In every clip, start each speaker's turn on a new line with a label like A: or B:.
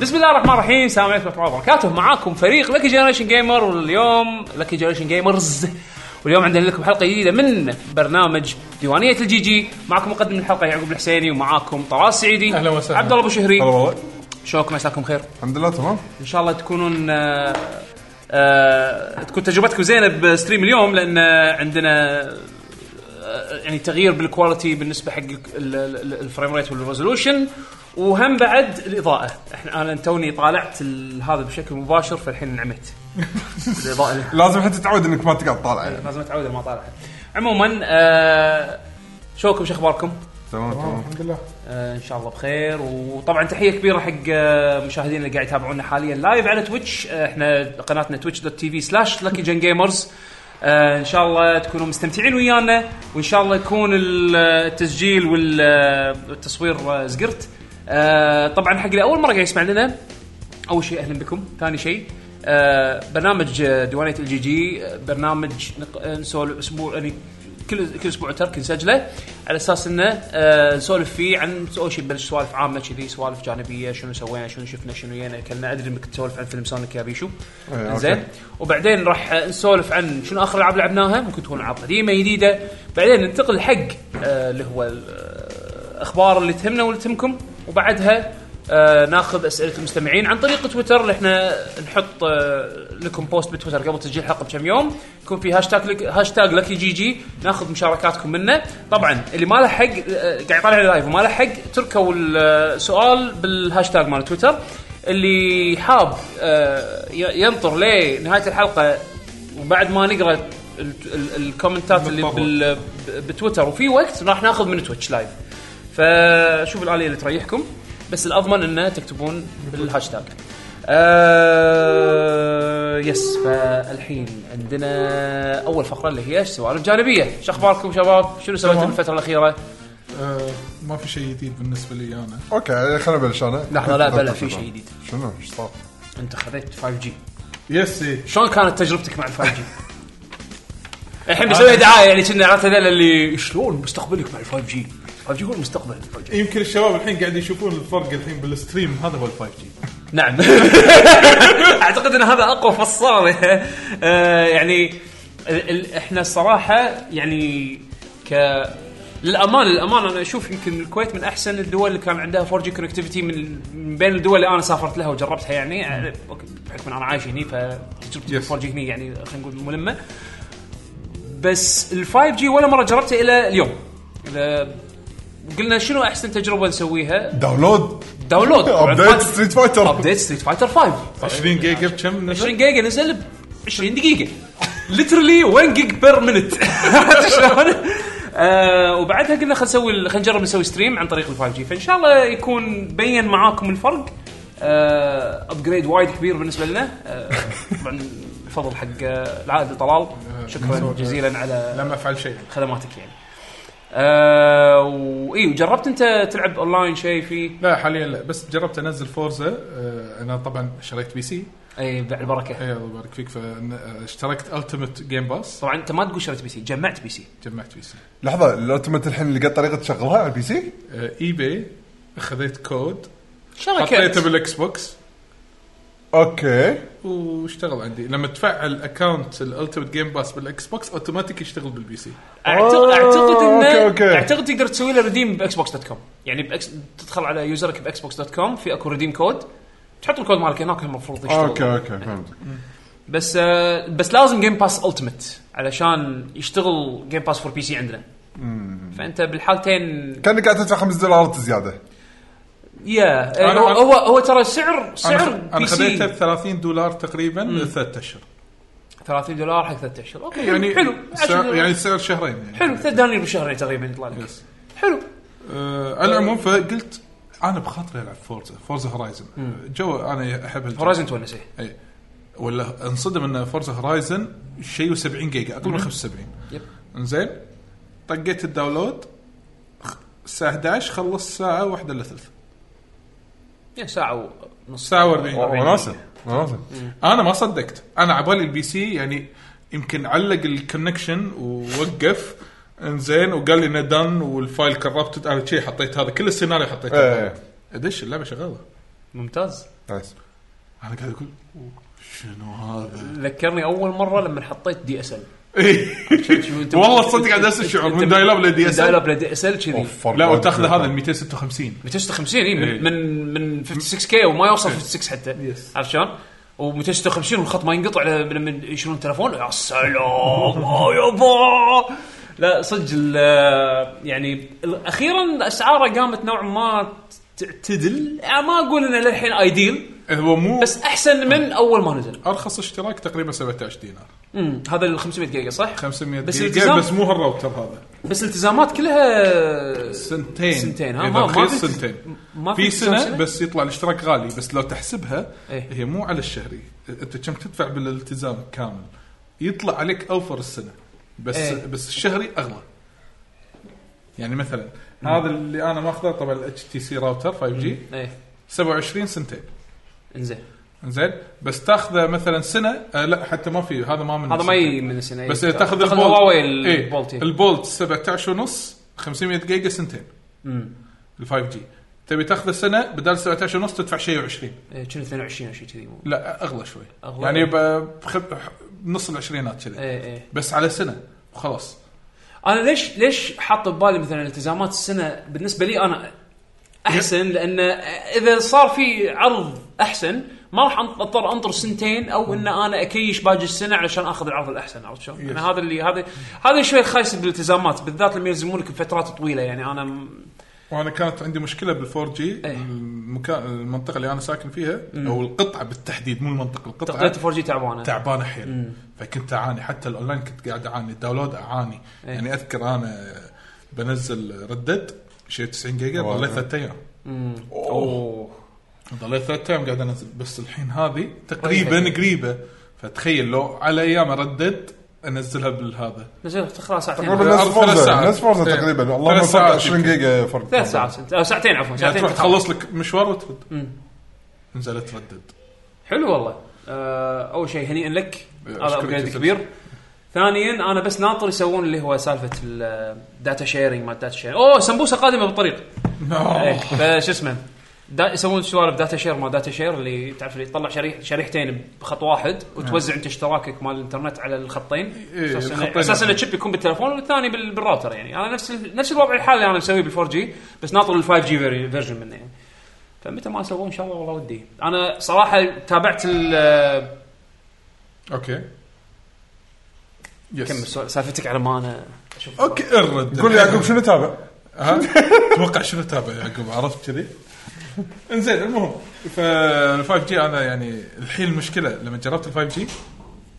A: بسم الله الرحمن الرحيم السلام عليكم ورحمه الله وبركاته معاكم فريق لكي جنريشن جيمر واليوم لكي جنريشن جيمرز واليوم عندنا لكم حلقه جديده من برنامج ديوانيه الجي جي معكم مقدم الحلقه يعقوب الحسيني ومعاكم طلال السعيدي
B: أهلا وسهلا.
A: عبد الله ابو شهري
C: هلا والله
A: شلونكم عساكم خير
C: الحمد لله تمام
A: ان شاء الله تكونون آه، آه، تكون تجربتكم زينه بستريم اليوم لان آه، عندنا آه، يعني تغيير بالكواليتي بالنسبه حق ال- ال- ال- الفريم ريت والريزولوشن وهم بعد الاضاءه احنا انا توني طالعت ال- هذا بشكل مباشر فالحين نعمت الاضاءه اللي-
C: لازم حتى تتعود انك ما تقعد طالع
B: آه.
C: يعني
A: لازم اتعود إذا ما طالع عموما آه، شوكم شو اخباركم؟
C: تمام تمام
B: الحمد لله
A: آه، ان شاء الله بخير وطبعا تحيه كبيره حق آه، مشاهدينا اللي قاعد يتابعونا حاليا لايف على تويتش آه، احنا قناتنا تويتش دوت تي في سلاش لكي جن جيمرز ان آه، شاء الله تكونوا مستمتعين ويانا وان شاء الله يكون ال- آه، التسجيل وال- آه، والتصوير آه، زقرت آه، طبعا حق اللي اول مره قاعد يسمع لنا اول شيء اهلا بكم ثاني شيء آه، برنامج آه، ديوانيه الجي جي آه، برنامج نق- آه، نسولف اسبوع يعني كل كل اسبوع ترك نسجله على اساس انه آه، نسولف فيه عن اول شيء نبلش سوالف عامه كذي سوالف جانبيه شنو سوينا شنو شفنا شنو يانا اكلنا ادري انك تسولف عن فيلم سونيك يا بيشو
C: أوكي.
A: زين وبعدين راح آه، نسولف عن شنو اخر العاب لعبناها ممكن تكون العاب قديمه جديده بعدين ننتقل حق آه، اللي هو الاخبار اللي تهمنا واللي تهمكم وبعدها آه، ناخذ اسئله المستمعين عن طريق تويتر اللي احنا نحط آه، لكم بوست بتويتر قبل تسجيل الحلقه بكم يوم يكون في هاشتاج لك هاشتاج لكي جي جي ناخذ مشاركاتكم منه طبعا اللي ما لحق آه، قاعد يطالع اللايف وما لحق تركوا السؤال بالهاشتاج مال تويتر اللي حاب آه، ي- ينطر لنهايه الحلقه وبعد ما نقرا ال- ال- الكومنتات اللي بال- ب- بتويتر وفي وقت راح ناخذ من تويتش لايف فشوف الاليه اللي تريحكم بس الاضمن انه تكتبون بالهاشتاج آه يس فالحين عندنا اول فقره اللي هي سوالف جانبيه شو اخباركم شباب شنو سويتوا
B: تمام.
A: بالفتره الاخيره
B: آه ما في شيء جديد بالنسبه لي انا
C: اوكي خلينا نبلش انا
A: لحظه لا بلا في شيء جديد
C: شنو ايش صار؟
A: انت خذيت 5G
B: يس إيه.
A: شلون كانت تجربتك مع الفايف جي؟ الحين بسوي دعايه يعني كنا عرفت هذول اللي شلون مستقبلك مع الفايف جي؟ الفايف جي هو المستقبل الفايف جي
B: يمكن الشباب الحين قاعد يشوفون الفرق الحين بالستريم هذا هو الفايف جي
A: نعم اعتقد ان هذا اقوى فصال آه، يعني ال- ال- احنا الصراحه يعني ك للامانه للامانه انا اشوف يمكن الكويت من احسن الدول اللي كان عندها 4 جي كونكتيفيتي من من بين الدول اللي انا سافرت لها وجربتها يعني آه، أوكي، بحكم إن انا عايش هني فتجربتي
B: Yes.
A: 4 جي هني يعني خلينا نقول ملمه بس ال 5 جي ولا مره جربته الى اليوم إلى- قلنا شنو احسن تجربه نسويها
C: داونلود
A: داونلود
C: ابديت ستريت فايتر
A: ابديت ستريت فايتر 5
B: 20 جيجا بكم
A: 20
B: نزل؟
A: جيجا نزل ب 20 دقيقة ليترلي 1 جيج بير مينت عرفت شلون؟ آه وبعدها قلنا خلينا نسوي خلينا نجرب نسوي ستريم عن طريق ال 5 جي فان شاء الله يكون بين معاكم الفرق ابجريد وايد كبير بالنسبه لنا آه، طبعا الفضل حق آه، العائد طلال شكرا جزيلا على
B: لم افعل شيء
A: خدماتك يعني. آه واي وجربت انت تلعب اونلاين شيء فيه؟
B: لا حاليا لا بس جربت انزل فورزا آه انا طبعا شريت بي سي
A: اي إيه، بعد البركه.
B: اي الله يبارك فيك آه، فاشتركت التيمت جيم باس
A: طبعا انت ما تقول شريت بي سي، جمعت بي سي.
B: جمعت بي سي
C: لحظه الاوتومات الحين لقيت طريقه تشغلها على البي سي
B: آه اي باي خذيت كود
A: شركات
B: حطيته بالاكس بوكس
C: اوكي
B: واشتغل عندي لما تفعل اكونت الالتيمت جيم باس بالاكس بوكس اوتوماتيك يشتغل بالبي سي
A: اعتقد
C: آه،
A: اعتقد انه
C: أوكي، أوكي.
A: اعتقد تقدر تسوي له ريديم باكس بوكس دوت كوم يعني بأكس... تدخل على يوزرك باكس بوكس دوت كوم في اكو ريديم كود تحط الكود مالك هناك المفروض يشتغل
C: اوكي اوكي فهمت
A: بس آه بس لازم جيم باس التيمت علشان يشتغل جيم باس فور بي سي عندنا فانت بالحالتين
C: كانك قاعد تدفع 5 دولارات زياده
A: يا إيه،
B: أنا-
A: هو
B: أنا-
A: هو, هو ترى سعر سعر
B: انا
A: بي
B: أنا خذيته ب
A: سي
B: 30 دولار تقريبا ثلاث اشهر
A: 30 دولار حق ثلاث اشهر اوكي
B: يعني
A: يعني حلو
B: سعر-
A: 10
B: يعني سعر شهرين يعني
A: حلو ثلاث دنانير بالشهر تقريبا يطلع لك
B: يس.
A: حلو
B: آه على العموم فقلت انا بخاطري العب فورزا فورزا هورايزن جو انا احب الجو.
A: هورايزن تونس إيه.
B: اي ولا انصدم ان فورزا هورايزن شيء 70 جيجا اقل من 75
A: يب.
B: انزين طقيت الداونلود خ- الساعه 11 خلص الساعه 1 الا ثلث
A: يا ساعه ونص
B: ساعه و40
C: وناسه وناسه
B: انا ما صدقت انا عبالي البي سي يعني يمكن علق الكونكشن ووقف انزين وقال لي انه دن والفايل كربتد انا شي حطيت هذا كل السيناريو حطيته
C: إيه.
B: ادش اللعبه شغاله
A: ممتاز
C: نايس
B: انا قاعد اقول شنو هذا؟ إيه.
A: ذكرني اول مره لما حطيت دي اس ال
B: والله تصدق على نفس الشعور من دايلاب لدي اس
A: دايلاب لدي اس ال كذي
C: أوف، فرق
B: لا
C: وايد
B: وتاخذ
C: كبير.
B: هذا ال 256
A: 256 اي
B: إيه.
A: من من من 56 كي وما يوصل 56 حتى
B: Yes.
A: عرفت شلون؟ و256 والخط ما ينقطع ل- لما يشيلون التلفون يا سلام آه يابا لا صدق ال- يعني ال- اخيرا اسعاره قامت نوعا ما تعتدل يعني ما اقول انه للحين ايديل
B: هو مو
A: بس احسن من اول ما نزل
B: ارخص اشتراك تقريبا 17 دينار
A: امم هذا ال 500 جيجا صح؟
B: 500
A: بس
B: بس جيجا
A: الالتزام-
B: بس مو هالراوتر هذا
A: بس التزامات كلها
B: سنتين
A: سنتين، ها؟
B: ها
A: ما-
B: ما
A: ما
B: ما
A: في-
B: سنتين
A: ما في
B: في
A: التزام
B: سنة,
A: سنة؟
B: بس يطلع الاشتراك غالي بس لو تحسبها
A: إيه.
B: هي مو على الشهري انت كم تدفع بالالتزام كامل يطلع عليك اوفر السنه بس
A: إيه.
B: إيه. بس الشهري اغلى يعني مثلا هذا اللي انا ماخذه طبعا الاتش تي سي راوتر 5 جي
A: ايه
B: 27 سنتين
A: انزين
B: زين بس تاخذه مثلا سنه آه لا حتى ما في هذا ما من
A: هذا ما
B: سنتين.
A: يجي من السنه
B: بس اذا تاخذ البولت
A: هواوي
B: إيه،
A: البولت إيه.
B: البولت 17 ونص 500 جيجا سنتين
A: أمم.
B: ال 5 جي تبي تاخذ سنه بدل 17 ونص تدفع شيء و20
A: إيه، كنا 22 او شيء كذي مو-
B: لا اغلى شوي
A: أغلى.
B: أغلى يعني ب- بخ- بنص العشرينات كذي
A: ايه ايه
B: بس على سنه وخلاص
A: انا ليش ليش حاط ببالي مثلا التزامات السنه بالنسبه لي انا احسن لان اذا صار في عرض احسن ما راح أنط- اضطر انطر سنتين او ان انا اكيش باقي السنه علشان اخذ العرض الاحسن عرفت شلون؟ انا هذا اللي هذا هذا شوي الخايس بالالتزامات بالذات لما يلزمونك بفترات طويله يعني انا م-
B: وانا كانت عندي مشكله بال 4 جي
A: إيه.
B: المكان المنطقه اللي انا ساكن فيها او القطعه بالتحديد مو المنطقه القطعه
A: تقنيه 4 جي تعبانه
B: تعبانه حيل فكنت اعاني حتى الاونلاين كنت قاعد اعاني الداونلود اعاني
A: إيه.
B: يعني اذكر انا بنزل ردد شيء 90 جيجا
C: والله.
B: ظليت ثلاث ايام
A: اوه
B: ضليت ثلاث ايام قاعد انزل بس الحين هذه
A: طيب.
B: تقريبا قريبه فتخيل لو على ايام اردد انزلها بالهذا
A: نزلت خلاص
C: تقريبا
A: ساعتين
C: نفس
B: تقريباً ثلاث
C: فورزا
B: ساعات.
C: نفس فورزا
B: إيه.
C: تقريبا والله
B: ثلاث
C: فرق
B: ساعات
C: 20 جيجا فرق
A: ثلاث ساعات آه، ساعتين عفوا
B: يعني
A: ساعتين
B: تروح
A: تخلص.
B: تخلص لك مشوار وترد
A: مم.
B: نزلت ردد
A: حلو والله آه اول شيء هنيئا لك هذا
B: أشكرك
A: ابجريد
B: يا
A: كبير ثانيا انا بس ناطر يسوون اللي هو سالفه الداتا شيرنج ما الداتا شيرنج اوه سمبوسه قادمه بالطريق إيه، فشو اسمه دا يسوون سوالف داتا شير ما داتا شير اللي تعرف اللي تطلع شريح شريحتين بخط واحد وتوزع انت اشتراكك مال الانترنت على الخطين
B: نعم. إيه،
A: اساس إنه-
B: الخطين
A: اساس ان
B: نفسهم.
A: الشيب يكون بالتليفون والثاني بال- بالراوتر يعني انا نفس ال- نفس الوضع الحالي اللي انا مسويه بال 4 جي بس ناطر ال 5 جي فيرجن منه يعني فمتى ما اسووه ان شاء الله والله ودي انا صراحه تابعت ال
B: اوكي
A: كمل
B: يس
A: سؤال- سالفتك على ما انا اشوف
B: اوكي الرد
C: قول لي يعقوب شنو تابع؟
B: ها؟ اتوقع شنو تابع يعقوب عرفت كذي؟ انزين المهم فال 5 جي انا يعني الحين المشكله لما جربت ال 5 جي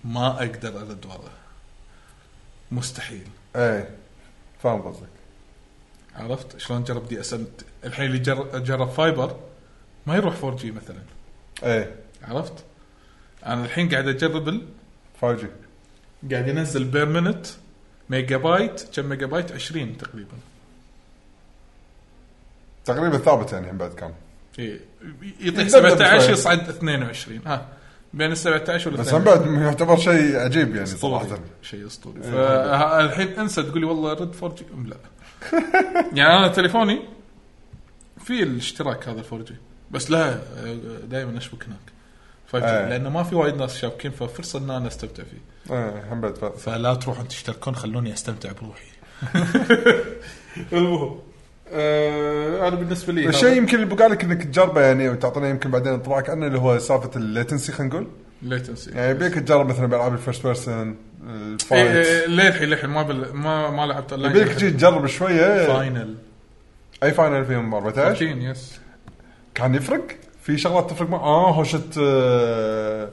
B: ما اقدر ارد ورا مستحيل
C: ايه فاهم قصدك
B: عرفت شلون جرب دي اس ام الحين اللي جر- جرب فايبر ما يروح 4 جي مثلا
C: ايه
B: عرفت؟ انا الحين قاعد اجرب ال-
C: 5 جي
B: قاعد ينزل بير منت ميجا بايت كم ميجا بايت 20 تقريبا
C: تقريبا ثابت يعني الحين بعد كان
B: إيه. يطيح
C: يتذبذب
B: 17
C: شوي.
B: يصعد 22 ها بين ال 17 وال
C: بس
B: 22.
C: هم بعد يعتبر شيء عجيب يعني
B: اسطوري
C: صراحه
B: شيء اسطوري فالحين انسى تقول لي والله رد 4 جي لا يعني انا تليفوني في الاشتراك هذا 4 جي بس لا دائما اشبك هناك 5
C: إيه.
B: جي لانه ما في وايد ناس شابكين ففرصه ان انا استمتع فيه
C: ايه هم بعد ف-
B: فلا تروحون تشتركون خلوني استمتع بروحي المهم آه، انا بالنسبه لي
C: الشيء يمكن اللي بقى لك انك تجربه يعني وتعطينا يمكن بعدين انطباعك عنه اللي هو سالفه الليتنسي خلينا نقول
B: ليتنسي
C: يعني يبيك تجرب مثلا بالعاب الفيرست بيرسون
B: إيه،
C: الفايت
B: للحين للحين ما بل... ما ما لعبت اونلاين
C: يبيك تجي تجرب شويه
B: فاينل
C: اي فاينل فيهم 14
B: 14 يس
C: كان يفرق في شغلات تفرق مع اه هوشه آه،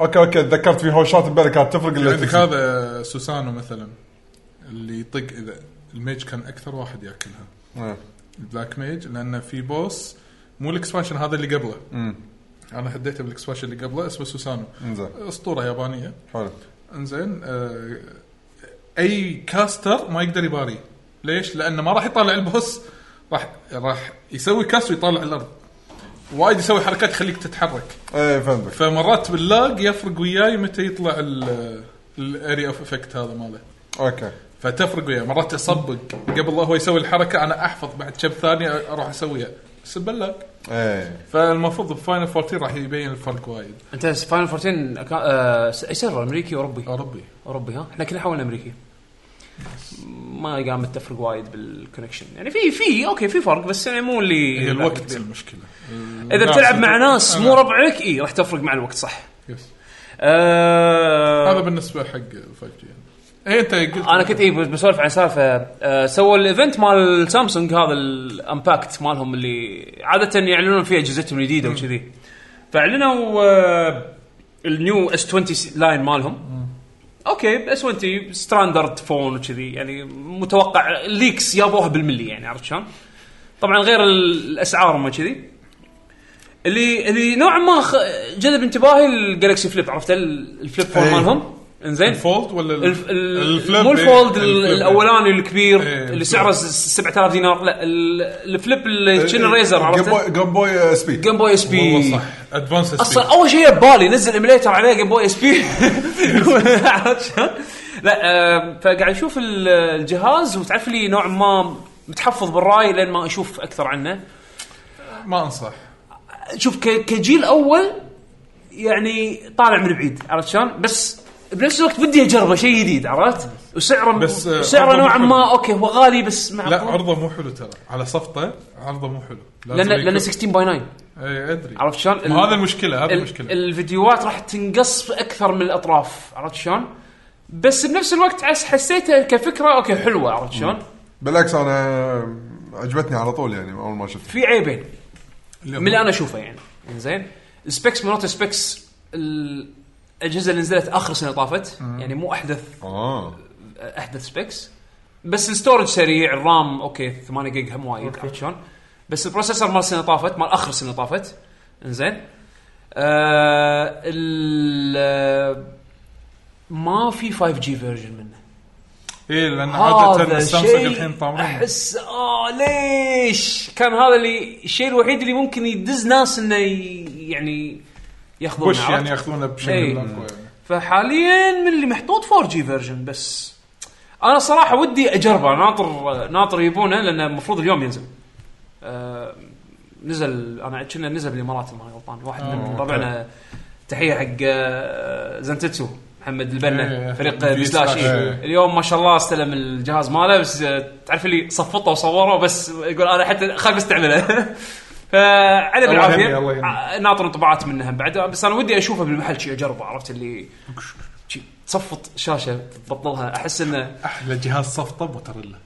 C: اوكي اوكي تذكرت في هوشات امبارح كانت تفرق اللي
B: عندك يعني هذا سوسانو مثلا اللي يطق اذا الميج كان اكثر واحد ياكلها
C: إيه،
B: البلاك ميج لانه في بوس مو الاكسبانشن هذا اللي قبله
C: إمم،
B: انا هديته بالاكسبانشن اللي قبله اسمه سوسانو
C: انزين
B: اسطوره يابانيه
C: حلو
B: انزين آه، اي كاستر ما يقدر يباري ليش؟ لانه ما راح يطالع البوس راح راح يسوي كاست ويطالع الارض وايد يسوي حركات تخليك تتحرك
C: ايه فهمتك
B: فمرات باللاج يفرق وياي متى يطلع الاري اوف افكت هذا ماله
C: اوكي
B: فتفرق وياه مرات اصبق قبل لا هو يسوي الحركه انا احفظ بعد كم ثانيه اروح اسويها سبلك
C: ايه
B: فالمفروض بفاينل 14 راح يبين الفرق وايد
A: انت فاينل 14 أكا- آه، س- اي سيرفر امريكي اوروبي
B: اوروبي
A: اوروبي ها احنا كنا حولنا امريكي ما قامت تفرق وايد بالكونكشن يعني في في اوكي في فرق بس يعني مو اللي
B: هي الوقت المشكله
A: اذا بتلعب مع ناس مو
B: ربع
A: ربعك اي راح تفرق مع الوقت صح آه
B: هذا بالنسبه حق 5 جي يعني اي انت قلت
A: انا كنت إيه. اي بسولف عن سالفه آه، سووا الايفنت مال سامسونج هذا الامباكت مالهم اللي عاده يعلنون فيه اجهزتهم الجديده وكذي فاعلنوا آه، النيو اس 20 لاين مالهم اوكي اس 20 ستاندرد فون وكذي يعني متوقع الليكس يابوها بالملي يعني عرفت شلون؟ طبعا غير ال- الاسعار وما كذي اللي اللي نوعا ما خ- جذب انتباهي الجالكسي فليب عرفت ال- الفليب فون
C: إيه.
A: مالهم انزين
B: الفولد ولا ال-
A: الف... الفليب
B: الفليب
A: مو
B: إيه.
A: الفولد ال-
B: الفليب.
A: الاولاني الكبير
B: إيه،
A: اللي
B: الفليب.
A: سعره س- 7000 دينار لا ال- الفليب اللي
B: إيه،
A: كنا ريزر
C: جيم
A: عرفته
C: بوي- جيم بوي اس بي
A: جيم بوي اس
B: والله
A: بي
B: صح ادفانس
A: اصلا اول شيء ببالي نزل ايميليتر عليه جيم بوي اس بي عرفت شلون؟ لا آه، فقاعد اشوف ال- الجهاز وتعرف لي نوع ما متحفظ بالراي لين ما اشوف اكثر عنه
B: ما انصح
A: شوف ك- كجيل اول يعني طالع من بعيد عرفت شلون؟ بس بنفس الوقت بدي اجربه شيء جديد عرفت؟ وسعره
B: بس، آه،
A: سعره
B: عرضه
A: نوعا
B: مو حلو.
A: ما اوكي هو غالي بس مع
B: لا عرضه مو حلو ترى على صفطه عرضه مو حلو
A: لان لان 16 باي 9
B: اي ادري
A: عرفت شلون؟ ال-
B: ما هذا المشكله هذا
A: ال-
B: المشكله
A: الفيديوهات راح تنقص اكثر من الاطراف عرفت شلون؟ بس بنفس الوقت عس- حسيتها كفكره اوكي حلوه عرفت شلون؟
C: بالعكس انا عجبتني على طول يعني اول ما شفت
A: في عيبين
B: اللي
A: من اللي انا اشوفه يعني زين السبيكس مرات السبيكس الاجهزه اللي نزلت اخر سنه طافت يعني مو احدث
C: اه
A: احدث سبيكس بس الستورج سريع الرام اوكي 8 جيج هم وايد عرفت شلون بس البروسيسور مال السنه طافت مال اخر سنه طافت انزين آه ال آه، ما في 5 جي فيرجن منه
B: اي لان
A: هذا
B: عاده سامسونج
A: شيء
B: الحين طامعين
A: احس اه ليش كان هذا اللي الشيء الوحيد اللي ممكن يدز ناس انه ي- يعني ياخذون
B: بوش يعني ياخذونه
A: إيه.
B: بشكل اقوى يعني
A: فحاليا من اللي محطوط 4 جي فيرجن بس انا صراحه ودي اجربه ناطر ناطر يبونه لان المفروض اليوم ينزل آه، نزل انا كنا نزل بالامارات إذا ماني غلطان واحد من
B: آه، أوكي.
A: ربعنا تحيه حق آه، زنتتسو محمد البنا
B: إيه.
A: فريق
B: في
A: بي سلاش
B: سلاش.
A: إيه.
C: إيه.
A: اليوم ما شاء الله استلم الجهاز ماله بس آه، تعرف اللي صفطه وصوره بس يقول انا حتى خايف استعمله فعلى
B: الله
A: بالعافيه
B: يهنيه، الله يهنيه.
A: ع- آه، ناطر انطباعات منها بعد بس انا ودي اشوفه بالمحل شي اجربه عرفت اللي شي تصفط شاشه تبطلها احس انه
B: احلى جهاز صفطه موتريلا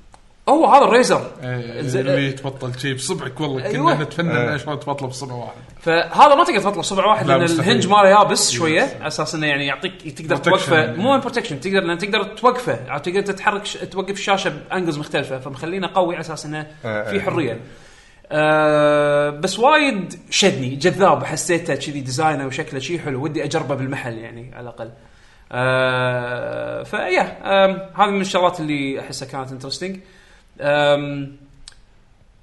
A: هو هذا الريزر
B: إيه،
A: زين.
B: اللي تبطل شيء بصبعك والله
A: أيوة.
B: كنا نتفنن
C: إيه.
B: إيه. شلون تبطله بصبع واحد
A: فهذا ما تقدر تبطله بصبع واحد
B: لا،
A: لان
B: مستحيل.
A: الهنج ماله يابس شويه على اساس انه يعني يعطيك تقدر
B: Protection.
A: توقفه مو بروتكشن تقدر لان تقدر توقفه عرفت؟ تقدر تتحرك ش... توقف الشاشه بانجلز مختلفه فمخلينه قوي على اساس انه
C: آه،
A: في
C: آه.
A: حريه أه بس وايد شدني جذاب حسيته كذي ديزاينه وشكله شي حلو ودي اجربه بالمحل يعني على الاقل أه فيا أم، هذه من الشغلات اللي احسها كانت انترستنج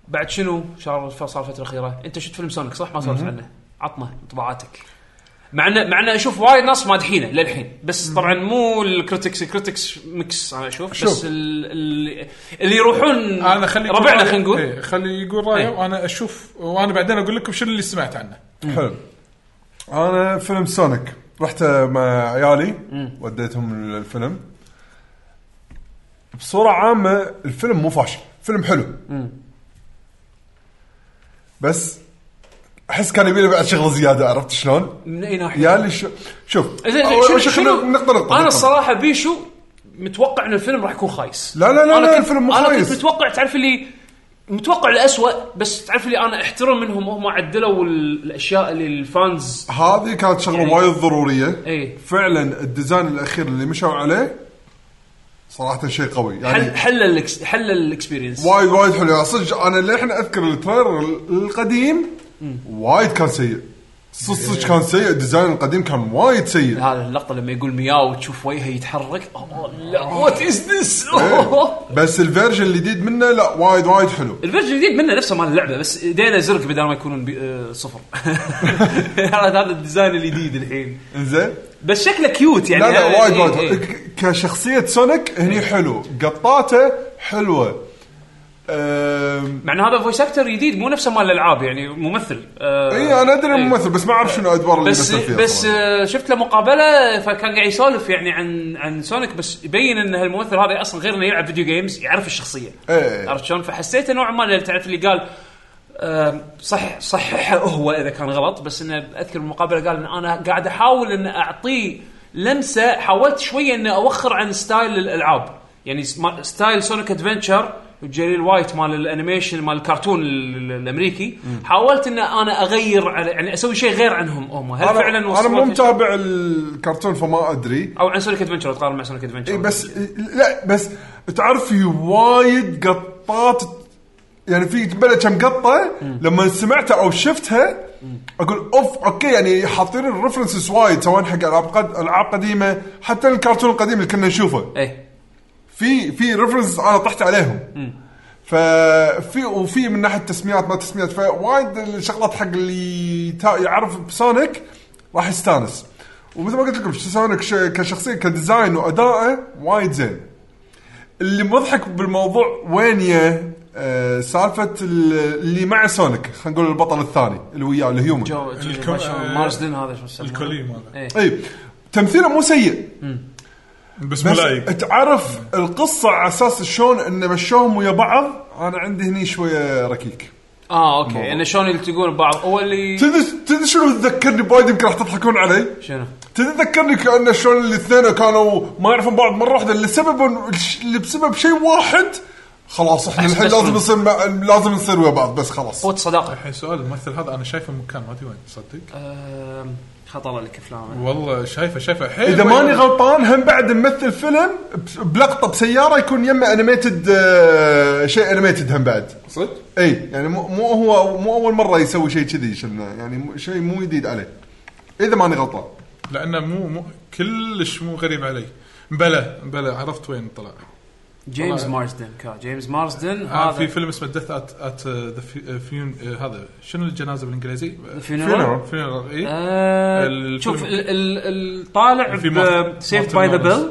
A: بعد شنو شهر صار الفتره الاخيره انت شفت فيلم سونيك صح ما سولفت عنه عطنا انطباعاتك مع ان مع ان اشوف وايد ناس مادحينه للحين بس طبعا مو الكريتكس الكريتكس ميكس انا اشوف بس
B: شوف.
A: ال ال اللي يروحون
B: انا خلي يقول
A: ربعنا
B: رأيه.
A: خلينا نقول
B: إيه، خلي يقول رايه
A: إيه.
B: وانا اشوف وانا بعدين اقول لكم شنو اللي سمعت عنه
C: حلو انا فيلم سونيك رحت آه، مع عيالي وديتهم الفيلم بصوره عامه الفيلم مو فاشل فيلم حلو بس احس كان يبي بعد شغله زياده عرفت شلون؟
A: من اي ناحيه؟
C: يا اللي شو شوف
A: زين
C: أول
A: زين
C: شيء
A: شنو
C: خلينا
A: شنو
C: نقطه نقطه
A: انا
C: نقطة.
A: الصراحه بيشو متوقع ان الفيلم راح يكون خايس
C: لا لا لا
A: أنا
C: لا،
A: كنت-
C: الفيلم مو
A: انا
C: خايس.
A: كنت متوقع تعرف اللي متوقع الأسوأ بس تعرف اللي انا احترم منهم هم عدلوا ال- الاشياء اللي الفانز
C: هذه كانت شغله
A: يعني-
C: وايد ضروريه
A: إيه.
C: فعلا الديزاين الاخير اللي مشوا عليه صراحه شيء قوي
A: حل
C: يعني
A: حل الإكس- حل الاكسبيرينس
C: وايد وايد حلو يعني صدق انا للحين اذكر التريلر القديم وايد كان سيء صدق صدق كان سيء الديزاين القديم كان وايد سيء
A: هذا اللقطه لما يقول مياو وتشوف وجهه يتحرك Oh اوه لا وات از ذس
C: إيه. بس الفيرجن الجديد منه لا وايد وايد حلو
A: الفيرجن الجديد منه نفسه مال اللعبه بس ايدينا زرق بدل ما يكونون بي- آه، صفر هذا هذا الديزاين الجديد الحين
C: انزين
A: بس شكله كيوت يعني
C: لا لا وايد
A: إيه،
C: وايد
A: إيه.
C: ك- كشخصيه سونيك هني حلو قطاته حلوه أم،
A: مع ان هذا فويس اكتر جديد مو نفسه مال الالعاب يعني ممثل آه،
C: اي انا ادري
A: إيه.
C: ممثل بس ما اعرف شنو ادوار اللي
A: بس
C: يمثل فيها
A: بس
C: صراحة.
A: آه، شفت له مقابله فكان قاعد يسولف يعني عن عن سونيك بس يبين ان هالممثل هذا اصلا غير انه يلعب فيديو جيمز يعرف الشخصيه
C: إيه.
A: عرفت شلون فحسيت نوعا ما اللي تعرف اللي قال آه، صح صححه هو اذا كان غلط بس انه اذكر المقابله قال ان انا قاعد احاول ان اعطيه لمسه حاولت شويه ان اوخر عن ستايل الالعاب يعني سما- ستايل سونيك ادفنتشر جليل وايت مال الانيميشن مال الكرتون ال- ال- الامريكي حاولت ان انا اغير على يعني اسوي شيء غير عنهم هم هل
C: انا
A: فعلا
C: انا مو
A: وصلت-
C: متابع الكرتون فما ادري
A: او عن سونيك ادفنتشر تقارن مع سونيك ادفنتشر
C: اي إيه، بس لا بس تعرف في وايد قطات يعني في بلا كم قطه لما سمعتها او شفتها اقول اوف اوكي يعني حاطين الريفرنسز وايد سواء حق العاب قد... العاب قديمه حتى الكرتون القديم اللي كنا نشوفه
A: ايه
C: في في ريفرنسز انا طحت عليهم ففي وفي من ناحيه تسميات ما تسميات فوايد الشغلات حق اللي تا- يعرف بسونيك راح يستانس ومثل ما قلت لكم سونيك ش- كشخصيه كديزاين وادائه وايد زين اللي مضحك بالموضوع وين يا آه، سالفه ال- اللي مع سونيك خلينا نقول البطل الثاني اللي وياه الهيومن
A: جو جو-
B: الكو-
A: ما شاء الله،
B: آه،
A: مارسدن هذا شو اسمه
B: الكولي ماله
A: ايه
C: اي إيه، تمثيله مو سيء
B: بس مو
C: بس
B: لايق
C: تعرف القصه على اساس شلون انه مشوهم ويا بعض انا عندي هني شويه ركيك
A: اه اوكي انه شلون يلتقون بعض هو اللي
C: تدري تدري شنو تذكرني بايد يمكن راح تضحكون علي
A: شنو؟
C: تتذكرني كانه شلون الاثنين كانوا ما يعرفون بعض مره واحده لسبب اللي بسبب شيء واحد خلاص احنا
A: بس-
C: الحين
A: بس-
C: لازم نصير مع- لازم نصير ويا بعض بس خلاص
A: قوة صداقة
B: الحين سؤال الممثل هذا انا شايفه مكان ما ادري وين تصدق
A: أم، خطر لك افلام
B: والله شايفه شايفه حيل
C: اذا
B: وين.
C: ماني غلطان هم بعد ممثل فيلم بس- بلقطه بسياره يكون يمه انيميتد آه، شيء انيميتد هم بعد
B: صدق
C: اي يعني مو مو هو مو اول مره يسوي شيء كذي شلنا، يعني مو- شيء مو جديد عليه اذا ماني غلطان
B: لانه مو مو كلش مو غريب علي بلا بلا عرفت وين طلع
A: جيمس
B: والله.
A: مارسدن كا جيمس مارسدن
B: آه في
A: هذا
B: فيلم اسمه ديث ات ات ذا آه، هذا شنو الجنازه بالانجليزي؟
A: الفينرال
B: فينرال اي
A: آه،
B: الفيلم-
A: شوف ال- ال- الطالع
B: في مارت-
A: سيفد
B: مارتن
A: باي ذا
B: لورنس.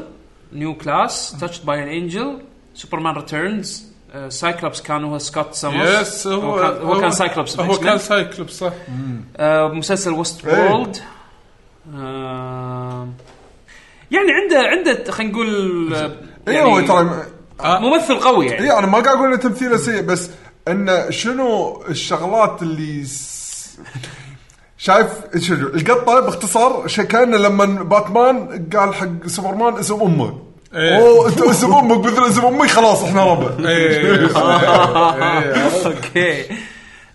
A: بيل نيو كلاس تاتشد باي ان انجل سوبرمان ريتيرنز سايكلوبس Uh, كان هو سكوت سامرز
B: يس هو
A: كان- هو كان سايكلوبس
B: هو
A: بإكس مان.
B: كان سايكلوبس صح
A: آه، مسلسل ويست
C: إيه.
A: وورلد آه، يعني عنده عنده خلينا نقول آه،
C: اي إيه، هو
A: يعني
C: ترى إيه،
A: ممثل قوي يعني
C: اي انا ما قاعد اقول ان تمثيله سيء بس انه شنو الشغلات اللي س- شايف شنو القطه باختصار شي كانه لما باتمان قال حق سوبرمان اسم امه
B: إيه.
C: اوه انت اسم امك مثل اسم امي خلاص احنا ربع
B: إيه.
A: آه، اوكي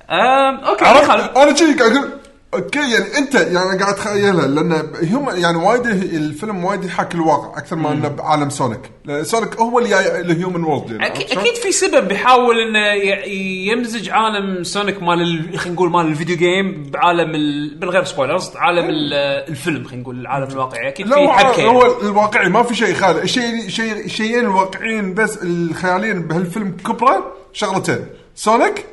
A: آم، اوكي ما
C: إيه، عرفت
A: يخالف.
C: انا شي قاعد اقول اوكي يعني انت يعني قاعد اتخيلها لان هم يعني وايد الفيلم وايد يحاكي الواقع اكثر ما انه بعالم سونيك لان سونيك هو اللي جاي الهيومن وورلد يعني عرفت
A: أكيد,
C: شلون؟
A: اكيد في سبب بيحاول انه ي- يمزج عالم سونيك مال ال- خلينا نقول مال الفيديو جيم بعالم ال... من غير سبويلرز عالم ال- الفيلم خلينا نقول العالم الواقعي اكيد
C: إيه. لا
A: في
C: هو
A: حبكه يعني.
C: هو الواقعي ما في شيء خالي الشيء شيء شيئين واقعيين بس الخياليين بهالفيلم كبرى شغلتين سونيك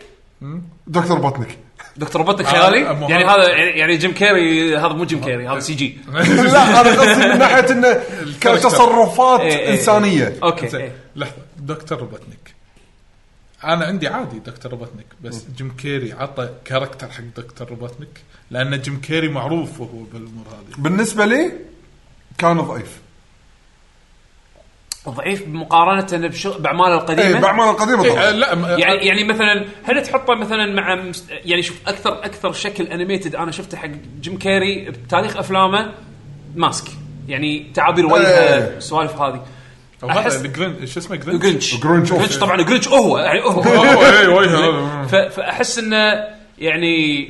C: دكتور بطنك
A: دكتور بطنك خيالي
B: آه، مهار-
A: يعني هذا يعني جيم كيري هذا مو جيم كيري هذا سي جي
C: لا انا قصدي من ناحيه انه كتصرفات
A: إيه، إيه.
C: انسانيه
A: اوكي
B: زين
A: إيه.
B: لحظه دكتور روبوتنيك انا عندي عادي دكتور روبوتنيك بس جيم كيري عطى كاركتر حق دكتور روبوتنيك لان جيم كيري معروف وهو بالامور هذه
C: بالنسبه لي كان ضعيف
A: ضعيف مقارنه بشو... باعماله
C: اي
A: القديمه
C: باعماله القديمه
B: آه،
C: طبعا
B: لا م-
A: يعني يعني مثلا هل تحطه مثلا مع مس- يعني شوف اكثر اكثر شكل انيميتد انا شفته حق جيم كيري بتاريخ افلامه ماسك يعني تعابير وجهه
C: إيه.
A: السوالف هذه
B: أو هذا
A: أحس-
B: الجرين- شو اسمه جرينش؟
A: جرينش
C: جرينش أوف.
A: جرينش طبعا جرينش هو يعني هو
B: أوه، إيه، وجهه.
A: ف- فاحس انه يعني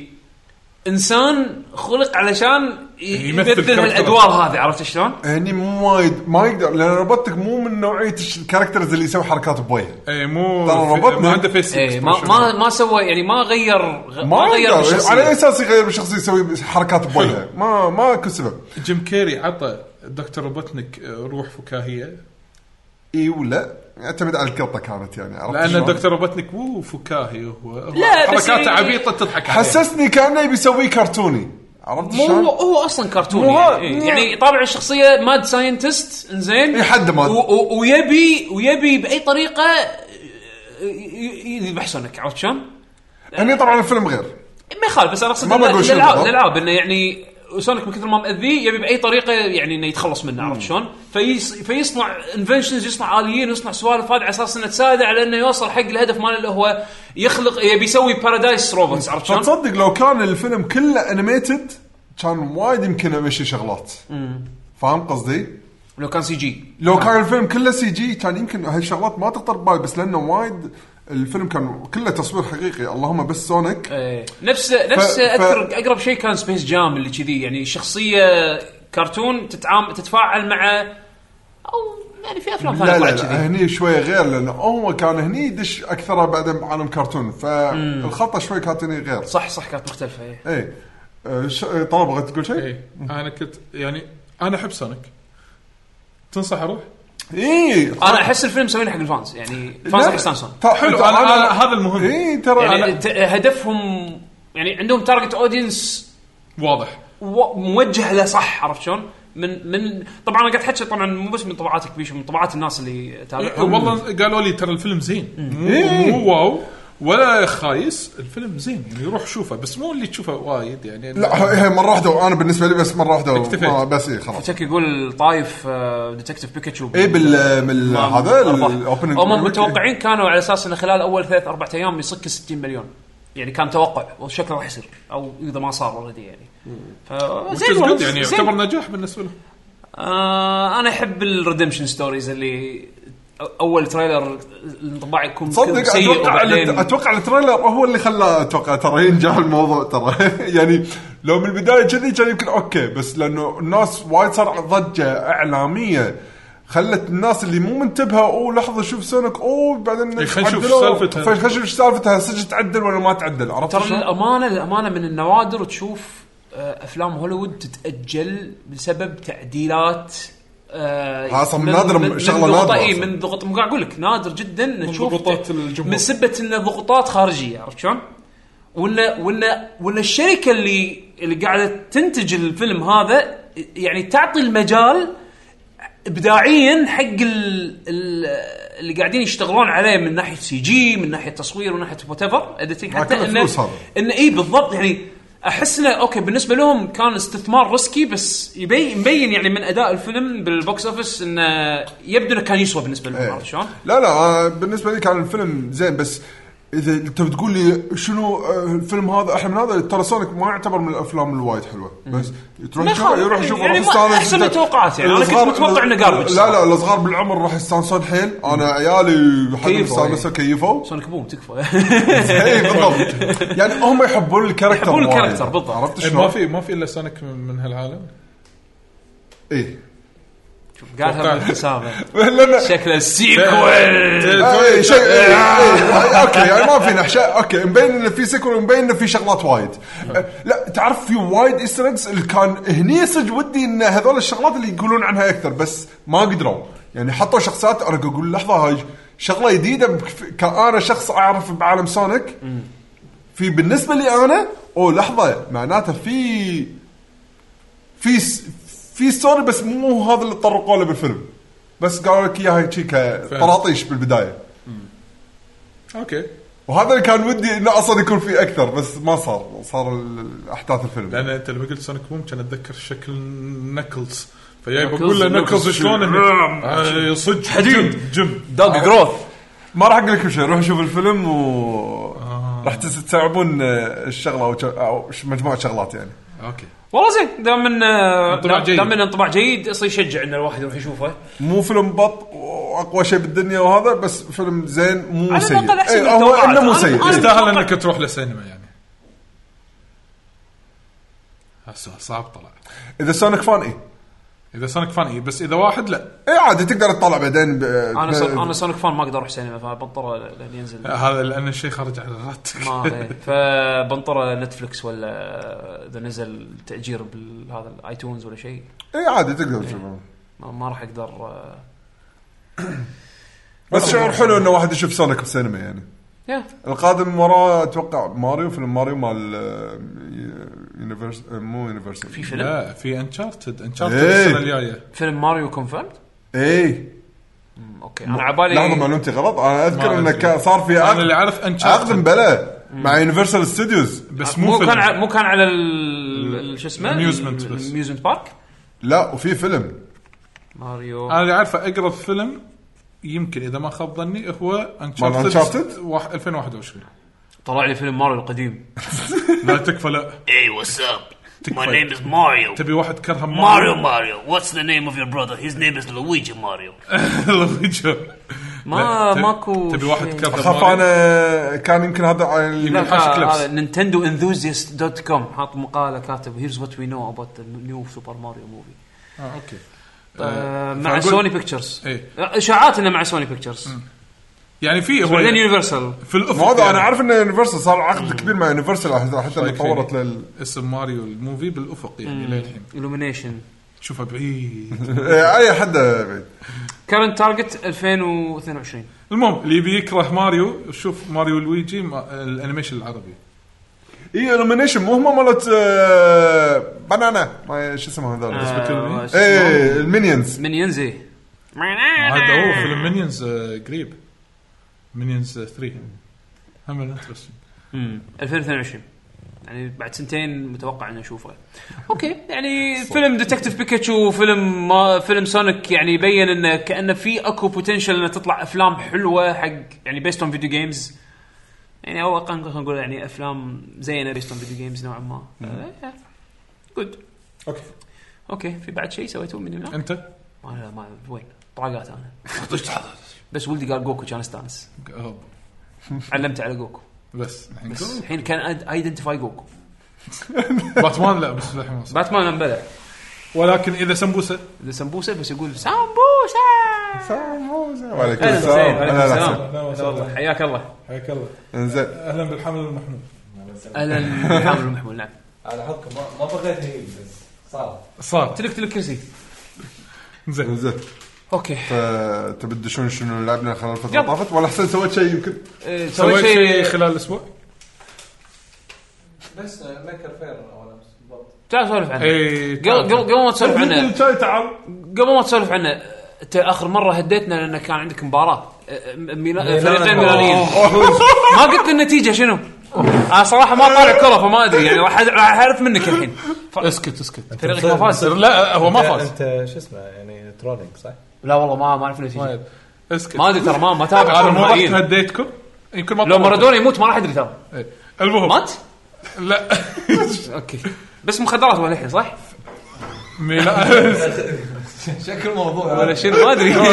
A: انسان خلق علشان ي-
B: يمثل
A: يمثل
B: كاركتر.
A: هالادوار هذه عرفت شلون؟
C: هني يعني مو وايد ما يقدر لان روبوتك مو من نوعيه الش- الكاركترز اللي يسوي حركات ببويه
B: اي إيه، مو
C: ترى روبوتنيك.
B: ما عنده فيس
A: ايه ما ما ما سوى يعني ما غير غ-
C: ما يقدر
A: بالشخصية.
C: على اي اساس يغير الشخص يسوي حركات ببويه ما ما كل سبب
B: جيم كيري عطى دكتور روبوتنيك آه، روح فكاهيه
C: اي ولا يعتمد على القطه كانت يعني عرفت
B: لان
C: شلون؟
B: دكتور روبوتنيك مو فكاهي هو هو
A: لا، بس
B: حركاته
A: يعني-
B: عبيطه تضحك عليها
C: حسسني كانه بيسوي كرتوني عرفت
A: مو هو
C: شلون؟
A: هو اصلا كرتوني
C: مو هو-
A: يعني, إيه. يعني طابع الشخصيه ماد ساينتست انزين
C: إي إيه، حد ماد.
A: و- و- ويبي ويبي باي طريقه آه، ي- ي- يذبح سونيك عرفت شلون؟
C: هني طبعا الفيلم غير
A: ما يخالف بس انا اقصد
C: ما
A: الأ-
C: بقول شنو
A: الالعاب
C: بالضبط.
A: الالعاب انه يعني سونيك من كثر ما مأذيه يبي باي طريقه يعني انه يتخلص منه عرفت شلون؟ فيص... فيصنع انفنشنز يصنع اليين ويصنع سوالف هذه على اساس انه تساعده على انه يوصل حق الهدف ماله اللي هو يخلق يبي يسوي بارادايس روبوتس عرفت شلون؟
C: فتصدق لو كان الفيلم كله انيميتد كان وايد يمكن امشي شغلات فاهم قصدي؟
A: لو كان سي جي
C: لو كان الفيلم كله سي جي كان يمكن هالشغلات ما تخطر ببالي بس لانه وايد الفيلم كان كله تصوير حقيقي اللهم بس سونيك
A: ايه نفس نفس
C: ف-
A: اذكر اقرب شيء كان سبيس جام اللي كذي يعني شخصيه كرتون تتعام تتفاعل مع او يعني في افلام
C: لا
A: ثانيه
C: لا,
A: طلعت كذي
C: لا هني شوي غير لانه هو كان هني يدش اكثر بعدين بعالم كرتون فالخلطه شوي كانت هني غير
A: صح صح كانت مختلفه ايه
C: اي أه، ش- أه، طلال بغيت تقول
A: إيه.
C: شيء؟
B: اي انا إيه، كنت يعني انا احب سونيك تنصح اروح؟
C: اي
A: انا احس الفيلم مسوينه حق الفانز يعني فانز حق سامسونج
B: حلو انا, أنا هذا المهم
C: اي إيه، ترى
A: يعني
C: أنا-
A: ت- هدفهم يعني عندهم تارجت اودينس
B: واضح
A: و- موجه له صح عرفت شلون؟ من من طبعا انا قاعد احكي طبعا مو بس من طبعاتك بيشو من طبعات الناس اللي
C: أمم.
A: تابعهم
B: إيه، والله قالوا لي ترى الفيلم زين مو,
C: إيه.
B: مو واو ولا خايس الفيلم زين يعني روح شوفه بس مو اللي تشوفه وايد يعني
C: لا إيه، هي مره واحده وانا بالنسبه لي بس مره واحده
B: اكتفيت.
C: ما- بس اي خلاص
A: تك يقول طايف آه، ديتكتيف بيكاتشو
C: اي بال بال
A: ما-
C: هذا
A: أرباح.
C: الاوبننج
A: هم متوقعين كانوا على اساس انه خلال اول ثلاث اربع ايام يصك 60 مليون يعني كان توقع وشكله راح يصير او اذا ما صار اوريدي يعني ف زين والله،
B: يعني
A: زين.
B: يعتبر نجاح بالنسبه لهم
A: آه انا احب الريدمشن ستوريز اللي أ- اول تريلر الانطباع يكون
C: تصدق
A: سيء
C: اتوقع
A: وبعدين
C: اتوقع التريلر هو اللي خلاه اتوقع ترى ينجح الموضوع ترى يعني لو من البدايه كذي كان يمكن اوكي بس لانه الناس وايد صار ضجه اعلاميه خلت الناس اللي مو منتبهه اوه لحظه شوف سونك اوه بعدين
B: إي، إيه، خلينا نشوف
C: عدلوا.
B: سالفتها.
C: خلينا نشوف ايش سالفتها صدق تعدل ولا ما تعدل عرفت
A: ترى
C: شلون؟
A: الامانه الامانه من النوادر تشوف آه، افلام هوليوود تتاجل بسبب تعديلات آه
C: ها، أصلاً نادر- شغلة
A: من ضغوطة-
C: نادرة
A: اي
C: أصلاً.
A: من ضغط مو قاعد اقول لك نادر جدا إن تشوف
B: ضغوطات الجمهور.
A: من سبه انه ضغوطات خارجيه عرفت شلون؟ ولا ولا ولا الشركه اللي اللي قاعده تنتج الفيلم هذا يعني تعطي المجال ابداعيا حق ال ال اللي قاعدين يشتغلون عليه من ناحيه سي جي من ناحيه تصوير من ناحيه وات ايفر اديتنج حتى
C: كله
A: انه
C: فلوس هذا.
A: انه اي بالضبط يعني احس انه اوكي بالنسبه لهم كان استثمار ريسكي بس يبين مبين يعني من اداء الفيلم بالبوكس اوفيس انه يبدو انه كان يسوى بالنسبه لهم
C: إيه.
A: عرفت شلون؟
C: لا لا آه، بالنسبه لي كان الفيلم زين بس اذا انت بتقول لي شنو آه، الفيلم هذا احلى من هذا ترى سونيك ما يعتبر من الافلام الوايد حلوه بس تروح
A: ما
C: تشوفه
A: يخالف.
C: يروح يشوفه
A: يعني
C: راح
A: ما-
C: يستانس
A: أحسن
C: أنت.
A: من توقعاتي. يعني أنا كنت
C: الصغار-
A: متوقع إنه garbage
C: لا لا
A: صراحة.
C: الصغار بالعمر راح يستانسون حيل انا عيالي حد
A: كيفوا،
C: مستانسه كيفوا
A: سونيك بوم تكفى
C: اي إيه، بالضبط يعني هم يحبون الكاركتر
A: يحبون
C: وايد.
A: الكاركتر، بالضبط.
C: عرفت
B: إيه، ما
C: شلون؟
B: في ما في الا سونيك من, من هالعالم
C: اي
A: قالها بالابتسامه
C: إيه. لأن-
A: شكله السيكول
C: اي إيه، شيء إي، إي، اوكي يعني ما في نحشه اوكي مبين انه في سكر ومبين انه في شغلات وايد أه، لا تعرف في وايد ايستر إيجز اللي كان هني صدق ودي ان هذول الشغلات اللي يقولون عنها اكثر بس ما قدروا يعني حطوا شخصيات انا اقول لحظه هاي شغله جديده بكف- كأنا شخص اعرف بعالم سونيك في بالنسبه لي انا او لحظه معناته في في س- في ستوري بس مو هذا اللي تطرقوا له بالفيلم بس قالوا لك اياها هيك كطراطيش بالبدايه
B: اوكي
C: وهذا اللي كان ودي انه اصلا يكون فيه اكثر بس ما صار صار ال- احداث الفيلم
B: لان انت لما قلت سونيك بوم كان اتذكر شكل نكلز فجاي
A: نكلز،
B: بقول له
A: نكلز
B: نكلز شلون هني؟
A: شلون؟
B: آه، صدق
A: نعم. حديد.
B: جم جم
A: دوج جروث
C: آه. ما راح اقول لكم شيء روحوا شوفوا الفيلم و راح تس- تستوعبون آه، الشغله او ش- أو ش- مجموعه شغلات يعني
B: اوكي
A: والله زين دام من
B: انطباع جيد.
A: دام من انطباع جيد يصير يشجع ان الواحد يروح يشوفه
C: مو فيلم بط واقوى شيء بالدنيا وهذا بس فيلم زين مو
A: على
C: سيء
A: الأقل أحسن
C: إيه،
A: من
C: هو
A: التوقعات.
C: انه مو
A: أنا-
C: سيء
A: أنا-
C: إيه.
B: يستاهل انك تروح للسينما يعني هالسؤال صعب طلع
C: اذا سونيك فان اي
B: اذا سونيك فان اي إيه، بس اذا واحد لا
C: اي إيه. عادي تقدر تطلع بعدين ب-
A: انا
C: ب-
A: سون- انا سونيك فان ما اقدر اروح سينما فبنطره لين ينزل
B: هذا لان الشيء خارج عن ارادتك
A: ما إيه. فبنطره نتفلكس ولا اذا نزل تاجير بالهذا الايتونز ولا شيء
C: اي إيه، عادي تقدر تشوفه
A: ما, ما راح اقدر آه،
C: بس شعور حلو انه واحد يشوف سونيك بالسينما يعني
A: يا
C: القادم وراه اتوقع ماريو فيلم ماريو مال آه، يونيفرس آه، مو يونيفرسال
A: في فيلم
B: لا في انشارتد انشارتد
C: إيه.
B: السنه الجايه
A: فيلم ماريو كونفيرم
C: اي
A: اوكي انا على بالي
C: لحظه معلومتي غلط انا اذكر
B: ما
C: انه
B: أدري.
C: كان صار في عقد
B: اللي أعرف Uncharted.
C: عقد بلا مع يونيفرسال ستوديوز
B: بس
A: أه، مو
B: مو
A: كان ع-
B: فيلم
A: مو كان على ال- ال- شو اسمه
B: Amusement بس.
A: اميوزمنت بارك
C: لا وفي فيلم
A: ماريو
B: انا اللي اعرفه اقرب فيلم يمكن اذا ما خاب ظني هو
C: مال Uncharted؟
B: انشارتد 2021
A: طلع لي فيلم ماريو القديم
B: لا تكفى لا
D: Hey, what's up? My
B: fight.
D: name is Mario.
B: تبي واحد كرهه
D: Mario Mario. What's the name of your brother? His name is Luigi Mario.
B: لويجي.
A: ما
B: لا، تبي-
A: ماكو
B: تبي واحد
A: شيء.
B: كرهه
C: اخاف
B: ماريو.
C: انا كان يمكن هذا على ال-
A: لا
B: من حاشك
A: هذا-
B: لبس.
A: آه، هذا نينتندو انثوزيست دوت كوم حاط مقاله كاتب هيرز وات وي نو اباوت نيو سوبر ماريو موفي
B: آه، اوكي
A: آه، مع
B: فأقول-
A: سوني بيكتشرز
B: إيه.
A: اشاعات انه مع سوني بيكتشرز
B: يعني في هو
A: بعدين يونيفرسال
B: في الافق
C: مو هذا
B: يعني
C: انا عارف انه يونيفرسال صار عقد كبير مع يونيفرسال حتى لما طورت لل
B: اسم ماريو الموفي بالافق يعني للحين
A: Mm. الومنيشن
B: تشوفه بعيد
C: إيه، اي حد بعيد
A: كارنت تارجت 2022
B: المهم اللي يبي يكره ماريو شوف ماريو لويجي ما- الانيميشن العربي
C: اي الومنيشن مو هم مالت آه، بنانا ما شو اسمه
A: آه،
C: هذول
B: بتكلمني؟
C: ايه المينيونز
A: من ينزي
B: هذا هو فيلم مينيونز قريب مينيونز 3 هم انترستنج
A: 2022 يعني بعد سنتين متوقع اني اشوفه اوكي يعني فيلم ديتكتيف بيكاتشو فيلم ما فيلم سونيك يعني يبين انه كانه في اكو بوتنشل انه تطلع افلام حلوه حق يعني بيست اون فيديو جيمز يعني او خلينا نقول يعني افلام زينا بيست اون فيديو جيمز نوعا ما إيه، جود
C: اوكي
A: اوكي في بعد شيء سويتوه من هنا؟
B: انت؟
A: ما لا ما وين؟ طاقات انا بس ولدي قال جوكو كان استانس
B: أهب.
A: علمته على جوكو
B: بس الحين
A: بس الحين كان ايدنتيفاي جوكو
B: باتمان لا بس للحين ما صار.
A: باتمان انبلع
B: ولكن اذا سمبوسه
A: اذا سمبوسه بس يقول سمبوسه
C: وعليكم
A: اهلا
C: السلام
A: وسهلا
C: اهلا
A: عليكم
C: السلام
A: السلام هلا والله. حياك الله
B: حياك الله
C: انزين
B: اهلا بالحمل المحمول
A: اهلا محمد المحمول نعم
E: على حظكم ما ما بغيت هيك بس صار
B: صار
A: تلك تلك كرسي
B: زين
C: انزين
A: اوكي
C: ف- تبي تدشون شنو لعبنا خلال الفتره
A: يلا.
C: اللي طافت ولا احسن سويت شيء يمكن
A: إيه،
B: سويت شيء خلال اسبوع؟
E: بس آه، ميكر فير اول امس بالضبط
A: تعال سولف
B: إيه،
A: عنه
B: اي
A: قبل قبل قبل ما تسولف عنه
C: شاي تعال
A: قبل ما تسولف عنه انت اخر مره هديتنا لان كان عندك مباراه أه، ميلا- فريقين ميلانيين ما قلت لي النتيجه شنو؟ انا صراحه ما طالع كره فما ادري يعني راح راح اعرف منك الحين
B: اسكت اسكت
A: فريقك ما فاز
B: لا هو ما فاز
E: انت شو اسمه يعني ترولينج صح؟
A: لا والله ما ما اعرف النتيجه
B: وايد. اسكت
A: ما ادري ترى ما ما تابع
B: انا مو رحت
A: النهائيين.
B: هديتكم يمكن ما
A: لو
B: طلعت.
A: مارادونا يموت ما راح ادري ترى
B: إيه. المهم
A: مات؟
B: لا
A: اوكي بس مخدرات ولا الحين صح؟
B: ميلان
E: شكل الموضوع
A: ولا شنو ما ادري ما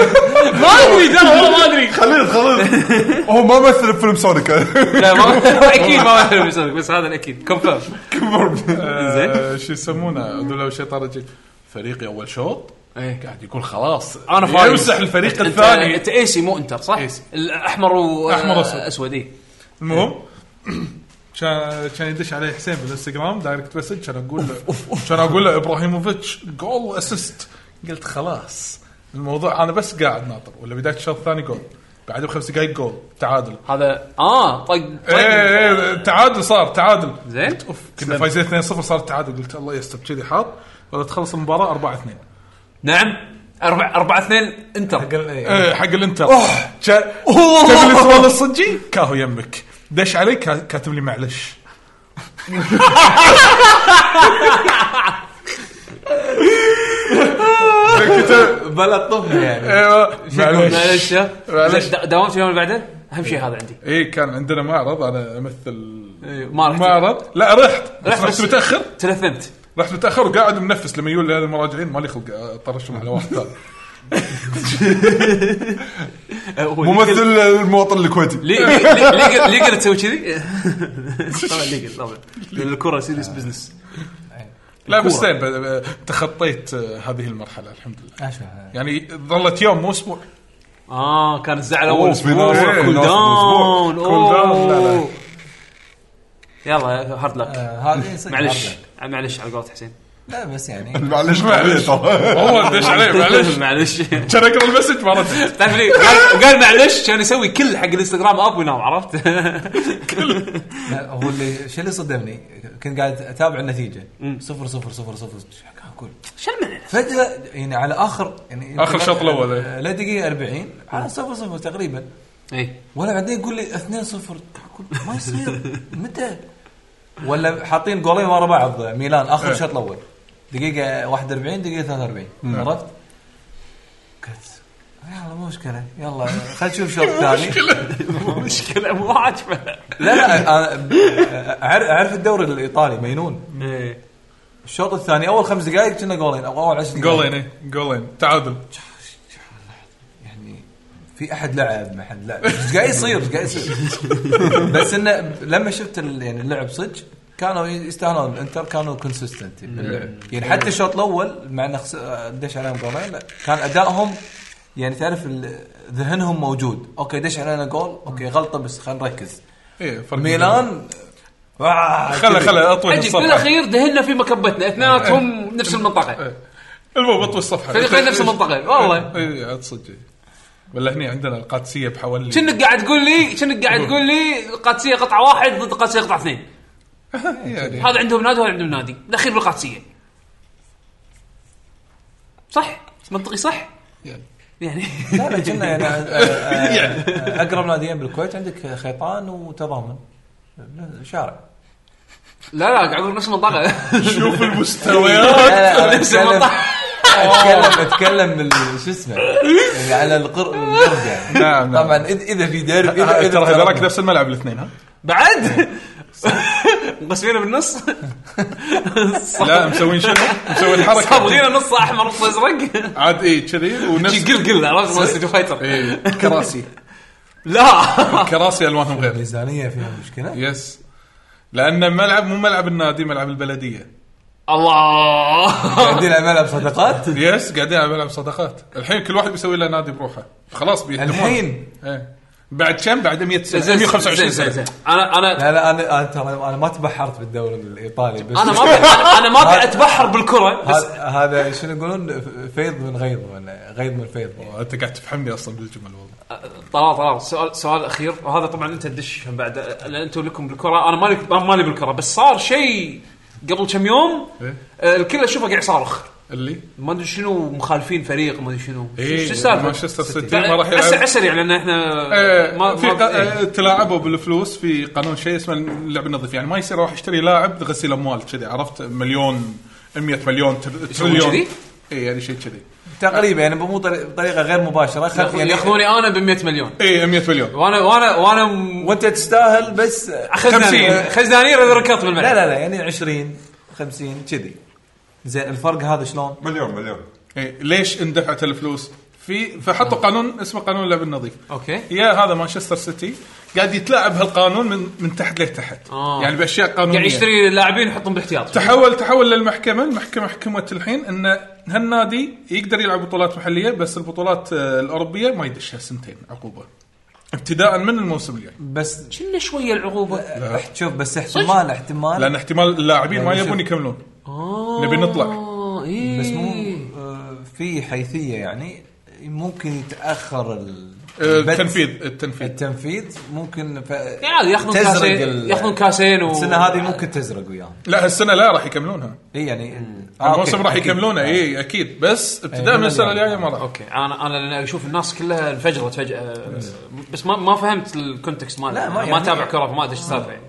A: ادري ترى والله ما ادري
C: خليل خليل هو ما مثل بفيلم سونيك
A: لا ما اكيد ما اعرف يسولك، بس هذا الاكيد كونفيرم
B: آه، شو يسمونه دولاب الشيطان الرجيم فريقي اول شوط قاعد يقول خلاص
A: انا فايز
B: إيه. يمسح الفريق
A: أنت-
B: الثاني
A: انت ايسي مو انتر صح؟
B: AC.
A: الاحمر و
B: أحمر
A: آه،
B: وأسود.
A: اسود إيه.
B: المهم كان كان يدش علي حسين بالانستغرام دايركت مسج كان اقول له كان اقول له ابراهيموفيتش جول اسيست قلت خلاص الموضوع انا بس قاعد ناطر ولا بدايه الشوط الثاني جول بعد بخمس دقائق جول تعادل
A: هذا اه طق طق
B: ايه ايه تعادل صار تعادل
A: زين.
B: قلت اوف كنا فايزين 2-0 صار تعادل قلت الله يستر كذي حاط ولا تخلص المباراه 4 2
A: نعم أربعة أربعة اثنين انتر
B: إيه، حق الانتر شا- تبي السؤال الصجي كاهو يمك دش علي كا- كاتب لي معلش
E: بلا طفل يعني
B: ايوه معلش
A: معلش يا.
B: معلش.
A: دا- داومت اليوم اللي بعده اهم شيء هذا عندي
B: اي كان عندنا معرض انا امثل
A: إيه، ما رحت.
B: معرض لا رحت بس
A: رحت بس.
B: رحت متاخر
A: تلثمت
B: رحت متاخر وقاعد منفس لما يقول لي هذا المراجعين مالي خلق اطرشهم على واحد ثاني
C: ممثل المواطن الكويتي
A: ليجل ليجل تسوي كذي طبعا ليجل طبعا لان الكره سيريس بزنس
B: لا بس
A: الكورة.
B: زين ب- ب- تخطيت آه، هذه المرحله الحمد لله
E: أشوف.
B: يعني ظلت يوم مو اسبوع
F: آه،
A: اه كان
B: Oh,
A: الزعل اول
C: أوه،
A: اسبوع
C: في ناس- في
A: كول
C: ناس
A: داون
F: Oh.
C: بالأسبوع.
B: كول داون، لا، لا.
A: أوه. يلا هارد لك
E: آه، هذه صدق
A: معلش آه،
E: هارد لك.
A: معلش على قولة حسين
E: لا بس يعني
C: معلش ما عليه ترى
B: هو دش عليه معلش
F: معلش
B: كان اقرا المسج ما رد
F: تعرف ليه؟ قال- قال معلش كان يسوي كل حق الانستغرام اب وينام عرفت؟
E: لا آه، هو اللي شو اللي صدمني كنت قاعد اتابع النتيجه صفر صفر صفر صفر شو قاعد اقول
F: شو المعنى؟
E: فجاه يعني على اخر يعني
B: آخر شوط الأول، إيه.
E: لا دقيقه 40 على صفر صفر تقريبا
A: إيه.
F: اي
E: ولا بعدين يقول لي 2 0 اقول ما يصير متى ولا حاطين جولين ورا بعض ميلان اخر شوط الاول دقيقه 41 دقيقه 43 عرفت؟ قلت يلا مو مشكله يلا خلينا نشوف شوط ثاني
F: مشكلة مو عاجبه
E: لا لا أنا أعر- اعرف الدوري الايطالي مجنون
F: إيه.
E: الشوط الثاني اول خمس دقائق كنا جولين او اول عشر دقائق
B: جولين إيه، جولين تعادل
E: يعني في احد لعب ما حد لعب ايش قاعد يصير ايش قاعد يصير بس انه لما شفت ال- يعني اللعب صدق كانوا يستاهلون الانتر كانوا كونسستنت باللعب يعني حتى الشوط الاول مع انه خس- آه، دش عليهم جولين لا كان ادائهم يعني تعرف ال- ذهنهم موجود اوكي دش علينا جول اوكي غلطه بس خلينا نركز
B: ايه فرق
E: ميلان آه،
B: خله خله اطوي
A: عجيب
B: الصفحه
A: بالاخير دهنا في مكبتنا
B: إيه.
A: اثنيناتهم نفس المنطقه
B: المهم اطوي الصفحه
A: فريقين نفس المنطقه والله
B: اي إيه، عاد صدق ولا هني عندنا القادسيه بحوالي
A: كأنك قاعد تقول لي كأنك قاعد تقول لي القادسيه قطعه واحد ضد القادسيه قطعه اثنين
B: يعني
A: هذا عندهم نادي وهذا عندهم نادي دخيل بالقادسيه صح منطقي صح
B: يعني.
A: يعني
E: لا لا كنا يعني آه، آه، اقرب ناديين بالكويت عندك خيطان وتضامن شارع
A: لا لا قاعد اقول نفس المنطقه
B: شوف المستويات
E: لا، لا، أنا
A: نفس
E: أتكلم-
A: المنطقه
E: اتكلم اتكلم من شو اسمه يعني على القر- القرب يعني
B: نعم، نعم. إيه،
E: طبعا اذا إذا في ديربي اذا
B: ترى
E: اذا
B: هذاك
E: ترى-
B: نفس الملعب الاثنين ها
F: بعد مقسمينه بالنص
B: لا مسوين شنو؟ مسوين
F: صابغينه
B: حركه
F: نص احمر نص ازرق
B: عاد اي كذي
F: شي
B: ونفس
F: قل قل عرفت ستريت فايتر
B: إيه، كراسي
F: لا
B: كراسي الوانهم غير
E: الميزانيه فيها مشكله
B: يس لان الملعب مو ملعب النادي ملعب البلديه
A: الله
E: قاعدين على ملعب صدقات
B: يس قاعدين على ملعب صداقات الحين كل واحد بيسوي له نادي بروحه خلاص بيهدمون
E: الحين
B: إيه. بعد كم بعد 100 سنه
A: زين،
B: 125
A: زين،
B: سنه
A: زين. انا انا
E: لا لا انا انا ترى انا ما تبحرت بالدوري الايطالي بس
A: انا ما أبي- انا ما أبي اتبحر بالكره بس
E: هذا- هذا شنو يقولون فيض من غيض ولا غيض من فيض
B: انت قاعد تفهمني اصلا بالجمل والله
A: طلال طلال سؤال سؤال اخير وهذا طبعا انت تدش من بعد لان انتم لكم بالكره انا مالي أنا مالي بالكره بس صار شيء قبل كم يوم
B: إيه.
A: آه، الكل اشوفه قاعد يصارخ
B: اللي
A: ما ادري شنو مخالفين فريق ما ادري شنو شو
B: إيه،
A: شو السالفه
B: مانشستر سيتي ما راح يلعب.
A: عسل عسل يعني لان احنا ما
B: ما في
A: ما
B: آه،
A: إيه.
B: تلاعبوا بالفلوس في قانون شيء اسمه اللعب النظيف يعني ما يصير اروح اشتري لاعب غسيل اموال كذي عرفت مليون 100 مليون تر- تريليون
A: كذي؟
B: اي يعني شيء كذي
E: تقريبا يعني مو طري- بطريقه غير مباشره خل- يعني
A: ياخذوني انا ب 100 مليون
B: اي 100 إيه، مليون
A: وانا وانا وانا
E: وانت تستاهل بس لا
A: خزنانير
B: خمسين.
A: خزنانير اذا ركضت بالملعب
E: لا لا يعني 20 50 كذي زين الفرق هذا شلون؟
C: مليون مليون
B: اي إيه، ليش اندفعت الفلوس؟ في فحطوا قانون اسمه قانون اللعب النظيف
A: اوكي
B: يا هذا مانشستر سيتي قاعد يتلاعب هالقانون من من تحت لتحت
A: آه.
B: يعني باشياء قانونيه
A: قاعد يشتري اللاعبين يحطهم باحتياط
B: تحول تحول للمحكمه، المحكمه حكمت الحين ان هالنادي يقدر يلعب بطولات محليه بس البطولات آه، الاوروبيه ما يدشها سنتين عقوبه. ابتداء من الموسم الجاي،
E: بس
A: كنا شويه العقوبه
E: اح- شوف بس احتمال احتمال
B: لان احتمال اللاعبين ما
E: يعني شوف.
B: يبون يكملون. نبي نطلع.
A: اه إيه.
E: بس مو آه، في حيثيه يعني ممكن يتاخر ال-
B: آه،
E: البت-
B: التنفيذ التنفيذ
E: التنفيذ ممكن ف...
A: يعني ياخذون
E: تزرق
A: كاسين
E: ال-
A: ياخذون كاسين و...
E: السنه هذه ممكن تزرق وياهم
B: لا هالسنه لا راح يكملونها.
E: اي يعني آه، أوكي. يعني آه،
B: الموسم راح
E: أكيد.
B: يكملونه
E: آه.
B: اي اكيد بس ابتداء
E: أي،
B: من السنه
E: مليون.
B: الجايه ما راح.
A: اوكي انا انا لان اشوف الناس كلها انفجرت فجاه بس ما ما فهمت الكونتكست ماله
E: لا،
A: لا
E: ما
A: ما, ما
E: يعني-
A: تابع كره فما ادري ايش السالفه يعني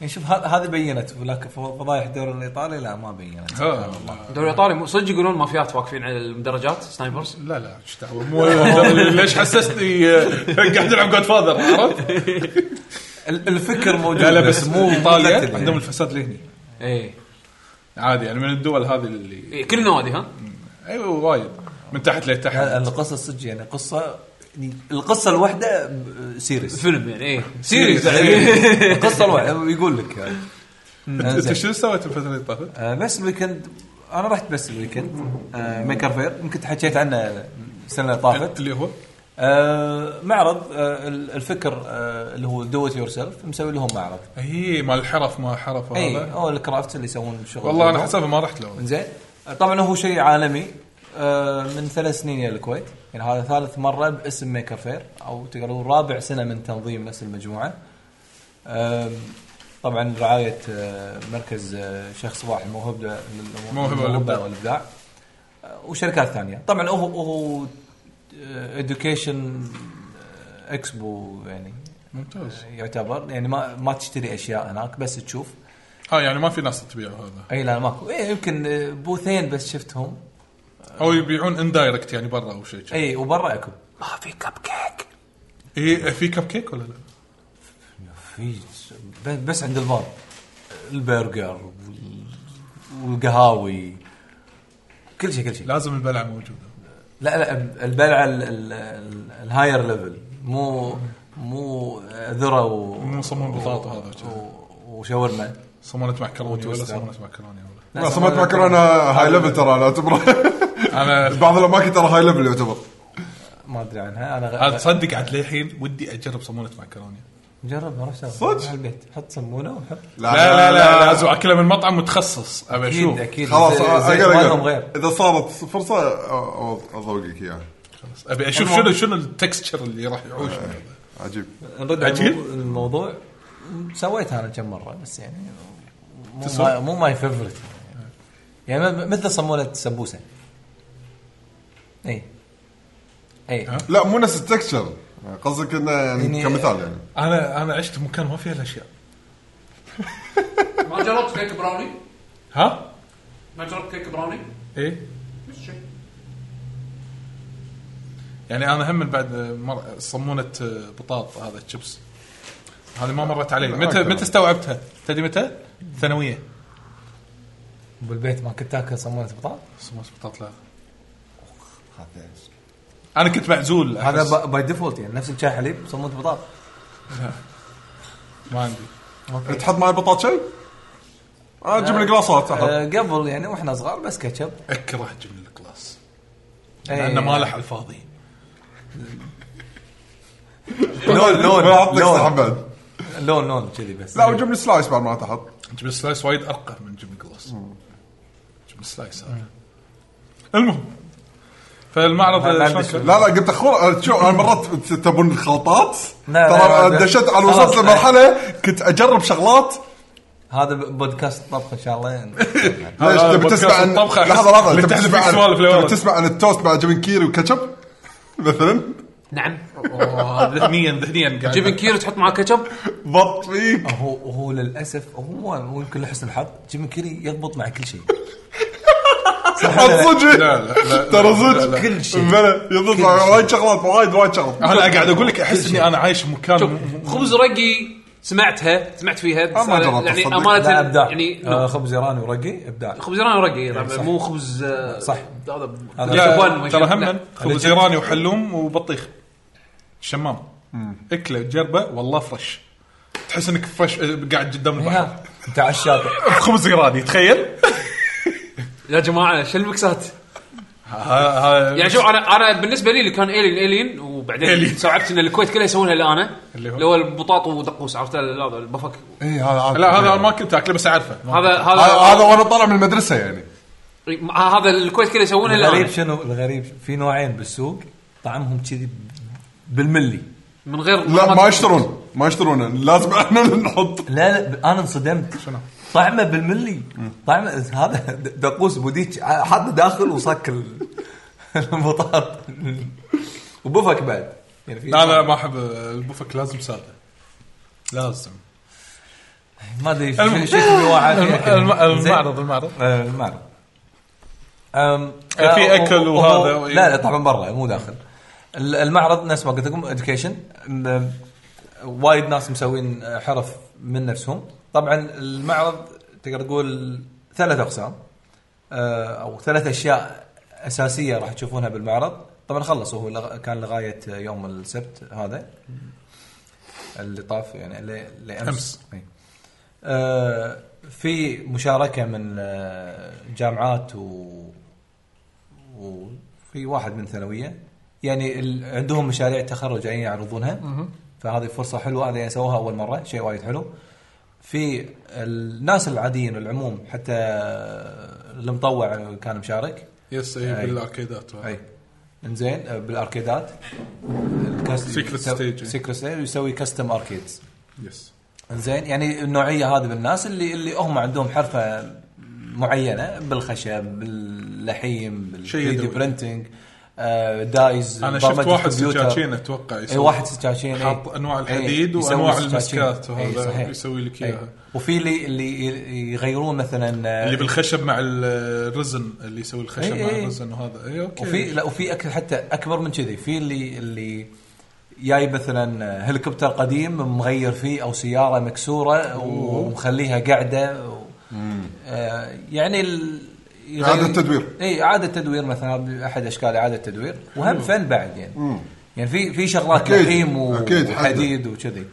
E: يعني شوف هذا هذه بينت ولكن ف- فضايح الدوري الايطالي لا ما بينت
B: ها والله.
A: الدوري الايطالي مو- صدق يقولون مافيات واقفين على المدرجات سنايبرز
B: لا لا ايش دعوه مو- ليش حسستني آه، قاعد العب جود فاذر عرفت؟
E: ال- الفكر موجود
B: لا لا بس مو ايطاليا
E: متأكد
B: عندهم
E: يعني.
B: الفساد الهني
A: اي
B: عادي يعني من الدول هذه اللي
A: إي،
E: إيه.
A: إيه. كل النوادي ها
B: ايوه وايد من تحت لتحت
E: القصه صدق يعني قصه القصه الواحده ب- سيريس
A: فيلم يعني اي سيريز
E: القصه الواحده يقول لك يعني.
B: انت
E: زين.
B: شنو سويت الفتره اللي طافت؟
E: آه، بس الويكند انا رحت بس الويكند آه، ميكر فير يمكن حكيت عنه السنه اللي طافت
B: اللي هو
E: آه معرض آه الفكر آه اللي هو دو يور سيلف مسوي لهم معرض
B: هي إيه، مال الحرف ما حرف
E: اي
B: هذا
E: او الكرافت اللي يسوون شغل
B: إيه. والله انا
E: بيدهم.
B: حسابه ما رحت له
E: زين طبعا هو شيء عالمي آه، من ثلاث سنين الى الكويت يعني هذا ثالث مره باسم ميكر فير او تقدرون رابع سنه من تنظيم نفس المجموعه آم، طبعا رعايه آه، مركز آه، شيخ صباح الموهوب لل- لل-
B: موهبة والإبداع.
E: والابداع آه، وشركات ثانيه طبعا هو هو آه، اديوكيشن اكسبو آه، يعني
B: ممتاز
E: يعتبر يعني ما ما تشتري اشياء هناك بس تشوف
B: اه يعني ما في ناس تبيع هذا
E: اي لا ماكو إيه يمكن آه، بوثين بس شفتهم
B: او يبيعون اندايركت يعني برا او شيء كذا.
E: اي إيه، وبرا اكو
A: ما في كب كيك
B: اي إيه، في كب كيك ولا لا؟
E: في ب- بس عند البار البرجر وال- والقهاوي كل شيء كل شيء
B: لازم البلعه موجوده
E: لا لا البلعه ال- ال- ال- الهاير ليفل مو مو ذره و
B: مو صمون بطاطا هذا كذا.
E: و- وشاورما
B: صمونة معكروني ولا
E: وتويستر.
B: صمونة معكروني ولا
C: لا سمعت ما كان انا هاي ليفل ترى انا اعتبره
B: انا
C: بعض الاماكن ترى هاي ليفل يعتبر
E: ما ادري عنها انا
B: أنا
E: غ-
B: تصدق عاد للحين ودي اجرب صمونة معكروني
E: جرب ما عرفت
C: صدق؟
E: البيت حط سمونه وحط
B: لا لا آه، لا لازم اكلها من مطعم متخصص ابي اشوف
E: اكيد اكيد
C: خلاص
E: زي-
C: آه،
E: زي
C: اقل
E: مالهم
C: اقل
E: غير
C: اذا صارت فرصه آه، آه، اذوقك اياها
B: خلاص. ابي اشوف شنو شنو التكستشر اللي راح يعوش منه.
C: عجيب
E: نرد على
B: عجيب.
E: الموضوع- الموضوع سويتها انا كم مره بس يعني مو
B: تسوي؟
E: ما مو ماي فيفرت يعني م- مثل صمولة سمبوسه اي اي
B: ها؟
C: لا مو نفس التكشر قصدك انه يعني
E: يعني-
C: كمثال يعني
B: انا انا عشت مكان ما فيه الاشياء
A: ما جربت كيك براوني
B: ها؟
A: ما جربت كيك براوني
B: ايه
A: نفس الشيء
B: يعني انا هم من بعد مر... صمونة بطاط هذا الشيبس هذه ما مرت علي متى
C: أكثر.
B: متى استوعبتها؟ تدري متى؟ ثانوية
E: بالبيت ما كنت تاكل صمولة بطاط
B: صمونة بطاط لا انا كنت معزول أحس.
E: هذا باي ديفولت يعني نفس الشاي حليب صمولة بطاط
B: ما عندي
C: تحط معي بطاط شيء؟ انا اجيب لي قلاصات احط
E: آه، قبل يعني واحنا صغار بس كاتشب إيه.
B: اكره جبن الكلاس
E: إي.
B: لانه ما له على الفاضي
E: لون لون
C: بعطيك صح
E: لون
C: بعد
E: لون لون كذي بس
C: لا وجيب لي سلايس بعد ما تحط
B: جبن السلايس وايد ارقى من جبن الكلاس جبن السلايس هذا المهم فالمعرض
E: ما- ما عندي
B: شلون
E: شغل.
B: كان؟
C: لا لا قلت اخور شو انا مرات تبون الخلطات
E: لا، لا،
C: ترى
E: لا، لا.
C: دشيت انا
E: خلاص،
C: وصلت لمرحله كنت اجرب شغلات
E: هذا بودكاست طبخ ان شاء الله
C: ليش
B: هذا
C: تبي تسمع
B: بودكاست
C: عن
B: الطبخة أحس
C: لحظه لحظه
B: اللي
C: تبي
B: تحذف
C: تسمع
B: فيك
C: عن
B: سوالف لورا.
C: تبي تسمع عن التوست مع جبن كيري وكاتشب مثلا
A: نعم
B: آه، ذهنيا ذهنيا قاعد
A: جبن كيري تحط معاه كاتشب
C: بط فيك
E: هو هو للاسف هو هو يمكن لحسن الحظ جيم كيري يضبط مع كل شيء
C: صدق
B: لا، لا، لا،
C: ترى
B: لا، لا،
C: صدق
B: لا.
E: كل شيء.
C: بلى، يضبط مع وايد شغلات وايد وايد شغلات
B: انا قاعد اقول لك احس اني انا عايش مكان
A: شوف
B: م- م-
A: خبز رقي سمعتها سمعت فيها بس
C: ما
A: أنا-
C: جربت
A: يعني
C: أصدق.
A: امانه
E: لا ابداع
A: يعني
E: آه، خبز ايراني ورقي ابداع
A: خبز ايراني رقي طبعا
E: صح.
A: مو خبز آه،
E: صح.
A: هذا
E: هذا
A: شوفان ما
B: لا ترى
A: شاء الله.
B: هم
A: لا.
B: خبز ايراني وحلوم وبطيخ شمام اكله جربه والله فريش تحس انك فريش آه، قاعد قدام البحر
E: ها، انت على الشاطئ
B: خبز ايراني تخيل
A: يا جماعه شو المكسات
B: ها- ها-
A: يعني شوف انا انا بالنسبه لي اللي كان الين الين وبعدين
B: Alien.
A: استوعبت ان الكويت كلها يسوونها اللي انا
B: اللي هو؟
A: اللي هو البطاط ودقوس عرفت ال- هذا البفك
C: اي إيه، هذا عارف.
B: لا هذا ما كنت اكله بس اعرفه ما-
A: هذا
C: هذا
A: هذا
B: آه،
C: هذا وانا طالع من المدرسه يعني
A: هذا الكويت كلها يسوونها اللي
E: الغريب
A: انا
E: شنو الغريب في نوعين بالسوق طعمهم كذي بالملي
A: من غير
C: لا ما يشترون ما يشترون لازم احنا اللي نحط
E: لا لا انا انصدمت شنو طعمه بالملي طعمه هذا د- دقوس بوديك حاطه داخل وصك ال- البطاط وبفك بعد يعني في
B: لا لا ما احب البوفك لازم ساده لازم
E: ما ادري شو
B: الم-
E: شو في واحد
B: الم-
E: يأكل.
B: الم-
E: زين.
B: المعرض المعرض
E: آه، المعرض أم
B: آه، في
E: آه،
B: أكل
E: و- و-
B: وهذا
E: و-
B: و-
E: لا لا طبعا برا مو داخل ال- المعرض نفس ما قلت لكم اديوكيشن وايد ناس مسوين آه، حرف من نفسهم طبعا المعرض تقدر تقول ثلاث اقسام آه، او ثلاث اشياء اساسيه راح تشوفونها بالمعرض طبعا خلص هو لغ- كان لغايه يوم السبت هذا اللي طاف يعني اللي, اللي امس,
B: أمس.
E: أي. آه في مشاركه من أه، آه جامعات و وفي واحد من ثانويه يعني ال- عندهم مشاريع تخرج جايين يعرضونها فهذه فرصه حلوه هذه يعني سووها اول مره شيء وايد حلو في الناس العاديين العموم حتى المطوع كان مشارك
B: يس اي
E: أي.
B: بالاركيدات
E: اي انزين آه، بالاركيدات الكاست-
B: Secret stage.
E: Secret stage يسوي كاستم اركيدز
B: يس
E: زين يعني النوعيه هذه من الناس اللي اللي هم عندهم حرفه معينه بالخشب باللحيم
B: شيء
E: بالثري دي
B: يدوي.
E: برنتنج آه دايز
B: انا
E: برمجة
B: شفت واحد
E: الكمبيوتر.
B: سكاكين اتوقع
E: اي
B: يسوي.
E: إيه، واحد سكاكين إي.
B: حاط أنواع الحديد
E: إي، يسوي
B: وأنواع
E: سكاكين.
B: المسكات
E: إي،
B: وهذا
E: صحيح.
B: يسوي لك
E: إي.
B: إياها.
E: وفي اللي اللي ي- يغيرون مثلا آه،
B: اللي بالخشب مع الرزن اللي يسوي الخشب
E: أي،
B: مع
E: أي.
B: الرزن وهذا إيه، اي اوكي
E: إيه، وفي لا وفي أك- حتى اكبر من كذي في اللي اللي جاي مثلا هليكوبتر قديم مغير فيه او سياره مكسوره ومخليها قاعده و... آه يعني ال... يعني يغير-
C: إعادة تدوير.
E: اي اعاده تدوير مثلا احد اشكال اعاده تدوير وهم فن بعد يعني يعني في في شغلات
C: أكيد.
E: لحيم و-
C: أكيد، حد.
E: وحديد وكذي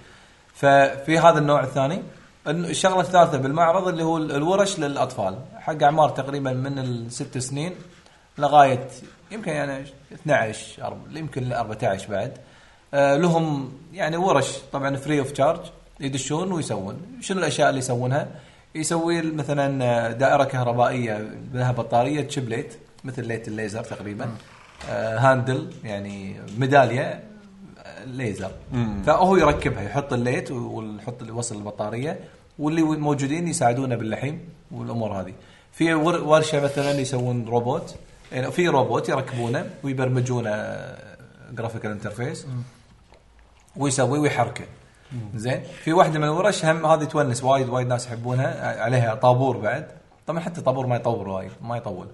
E: ففي هذا النوع الثاني الن- الشغله الثالثه بالمعرض اللي هو ال- الورش للاطفال حق اعمار تقريبا من الست سنين لغايه يمكن يعني 12 أرب- يمكن ل 14 بعد آه لهم يعني ورش طبعا فري اوف تشارج يدشون ويسوون شنو الاشياء اللي يسوونها؟ يسوي مثلا آه، دائره كهربائيه لها بطاريه تشبليت مثل ليت الليزر تقريبا آه هاندل يعني ميداليه ليزر فهو يركبها يحط الليت ويحط اللي وصل البطاريه واللي موجودين يساعدونه باللحيم والامور هذه في ور- ورشه مثلا يسوون روبوت يعني في روبوت يركبونه ويبرمجونه آه، جرافيكال انترفيس ويسوي ويحركه زين في واحده من الورش هم هذه تونس وايد وايد ناس يحبونها ع- عليها طابور بعد طبعا حتى طابور ما يطول وايد ما يطول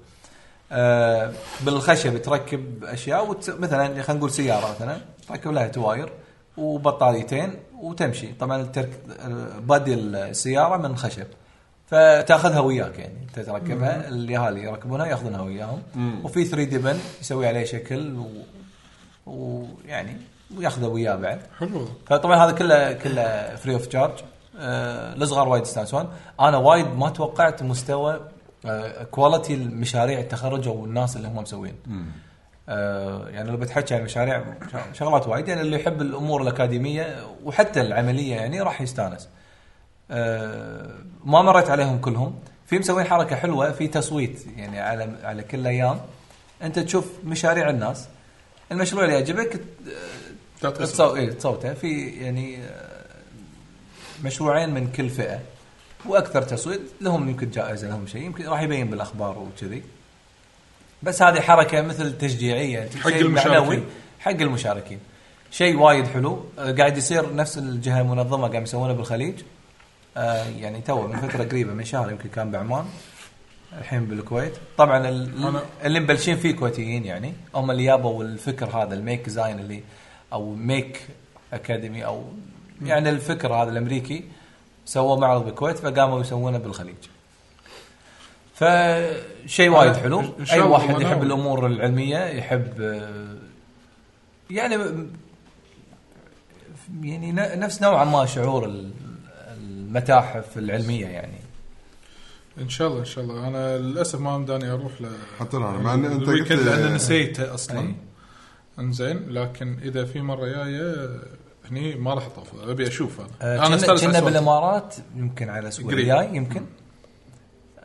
E: آه بالخشب تركب اشياء وت... مثلا خلينا نقول سياره مثلا تركب لها تواير وبطاريتين وتمشي طبعا الترك آه، بادي السياره من خشب فتاخذها وياك يعني انت تركبها اليهالي يركبونها ياخذونها وياهم وفي 3 دي بن يسوي عليه شكل و... ويعني وياخذه وياه بعد
B: حلو
E: فطبعا هذا كله كله فري اوف تشارج آه، الصغار وايد يستانسون انا وايد ما توقعت مستوى آه، كواليتي المشاريع التخرج او الناس اللي هم مسوين آه، يعني لو بتحكي عن مشاريع شغلات وايد يعني اللي يحب الامور الاكاديميه وحتى العمليه يعني راح يستانس آه، ما مريت عليهم كلهم في مسوين حركه حلوه في تصويت يعني على على كل ايام انت تشوف مشاريع الناس المشروع اللي يعجبك تصو... إيه تصوته في يعني آه، مشروعين من كل فئه واكثر تصويت لهم يمكن جائزه لهم شيء يمكن راح يبين بالاخبار وكذي بس هذه حركه مثل تشجيعيه
B: حق
E: شيء
B: المشاركين.
E: معنوي حق المشاركين شيء وايد حلو آه، قاعد يصير نفس الجهه المنظمه قاعد يسوونه بالخليج آه، يعني تو من فتره قريبه من شهر يمكن كان بعمان الحين بالكويت طبعا ال-
B: أنا-
E: اللي مبلشين فيه كويتيين يعني هم اللي يابوا الفكر هذا الميك ديزاين اللي او ميك اكاديمي او يعني الفكر هذا الامريكي سووه معرض بالكويت فقاموا يسوونه بالخليج فشيء وايد
B: أنا-
E: حلو
B: إن شاء
E: اي
B: الله
E: واحد
B: أنا-
E: يحب الامور العلميه يحب آه، يعني يعني ن- نفس نوعا ما شعور ال- المتاحف العلميه يعني
B: ان شاء الله ان شاء الله انا للاسف ما مداني اروح ل
C: حتى أنا، مع إن أنت قلت- إيه.
B: الويكند لان نسيته
E: أي.
B: اصلا انزين لكن اذا في مره جايه هني ما راح اطوف ابي اشوف انا
E: انا
B: أستانس على
E: آه، كنا
B: الصوت.
E: بالامارات يمكن على الاسبوع
B: قريب.
E: الجاي يمكن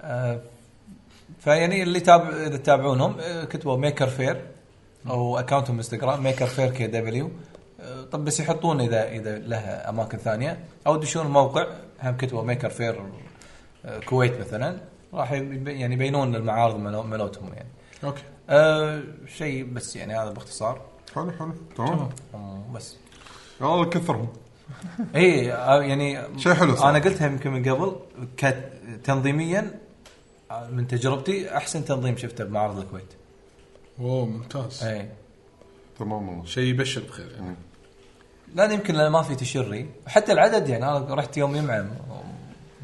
E: آه فيعني اللي تابع اذا تتابعونهم آه كتبوا ميكر فير او اكونتهم انستغرام ميكر فير كي دبليو آه، طب بس يحطون اذا اذا لها اماكن ثانيه او دشون الموقع هم كتبوا ميكر فير آه، كويت مثلا راح يب- يعني يبينون المعارض ملو- ملوتهم يعني
B: اوكي
E: آه شيء بس يعني هذا باختصار
C: حلو حلو تمام
E: آه، بس
C: يا الله كثرهم
E: اي يعني
C: شيء حلو صراحة.
E: انا قلتها يمكن من قبل كت- تنظيميا آه، من تجربتي احسن تنظيم شفته بمعرض الكويت إيه.
B: اوه ممتاز
E: اي
C: تمام والله
B: شيء يبشر بخير يعني
E: لان يمكن لان ما في تشري حتى العدد يعني انا رحت يوم يمعه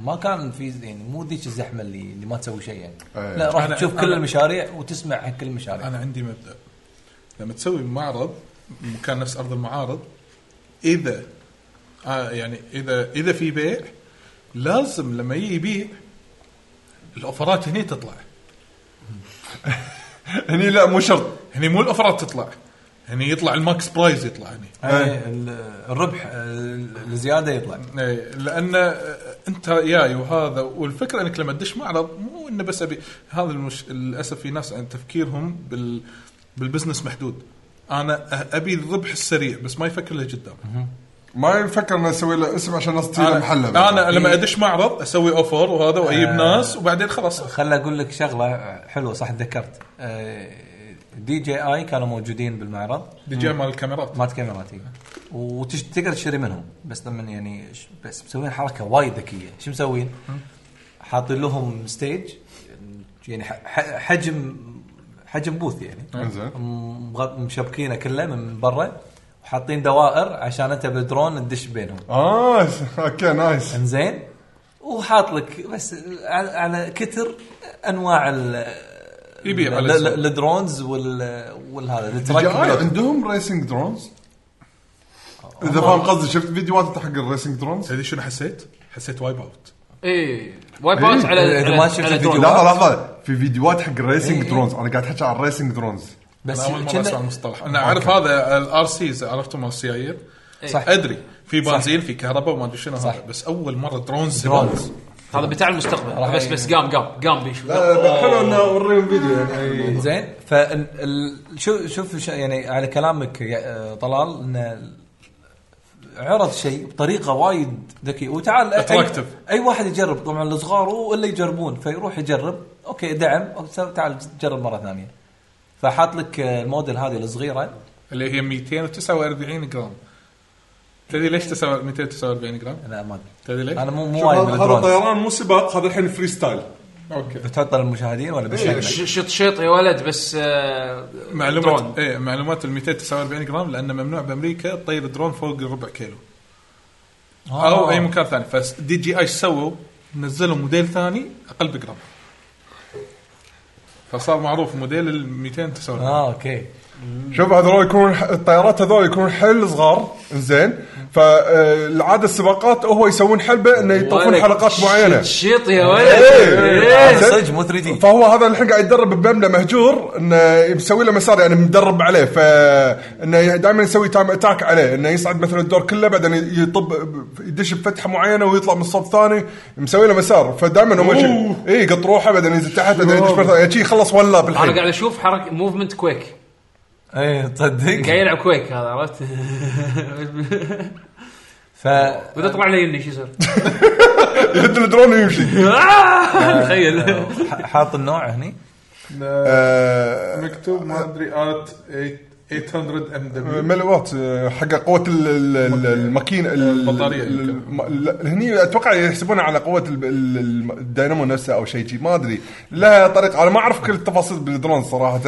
E: ما كان في يعني مو ذيك الزحمه اللي, اللي ما تسوي شيء يعني
C: إيه.
E: لا راح
B: أنا-
E: تشوف كل
B: أنا-
E: المشاريع وتسمع عن كل المشاريع
B: انا عندي مبدا لما تسوي معرض مكان نفس ارض المعارض اذا آه يعني اذا اذا في بيع لازم لما يجي يبيع الاوفرات هني تطلع
C: هني لا مو شرط
B: هني مو الاوفرات تطلع هني يطلع الماكس برايز يطلع هني
E: يعني ال- الربح آه، الزياده يطلع
B: ايه لان آه، انت جاي وهذا والفكره انك لما تدش معرض مو انه بس ابي هذا المش... للاسف في ناس عن تفكيرهم بال... بالبزنس محدود انا أ- ابي الربح السريع بس ما يفكر له قدام
C: ما يفكر انه يسوي له اسم عشان الناس تجي له محله
B: انا, أنا لما ادش معرض اسوي اوفر وهذا واجيب ناس وبعدين خلاص
E: خل اقول لك شغله حلوه صح تذكرت آه، دي جي اي كانوا موجودين بالمعرض
B: دي جاي مال الكاميرات
E: مالت كاميراتي وتقدر تشتري منهم بس لما يعني ش- بس مسوين حركه وايد ذكيه شو مسوين؟ حاطين لهم ستيج يعني ح- ح- حجم حجم بوث يعني
C: انزين
E: مغ- مشبكينه كله من برا وحاطين دوائر عشان انت بالدرون تدش بينهم
C: اه س- اوكي نايس
E: انزين وحاط لك بس على- على كتر انواع ال
B: يبيع على
E: ال- ال-
B: السوق.
E: الدرونز وال والهذا
C: جي
E: التراكم
C: آي
E: بلوك.
C: عندهم ريسنج درونز اذا فاهم قصدي شفت فيديوهات انت حق الريسنج درونز
B: تدري شنو حسيت؟ حسيت وايب اوت
A: اي وايب اوت على
E: إيه، إذا
A: على-
E: ما شفت
A: على
E: الفيديو.
A: درون.
C: لحظه لحظه في فيديوهات حق الريسنج
E: إيه.
C: درونز انا قاعد احكي عن الريسنج درونز
E: بس
B: انا اول مره
E: كنا-
B: اسمع المصطلح انا اعرف هذا الار سيز عرفتهم مال السيايير
E: صح
B: ادري في بنزين في كهرباء وما ادري شنو هذا بس اول مره درونز
E: درونز
A: هذا بتاع المستقبل بس بس قام قام قام بيشوف
C: حلو انه
E: آه.
C: اوريهم فيديو يعني
E: زين فشوف شوف ش- يعني على كلامك يا آه، طلال ان عرض شيء بطريقه وايد ذكي وتعال أي,
B: Attractive.
E: اي واحد يجرب طبعا الصغار ولا يجربون فيروح يجرب اوكي دعم أو س- تعال جرب مره ثانيه فحاط لك آه، الموديل هذه الصغيره
B: اللي هي 249 جرام تدري ليش تساوي 249 جرام؟
E: انا ما أدري.
B: تدري ليش؟
E: انا مو مو وايد من
C: هذا
E: الدرونز
C: طيران مو سباق هذا الحين فري ستايل
B: اوكي
E: بتحط للمشاهدين ولا بس
A: ش- شط شيط يا ولد بس آه، درون.
B: معلومات ايه معلومات ال 249 جرام لانه ممنوع بامريكا تطير درون فوق الربع كيلو
E: آه.
B: او اي مكان ثاني فدي جي اي ايش سووا؟ نزلوا موديل ثاني اقل بجرام فصار معروف موديل ال 249
E: اه اوكي
C: شوف هذول يكون الطيارات هذول يكون حل صغار زين فالعاده السباقات هو يسوون حلبه انه يطوفون
A: ولد،
C: حلقات
A: شط-
C: معينه
A: شط يا ولد
C: إيه.
A: إيه.
E: صدق مو 3 دي
C: فهو هذا الحين قاعد يتدرب بمبنى مهجور انه مسوي له مسار يعني مدرب عليه ف انه دائما يسوي تايم اتاك عليه انه يصعد مثلا الدور كله بعدين يطب يدش بفتحه معينه ويطلع من الصوب ثاني مسوي له مسار فدائما هو شيء اي يقط روحه بعدين ينزل تحت بعدين يدش مرة ثانية. يعني شي خلص ولا لاب
A: انا
C: الحين
A: قاعد اشوف حركه موفمنت كويك
E: اي
A: قاعد
E: إيه، تصدق
A: يلعب كويك هذا عرفت
E: ف
A: بدا طلع لي يمني شو يصير
C: يهد الدرون ويمشي
A: تخيل
E: آه، ح- حاط النوع هني
C: آه،
B: مكتوب ما ادري ات 800 ام دبليو
C: ملوات آه، حق قوه ال- ال- ال- الماكينه ال-
B: البطارية
C: ال- الم- لا، هني اتوقع يحسبونها على قوه ال- ال- ال- الدينامو نفسه او شيء شي، ما ادري لها طريقه انا ما اعرف كل التفاصيل بالدرون صراحه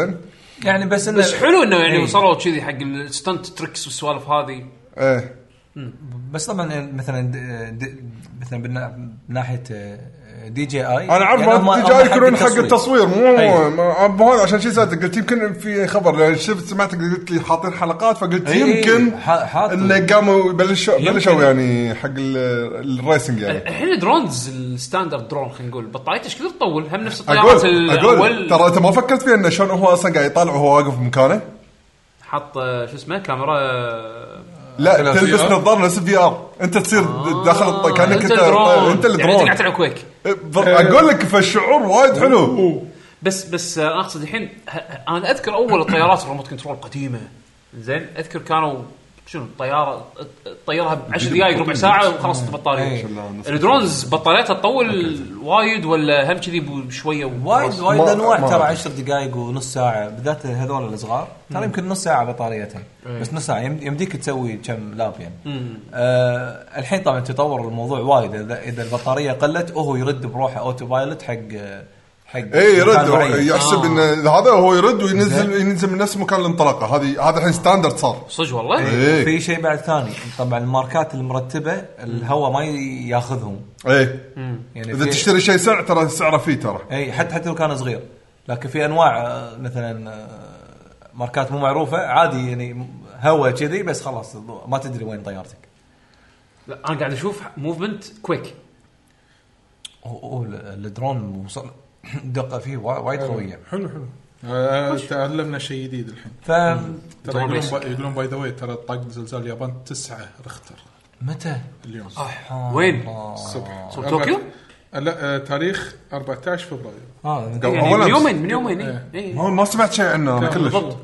E: يعني بس انه
A: بس حلو انه يعني
E: إيه.
A: وصلوا كذي حق الستنت تريكس والسوالف هذه
C: ايه
E: بس طبعا يعني مثلا د- د- مثلا بالنا- من ناحيه آه، دي جي اي
C: انا اعرف
E: يعني هم-
C: يعني
E: هم أيوه.
C: جاي يكونون حق التصوير مو
E: أي.
C: ما- مو هذا عشان شي سالتك قلت يمكن في خبر لأن شفت سمعتك قلت لي حاطين حلقات فقلت
E: أي، أي،
C: يمكن
E: إيه، ح- حاط-
C: انه قاموا بلشوا بلشوا يعني حق ال- الريسنج يعني
A: الحين درونز الستاندرد درون خلينا نقول بطاريته ايش كثر تطول هم نفس الطيارات
C: اقول اقول
A: الاول
C: ترى انت ما فكرت فيها انه شلون هو اصلا قاعد يطالع وهو واقف بمكانه؟
A: حط آه، شو اسمه كاميرا آه،
C: لا تلبس
B: VR.
C: نظاره نفس الفي ار انت تصير داخل الط- كانك
A: انت الدرون يعني
C: انت
A: انت
C: الدرون
A: قاعد تلعب كويك
C: اقول لك فالشعور وايد حلو
A: بس بس آه، انا اقصد الحين ه- ه- انا اذكر اول الطيارات الريموت كنترول قديمه زين اذكر كانوا شنو الطياره تطيرها ب 10 دقائق ربع ساعه
E: إيه.
A: وخلاص البطاريه الدرونز بطاريتها تطول وايد ولا هم كذي بشويه
E: وايد
A: وخلاص؟
E: وايد
C: ما-
E: انواع
C: ما
E: ترى
C: أدري.
E: 10 دقائق ونص ساعه بالذات هذول الصغار ترى يمكن نص ساعه بطاريتهم
C: إيه.
E: بس نص ساعه يم- يمديك تسوي كم لاب يعني آه الحين طبعا تطور الموضوع وايد اذا اذا البطاريه قلت وهو يرد بروحه اوتو بايلوت حق حق
C: اي إيه، يرد
E: مكان معين.
C: يحسب ان هذا هو يرد وينزل ينزل من نفس مكان الانطلاقه هذه هذا الحين ستاندرد صار
A: صدق والله
C: إيه.
E: في شيء بعد ثاني طبعا الماركات المرتبه الهواء ما ياخذهم
C: ايه
E: يعني
C: اذا
E: في-
C: تشتري شيء سعر ترى سعره فيه ترى
E: اي حتى حتى لو كان صغير لكن في انواع آه، مثلا آه، ماركات مو معروفه عادي يعني هواء كذي بس خلاص ما تدري وين طيارتك
A: لا انا قاعد اشوف موفمنت كويك
E: اوه أوه، ال- الدرون وصل الدقه فيه وا- وايد قويه
B: حلو حلو آه، تعلمنا شيء جديد الحين
E: ف
B: ترى يقولون با- يقولون باي ذا واي ترى طاق زلزال اليابان تسعة رختر
E: متى؟
B: اليوم
A: وين؟
B: الصبح
A: صبح آه، طوكيو؟
B: أربعة- لا آه، تاريخ 14 فبراير
E: اه
C: قبل
A: يعني من
C: أمس.
A: يومين من يومين إيه. إيه.
C: ما ما سمعت شيء عنه انا آه، كلش
A: بالضبط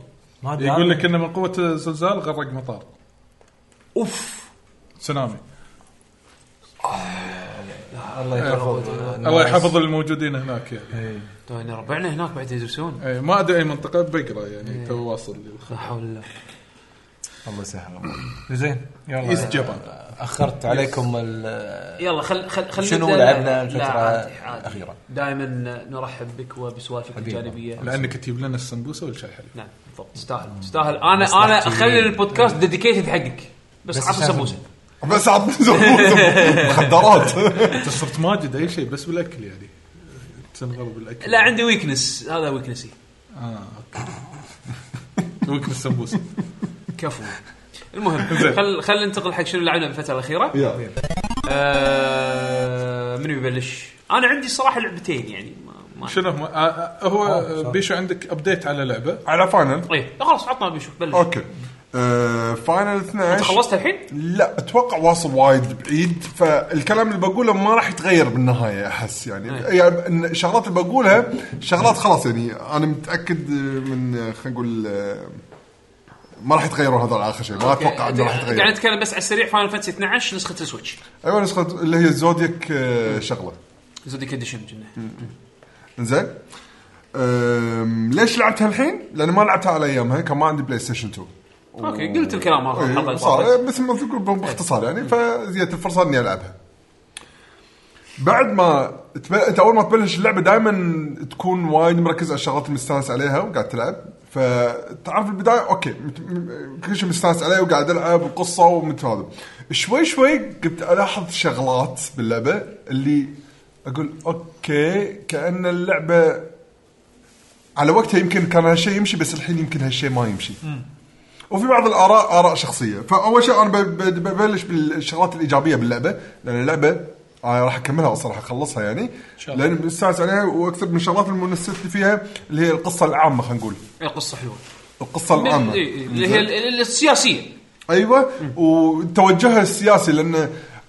E: ما ادري
B: يقول لك انه من قوه الزلزال غرق مطار
A: اوف
B: تسونامي
E: الله يحفظ
B: الله يحفظ الموجودين هناك يعني
A: توني طيب، ربعنا هناك بعد يدرسون
B: إيه، ما ادري اي منطقه بقرا يعني تو واصل للخ-
A: لا حول الله
E: الله يسهل زين
B: ايست
E: يلا
B: جابان
E: اخرت عليكم ال-
A: يلا خل خل خل
E: شنو
A: نبدأ-
E: لعبنا الفترة
A: لا، عادي- عادي.
E: الأخيرة؟
A: دائما نرحب بك وبسوالفك الجانبيه
B: لانك تجيب لنا السمبوسه والشاي حلو
A: نعم بالضبط تستاهل تستاهل انا انا اخلي البودكاست ديديكيتد حقك بس
E: بس
A: عطوا
E: عشان-
A: سموسه
C: بس عاد مخدرات
B: انت صرت ماجد اي شيء بس بالاكل يعني تنغرب بالاكل
A: لا عندي ويكنس هذا ويكنسي
B: اه اوكي وكل السمبوسه
A: كفو المهم
B: زين.
A: خل خل ننتقل حق شنو لعبنا بالفتره الاخيره
C: يلا.
A: آه منو يبلش؟ انا عندي صراحه لعبتين يعني ما, ما
B: شنو هم- آه، آه، هو آه، بيشو عندك ابديت على لعبه
C: على فاينل
A: ايه لا خلاص عطنا بنشوف بلش
C: اوكي آه، فاينل 12
A: خلصت الحين؟
C: لا اتوقع واصل وايد بعيد فالكلام اللي بقوله ما راح يتغير بالنهايه احس يعني
A: أي.
C: يعني إن الشغلات اللي بقولها شغلات خلاص يعني انا متاكد من خلينا نقول آه، ما راح يتغيروا هذول على اخر شيء ما اتوقع انه راح
A: قاعد
C: يتغير
A: نتكلم بس على السريع فاينل فانتسي 12 نسخه السويتش
C: ايوه نسخه اللي هي الزودياك آه، شغله
A: زوديك اديشن كنا
C: زين أم، ليش لعبتها الحين؟ لان ما لعبتها على ايامها كان ما عندي بلاي ستيشن 2
A: اوكي قلت الكلام مرة،
C: إيه،
A: الحلقه اللي
C: صار
A: طافت.
C: بس ما تقول باختصار يعني فجت الفرصه اني العبها. بعد ما تب... انت اول ما تبلش اللعبه دائما تكون وايد مركز على الشغلات اللي مستانس عليها وقاعد تلعب فتعرف البدايه اوكي مت... م- كل شيء مستانس عليه وقاعد العب وقصه ومثل هذا شوي شوي قمت الاحظ شغلات باللعبه اللي اقول اوكي كان اللعبه على وقتها يمكن كان هالشيء يمشي بس الحين يمكن هالشيء ما يمشي. وفي بعض الاراء اراء شخصيه فاول شيء انا ب- ب- ببلش بالشغلات الايجابيه باللعبه لان اللعبه انا راح اكملها اصلا راح اخلصها يعني لان مستانس عليها واكثر من الشغلات اللي منستني فيها اللي هي القصه العامه خلينا نقول
A: إيه، قصه حلوه
C: القصه العامه
A: إيه، إيه، اللي هي ال- ال- السياسيه
C: ايوه وتوجهها السياسي لان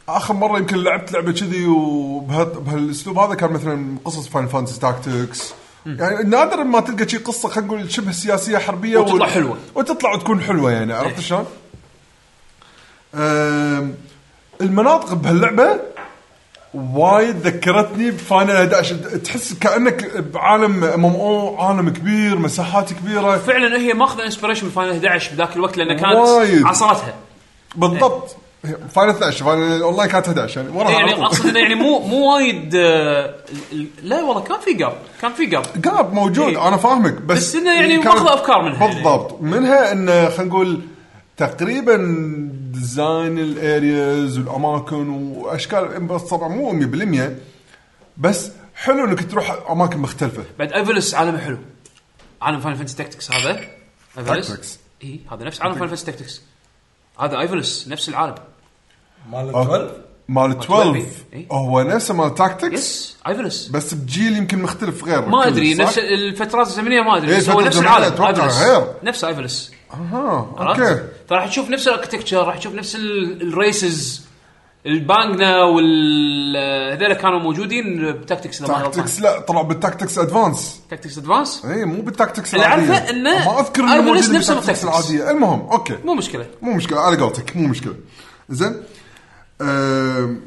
C: اخر مره يمكن لعبت لعبه كذي وبها- بهالاسلوب هذا كان مثلا قصص فان فانتسي تاكتكس يعني نادرا ما تلقى شي قصه خلينا نقول شبه سياسيه حربيه
A: وتطلع
C: وال-
A: حلوة.
C: وتطلع وتكون حلوه يعني عرفت شلون؟ أم، المناطق بهاللعبه وايد ذكرتني بفاينل 11 تحس كانك بعالم ام ام او عالم كبير مساحات كبيره
A: فعلا هي ماخذه انسبريشن من فاينل 11 بذاك الوقت لان كانت
C: وايد.
A: عصرتها
C: بالضبط فاينل 12 فاينل اونلاين كانت 11 يعني وراها
A: يعني
C: على طول.
A: اقصد انه يعني مو مو وايد آه، ال- لا والله كان في جاب كان في جاب
C: قاب موجود
A: إيه.
C: انا فاهمك بس
A: بس إنه يعني
C: كانت-
A: ماخذة أفكار منها يعني.
C: بالضبط منها انه خلينا نقول تقريبا ديزاين الارياز والاماكن واشكال بس طبعا مو 100% بس حلو انك تروح اماكن مختلفه
A: بعد ايفلس عالمه حلو عالم فاينل فانتسي تكتكس هذا
C: Tactics.
A: ايفلس اي هذا نفس عالم فاينل فانتسي تكتكس هذا ايفلس نفس العالم
E: مال
C: أوكي.
E: 12
C: مال 12
A: إيه.
C: هو نفسه مال تاكتكس
A: يس ايفلس
C: بس بجيل يمكن مختلف غير
A: ما
C: كله،
A: ادري
C: صح؟
A: نفس الفترات الزمنيه ما ادري
C: إيه،
A: بس هو
C: الفترة
A: نفس
C: الزمنية
A: العالم
C: أتوقع
A: ايفلس
C: غير.
A: نفس ايفلس
C: اها اوكي
A: عرفت؟ فراح تشوف نفس الاركتكتشر راح تشوف نفس ال- الريسز البانجنا وال هذول كانوا موجودين بتاكتكس لما
C: تاكتكس لا طلع بالتاكتكس ادفانس
A: تاكتكس ادفانس
C: اي إيه، مو بالتاكتكس
A: اللي
C: العاديه
A: أعرفه إنه
C: ما اذكر
A: أرمونيس
C: موجود
A: نفسه
C: بالتاكتكس
A: بالتاكتكس.
C: العاديه المهم اوكي
A: مو مشكله
C: مو مشكله على قولتك مو مشكله زين أم،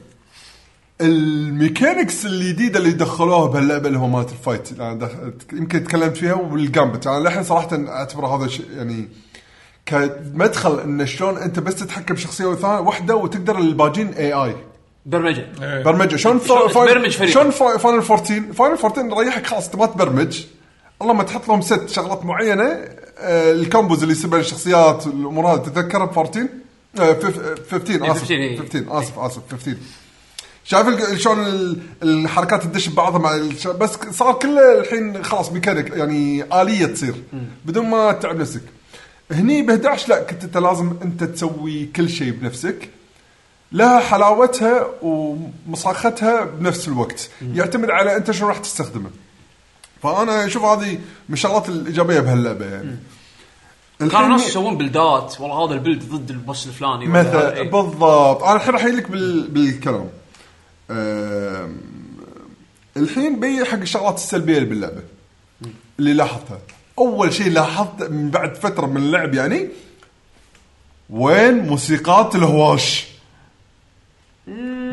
C: الميكانكس الجديده اللي دخلوها بهاللعبه اللي هو مالت الفايت اللي انا دخ- يمكن تكلمت فيها والجامبت انا للحين صراحه اعتبر هذا شيء يعني كمدخل ان شلون انت بس تتحكم بشخصيه وثا- واحده وتقدر الباجين اي اي
A: برمجه
C: برمجه شلون
A: شلون
C: فا- فاين-
A: تبرمج فريقك؟
C: شلون فا- فاينل 14 فاينل 14 ريحك خلاص انت ما تبرمج اللهم تحط لهم ست شغلات معينه آه، الكومبوز اللي يصير بين الشخصيات الامور هذه تتذكرها ب 14 آه، فف- آه، 15 اسف
A: 15 إيه.
C: 15 اسف اسف 15 شايف ال- شلون ال- الحركات تدش ببعضها مع الش- بس صار كله الحين خلاص ميكانيك يعني اليه تصير بدون ما تتعب نفسك هني ب 11 لا كنت انت لازم انت تسوي كل شيء بنفسك لها حلاوتها ومصاختها بنفس الوقت يعتمد على انت شنو راح تستخدمه فانا اشوف هذه من الشغلات الايجابيه بهاللعبه يعني
A: كانوا
C: الحين
A: ناس يسوون بلدات والله هذا البلد ضد البوس الفلاني ولا هذا،
C: مثلا
A: إيه.
C: بالضبط انا الحين راح لك بال... بالكلام أم... الحين بي حق الشغلات السلبيه اللي باللعبه اللي لاحظتها اول شيء لاحظت من بعد فتره من اللعب يعني وين موسيقات الهواش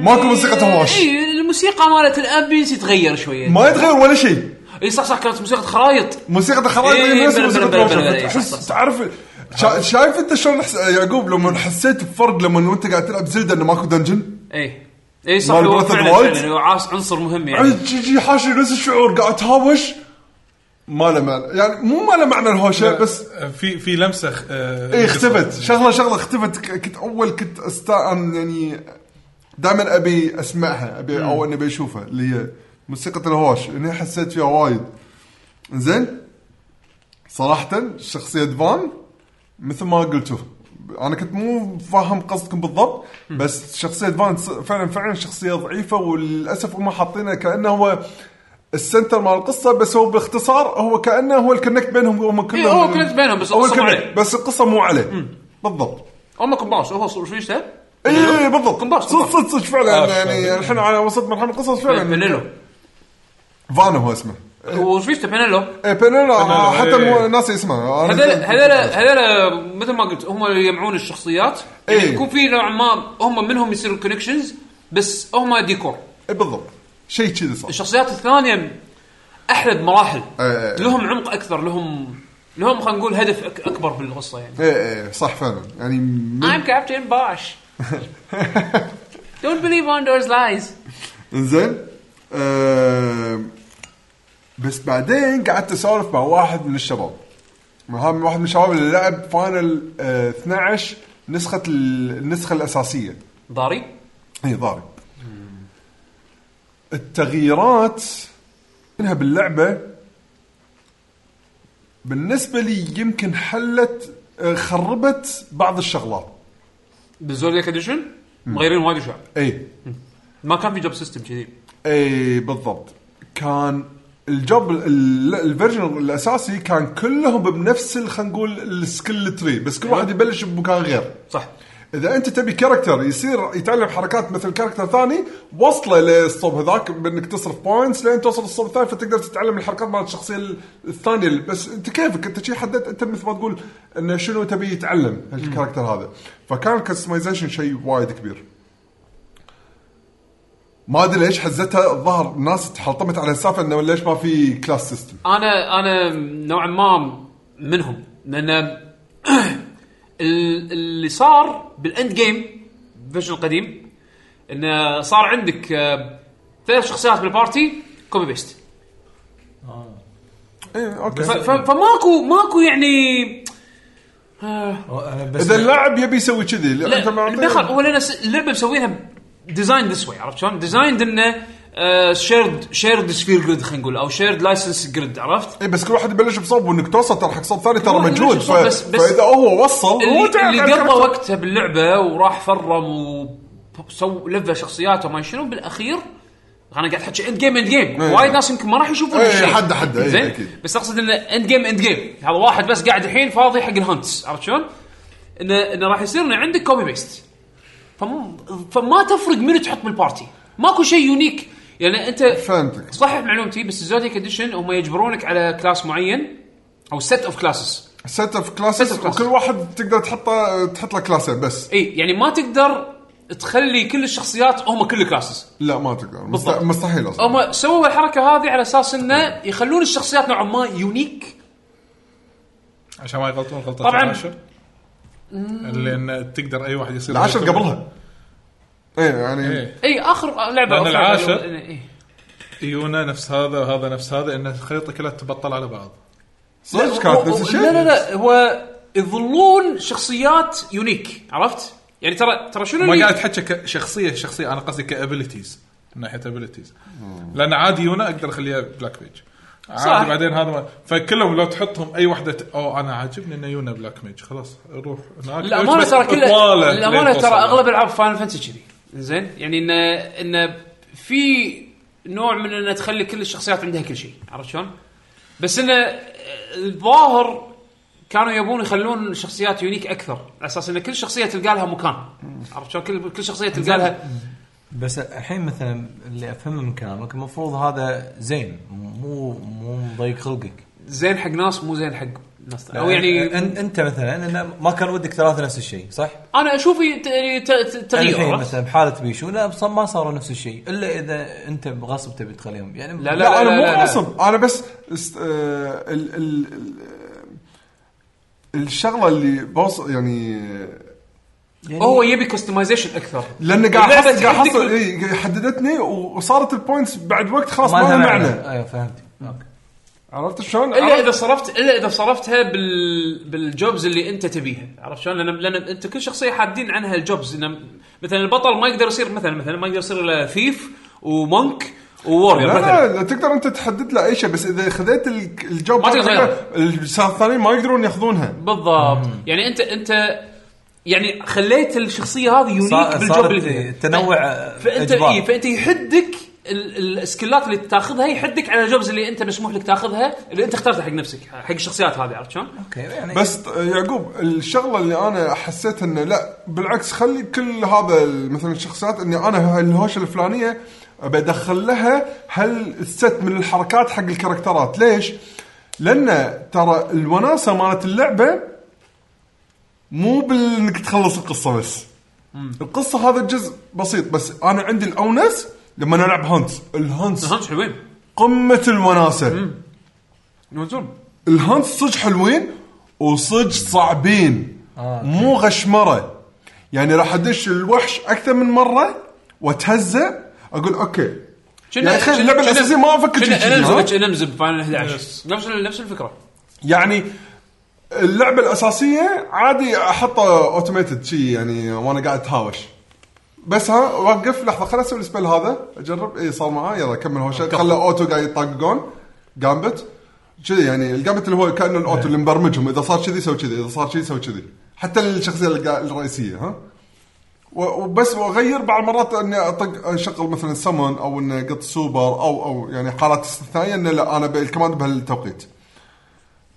C: ماكو موسيقى هواش
A: اي إيه، الموسيقى مالت الامبينس تتغير شويه
C: ما يتغير ولا شيء
A: اي إيه، صح صح كانت موسيقى خرايط
C: موسيقى الخرائط
A: إيه،
C: اللي نفس
A: بلا- بلا-
C: موسيقى
A: بلا- بلا- بلا-
C: الهواش.
A: إيه، صح-
C: تحس-
A: صح- صح.
C: تعرف شا- شايف انت شلون حس- يعقوب لما حسيت بفرق لما وانت قاعد تلعب زلده انه ماكو دنجن
A: اي اي إيه. صح
C: مال
A: هو
C: Breath of the
A: فعلا
C: Wild؟
A: فعلا هو عاص- عنصر مهم يعني
C: عاد جي جي حاشي نفس الشعور قاعد تهاوش ما له معنى يعني مو ما له معنى الهوشه بس
B: آه، في في لمسه خ- آه،
C: ايه اختفت شغله شغله اختفت ك- كنت اول كنت استعن يعني دائما ابي اسمعها ابي او اني ابي اشوفها اللي هي موسيقى الهوش اني حسيت فيها وايد زين صراحه شخصيه فان مثل ما قلتوا انا كنت مو فاهم قصدكم بالضبط بس شخصيه فان ص- فعلا فعلا شخصيه ضعيفه وللاسف هم حاطينه كانه هو السنتر مال القصه بس هو باختصار هو كانه هو الكونكت بينهم هم كلهم
A: إيه، هو الكونكت بينهم، بس
C: هو
A: القصة مو
C: الكونكت،
A: عليه.
C: بس القصه مو عليه بالضبط
A: هم كومباس هو صور- شو يشتهى؟
C: اي اي بالضبط
A: إيه، قنباش،
C: صدق
A: قنباش. آه،
C: صدق صدق فعلا يعني الحين على وسط مرحله من القصص فعلا
A: بنيلو
C: فانا هو اسمه
A: وش يشتهى بنيلو
C: اي بينيلا
B: إيه.
C: حتى مو ناسي اسمه أنا
A: هذول
C: كنت-
A: هذول هذول مثل ما قلت هم يجمعون الشخصيات يعني
C: إيه.
A: يكون في نوع ما هم منهم يصيروا كونكشنز بس هم ديكور
C: إيه، بالضبط شيء كذي صار
A: الشخصيات الثانيه احلى بمراحل
C: إيه.
A: لهم عمق اكثر لهم لهم خلينا نقول هدف أك- اكبر بالقصه يعني
C: اي اي إيه، صح فعلا يعني من...
A: I'm Captain Bosch. Don't believe on those lies.
C: انزين آم، آه، بس بعدين قعدت اسولف مع واحد من الشباب مع هذا- واحد من الشباب اللي لعب فاينل آه، 12 نسخه ال- النسخه الاساسيه
A: ضاري
C: اي ضارب التغييرات منها باللعبه بالنسبه لي يمكن حلت آه، خربت بعض الشغلات
A: بالزودياك اديشن مغيرين وايد اشياء
C: اي
A: ما كان في جوب سيستم كذي
C: اي إيه، بالضبط كان الجوب ال- ال- الفيرجن الاساسي كان كلهم بنفس ال- خلينا نقول السكيل تري بس كل واحد يبلش بمكان غير
A: صح
C: اذا انت تبي كاركتر يصير يتعلم حركات مثل كاركتر ثاني وصله للصوب هذاك بانك تصرف بوينتس لين توصل للصوب الثاني فتقدر تتعلم الحركات مال الشخصيه ال- الثانيه اللي- بس انت كيفك انت شي حددت انت مثل ما تقول انه شنو تبي يتعلم الكاركتر هذا فكان الكستمايزيشن شيء وايد كبير ما ادري ليش حزتها الظهر ناس تحلطمت على السالفه انه ليش ما في كلاس سيستم
A: انا انا نوعا ما منهم لان ال- اللي صار بالاند جيم فيرجن القديم انه صار عندك آه، ثلاث شخصيات بالبارتي كوبي بيست
C: ايه اوكي
A: ف- ف- فماكو ماكو يعني
E: انا بس
C: اذا اللاعب يبي يسوي كذي لا انت
A: لا
C: معطيه-
A: دخل هو لان س- اللعبه مسوينها ديزاين ذس واي عرفت شلون؟ آه، ديزايند انه شيرد شيرد سفير جريد خلينا نقول او شيرد لايسنس جريد عرفت؟
C: اي إيه، بس كل واحد يبلش بصوب وانك توصل ترى حق صوب ثاني ترى
A: هو
C: مجهود
A: يبلش
C: ف...
A: بصوب بس- بس-
C: فاذا هو وصل هو
A: اللي,
C: تعب
A: اللي
C: على
A: قضى
C: الكاركتر.
A: وقته باللعبه وراح فرم وسو لفه شخصياته ما شنو بالاخير انا قاعد احكي اند جيم اند جيم
C: إيه.
A: وايد ناس يمكن ما راح يشوفون
C: إيه،
A: هالشيء.
C: حد- حد، إيه،
A: زين
C: أكيد.
A: بس اقصد انه اند جيم اند جيم هذا واحد بس قاعد الحين فاضي حق الهانتس عرفت شلون؟ انه انه راح يصير انه عندك كوبي بيست فما, فما تفرق من تحط بالبارتي ماكو شيء يونيك يعني انت
C: فهمتك.
A: صحح معلومتي بس الزوديك اديشن هم يجبرونك على كلاس معين او سيت اوف كلاسز
C: سيت اوف
A: Set
C: كلاسز
A: of classes.
C: وكل واحد تقدر تحطه تحط له كلاسين بس
A: اي يعني ما تقدر تخلي كل الشخصيات هم كل كلاسز
C: لا ما تقدر مست-
A: بالضبط.
C: مستحيل اصلا
A: هم سووا الحركه هذه على اساس انه يخلون الشخصيات نوعا ما يونيك
B: عشان ما يغلطون غلطه
A: طبعاً.
B: العاشر لان تقدر اي واحد يصير
C: العشر قبلها ايه يعني
B: ايه
A: اي اخر لعبه
B: لأن
A: أخر-
B: العاشر-
A: إي.
B: يونا نفس هذا وهذا نفس هذا ان الخريطه كلها تبطل على بعض
C: صدق
A: هو-
C: كانت
A: هو-
C: نفس الشيء
A: لا لا لا هو يظلون شخصيات يونيك عرفت؟ يعني ترى ترى شنو
B: ما
A: اللي-
B: قاعد تحكي كشخصيه شخصيه انا قصدي كابيلتيز من ناحيه ابيلتيز لان عادي يونا اقدر اخليها بلاك ميج
A: صح.
B: عادي بعدين هذا ما فكلهم لو تحطهم اي وحده ت... او انا عاجبني ان يونا بلاك ميج خلاص روح هناك
A: الامانه
B: بس
A: ترى كل
B: طوالة
A: الامانه
B: لين
A: ترى
B: توصل.
A: اغلب العاب فاينل فانتسي كذي زين يعني انه انه في نوع من انه تخلي كل الشخصيات عندها كل شيء عرفت شلون؟ بس انه آه، الظاهر كانوا يبون يخلون الشخصيات يونيك اكثر على اساس ان كل شخصيه تلقى لها مكان عرفت شلون كل كل شخصيه تلقى لها
E: بس الحين مثلا اللي افهمه من كلامك المفروض هذا زين مو مو مضيق خلقك
A: زين حق ناس مو زين حق ناس او يعني
E: أن- انت مثلا انه ما كان ودك ثلاثه نفس الشيء صح؟
A: انا اشوف ي- ت- يعني ت- ت- تغيير
E: الحين
A: عرفت؟
E: مثلا بحاله بيشو لا بص- ما صاروا نفس الشيء الا اذا انت بغصب تبي تخليهم يعني
A: لا
C: لا,
A: لا
C: انا
A: لا
C: مو
A: لا لا.
C: غاصب انا بس است... آه ال... ال... ال... الشغله اللي بوصل يعني
E: يعني
A: هو يبي كستمايزيشن اكثر
C: لان قاعد
A: اللعبة
C: احصل قاعد
A: تحدك
C: احصل
A: بال-
C: إي، حددتني وصارت البوينتس بعد وقت خلاص
E: ما
C: ما لها معنى
E: ايوه فهمت اوكي
C: عرفت شلون؟
A: الا
C: عرفت؟
A: اذا صرفت الا اذا صرفتها بال بالجوبز اللي انت تبيها عرفت شلون؟ لان لان انت كل شخصيه حادين عنها الجوبز إنه مثلا البطل ما يقدر يصير مثلا مثلا ما يقدر يصير الا ثيف ومونك وورير
C: لا
A: مثلا
C: لا لا تقدر انت تحدد له اي شيء بس اذا خذيت ال- الجوب
A: ما تقدر تغيره.
C: الثانيين ما يقدرون ياخذونها
A: بالضبط يعني انت انت يعني خليت الشخصيه هذه يونيك
E: صار-
A: بالجوب
E: صارت
A: اللي فيها.
E: تنوع
A: فانت
E: إجبار.
A: إيه فانت يحدك ال- السكلات اللي تاخذها يحدك على الجوبز اللي انت مسموح لك تاخذها اللي انت اخترتها حق نفسك حق الشخصيات هذه عرفت شلون؟
E: اوكي يعني
C: بس ط- يعقوب الشغله اللي انا حسيت انه لا بالعكس خلي كل هذا ال- مثلا الشخصيات اني انا الهوشه الفلانيه بدخل لها هل الست من الحركات حق الكاركترات ليش؟ لان ترى الوناسه مالت اللعبه مو بانك تخلص القصه بس القصه هذا الجزء بسيط بس انا عندي الاونس لما أنا العب هانتس الهانتس
A: الهانش حلوين
C: قمه الوناسه
A: يوزون
C: الهانس صدق حلوين وصدق صعبين مو غشمره يعني راح ادش الوحش اكثر من مره واتهزه اقول اوكي يعني تخيل اللعبه الاساسيه ما افكر شي كذي، ها؟
A: انمزم انمزم فاينل 11 نفس نفس الفكره
C: يعني اللعبه الاساسيه عادي احطه اوتوميتد شي يعني وانا قاعد اتهاوش بس ها وقف لحظه خليني اسوي السبل هذا اجرب اي صار معاه يلا كمل هوشه خله اوتو قاعد يطقون جامبت كذي يعني الجامبت اللي هو كانه الاوتو اللي مبرمجهم اذا صار كذي سوي كذي اذا صار كذي سوي كذي حتى الشخصيه القا- الرئيسيه ها و- وبس واغير بعض المرات اني اطق اشغل مثلا سمون او اني اقط سوبر او او يعني حالات استثنائيه انه لا انا الكماند بهالتوقيت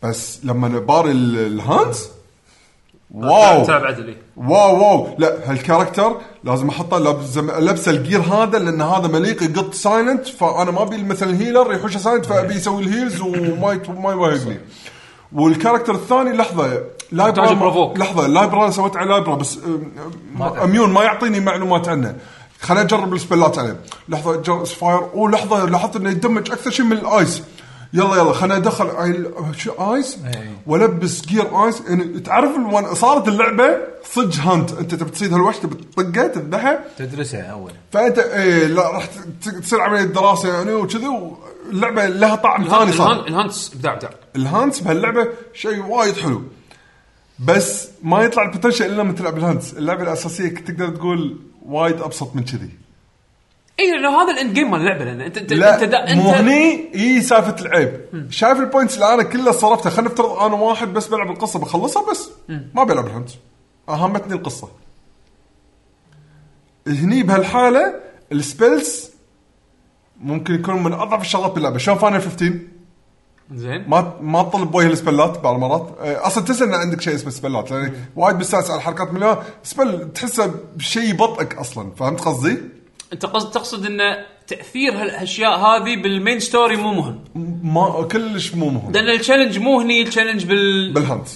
C: بس لما نباري ال- الهانز واو
A: تلعب عدلي
C: واو واو لا هالكاركتر لازم احطه لابس لبسه الجير هذا لان هذا مليق يقط سايلنت فانا ما ابي مثلا هيلر يحوش سايلنت فابي يسوي الهيلز وما يت- ما يوهقني والكاركتر الثاني لحظه لايبرا
A: تحتاج
C: ما-
A: بروفوك.
C: لحظه لايبرا سويت على لايبرا بس أم- أم- اميون ما يعطيني معلومات عنه خليني اجرب السبلات عليه لحظه جر فاير او لحظه لاحظت انه يدمج اكثر شيء من الايس يلا يلا خليني ادخل عيل- شو ايس
A: إيه.
C: والبس جير ايس يعني تعرف الون صارت اللعبه صج هانت انت تبي تصيد هالوحش تبي تطقه تذبحه
E: تدرسها اول
C: فانت ايه لا راح ت- تصير عمليه دراسه يعني وكذي واللعبه لها طعم ثاني صار
A: الهان- الهانس ابداع ابداع
C: الهانس بهاللعبه شيء وايد حلو بس ما يطلع البوتنشل الا لما تلعب الهانس اللعبه الاساسيه تقدر تقول وايد ابسط من كذي
A: اي لانه إيه، هذا الاند جيم مال اللعبه لان انت انت
C: لا
A: انت دا- انت
C: مو هني اي سالفه العيب شايف البوينتس اللي انا كلها صرفتها خلينا نفترض انا واحد بس بلعب القصه بخلصها بس ما بلعب الهانس اهمتني القصه هني بهالحاله السبيلز ممكن يكون من اضعف الشغلات باللعبه شلون فاينل 15
A: زين
C: ما ما تطلب بوجه السبلات بعض المرات أه، اصلا تنسى ان عندك شيء اسمه سبلات لان وايد بستانس على حركات مليون سبل تحسه بشيء يبطئك اصلا فهمت قصدي؟
A: انت قصد تقصد ان تاثير هالاشياء هذه بالمين ستوري مو مهم
C: ما كلش مو مهم
A: لان التشالنج مو هني التشالنج بال
C: بالهانت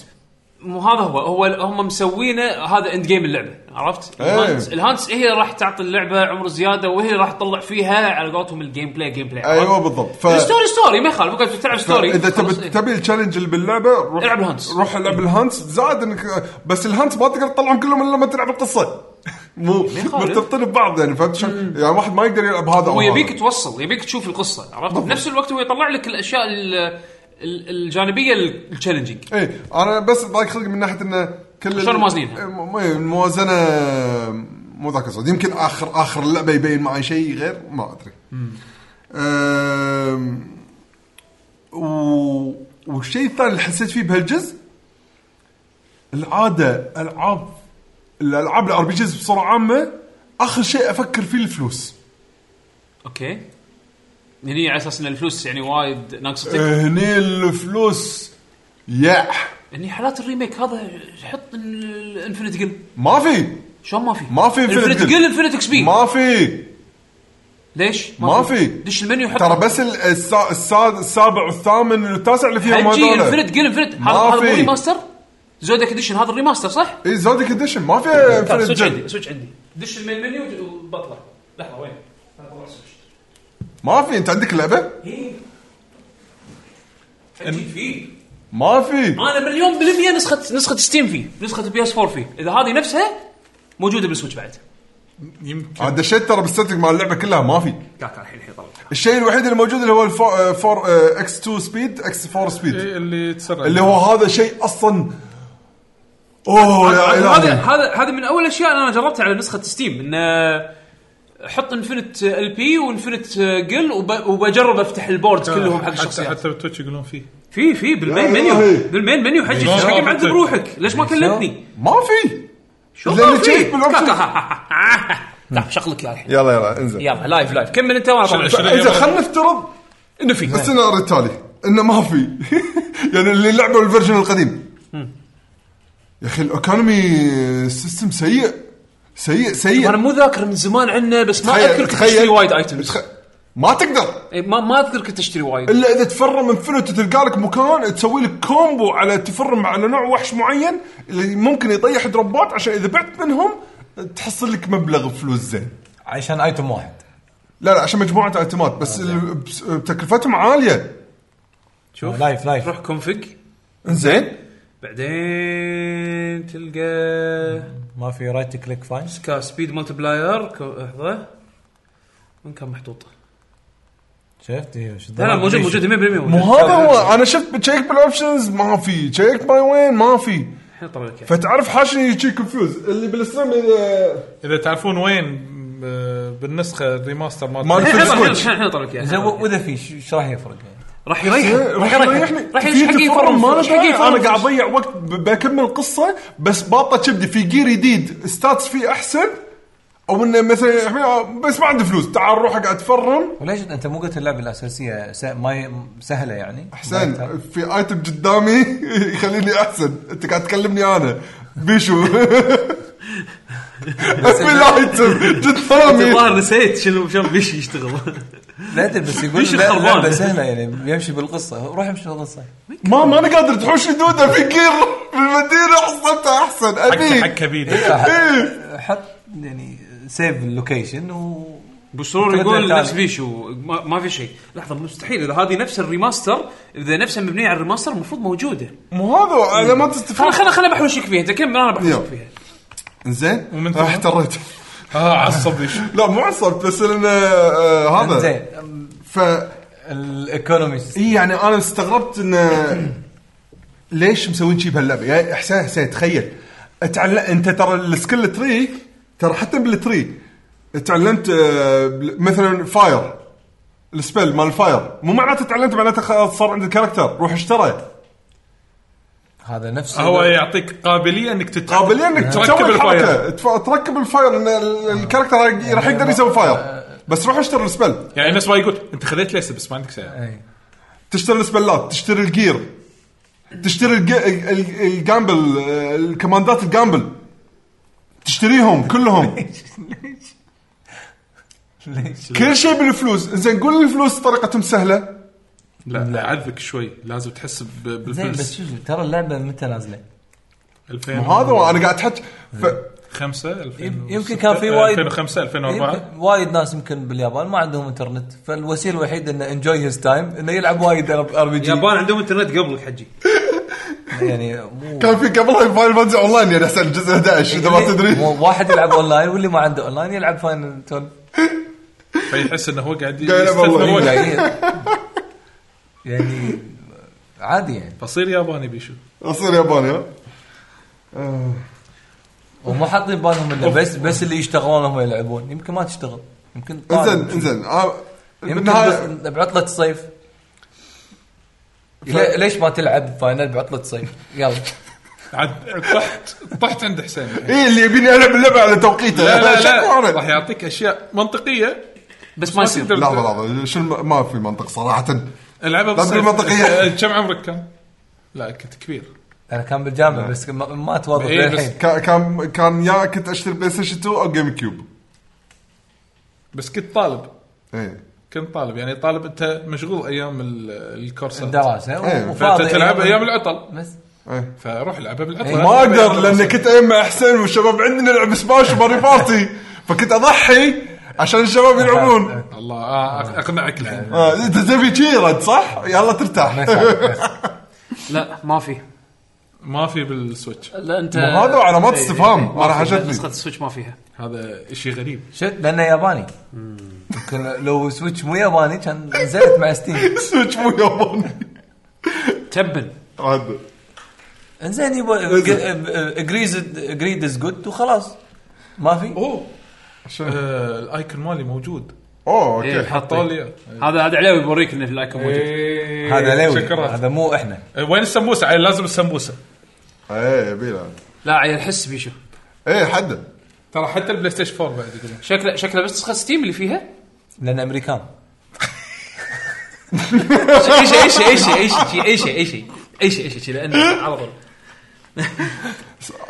A: مو هذا هو هو ال- هم مسوينه هذا اند جيم اللعبه عرفت؟
C: إيه.
A: الهانس الهانس هي راح تعطي اللعبه عمر زياده وهي راح تطلع فيها على قولتهم الجيم بلاي جيم بلاي عرفت؟
C: ايوه بالضبط ف...
A: الستوري ستوري ما يخالف ممكن تلعب ستوري
C: اذا تبي
A: خلاص، إيه.
C: تبي التشالنج اللي باللعبه روح
A: العب الهانس.
C: روح العب الهانت زاد انك بس الهانت ما تقدر تطلعهم كلهم الا لما تلعب القصه مو
A: يخالف.
C: مرتبطين ببعض يعني فهمت شلون؟ يعني واحد ما يقدر يلعب هذا
A: هو
C: أو
A: يبيك
C: هذا.
A: توصل يبيك تشوف القصه عرفت؟ بنفس الوقت هو يطلع لك الاشياء ال- ال- الجانبيه التشالنجينج
C: اي انا إيه، بس ضايق خلقي من ناحيه انه كل
A: شلون موازنينها؟
C: إيه، م- م- الموازنه مو ذاك الصوت يمكن اخر اخر اللعبه يبين معي شيء غير ما ادري. أم، و... والشيء الثاني اللي حسيت فيه بهالجزء العاده العاب الالعاب الار بي جيز بصوره عامه اخر شيء افكر فيه الفلوس.
A: اوكي هني على اساس ان الفلوس يعني وايد
C: إيه.
A: ناقصتك
C: هني الفلوس يا
A: هني حالات الريميك هذا حط الانفنت جن
C: ما في
A: شلون ما في؟
C: ما في Infinite
A: انفنت
C: Gun.
A: جن انفنت اكس بي
C: ما في
A: ليش؟
C: ما في.
A: دش المنيو حط
C: ترى بس ال- السا- السا- السابع والثامن والتاسع اللي فيهم
A: حجي
C: هذول.
A: انفنت جن انفنت
C: ما
A: هذا هذا
C: في.
A: مو ريماستر زودك اديشن هذا الريماستر صح؟
C: اي زودك اديشن إيه، ما في
A: تعال،
C: Infinite
A: سويتش
C: Gem.
A: عندي سويتش عندي دش المين منيو وبطلع لحظه وين؟ أنا طلع سويتش.
C: ما في انت عندك اللعبه؟
A: إيه. حجي فيه
C: ما في
A: انا مليون بالمية نسخة نسخة ستيم فيه، نسخة بي اس 4 فيه، اذا هذه نفسها موجودة بالسويتش بعد.
B: يمكن
C: أنا دشيت ترى بالسيتنج مال اللعبه كلها ما في
A: كاكا الحين الحين طلع.
C: الشيء الوحيد اللي موجود اللي هو آه، الفور اكس 2 سبيد اكس 4 سبيد
B: إيه اللي تسرع
C: اللي هو هذا شيء اصلا اوه يا
A: هذا
C: الهي
A: هذا هذا من اول الاشياء اللي انا جربتها على نسخة آه، ستيم انه حط انفنت ال بي وانفنت جل آه، وب- وبجرب افتح البورد كلهم حق
B: آه، حتى
A: الشخصيات.
B: حتى بتويتش يقولون فيه
A: في في بالمين
C: يا
A: منيو
C: إلهي.
A: بالمين منيو حجي
B: شلون
A: ايش حق
B: رابطك؟
A: معذب روحك؟ ليش ما كلمتني؟
C: ما في
A: شو
C: لأن
A: ما في؟
C: جايك بالأوبشن.
A: كاكا. لا شغلك يا الحين
C: يلا يلا انزين
A: يلا لايف لايف كمل انت وانا طالع.
B: شنو- شنو-
C: انزين خلينا نفترض
A: انه في
C: السيناريو التالي انه ما في يعني اللي لعبوا الفيرجن القديم يا اخي الاوكانومي سيستم سيء سيء
A: انا
C: سيء
A: مو ذاكر من زمان عنه بس ما
C: تخيل-
A: اذكر كنت
C: تخيل.
A: اشتري وايد ايتمز
C: تخ- ما تقدر
A: إي، ما ما اذكر كنت اشتري وايد
C: الا اذا تفرم انفنت تلقى لك مكان تسوي لك كومبو على تفرم على نوع وحش معين اللي ممكن يطيح دروبات عشان اذا بعت منهم تحصل لك مبلغ فلوس زين
E: عشان ايتم واحد
C: لا لا عشان مجموعه ايتمات بس ال- بس- آه، تكلفتهم عاليه
A: شوف
E: لايف لايف
A: تروح كونفج
C: زين
A: بعدين تلقى
E: ما في رايت كليك فاين
A: كا سبيد مالتي بلاير كو- لحظه وين كان محطوط؟
E: شفت إيه، شو
A: لا لا موجود موجود 100% موجود
C: مو هذا هو انا شفت تشيك بالاوبشنز ما في تشيك باي وين ما في
A: الحين طلع لك إياه.
C: فتعرف حاشني شي كونفيوز اللي آه، بالستريم اذا
B: اذا تعرفون وين آه، بالنسخه الريماستر مال
C: مال
A: الحين
C: في
A: الحين-
C: السويتش.
A: الحين الحين طلع لك إياه.
E: زين و- واذا في ايش راح يفرق يعني؟
A: راح يريحك
C: راح يريحني
A: راح يريحك حقي يفرم
C: ما
A: فلوس، حقي يفرم
C: انا قاعد
A: فلوس.
C: اضيع وقت ب- بكمل قصه بس باطه كبدي في جير جديد ستاتس فيه احسن او انه مثلا إحنا- آه، بس ما عندي فلوس تعال روح اقعد اتفرم
E: وليش انت مو قلت اللعبه الاساسيه س... ما ي... سهله يعني؟
C: احسن في ايتم قدامي يخليني احسن انت قاعد تكلمني انا بيشو ابي الايتم قدامي
A: الظاهر نسيت شنو شلون بيش يشتغل
E: لا ادري بس يقول
A: ليش
E: لا
A: الخربان؟
E: اللعبه سهله يعني يمشي بالقصه روح امشي بالقصه
C: ما ما انا قادر تحوشني دوده في جير بالمدينه حصلتها احسن
B: حق
C: ابي
B: حق كبير
E: إيه، حط يعني سيف اللوكيشن و
A: بسرور
E: تبدأ
A: يقول
E: الثاني.
A: نفس بيشو ما, ما في شيء لحظه مستحيل اذا هذه نفس الريماستر اذا نفسها مبنيه على الريماستر المفروض موجوده
C: مو هذا انا ما
A: خلا
C: تستفاد
A: خلا خلا بحوشك فيها انت كمل انا بحوشك
C: يلا.
A: فيها
C: زين
B: ومن ثم؟
C: راح احتريت
B: اه عصبني
C: لا مو عصبت بس لان آه، آه، هذا
E: زين
C: ف
E: الايكونومي
C: اي يعني انا استغربت ان ليش مسوين شي بهاللعبه يا حسين حسين تخيل اتعلم انت ترى السكيل تري ترى حتى بالتري تعلمت آه، بل- مثلا فاير السبيل مال الفاير مو معناته تعلمت معناته خلاص صار عندك كاركتر روح اشتري
E: هذا نفسه
B: هو إيه؟ يعطيك قابليه انك تتع-
C: قابليه انك تركب
B: تركب الفاير
C: الحركه تف- تركب الفاير ان ال- الكاركتر راح- راح يقدر يسوي فاير بس روح اشتري السبيل
B: يعني نفس ما يقول انت خذيت ليس بس ما عندك سياره
E: إيه.
C: تشتري السبلات تشتري الجير تشتري الج- ال- ال- الجامبل آه، الكماندات الجامبل تشتريهم كلهم
E: ليش؟
C: كل شيء بالفلوس زين قول لي الفلوس طريقتهم سهله
B: لا لا عذبك شوي لازم تحس ب-
E: زين بس
B: بالفلس
E: شوف ترى اللعبه متى نازله؟
C: هذا وانا قاعد احكي ف...
B: 2005 2006
E: يمكن كان في وايد
B: 2005 2004
E: يمكن وايد ناس يمكن باليابان ما عندهم انترنت فالوسيله الوحيده انه انجوي هيز تايم انه يلعب وايد ار بي جي
A: اليابان عندهم انترنت قبلك حجي
E: يعني مو
C: كان في قبلها فاينل فانتسي اون لاين يعني احسن الجزء 11 اذا ما تدري
E: مو- واحد يلعب اونلاين واللي ما عنده اونلاين يلعب فاينل
B: فيحس انه هو قاعد
C: قاعد يلعب
B: يستثمر
C: والله.
B: وقت
E: يعني عادي يعني
B: فصير ياباني بيشو
C: اصير ياباني ها؟ آه.
E: وما حاطين بالهم انه بس بس اللي يشتغلون هم يلعبون يمكن ما تشتغل يمكن طالب.
C: انزين انزين آه،
E: يمكن
C: بالنهاية-
E: بس بعطله الصيف لي- ليش ما تلعب فاينل بعطله الصيف يلا
B: عاد طحت طحت عند حسين
C: إيه، ايه اللي يبيني العب اللعبه على توقيته
B: لا لا
C: شكو
B: لا
C: أنا.
B: راح يعطيك اشياء منطقيه
A: بس ما يصير
B: تقدر-
C: لحظه لحظه شو الم- ما في منطق صراحه
B: العبها
E: طيب،
C: لا تقول منطقية.
B: كم عمرك كان؟ لا كنت كبير
E: انا كان بالجامعه بس ما, ما اتوظف
B: إيه، بس
E: للحين
C: كا- كان كان يا كنت اشتري بلاي ستيشن 2 او جيم كيوب
B: بس كنت طالب
C: ايه
B: كنت طالب يعني طالب انت مشغول ايام ال- الكورسات
E: دراسه
C: إيه.
E: وفاضي
B: فانت تلعب ايام العطل
E: بس
C: ايه
B: فروح العبها بالعطل
E: يعني. إيه،
C: ما اقدر لان كنت ايمع حسين والشباب عندي نلعب سماش وماري بارتي فكنت اضحي عشان الشباب يلعبون
B: الله آه، أق- اقنعك الحين
C: آه، انت تبي شي رد صح؟ يلا ترتاح
A: لا ما في
B: ما في بالسويتش
A: لا انت
C: مو هذا علامات
A: إيه،
C: استفهام،
A: إيه، إيه،
C: أنا
A: ما في.
C: حاجتني.
A: نسخه السويتش ما فيها
B: هذا شيء غريب
E: شفت لانه ياباني يمكن لو سويتش مو ياباني كان نزلت مع ستيم
C: سويتش مو ياباني
A: تبا
C: عاد.
E: انزين يبا اجريز اجريد از جود وخلاص ما في
B: اوه آه، الايكون مالي موجود
C: اوه
A: إيه،
C: اوكي
A: حاطه.
B: حطوا لي إياه.
A: هذا هذا علاوي بيوريك ان الايكون موجود
B: إيه،
E: هذا لوي
B: شكرا
E: هذا مو احنا
B: آه، وين السمبوسه عيل لازم السمبوسه
C: ايه يبيله
A: لا عيل حس بيشو
C: ايه حده
B: ترى حتى البلاي ستيشن 4 بعد يقولون
A: شكله شكله بس نسخه ستيم اللي فيها
E: لان امريكان
A: اي شيء اي شيء اي شيء اي شيء اي شيء اي شيء اي شيء اي شيء لانه على طول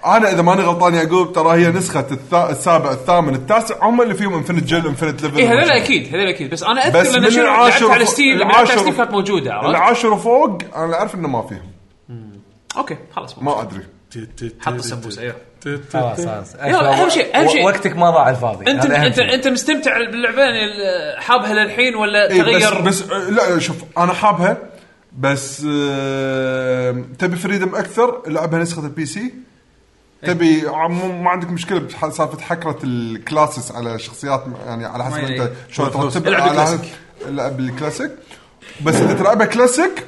C: انا اذا ماني غلطان يعقوب ترى هي نسخه الثا... السابع الثامن التاسع هم اللي فيهم انفنت جل انفنت ليفل
A: اي إيه، هذول اكيد هذول اكيد بس انا
C: بس
A: اذكر
C: من
A: لان شنو
C: العاشر
A: لعبت على
C: فوق-
A: ستيم لما لعبت على
C: العاشر
A: ستيم كانت موجوده عرفت؟
C: العاشر وفوق انا اعرف انه ما فيهم
A: اوكي خلاص
C: ما ادري
A: حط السمبوسه ايوه
E: خلاص خلاص
A: يلا، أهم شيء- أهم شيء.
E: و- وقتك ما ضاع على الفاضي
A: انت
E: هذا أهم
A: انت
E: شيء.
A: انت مستمتع باللعبه يعني ال- حابها للحين ولا
C: إيه بس
A: تغير
C: بس آه، لا شوف انا حابها بس آه، تبي فريدم اكثر العبها نسخه البي سي
A: إيه.
C: تبي عم- ما عندك مشكله بح- سالفه حكره الكلاسس على شخصيات يعني على حسب
A: ما
C: انت
A: يلعب.
C: شلون ترتب
A: العب
C: على-
A: الكلاسيك.
C: العب الكلاسيك بس اذا تلعبها كلاسيك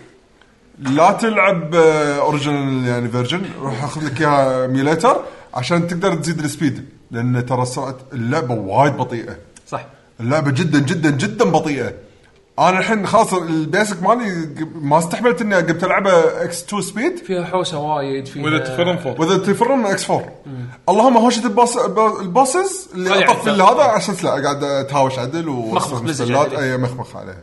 C: لا تلعب اوريجنال يعني فيرجن روح اخذ لك اياها ميليتر عشان تقدر تزيد السبيد لان ترى سرعه اللعبه وايد بطيئه
A: صح
C: اللعبه جدا جدا جدا بطيئه انا الحين خلاص البيسك مالي ما استحملت اني قمت العبه اكس 2 سبيد
A: فيها حوسه وايد
B: وذا
A: فيها
B: تفرن فوق
C: واذا تفرم اكس 4 اللهم هوشه الباص ب- الباسز اللي
A: هذه
C: اطفي
A: عدل.
C: اللي هذا عشان لا قاعد اتهاوش عدل ومخمخ
A: مزج عدل.
C: اي مخمخ عليها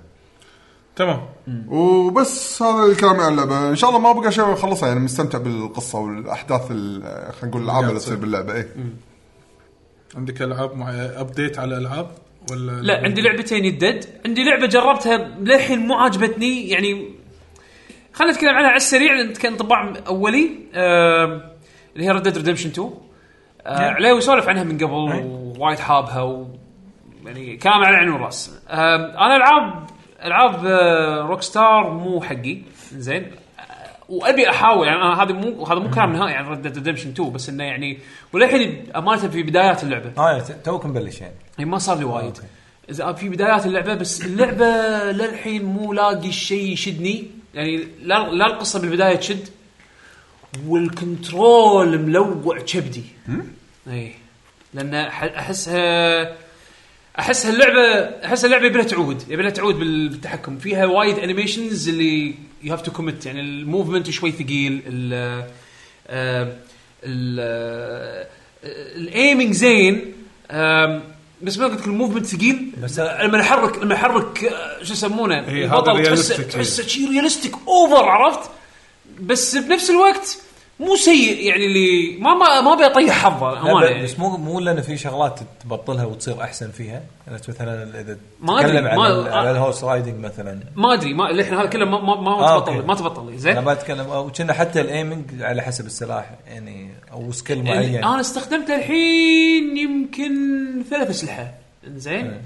B: تمام
C: وبس هذا الكلام عن اللعبه ان شاء الله ما بقى شيء اخلصها يعني مستمتع بالقصه والاحداث ال- خلينا نقول الالعاب اللي تصير إيه. باللعبه اي
B: عندك العاب مع ابديت على العاب ولا
A: لا عندي لعبتين يدد عندي لعبه جربتها للحين مو عاجبتني يعني خلينا نتكلم عنها على السريع لان كان انطباع اولي آم، اللي هي ردد ريدمشن 2 آه، عليوي سولف عنها من قبل ووايد حابها و يعني كلام على عين والراس آم، انا العاب العاب روك ستار آه، مو حقي زين وابي احاول يعني أنا هذا مو هذا مو كلام نهائي عن ريد ديد ريدمشن 2 بس انه يعني وللحين امانه في بدايات اللعبه
E: اه ت- توك مبلش يعني
A: يعني ما صار لي وايد إذا في بدايات اللعبه بس اللعبه للحين مو لاقي الشيء يشدني يعني لا لا القصه بالبدايه تشد والكنترول ملوع كبدي اي لان أح- احسها احسها اللعبه احسها اللعبه يبي لها تعود يبي لها تعود بال- بالتحكم فيها وايد انيميشنز اللي يو هاف تو كوميت يعني الموفمنت شوي ثقيل ال آه، ال آه، الايمنج زين آم، بس ما قلت لك الموفمنت ثقيل بس
E: بس-
A: لما يحرك لما يحرك آه، شو يسمونه
B: إيه،
A: البطل
B: هذا
A: تحسه
B: realistic.
A: تحسه شي ريالستيك اوفر عرفت بس بنفس الوقت مو سيء يعني اللي ما ما ما ابي اطيح حظه
E: لا،
A: امانه يعني.
E: بس مو مو لان في شغلات تبطلها وتصير احسن فيها يعني مثلا اذا
A: ما أدري،
E: تتكلم عن
A: ما-
E: ال- على
A: آه.
E: الهورس رايدنج مثلا
A: ما ادري ما الحين هذا كله ما ما, ما
E: آه،
A: تبطل لي،
E: أوكي.
A: ما تبطل لي
E: انا
A: زين
E: ما اتكلم وكنا حتى الايمنج على حسب السلاح يعني او سكيل معين
A: انا استخدمت الحين يمكن ثلاث اسلحه زين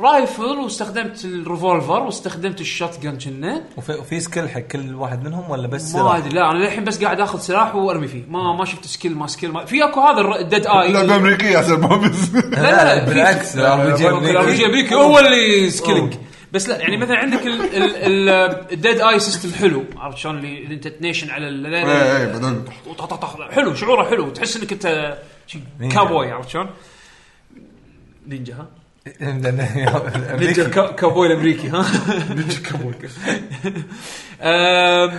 A: رايفل واستخدمت الريفولفر واستخدمت الشوت جن كنا
E: وفي, وفي سكيل حق كل واحد منهم ولا بس
A: ما
E: سلاح؟
A: ادري لا انا للحين بس قاعد اخذ سلاح وارمي فيه ما ما شفت سكيل ما سكيل ما في اكو هذا الديد اي
C: لعبه امريكيه عشان ما بس
A: لا لا لا في-
E: بالعكس الار
A: الار بي
E: بي
A: جي
E: جي
A: امريكي هو اللي سكيلنج بس لا يعني مثلا عندك ال- ال- ال- الديد اي سيستم حلو عرفت شلون اللي اللي انت تنيشن على ال-
C: إيه، إيه، بعدين.
A: وطخ- طخ- طخ. حلو شعوره حلو تحس انك انت شي كابوي عرفت شلون؟ نينجا ها؟ نينجا
E: امريكي
A: كا- كابوي الامريكي ها؟ نينجا كابوي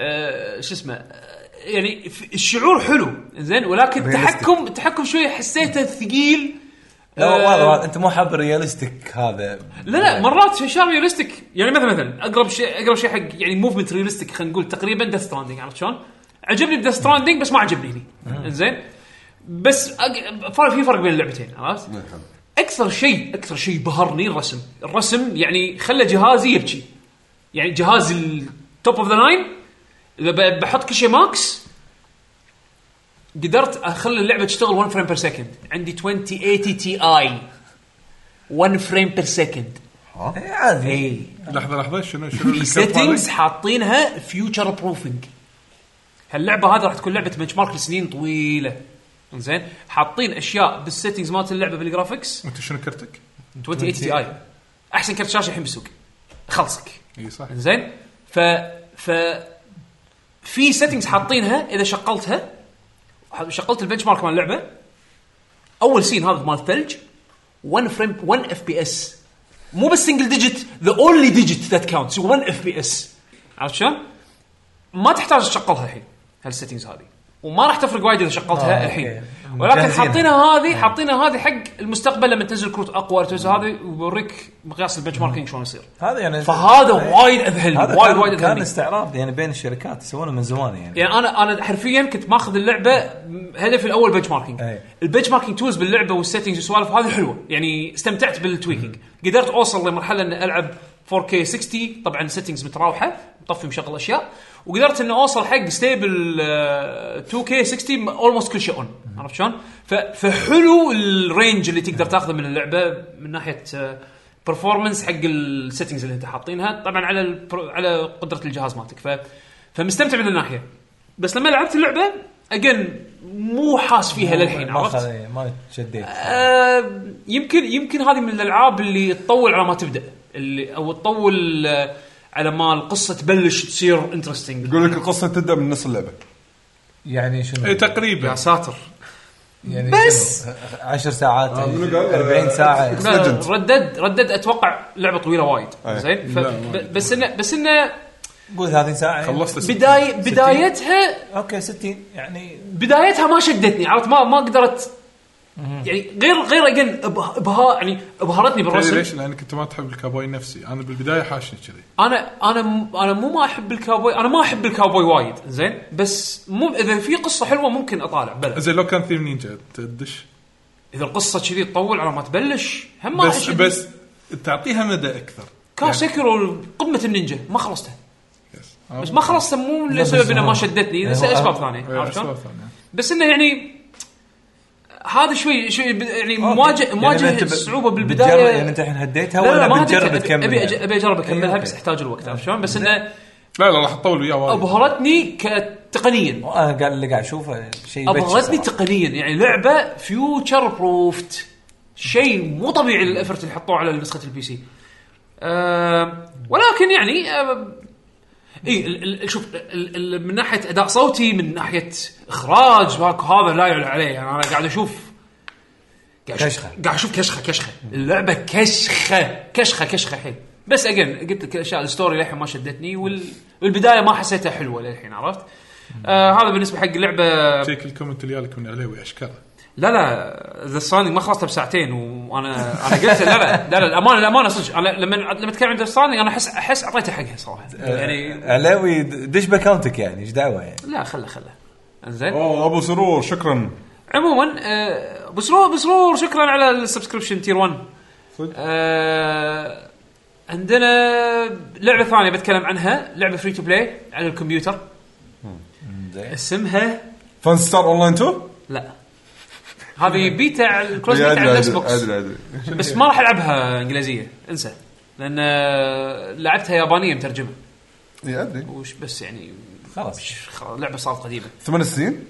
A: أه، شو اسمه آه، يعني ف- الشعور حلو زين ولكن التحكم التحكم شويه حسيته ثقيل
E: لا
A: آه.
E: والله والله انت مو حاب الرياليستيك هذا
A: لا لا مرات اشياء ريالستيك يعني مثلا مثلا اقرب شيء اقرب شيء حق يعني موفمنت ريالستيك خلينا نقول تقريبا ديث ستراندنج عرفت شلون؟ عجبني ديث ستراندنج بس ما عجبني هني زين بس أق... فرق في فرق بين اللعبتين عرفت؟
C: نعم.
A: اكثر شيء اكثر شيء بهرني الرسم، الرسم يعني خلى جهازي يبكي يعني جهازي التوب اوف ذا لاين اذا ب- بحط كل شيء ماكس قدرت اخلي اللعبه تشتغل 1 فريم بير سكند عندي 2080 تي اي 1 فريم بير سكند
E: إيه، عادي
A: اي
B: لحظه لحظه شنو شنو
A: في
B: اللي كفى
A: سيتنجز
B: عليك؟
A: حاطينها فيوتشر بروفنج هاللعبه هذه راح تكون لعبه بنش مارك لسنين طويله زين حاطين اشياء بالسيتنجز مالت اللعبه بالجرافكس
B: انت شنو كرتك؟
A: 20 تي اي احسن كرت شاشه الحين بالسوق خلصك
B: اي صح
A: زين ف ف في سيتنجز حاطينها اذا شغلتها شغلت البنش مارك مال اللعبه اول سين هذا مال الثلج 1 فريم 1 اف بي اس مو بس سنجل ديجيت ذا اونلي ديجيت ذات كاونتس 1 اف بي اس عرفت شلون؟ ما تحتاج تشغلها الحين هالسيتنجز هذه وما راح تفرق وايد اذا شغلتها
E: آه،
A: الحين
E: أوكي. آه.
A: ولكن
E: مجهزينها.
A: حاطينها هذه حاطينها هذه حق المستقبل لما تنزل كروت اقوى تنزل هذه وبوريك مقياس البنش ماركينج شلون يصير
E: هذا يعني
A: فهذا
E: إيه.
A: وايد اذهلني
E: هذا
A: وايد
E: كان-
A: وايد
E: كان
A: اذهلني
E: استعراض يعني بين الشركات يسوونه من زمان يعني
A: يعني انا انا حرفيا كنت ماخذ اللعبه م- هدفي الاول بنش ماركينج
E: أي.
A: البنش ماركينج تولز باللعبه والسيتنجز والسوالف هذه حلوه يعني استمتعت بالتويكينج قدرت اوصل لمرحله ان العب 4K 60 طبعا سيتنجز متراوحه مطفي مشغل اشياء وقدرت ان اوصل حق آه، ستيبل 2K 60 اولموست كل شيء اون عرفت شلون؟ ف- فحلو الرينج اللي تقدر تاخذه من اللعبه من ناحيه برفورمنس حق السيتنجز اللي انت حاطينها طبعا على البر- على قدره الجهاز مالتك ف فمستمتع من الناحيه بس لما لعبت اللعبه اجن مو حاس فيها للحين
E: ما
A: عرفت؟
E: خل- ما شديت
A: آه، يمكن يمكن هذه من الالعاب اللي تطول على ما تبدا اللي او تطول آه، على ما القصه تبلش تصير انترستنج
C: يقول لك القصه تبدا من نص اللعبه
E: يعني
B: إيه،
E: شنو
A: يا
B: تقريبا
A: ساتر
E: يعني
A: بس.
E: 10 ساعات
C: آه، منو قال؟
E: 40 ساعه
A: لا، ردد ردد اتوقع لعبه طويله وايد
C: أي.
A: زين ف-
B: لا، ما
A: ب- بس انه بس انه
E: قول 30 ساعه يعني.
B: خلصت الست-
A: بدايه بدايتها
E: اوكي 60 يعني
A: بدايتها ما شدتني عرفت ما ما قدرت يعني غير غير اجن ابها يعني ابهرتني
B: تدري
A: بالرسم
B: ليش؟ لانك انت ما تحب الكابوي نفسي انا بالبدايه حاشني كذي
A: انا انا م- انا مو ما احب الكاوبوي انا ما احب الكاوبوي وايد زين بس مو اذا في قصه حلوه ممكن اطالع بلا
B: زين لو كان ثيم نينجا تدش
A: اذا القصه كذي تطول على ما تبلش هم ما
B: بس بس تعطيها مدى اكثر
E: يعني-
A: كاسكرو قمه النينجا ما خلصتها بس ما خلصتها مو
E: بس أيوة.
A: لسبب انه
E: هو-
A: ما شدتني
E: هو-
A: لاسباب ثانيه
B: إيه،
A: عرفت شلون؟
B: أسوأ ثانية.
A: بس انه يعني هذا شوي شوي ب- يعني مواجه
E: يعني
A: مواجه
E: أنت ب-
A: الصعوبه
E: بتجرب-
A: بالبدايه
E: يعني انت الحين هديتها
A: لا لا
E: ولا
A: ما
E: بتجرب
A: هديتها.
E: تكمل
A: ابي أج-
E: يعني؟
A: ابي اجرب اكملها
E: أوكي. طيب.
A: بس احتاج الوقت عرفت شلون؟ بس انه
B: لا لا راح تطول وياه وايد
A: ابهرتني ك- تقنيا
E: انا قال اللي قاعد اشوفه شيء بكي
A: ابغتني
E: صراحة.
A: تقنيا يعني لعبه فيوتشر بروفت شيء مو طبيعي الافرت اللي حطوه على نسخه البي سي أه ولكن يعني أه اي ال- ال- شوف ال- ال- من ناحيه اداء صوتي من ناحيه اخراج هاك- هذا لا يعلى عليه يعني انا قاعد اشوف قاعد أشوف-
E: كشخة.
A: قاعد اشوف كشخه كشخه اللعبه كشخه كشخه كشخه حيل بس اجين قلت لك الاشياء الستوري للحين ما شدتني وال... والبدايه ما حسيتها حلوه للحين عرفت؟ آه هذا بالنسبه حق اللعبه
B: شيك الكومنت اللي جالك من عليوي اشكره
A: لا لا ذا ستراندنج ما خلصتها بساعتين وانا انا قلت لا لا لا لا الامانه الامانه صدق انا لما لما اتكلم عن ذا ستراندنج انا احس احس اعطيته حقها صراحه يعني
E: علاوي د- دش باكونتك يعني ايش دعوه يعني
A: لا خله خله زين
C: اوه ابو سرور شكرا
A: عموما آه، بسرور بسرور شكرا على السبسكريبشن تير 1
C: صدق؟
A: آه، عندنا لعبه ثانيه بتكلم عنها لعبه فري تو بلاي على الكمبيوتر اسمها
C: فان ستار اون لاين 2
A: لا هذه بيتا على الكروس بيتا على الاكس بوكس
C: ادري ادري
A: بس ما راح العبها انجليزيه انسى لان آه، لعبتها يابانيه مترجمه
C: اي ادري
A: وش بس يعني
E: خلاص
A: خلاص، لعبه صارت قديمه
C: ثمان سنين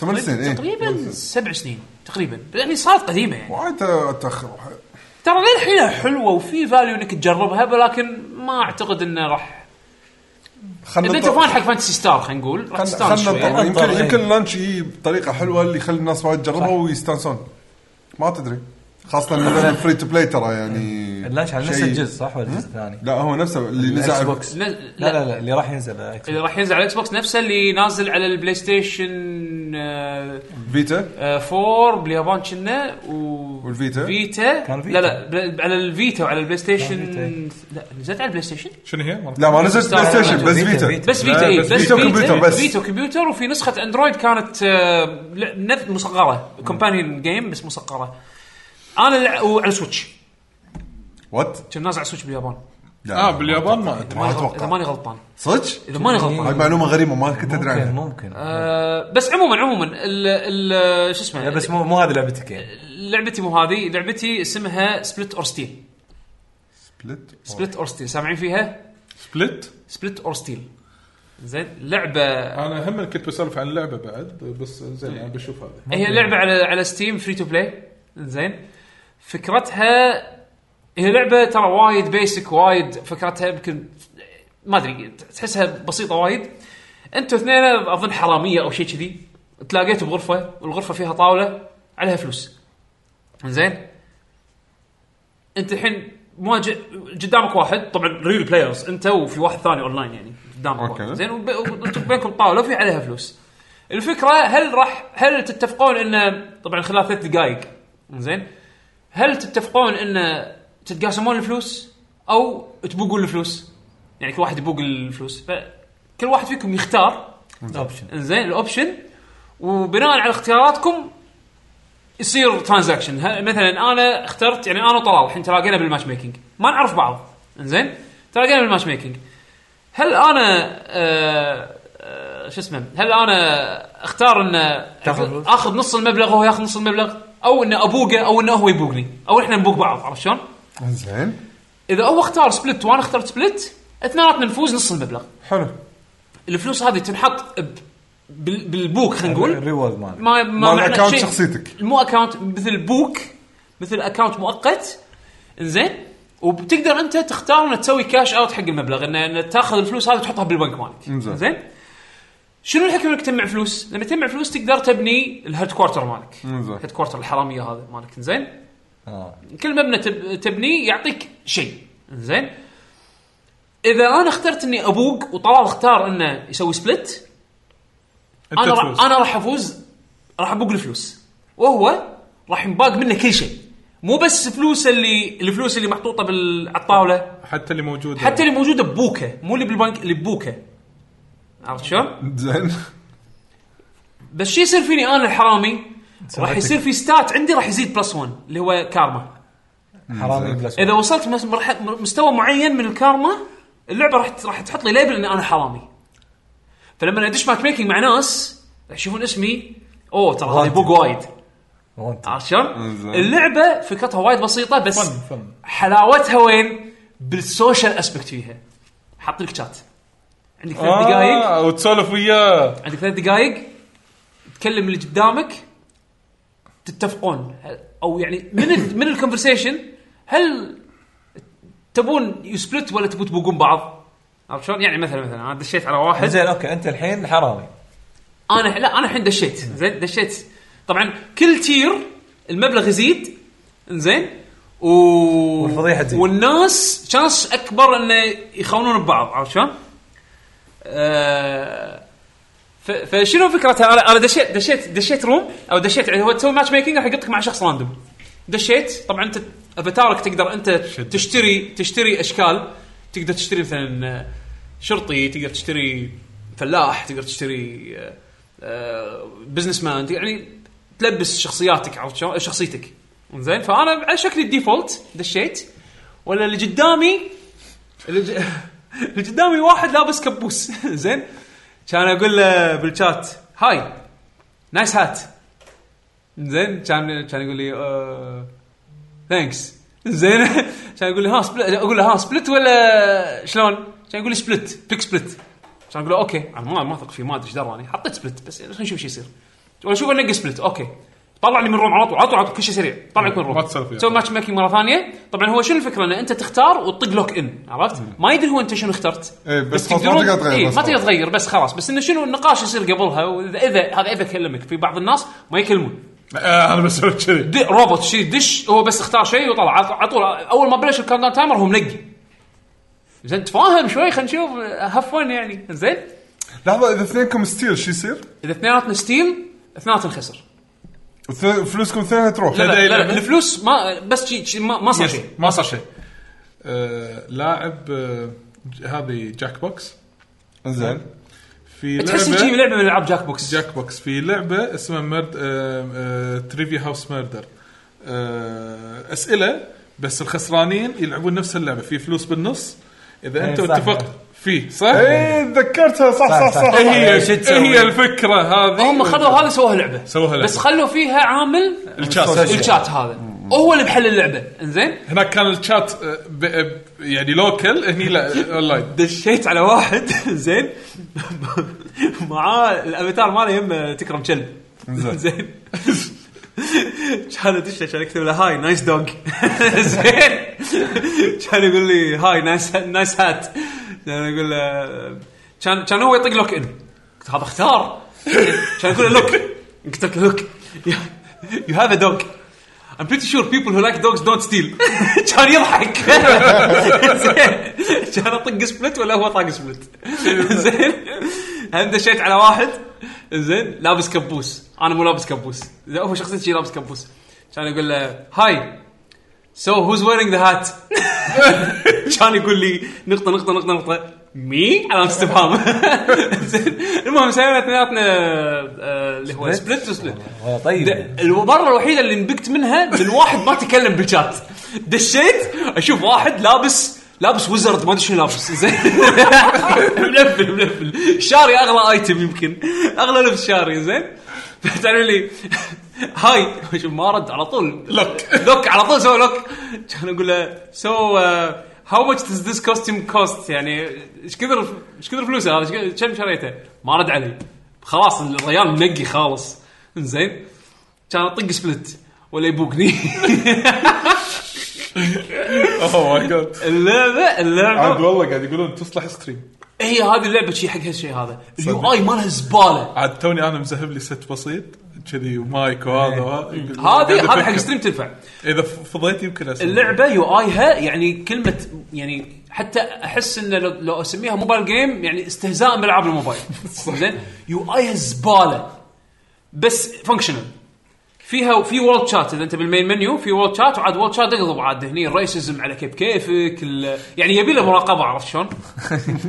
C: ثمان سنين إيه. اي
A: تقريبا طيب، سبع سنين تقريبا يعني صارت قديمه يعني
C: وايد تاخر
A: ترى للحين حلوه وفي فاليو انك تجربها ولكن ما اعتقد انه راح اذا
C: خلنا
A: انت فان حق فانتسي ستار خلينا نقول راح
C: خلنا
A: تستانس شوي
C: ننطر
A: يعني.
C: يمكن
E: إيه.
C: يمكن اللانش يجي بطريقه حلوه اللي يخلي الناس وايد تجربها ويستانسون ما تدري خاصه مثلا فري تو بلاي ترى يعني
E: اللانش على نفس
C: شيء-
E: الجزء صح ولا الجزء الثاني؟
C: لا هو نفسه اللي
E: الاكس
C: نزل
E: بوكس لا
A: لا,
E: لا لا اللي راح ينزل على الاكس
A: اللي راح ينزل على الاكس بوكس نفسه اللي نازل على البلاي ستيشن آه،
C: فيتا
A: آه، 4 باليابان كنا و
C: والفيتا؟
A: فيتا
E: كان فيتا.
A: لا لا بل- على الفيتا وعلى البلاي ستيشن
E: كان فيتا.
A: لا نزلت على البلاي ستيشن
B: شنو هي؟ مرة
C: لا ما نزلت بلاي ستيشن بس
E: فيتا-
C: فيتا
E: فيتا.
A: بس
B: لا،
A: فيتا اي
B: بس
A: بس
C: فيتا وكمبيوتر بس.
A: فيتا وكمبيوتر وفي نسخه اندرويد كانت آه، لا، نف- مصغره كومبانيون جيم بس مصغره انا لع- وعلى سويتش
C: وات
A: كان نازل على سويتش باليابان
B: اه باليابان ما ادري
C: ما
A: اذا
C: اتوقع
A: ماني غلطان
C: صدق؟
A: اذا ماني
C: هاي
A: غلطان
C: معلومه غريبه ما كنت ادري
E: ممكن
C: عنها
E: ممكن
A: آه، بس عموما عموما ال ال شو
E: لا
A: اسمه
E: إيه، بس مو مو هذه لعبتك
F: إيه،
E: يعني
A: لعبتي مو هذه لعبتي اسمها سبلت اور ستيل
C: سبلت
A: سبلت اور ستيل سامعين فيها
B: سبلت
A: سبلت اور ستيل زين لعبه
B: انا هم كنت بسولف عن اللعبه بعد بس زين يعني بشوف هذا
A: هي لعبه على على ستيم فري تو بلاي زين فكرتها هي لعبه ترى وايد بيسك وايد فكرتها يمكن ما ادري تحسها بسيطه وايد انتوا اثنين اظن حراميه او شيء كذي تلاقيتوا بغرفه والغرفه فيها طاوله عليها فلوس زين انت الحين مواجه قدامك واحد طبعا ريل بلايرز انت وفي واحد ثاني اونلاين يعني قدامك
C: أوكي.
A: واحد. زين وب- وانتم بينكم طاوله وفي عليها فلوس الفكره هل راح هل تتفقون انه طبعا خلال ثلاث دقائق زين هل تتفقون ان تتقاسمون الفلوس او تبوقون الفلوس؟ يعني كل واحد يبوق الفلوس فكل واحد فيكم يختار
E: اوبشن
A: انزين الاوبشن وبناء على اختياراتكم يصير ترانزاكشن مثلا انا اخترت يعني انا وطلال الحين تلاقينا بالماتش ميكنج ما نعرف بعض انزين تلاقينا بالماتش ميكنج هل انا آه آه شو اسمه هل انا اختار ان
E: تاخذ فلوس؟
A: اخذ نص المبلغ وهو ياخذ نص المبلغ او ان ابوقه او انه هو يبوقني او احنا نبوق بعض عرفت شلون؟
C: زين
A: اذا هو اختار سبلت وانا اخترت سبلت اثنيناتنا نفوز نص المبلغ
C: حلو
A: الفلوس هذه تنحط ب- بال- بالبوك خلينا نقول
E: الريورد مال
A: ما ما
C: مال
A: معنى
C: account
A: شيء.
C: شخصيتك.
A: مو اكونت مثل بوك مثل اكونت مؤقت انزين وبتقدر انت تختار انك تسوي كاش اوت حق المبلغ إن- ان تاخذ الفلوس هذه وتحطها بالبنك مالك
C: إنزين.
A: زين شنو الحكمه انك تجمع فلوس؟ لما تجمع فلوس تقدر تبني الهيد كوارتر مالك
C: إنزين.
A: الهيد كوارتر الحراميه هذا مالك زين
E: آه.
A: كل مبنى تب... تبنيه يعطيك شيء زين اذا انا اخترت اني ابوق وطلال اختار انه يسوي سبلت
B: انت
A: انا
B: تفوز
A: راح انا راح افوز راح ابوق الفلوس وهو راح ينباق منه كل شيء مو بس فلوس اللي الفلوس اللي محطوطه بال على الطاوله
B: حتى اللي موجود
A: حتى اللي موجوده ببوكه مو اللي بالبنك اللي ببوكه عرفت شلون؟
C: زين
A: بس شو يصير فيني انا الحرامي؟ راح يصير في ستات عندي راح يزيد بلس 1 اللي هو كارما
E: حرامي بلاس
A: اذا وصلت مس- مرح- مستوى معين من الكارما اللعبه راح راح تحط لي ليبل ان انا حرامي فلما ادش ماك ميكنج مع ناس راح يشوفون اسمي اوه ترى هذا يبوق وايد
E: وانت.
A: عرفت شلون؟
C: إنزين.
A: اللعبه فكرتها وايد بسيطه بس
B: فن فن
A: حلاوتها وين؟ بالسوشيال اسبكت فيها حاط لك شات عندك ثلاث دقائق
B: آه وتسولف وياه
A: عندك ثلاث دقائق تكلم اللي قدامك تتفقون او يعني من ال من الكونفرسيشن هل تبون يسبلت ولا تبون تبوقون بعض؟ عرفت شلون؟ يعني مثلا مثلا انا دشيت على واحد
E: زين اوكي انت الحين حرامي
A: انا لا انا الحين دشيت زين دشيت طبعا كل تير المبلغ يزيد زين و
E: والفضيحة تزيد.
A: والناس شانس اكبر انه يخونون ببعض عرفت شلون؟ آه، ف- فشنو فكرتها انا انا دشيت دشيت دشيت روم او دشيت يعني هو تسوي ماتش ميكنج راح يقطك مع شخص راندوم دشيت طبعا انت افاتارك تقدر انت تشتري تشتري اشكال تقدر تشتري مثلا آه، شرطي تقدر تشتري فلاح تقدر تشتري آه، آه، بزنس مان يعني تلبس شخصياتك عرفت شلون شخصيتك زين فانا على شكل الديفولت دشيت ولا اللي قدامي اللي ج- اللي قدامي واحد لابس كبوس زين كان اقول له بالشات هاي نايس هات زين كان كان يقول لي ثانكس زين كان يقول لي ها سبلت اقول له ها سبلت ولا شلون؟ كان يقول لي سبلت بيك سبلت كان اقول له اوكي انا ما ما اثق فيه ما ادري ايش دراني حطيت سبلت بس خلينا نشوف شو يصير ولا شوف انقي سبلت اوكي طلع لي من روم على طول على طول على طول، كل شيء سريع طلع لك من
B: ما
A: روم
B: تسولف يعني.
A: سوي ماتش ميكينج مره ثانيه طبعا هو شنو الفكره انه انت تختار وتطق لوك ان عرفت؟ ما يدري هو انت شنو اخترت
C: إيه، بس خلاص ما
A: تقدرون
C: تقدر تغير
A: إيه
C: بس
A: ما تقدر
C: خلاص.
A: تغير بس خلاص بس انه شنو النقاش يصير قبلها واذا اذا هذا اذا كلمك في بعض الناس ما يكلمون
B: آه، انا بسوي كذي
A: دي روبوت شي دش هو بس اختار شيء وطلع عط- على طول اول ما بلش الكاونت تايمر هو منقي زين تفاهم شوي خلينا نشوف هاف فن يعني زين
C: لحظه اذا اثنينكم ستيل شو يصير؟
A: اذا اثنيناتنا ستيل اثنيناتنا نخسر
C: اثنين- فلوسكم اثنينها تروح
A: لا لا, لا, لا
B: لعبة؟
A: الفلوس ما بس شي شي ما, ما صار شيء
B: ما صار شيء آه، لاعب آه، ج- هذه جاك بوكس
E: إيه،
C: زين
B: في
A: تحس إن شي
B: لعبه
A: لعبه من العاب جاك بوكس
B: جاك بوكس في لعبه اسمها مرد آه، تريفي هاوس ميردر اسئله آه، بس الخسرانين يلعبون نفس اللعبه في فلوس بالنص اذا
E: إيه،
B: انتم
E: صح.
B: اتفقت فيه صح؟ ايه
C: اي إيه، تذكرتها صح صح
E: صح،
C: صح,
E: صح.
C: صح.
B: هي
E: شو تسوي؟
B: إيه هي الفكره هذه
A: هم خذوا هذا سووها لعبه
B: سووها لعبة.
A: بس خلوا فيها عامل
B: الشات
A: الشات هذا هو اللي بحل اللعبه انزين
B: هناك كان الشات آه، ب- ب- يعني لوكل هني لا اونلاين
F: دشيت على واحد زين معاه الافاتار ماله يم تكرم كلب
C: زين.
F: زين كان ادش كان اكتب له هاي نايس دوغ زين كان يقول لي هاي نايس نايس هات كان اقول له كان كان هو يطق لوك ان قلت هذا اختار كان يقول له لوك قلت له لوك يو هاف ا دوغ I'm pretty sure people who like dogs don't steal. كان يضحك زين كان اطق سبلت ولا هو طاق سبلت زين هم دشيت على واحد زين لابس كبوس انا مو لابس كبوس زين، هو شخصيتي شي لابس كبوس كان يقول له هاي سو هوز ويرينج ذا هات كان يقول لي نقطه نقطه نقطه نقطه مي علامه استفهام زين المهم سوينا اثنيناتنا آه، اللي هو سبلت وسبلت
E: والله طيب يعني.
F: د- المره الوحيده اللي انبكت منها من واحد ما تكلم بالشات دشيت اشوف واحد لابس لابس وزرد ما ادري شنو لابس زين ملفل ملفل شاري اغلى ايتم يمكن اغلى لبس شاري زين فتعرف لي هاي شوف ما رد على طول لوك لوك على طول سوى لوك كان اقول له سو هاو ماتش does ذيس كوستيم كوست يعني ايش كثر ايش كثر فلوسه هذا إيش كثر- كم شريته؟ ما رد علي خلاص الريال منقي خالص زين كان اطق سبلت ولا يبوقني
B: اوه
A: Oh
B: ماي جاد
F: اللعبه
B: عاد
F: اللعبه
B: والله قاعد يقولون تصلح ستريم
F: هي إيه، هذه اللعبه شي حق هالشيء هذا اليو اي مالها زباله
B: عاد توني انا مذهب لي ست بسيط كذي ومايك وهذا وهذا يقول- قاعد
F: هذه هذه
B: أفكر.
F: حق ستريم تنفع
B: اذا ف- فضيت يمكن اسوي
F: اللعبه
A: يو ايها يعني كلمه يعني حتى احس ان لو, لو اسميها موبايل جيم يعني استهزاء بالعاب الموبايل زين يو ايها زباله بس فانكشنال فيها في وورد شات اذا انت بالمين منيو في وورد شات وعاد وورد شات تقلب عاد هني الريسزم على كيف كيفك ال- يعني يبي له مراقبه عرفت شلون؟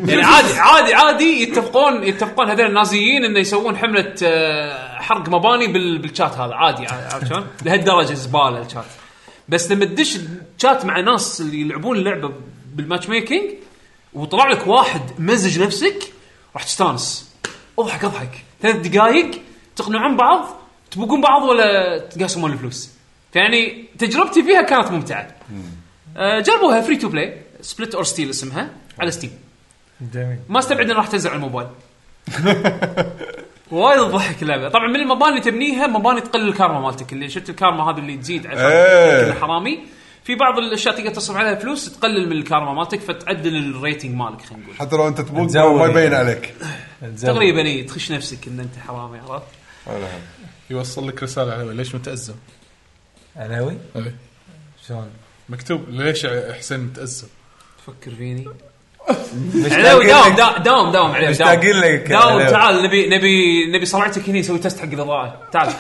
A: يعني عادي عادي عادي يتفقون يتفقون هذول النازيين انه يسوون حمله آه، حرق مباني بال- بالشات هذا عادي عرفت شلون؟ لهالدرجه زباله الشات بس لما تدش شات مع ناس اللي يلعبون اللعبه بالماتش ميكينج وطلع لك واحد مزج نفسك راح تستانس اضحك اضحك ثلاث دقائق تقنعون بعض تبوقون بعض ولا تقاسمون الفلوس فيعني تجربتي فيها كانت ممتعه آه، جربوها فري تو بلاي سبلت اور ستيل اسمها على ستيم
E: جميل
A: ما استبعد انها راح تنزل على الموبايل وايد تضحك اللعبه طبعا من المباني تبنيها مباني تقلل الكارما مالتك اللي شفت الكارما هذا اللي تزيد عشان
C: إيه.
A: تكون حرامي في بعض الاشياء تقدر تصرف عليها فلوس تقلل من الكارما مالتك فتعدل الريتنج مالك خلينا نقول
C: حتى لو انت تبوق
E: تزود
C: ما يبين
E: يعني.
C: عليك
A: تقريبا إيه، تخش نفسك ان انت حرامي عرفت
B: يوصل لك رساله على ليش متازم؟
E: علوي
B: إيه.
E: شلون؟
B: مكتوب ليش يا حسين متازم؟
A: تفكر فيني عليوي داوم
E: مشتاقين لك-
A: دا- داوم داوم عليوي داوم
E: مشتاقين لك يا
A: داوم
E: عليوي.
A: تعال نبي نبي نبي صلعتك هني نسوي تست حق الاضاءه تعال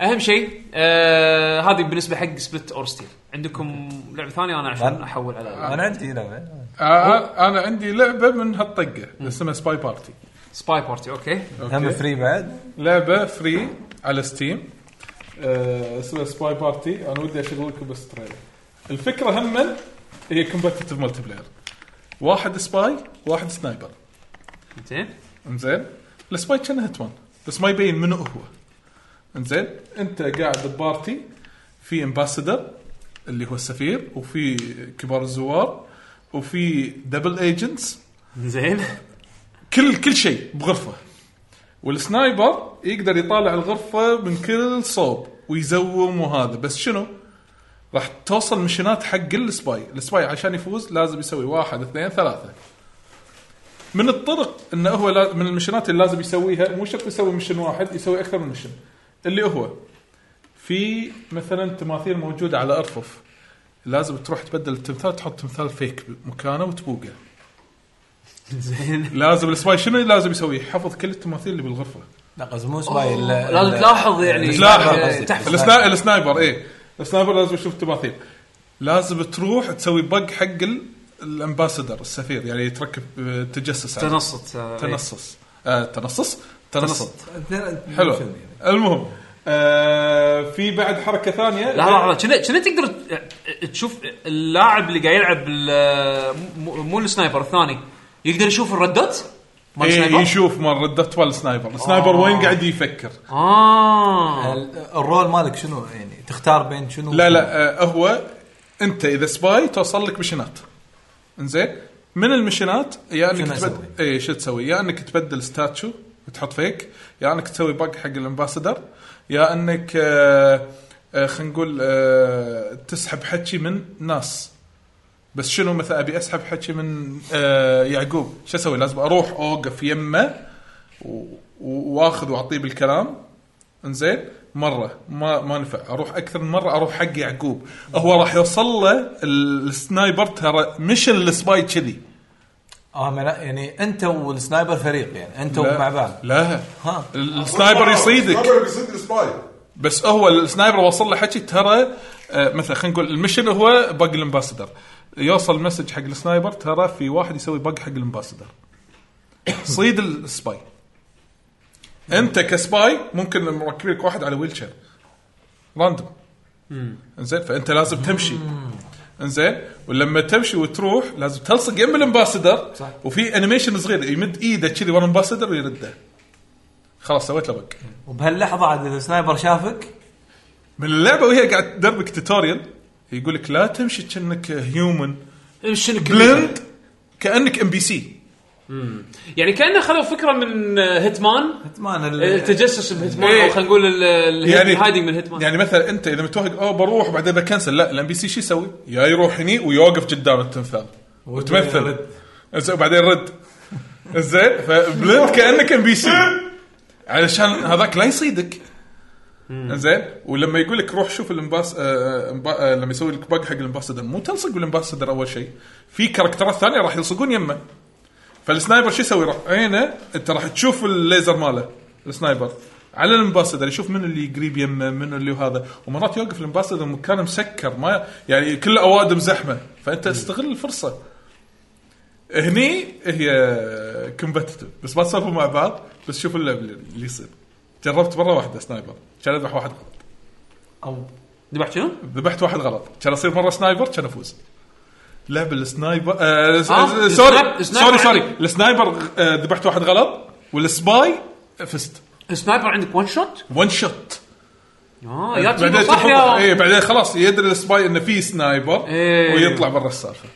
A: اهم شيء آه هذه بالنسبه حق سبلت اور ستيل عندكم لعبه ثانيه انا عشان
E: لا.
A: احول على
E: انا عندي لعبه
B: آه انا عندي لعبه من هالطقه اسمها سباي بارتي
A: سباي بارتي اوكي
E: هم فري بعد
B: لعبه فري على ستيم آه اسمها سباي بارتي انا ودي اشغل لكم بس تريلر الفكره هم هي كومبتتف مالتي بلاير واحد سباي واحد سنايبر
A: زين
B: انزين السباي كان هيتمان بس ما يبين منو هو انزين انت قاعد ببارتي في امباسدر اللي هو السفير وفي كبار الزوار وفي دبل ايجنتس
A: زين
B: كل كل شيء بغرفه والسنايبر يقدر يطالع الغرفه من كل صوب ويزوم وهذا بس شنو؟ راح توصل مشينات حق السباي، السباي عشان يفوز لازم يسوي واحد اثنين ثلاثه. من الطرق انه هو لا- من المشينات اللي لازم يسويها مو شرط يسوي مشن واحد يسوي اكثر من مشن. اللي هو في مثلا تماثيل موجوده على ارفف لازم تروح تبدل التمثال تحط تمثال فيك مكانه وتبوقه
F: زين
B: لازم السباي شنو لازم يسوي يحفظ كل التماثيل اللي بالغرفه
E: لا قصدي مو سباي
F: لازم تلاحظ يعني
B: تلاحظ
F: تحفظ
B: السنا- السنايبر اي السنايبر لازم يشوف تماثيل لازم تروح تسوي بق حق ال- الامباسادر السفير يعني تركب آه، تجسس عليه.
F: تنصت آه،
B: تنصص آه، تنصص تنصت حلو
E: حلو
B: المهم آه في بعد حركه ثانيه
F: يعني. لا لا لا كنا كنا تقدر ت- تشوف اللاعب اللي قاعد يلعب ال- مو- مو السنايبر الثاني يقدر يشوف الردات مال آه.
B: إيه
F: السنايبر
B: يشوف مال ردت مال السنايبر السنايبر وين قاعد يفكر
E: أه.
F: اه
E: الرول مالك شنو يعني تختار بين شنو
B: لا لا آه هو انت اذا سباي توصل لك مشينات انزين من المشينات يا انك
E: شنو
B: تبدل
E: أسوي؟
B: اي شو تسوي يا انك تبدل ستاتشو وتحط فيك يا انك تسوي باق حق الامباسادر يا انك آه آه خلينا نقول آه تسحب حكي من ناس بس شنو مثلا ابي اسحب حكي من آه يعقوب شو اسوي لازم اروح اوقف يمه و- و- واخذ واعطيه بالكلام انزين مره ما ما نفع اروح اكثر من مره اروح حق يعقوب هو راح يوصل له السنايبر ترى مش السباي كذي
E: اه ما لا يعني انت والسنايبر فريق يعني انت مع بعض
B: لا
E: ها.
B: ال- السنايبر يصيدك
C: السنايبر يصيد السباي
B: بس هو السنايبر وصل له حكي ترى آه، مثلا خلينا نقول المشن هو بق الامباسدر يوصل مسج حق السنايبر ترى في واحد يسوي بق حق الامباسدر صيد السباي انت كسباي ممكن مركب لك واحد على ويلشير راندوم انزين فانت لازم تمشي انزين ولما تمشي وتروح لازم تلصق يم الامباسدر
E: صح.
B: وفي انيميشن صغير يمد ايده كذي ورا الامباسدر ويرده خلاص سويت له بق
E: وبهاللحظه عاد السنايبر شافك
B: من اللعبه وهي قاعد تدربك توتوريال يقول لك لا تمشي كأنك هيومن
F: شنو
B: بلند كانك ام بي سي
F: يعني كانه خذوا فكره من آه، هيتمان
E: اتمان ال-
F: التجسس بهيتمان
B: إيه.
F: او خلينا نقول يعني الهايدنج من هيتمان
B: يعني مثلا انت اذا متوهق اوه بروح بعدين بكنسل لا الام بي سي شو يسوي؟ يا يروح هني ويوقف قدام التمثال وتمثل
E: يرد.
B: زين، وبعدين رد زين فبلند كانك ام بي سي علشان هذاك لا يصيدك زين ولما يقول لك روح شوف الامباس آه، آه، إمبا- آه، لما يسوي لك باق حق الامباسدر مو تلصق بالامباسدر اول شيء في كاركترات ثانيه راح يلصقون يمه فالسنايبر شو يسوي؟ راح عينه انت راح تشوف الليزر ماله السنايبر على الامباسدر يشوف من اللي يقريب يمه من اللي هذا ومرات يوقف الامباسدر مكانه مسكر ما يعني كل اوادم زحمه فانت تستغل الفرصه هني هي كومبتتف بس ما تسولفوا مع بعض بس شوف اللعب اللي اللي يصير جربت مره واحده سنايبر كان اذبح واحد غلط
E: او
F: ذبحت شنو؟
B: ذبحت واحد غلط كان اصير مره سنايبر كان افوز لعب السنايبر آه س-
F: آه،
B: سوري
F: السنايب-
B: سوري
F: السنايبر
B: سوري
F: عندك.
B: السنايبر آه، ذبحت واحد غلط والسباي فزت
F: السنايبر عندك ون شوت؟
B: ون شوت
F: اه يا تجيبه
B: بعدين
F: صح
B: تحط إيه.
F: يا
B: اي بعدين خلاص يدري السباي انه في سنايبر
F: إيه.
B: ويطلع برا السالفه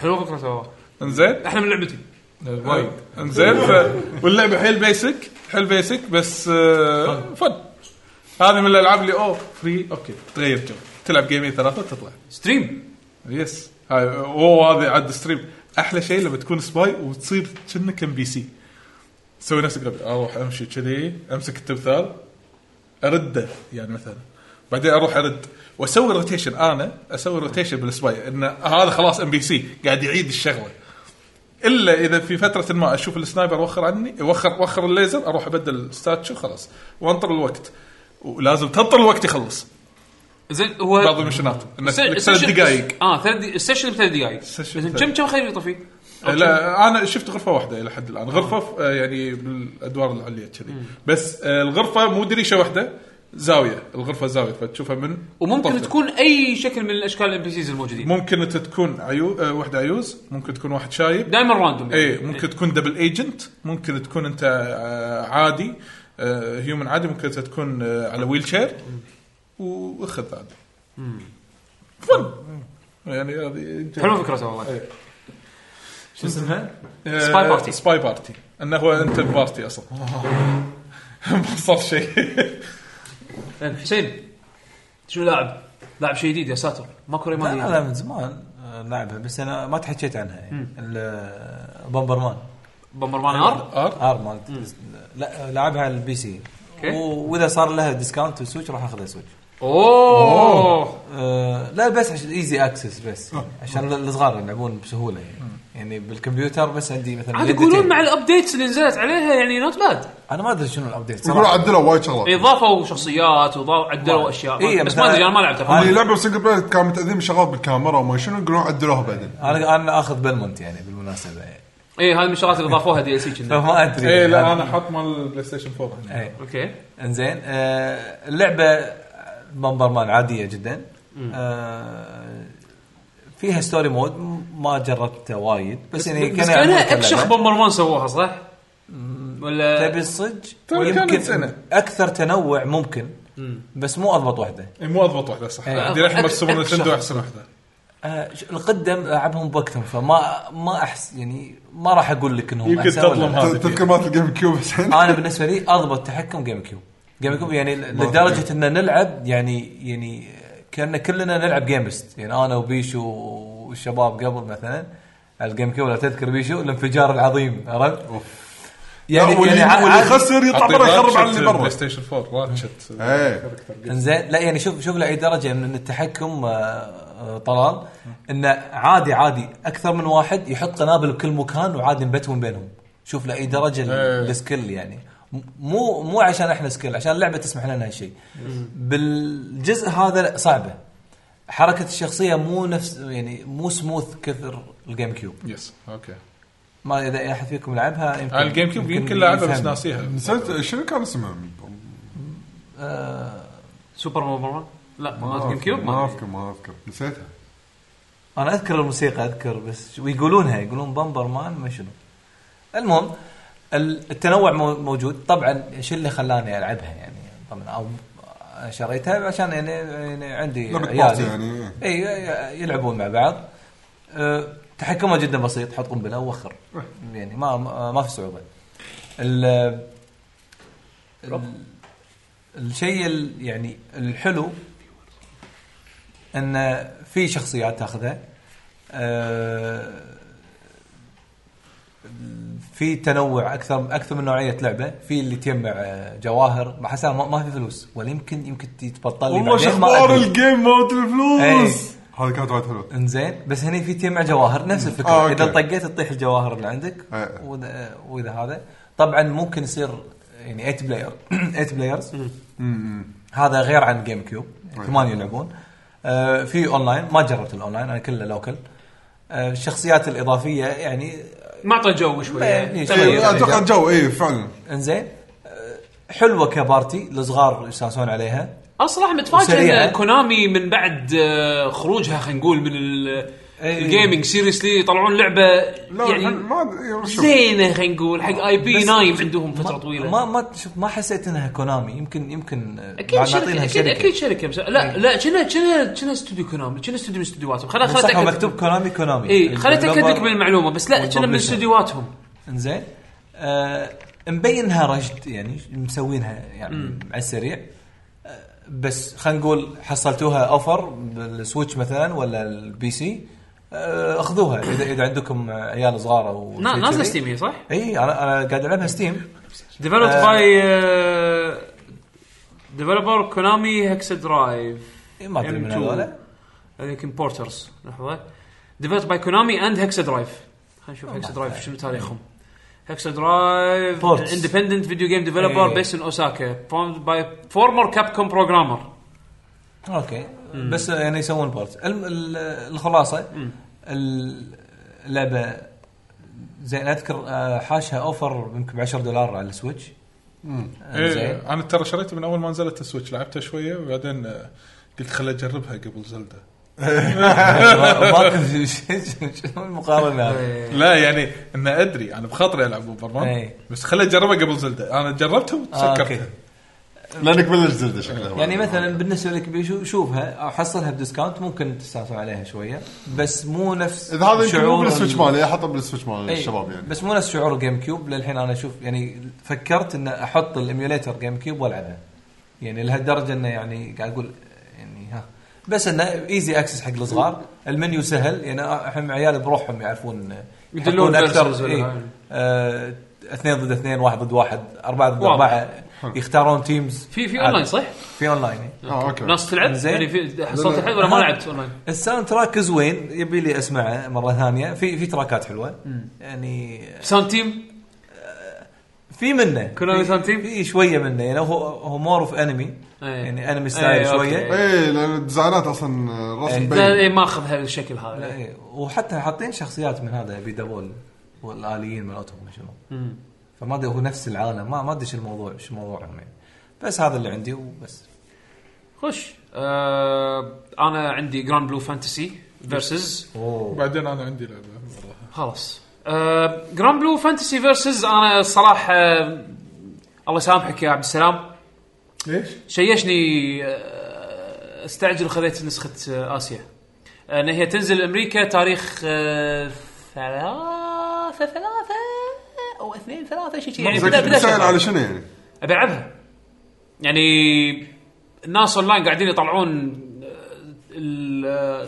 F: حلوه فكره سوا
B: انزين
F: احلى من لعبتي
B: وايد انزين ف... واللعبه حيل بيسك حيل بيسك بس آه فن هذه من الالعاب اللي اوه فري اوكي تغير جو تلعب جيمين ثلاثه تطلع
F: ستريم
B: يس هاي اوه هذا عاد ستريم احلى شيء لما تكون سباي وتصير كأنك ام بي سي تسوي نفسك غبي اروح امشي كذي امسك التمثال ارده يعني مثلا بعدين اروح ارد واسوي روتيشن انا اسوي روتيشن بالسباي ان هذا خلاص ام بي سي قاعد يعيد الشغله الا اذا في فتره ما اشوف السنايبر وخر عني وخر وخر الليزر اروح ابدل ستاتشو خلاص وانطر الوقت ولازم تنطر الوقت يخلص
F: زين هو
B: بعض المشنات إنه
F: السيشن-
B: لك ثلاث
F: السيشن-
B: دقائق
F: اه ثلاث دقائق السيشن بثلاث دقائق
B: السيشن
F: زين،
B: بثلاث.
F: كم كم خريطه فيه؟
B: لا انا شفت غرفه واحده الى حد الان غرفه آه، يعني بالادوار العليا كذي بس آه، الغرفه مو دريشه واحده زاويه الغرفه زاويه فتشوفها من
F: وممكن
B: طرفين.
F: تكون اي شكل من الاشكال الام بي سيز الموجودين
B: ممكن انت تكون عيو آه، واحده عيوز ممكن تكون واحد شايب
F: دائما راندوم
B: اي إيه، ممكن تكون دبل ايجنت ممكن تكون انت آه، عادي هيومن عادي ممكن انت تكون آه، على ويل شير واخذ عادي فن يعني هذه
F: حلوه فكره إيه. سوا والله
B: إيه.
E: شو اسمها؟
B: آه،
F: سباي بارتي.
B: سباي بارتي انه هو انت بارتي اصلا ما صار شيء
F: زين، حسين شنو لاعب؟ لاعب شيء جديد يا ساتر ماكو ريمان
E: لا
F: جديد.
E: لا من زمان آه، لعبها بس انا ما تحكيت عنها يعني ال- بومبرمان
F: بمرمان ار
B: ار
E: ار مالت لا لعبها على البي سي
A: اوكي.
E: و- واذا صار لها ديسكاونت وسويتش راح اخذها سويتش
A: اوه
E: آه، لا بس عشان ايزي اكسس بس
B: آه.
E: عشان الصغار يلعبون بسهوله يعني يعني بالكمبيوتر بس عندي مثلا
A: عاد
E: يدتين.
A: يقولون مع الابديتس اللي نزلت عليها يعني نوت باد
E: انا ما ادري شنو الابديت
C: يقولوا
E: صراحه
C: عدلوا وايد شغلات
A: اضافوا شخصيات وضاف عدلوا اشياء
E: إيه،
A: بس
E: مثلاً-
A: ما ادري انا ما لعبتها
C: اللي لعبوا سنجل بلاير كان متاذين من شغلات بالكاميرا وما شنو يقولون عدلوها بعدين
E: انا انا اخذ بلمونت يعني بالمناسبه يعني.
A: اي هذه إيه، من الشغلات اللي ضافوها دي ال سي كنا
E: فما ادري
B: اي إيه، لا انا حاط مال البلاي ستيشن 4 هنا
E: إيه.
A: اوكي
E: انزين آه اللعبه بمبر مان عاديه جدا آه فيها ستوري مود م- ما جربته وايد بس يعني
A: بس
E: كانوا يعملون
A: كانها اكشخ
E: كلها.
A: بومبر مان سووها صح؟ ولا
E: تبي الصج
B: ترى طيب، كانت
E: يمكن
B: سنة.
E: اكثر تنوع ممكن بس مو اضبط واحده
B: اي مو اضبط واحده صح
E: إيه.
B: دي الحين
A: أك-
B: مال سوبر
A: أكشن.
B: نتندو احسن واحده
E: آه القدم العبهم بوقتهم فما ما احس يعني ما راح اقول لك انهم
B: يمكن
E: أحسن ولا
B: تظلم
E: لا.
B: هذا
C: تذكر مالت الجيم كيوب حسين
E: انا بالنسبه لي اضبط تحكم جيم كيوب جيم كيوب يعني لدرجه ان نلعب يعني يعني كان كلنا نلعب جيمست يعني انا وبيشو والشباب قبل مثلا على الجيم كيوب لو تذكر بيشو الانفجار العظيم عرفت؟ يعني
C: لا، واللي
E: يعني ع-
C: واللي
E: عادي.
C: يخسر يطلع برا يخرب على اللي
B: بلاي
C: برا
B: ستيشن 4 راتشت
E: إيه.
C: ايه
E: انزين لا يعني شوف شوف لاي درجه من التحكم آه، آه، طلال انه عادي عادي اكثر من واحد يحط قنابل بكل مكان وعادي نبتون بينهم شوف لاي درجه ال-
B: إيه.
E: السكيل يعني م- مو مو عشان احنا سكيل عشان اللعبه تسمح لنا هالشيء بالجزء هذا لا صعبه حركه الشخصيه مو نفس يعني مو سموث كثر الجيم كيوب
B: يس اوكي
E: ما اذا احد فيكم لعبها يمكن
B: على آه، الجيم كيوب يمكن لاعبها بس
E: يفهم.
B: ناسيها
C: نسيت شنو كان اسمه؟
E: آه،
A: سوبر بومبر مان؟ لا ما
C: ما
A: جيم كيوب
C: ما
A: ما
C: اذكر ما اذكر نسيتها
E: انا اذكر الموسيقى اذكر بس ويقولونها يقولون بامبر مان ما شنو المهم ال- التنوع مو- موجود طبعا شو اللي خلاني العبها يعني طبعا او شريتها عشان يعني, يعني عندي
C: لعبة
E: عيالي
C: بارتي يعني،
E: اي يلعبون مع بعض أه، تحكمها جدا بسيط حط قنبله ووخر
C: إيه.
E: يعني ما ما- ما في صعوبه ال- ال- الشيء ال- يعني الحلو ان في شخصيات تاخذها آه، في تنوع اكثر اكثر من نوعيه لعبه في اللي تجمع آه، جواهر مع حسن ما, ما في فلوس ولا يمكن يمكن تتبطل لي
C: والله شو
E: بعدين، ما
C: اخبار
E: أدري.
C: الجيم مالت الفلوس
E: إيه.
C: هذه كانت وايد حلوه
E: انزين بس هني في تجمع جواهر نفس الفكره
C: آه،
E: آه،
C: أوكي.
E: اذا طقيت تطيح الجواهر اللي عندك
C: آه.
E: وإذا- آه، واذا هذا طبعا ممكن يصير يعني 8 بلاير 8 بلايرز هذا غير عن جيم كيوب ثمانيه يلعبون آه، في اونلاين ما جربت الاونلاين انا كله لوكل آه، الشخصيات الاضافيه يعني
A: ما اعطى جو شويه
E: يعني
C: إيه،
E: شوية
C: اتوقع الجو اي فعلا
E: انزين آه، حلوه كبارتي الصغار يساسون عليها
A: اصلا متفاجئ
E: وسريعة.
A: ان كونامي من بعد آه، خروجها خلينا نقول من ال-
E: إيه.
A: الجيمنج سيريسلي يطلعون لعبه
C: لا
A: يعني
C: ما إيه، شوف.
A: زينه خلينا نقول حق اي بي
E: بس-
A: نايم عندهم فتره
E: ما-
A: طويله
E: ما ما شوف ما حسيت انها كونامي يمكن يمكن آه،
A: اكيد
E: بعد
A: شركه
E: نعطينها
A: اكيد اكيد شركه بس
E: إيه.
A: لا لا كنا كنا كنا استوديو كونامي كنا استوديو من استوديوهاتهم خليني
E: صح هو
A: خليني
E: مكتوب إيه، كونامي كونامي
A: اي خليني اتاكد لك من
E: الديفلوبر.
A: المعلومه بس لا كنا من
E: والpublisher.
A: استوديوهاتهم
E: انزين آه مبينها رشد يعني مسوينها يعني على السريع آه، بس خلينا نقول حصلتوها اوفر بالسويتش مثلا ولا البي سي آه، اخذوها اذا اذا عندكم عيال صغار او
A: نا-
E: شيء
A: نازله
E: كذي.
A: ستيم هي صح؟
E: اي انا انا قاعد العبها ستيم
A: ديفلوبد
E: آه.
A: باي آه، ديفلوبر كونامي هكس درايف
E: إي، ما ادري من
A: M2.
E: هذول
A: يمكن بورترز لحظه ديفلوبد باي كونامي اند هكس درايف خلينا
E: Oh
A: نشوف هكس درايف شنو تاريخهم هكس درايف
E: Ports.
A: اندبندنت فيديو جيم ديفلوبر
E: إيه.
A: بيس ان اوساكا فورمد باي فورمر كاب كوم بروجرامر
E: اوكي بس يعني يسوون بورت الم- ال- الخلاصه ال- اللعبه زين اذكر آه، حاشها اوفر يمكن ب 10 دولار على السويتش آه، زين
B: ايه انا ترى شريته من اول ما نزلت السويتش لعبتها شويه وبعدين آه، قلت خل اجربها قبل زلده
E: ما- شنو المقارنه
C: إيه.
E: هذه؟
B: لا يعني ان ادري انا بخاطري العب بوبرمان
E: إيه.
B: بس خل اجربها قبل زلده انا جربتها
E: آه،
B: وسكرتها
E: أوكي.
C: لانك بلش زلده شكلها
E: يعني مثلا بالنسبه لك بيشو شوفها او حصلها بديسكاونت ممكن تستانسون عليها شويه بس مو نفس
C: اذا هذا يمكن مو
E: شعور
C: بالسويتش
E: ال-
C: مالي احطه بالسويتش مال
A: إيه.
E: إي،
C: الشباب يعني
E: إيه، بس مو نفس شعور جيم كيوب للحين انا اشوف يعني فكرت ان احط الاميوليتر جيم كيوب والعبها يعني لهالدرجه انه يعني قاعد اقول يعني ها بس انه ايزي اكسس حق الصغار المنيو سهل يعني الحين عيالي بروحهم يعرفون
A: يدلون
E: يحطون
A: verses
E: اكثر
A: ولا
E: إي.
A: هاي.
E: آه، اثنين ضد اثنين واحد ضد واحد اربعه ضد اربعه يختارون تيمز
A: في في
E: عادي.
A: اونلاين صح؟
E: في اونلاين
C: اه اوكي
A: ناس تلعب
E: زين.
A: يعني في حصلت الحين ولا ما لعبت اونلاين؟
E: الساوند تراك زوين يبي لي اسمعه مره ثانيه في في تراكات حلوه يعني
A: ساوند تيم
E: في منه
A: كونامي ساوند تيم؟
E: في شويه منه يعني هو هو مور اوف انمي
A: إيه.
E: يعني انمي
A: إيه،
E: ستايل
A: أوكي.
E: شويه
C: اي لان إيه، الديزاينات اصلا رسم
E: إيه.
A: لا
C: بين
A: إيه، ما اخذ هالشكل هذا
E: إيه، وحتى حاطين شخصيات من هذا ابي دبول والاليين مالتهم شنو فما ادري هو نفس العالم ما ما ادري شو الموضوع شو موضوعهم يعني بس هذا اللي عندي وبس
A: خش آه انا عندي جراند بلو فانتسي فيرسز
E: اوه
B: بعدين انا عندي لعبه والله.
A: خلاص آه جراند بلو فانتسي فيرسز انا الصراحه آه، الله يسامحك يا عبد السلام
B: ليش؟
A: شيشني آه، استعجل وخذيت نسخه آه، اسيا آه، ان هي تنزل امريكا تاريخ آه، ثلاثة ثلاثة او اثنين ثلاثة شيء شيء يعني
C: زين
A: بدا بدا
C: بتسأل
A: شهر.
C: على شنو يعني؟
A: ابي العبها يعني الناس اونلاين قاعدين يطلعون آه،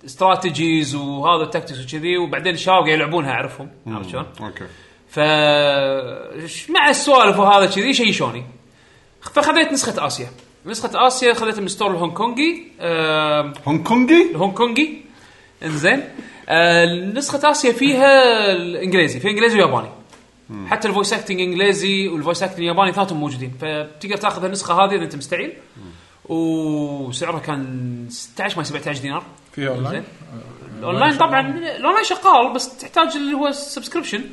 A: الاستراتيجيز وهذا التكتكس وكذي وبعدين الشباب قاعد يلعبونها اعرفهم عرفت شلون؟
C: اوكي
A: ف ش- مع السوالف وهذا كذي شيشوني فخذيت نسخه اسيا نسخه اسيا خذيتها من ستور الهونغ كونغي آم،
C: هونغ كونجي؟
A: الهونغ كونغي انزين آه، نسخه اسيا فيها الانجليزي في انجليزي وياباني حتى الفويس اكتنج انجليزي والفويس اكتنج الياباني ثلاثهم موجودين فتقدر تاخذ النسخه هذه اذا انت مستعيل وسعرها كان 16 ما 17 دينار
B: في اونلاين؟
A: الاونلاين طبعا الاونلاين شغال بس تحتاج اللي هو السبسكريبشن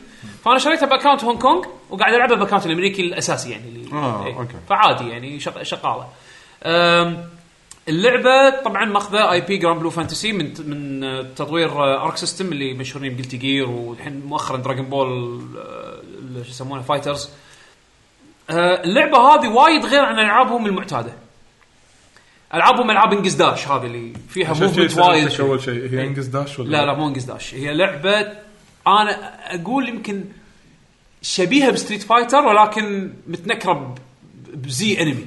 A: فانا شريتها باكونت هونغ كونغ وقاعد العبها باكونت الامريكي الاساسي يعني اللي
C: آه،
A: إيه.
C: أوكي.
A: فعادي يعني شغ- شغاله أم، اللعبه طبعا ماخذه اي بي جراند بلو فانتسي من من آه، تطوير آه، ارك سيستم اللي مشهورين بجلتي جير والحين مؤخرا دراجون بول آه، اللي شو يسمونه فايترز آه، اللعبه هذه وايد غير عن العابهم المعتاده العابهم العاب انجز داش هذه اللي فيها
B: شفت شي
A: موفمنت
B: سألتك
A: وايد إيه.
B: اول شيء هي انجز داش ولا
A: لا لا مو انجز داش هي لعبه انا اقول يمكن شبيهه بستريت فايتر ولكن متنكره ب- بزي انمي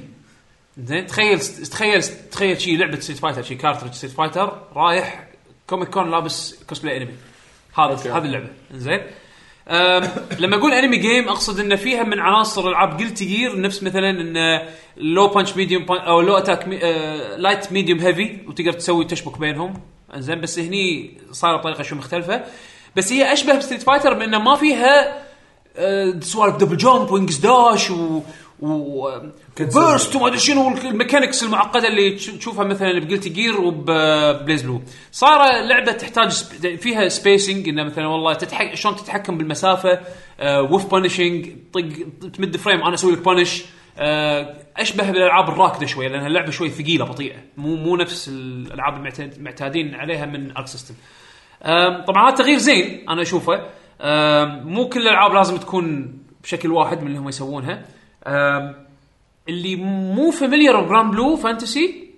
A: زين تخيل تخيل تخيل شي لعبه ستريت فايتر شي كارترج ستريت فايتر رايح كوميك كون لابس كوسبلاي انمي هذا هذه اللعبه زين أم، لما اقول انمي جيم اقصد ان فيها من عناصر العاب جلتي جير نفس مثلا ان لو بانش ميديوم او لو اتاك لايت ميديوم هيفي وتقدر تسوي تشبك بينهم انزين بس هني صار بطريقه شوي مختلفه بس هي اشبه بستريت فايتر بانه ما فيها آه، سوالف دبل جامب وينجز داش و و بيرست وما ادري شنو الميكانكس المعقده اللي تش- تشوفها مثلا بجلتي جير وببليز بلو صار لعبه تحتاج سب... فيها سبيسنج انه مثلا والله تتحك... شلون تتحكم بالمسافه آه وف بانشنج طق تمد فريم انا اسوي لك بانش آه اشبه بالالعاب الراكده شويه لانها اللعبه شوي ثقيله بطيئه مو مو نفس الالعاب المعتاد- المعتادين عليها من ارك سيستم أم، طبعا هذا تغيير زين انا اشوفه أم، مو كل الالعاب لازم تكون بشكل واحد من اللي هم يسوونها أم، اللي مو فاميليار بجراند بلو فانتسي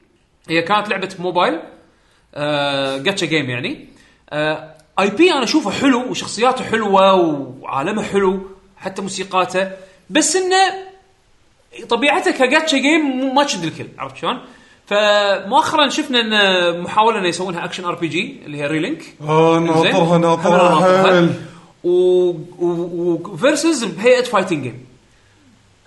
A: هي كانت لعبه موبايل جاتشا جيم يعني اي بي انا اشوفه حلو وشخصياته حلوه وعالمه حلو حتى موسيقاته بس انه طبيعته كجاتشا جيم مو- ما تشد الكل عرفت شلون؟ فمؤخرا شفنا ان محاوله انه يسوونها اكشن ار بي جي اللي هي ريلينك
C: اه ناطرها ناطرها حيل
A: وفيرسز بهيئه فايتنج جيم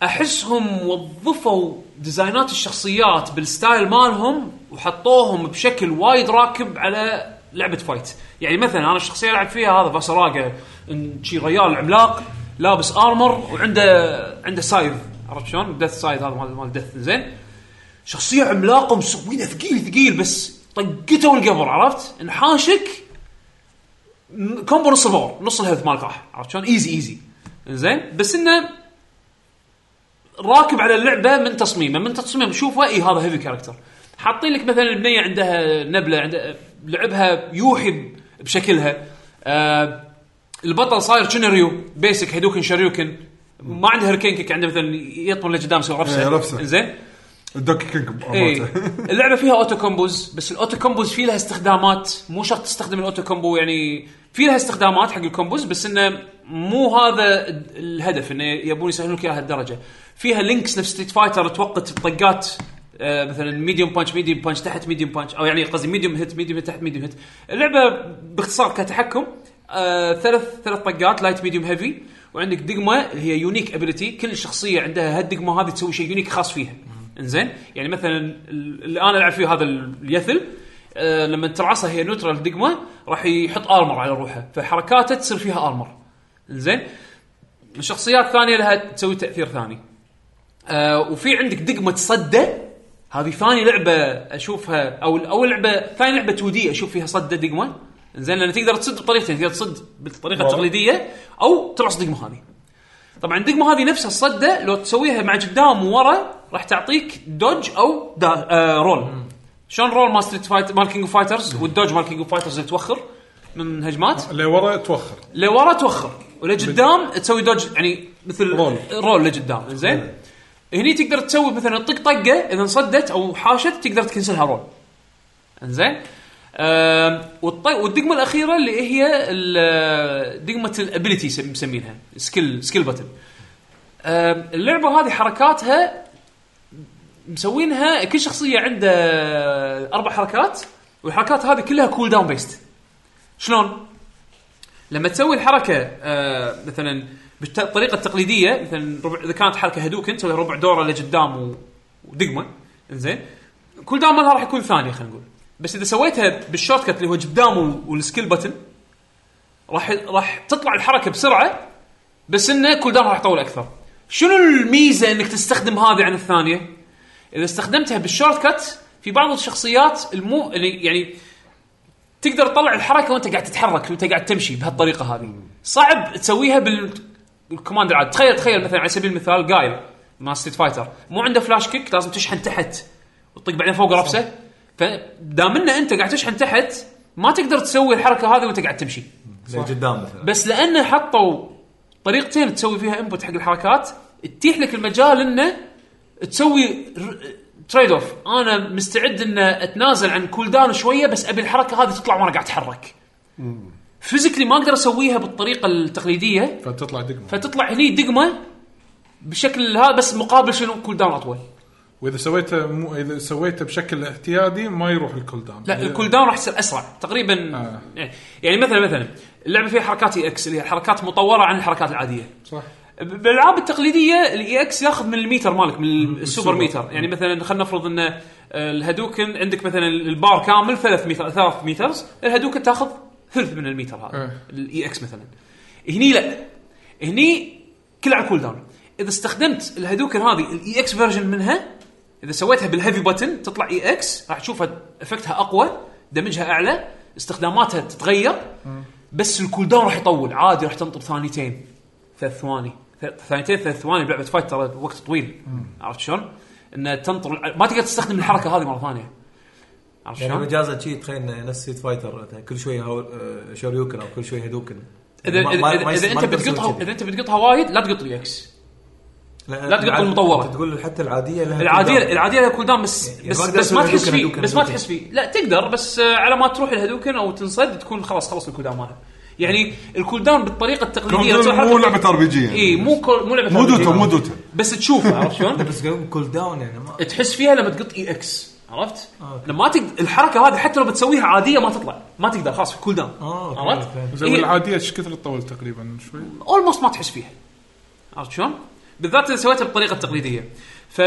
A: احسهم وظفوا ديزاينات الشخصيات بالستايل مالهم وحطوهم بشكل وايد راكب على لعبه فايت يعني مثلا انا الشخصيه اللي العب فيها هذا فاسراقه إن شي ريال عملاق لابس ارمر وعنده عنده سايف عرفت شلون؟ ديث سايد هذا مال مال ديث زين شخصيه عملاقه مسوينه ثقيل ثقيل بس طقته والقبر عرفت؟ انحاشك م- كومبو نص الباور نص الهيلث مالك راح عرفت شلون؟ ايزي ايزي زين بس انه راكب على اللعبه من تصميمه من تصميمه شوفه اي هذا هيفي كاركتر حاطين لك مثلا البنيه عندها نبله عندها لعبها يوحي ب- بشكلها آه البطل صاير شنريو بيسك هيدوكن شريوكن ما عنده هركين كيك عنده مثلا يطمن لقدام يسوي
C: إيه،
A: رفسه
C: رفسة.
A: زين
C: الدوكي كينج
A: اي
C: مالته.
A: اللعبه إيه. فيها اوتو كومبوز بس الاوتو كومبوز في لها استخدامات مو شرط تستخدم الاوتو كومبو يعني في لها استخدامات حق الكومبوز بس انه مو هذا ال- الهدف انه يبون يسهلون لك اياها هالدرجه فيها لينكس نفس ستريت فايتر توقت الطقات آه، مثلا ميديوم بانش ميديوم بانش تحت ميديوم بانش او يعني قصدي ميديوم هيت ميديوم هيت تحت ميديوم هيت اللعبه باختصار كتحكم آه، ثلاث ثلاث طقات لايت ميديوم هيفي وعندك دقمه اللي هي يونيك ابيلتي كل شخصيه عندها هالدقمه هذه تسوي شيء يونيك خاص فيها انزين يعني مثلا اللي انا العب فيه هذا اليثل آه لما ترعصها هي نوترال دقمه راح يحط ارمر على روحه فحركاته تصير فيها ارمر انزين الشخصيات الثانيه لها تسوي تاثير ثاني آه وفي عندك دقمه صده هذه ثاني لعبه اشوفها او او لعبه ثاني لعبه 2 دي اشوف فيها صده دقمه زين لان تقدر تصد بطريقتين تقدر تصد بالطريقه التقليديه او ترعص دقمه هذه طبعا الدقمه هذه نفسها الصده لو تسويها مع قدام وورا راح تعطيك دوج او دا آه رول شلون رول مال ستريت فايت مال كينج اوف فايترز والدوج مال كينج اوف فايترز اللي توخر من هجمات
B: اللي ورا توخر
A: لورا توخر ولقدام تسوي دوج يعني مثل
B: رول.
A: رول لقدام زين هني تقدر تسوي مثلا طق طقه اذا انصدت او حاشت تقدر تكنسلها رول انزين أم، والطي... والدقمه الاخيره اللي هي ال- دقمه الابيلتي مسمينها سكيل سكيل بتن اللعبه هذه حركاتها مسوينها كل شخصيه عنده اربع حركات والحركات هذه كلها كول داون بيست شلون؟ لما تسوي الحركه آه مثلا بالطريقه التقليديه مثلا ربع اذا كانت حركه هدوكن تسوي ربع دوره لقدام و- ودقمه زين كل دام مالها راح يكون ثانيه خلينا نقول بس اذا سويتها بالشورت كت اللي هو قدام وال- والسكيل بتن راح راح تطلع الحركه بسرعه بس انه كل دام راح يطول اكثر شنو الميزه انك تستخدم هذه عن الثانيه اذا استخدمتها بالشورت كت في بعض الشخصيات المو اللي يعني تقدر تطلع الحركه وانت قاعد تتحرك وانت قاعد تمشي بهالطريقه هذه صعب تسويها بالكوماند العادي تخيل تخيل مثلا على سبيل المثال جايل مع ستيت فايتر مو عنده فلاش كيك لازم تشحن تحت وتطق بعدين فوق رفسه فدام انه انت قاعد تشحن تحت ما تقدر تسوي الحركه هذه وانت قاعد تمشي
G: لقدام مثلا
A: بس لانه حطوا طريقتين تسوي فيها انبوت حق الحركات تتيح لك المجال انه تسوي تريد اوف انا مستعد ان اتنازل عن كول داون شويه بس ابي الحركه هذه تطلع وانا قاعد اتحرك فيزيكلي ما اقدر اسويها بالطريقه التقليديه
B: فتطلع دقمه
A: فتطلع هني دقمه بشكل هذا بس مقابل شنو كول داون اطول
B: واذا سويته مو اذا سويته بشكل اعتيادي ما يروح الكول داون
A: لا الكول داون راح يصير اسرع تقريبا
B: آه.
A: يعني مثلا مثلا اللعبه فيها حركات اي اكس اللي هي حركات مطوره عن الحركات العاديه
B: صح
A: إيه. بالالعاب التقليديه الاي اكس E ياخذ من الميتر مالك من السوبر ميتر يعني مثلا خلينا نفرض ان آه، الهادوكن عندك مثلا البار كامل ثلاث ميتر ثلاث ميترز الهادوكن تاخذ ثلث من الميتر هذا
B: إيه.
A: الاي اكس مثلا هني لا هني كل على كول داون اذا استخدمت الهادوكن هذه الاي اكس فيرجن منها اذا سويتها بالهيفي بتن تطلع اي اكس راح تشوفها افكتها اقوى دمجها اعلى استخداماتها تتغير بس الكول داون راح يطول عادي راح تنطر ثانيتين ثلاث ثواني ث- ثانيتين ثلاث ثواني بلعبه فايت ترى وقت طويل عرفت شلون؟ انه تنطر ما تقدر تستخدم الحركه هذه مره ثانيه عرفت
G: يعني
A: شلون؟
G: مجازا شي تخيل إنه نفس سيت فايتر مثلا كل شوي هاو- آه، شوريوكن او كل شوي هدوكن يعني
A: اذا
G: ما-
A: اذا,
G: ما-
A: إذا,
G: ما يصير-
A: إذا
G: ما
A: انت
G: نقدر نسوي
A: بتقطها
G: كذي.
A: اذا انت بتقطها وايد لا تقط اكس لا تقطع
G: العادي-
A: المطورة.
G: أنت تقول حتى العاديه لها
A: العاديه
G: كولداون.
A: العاديه لها كول داون بس
G: يعني
A: بس,
G: ما أقدر
A: بس ما
G: أسوي
A: تحس
G: هدوكن-
A: فيه
G: هدوكن-
A: بس ما
G: هدوكن.
A: تحس فيه لا تقدر بس آه، على ما تروح الهدوكن او تنصد تكون خلاص خلص الكول داون مالها يعني الكول داون بالطريقه التقليديه لو تسوي
C: مو
A: حركة-
C: لعبه ار بي جي يعني
A: اي مو كول- مو لعبه
C: مو
A: RPG.
C: دوتا، مو دوتا.
A: بس تشوفها عرفت شلون؟
G: بس كول داون يعني ما
A: تحس فيها لما تقط اي اكس عرفت؟ لما تقد... الحركه هذه حتى لو بتسويها عاديه ما تطلع ما تقدر خلاص في كول داون
G: آه، أوكي،
A: عرفت؟ إيه.
G: فهمت.
B: زي العاديه ايش كثر تطول تقريبا شوي
A: اولموست ما تحس فيها عرفت شلون؟ بالذات اذا سويتها بالطريقه التقليديه ف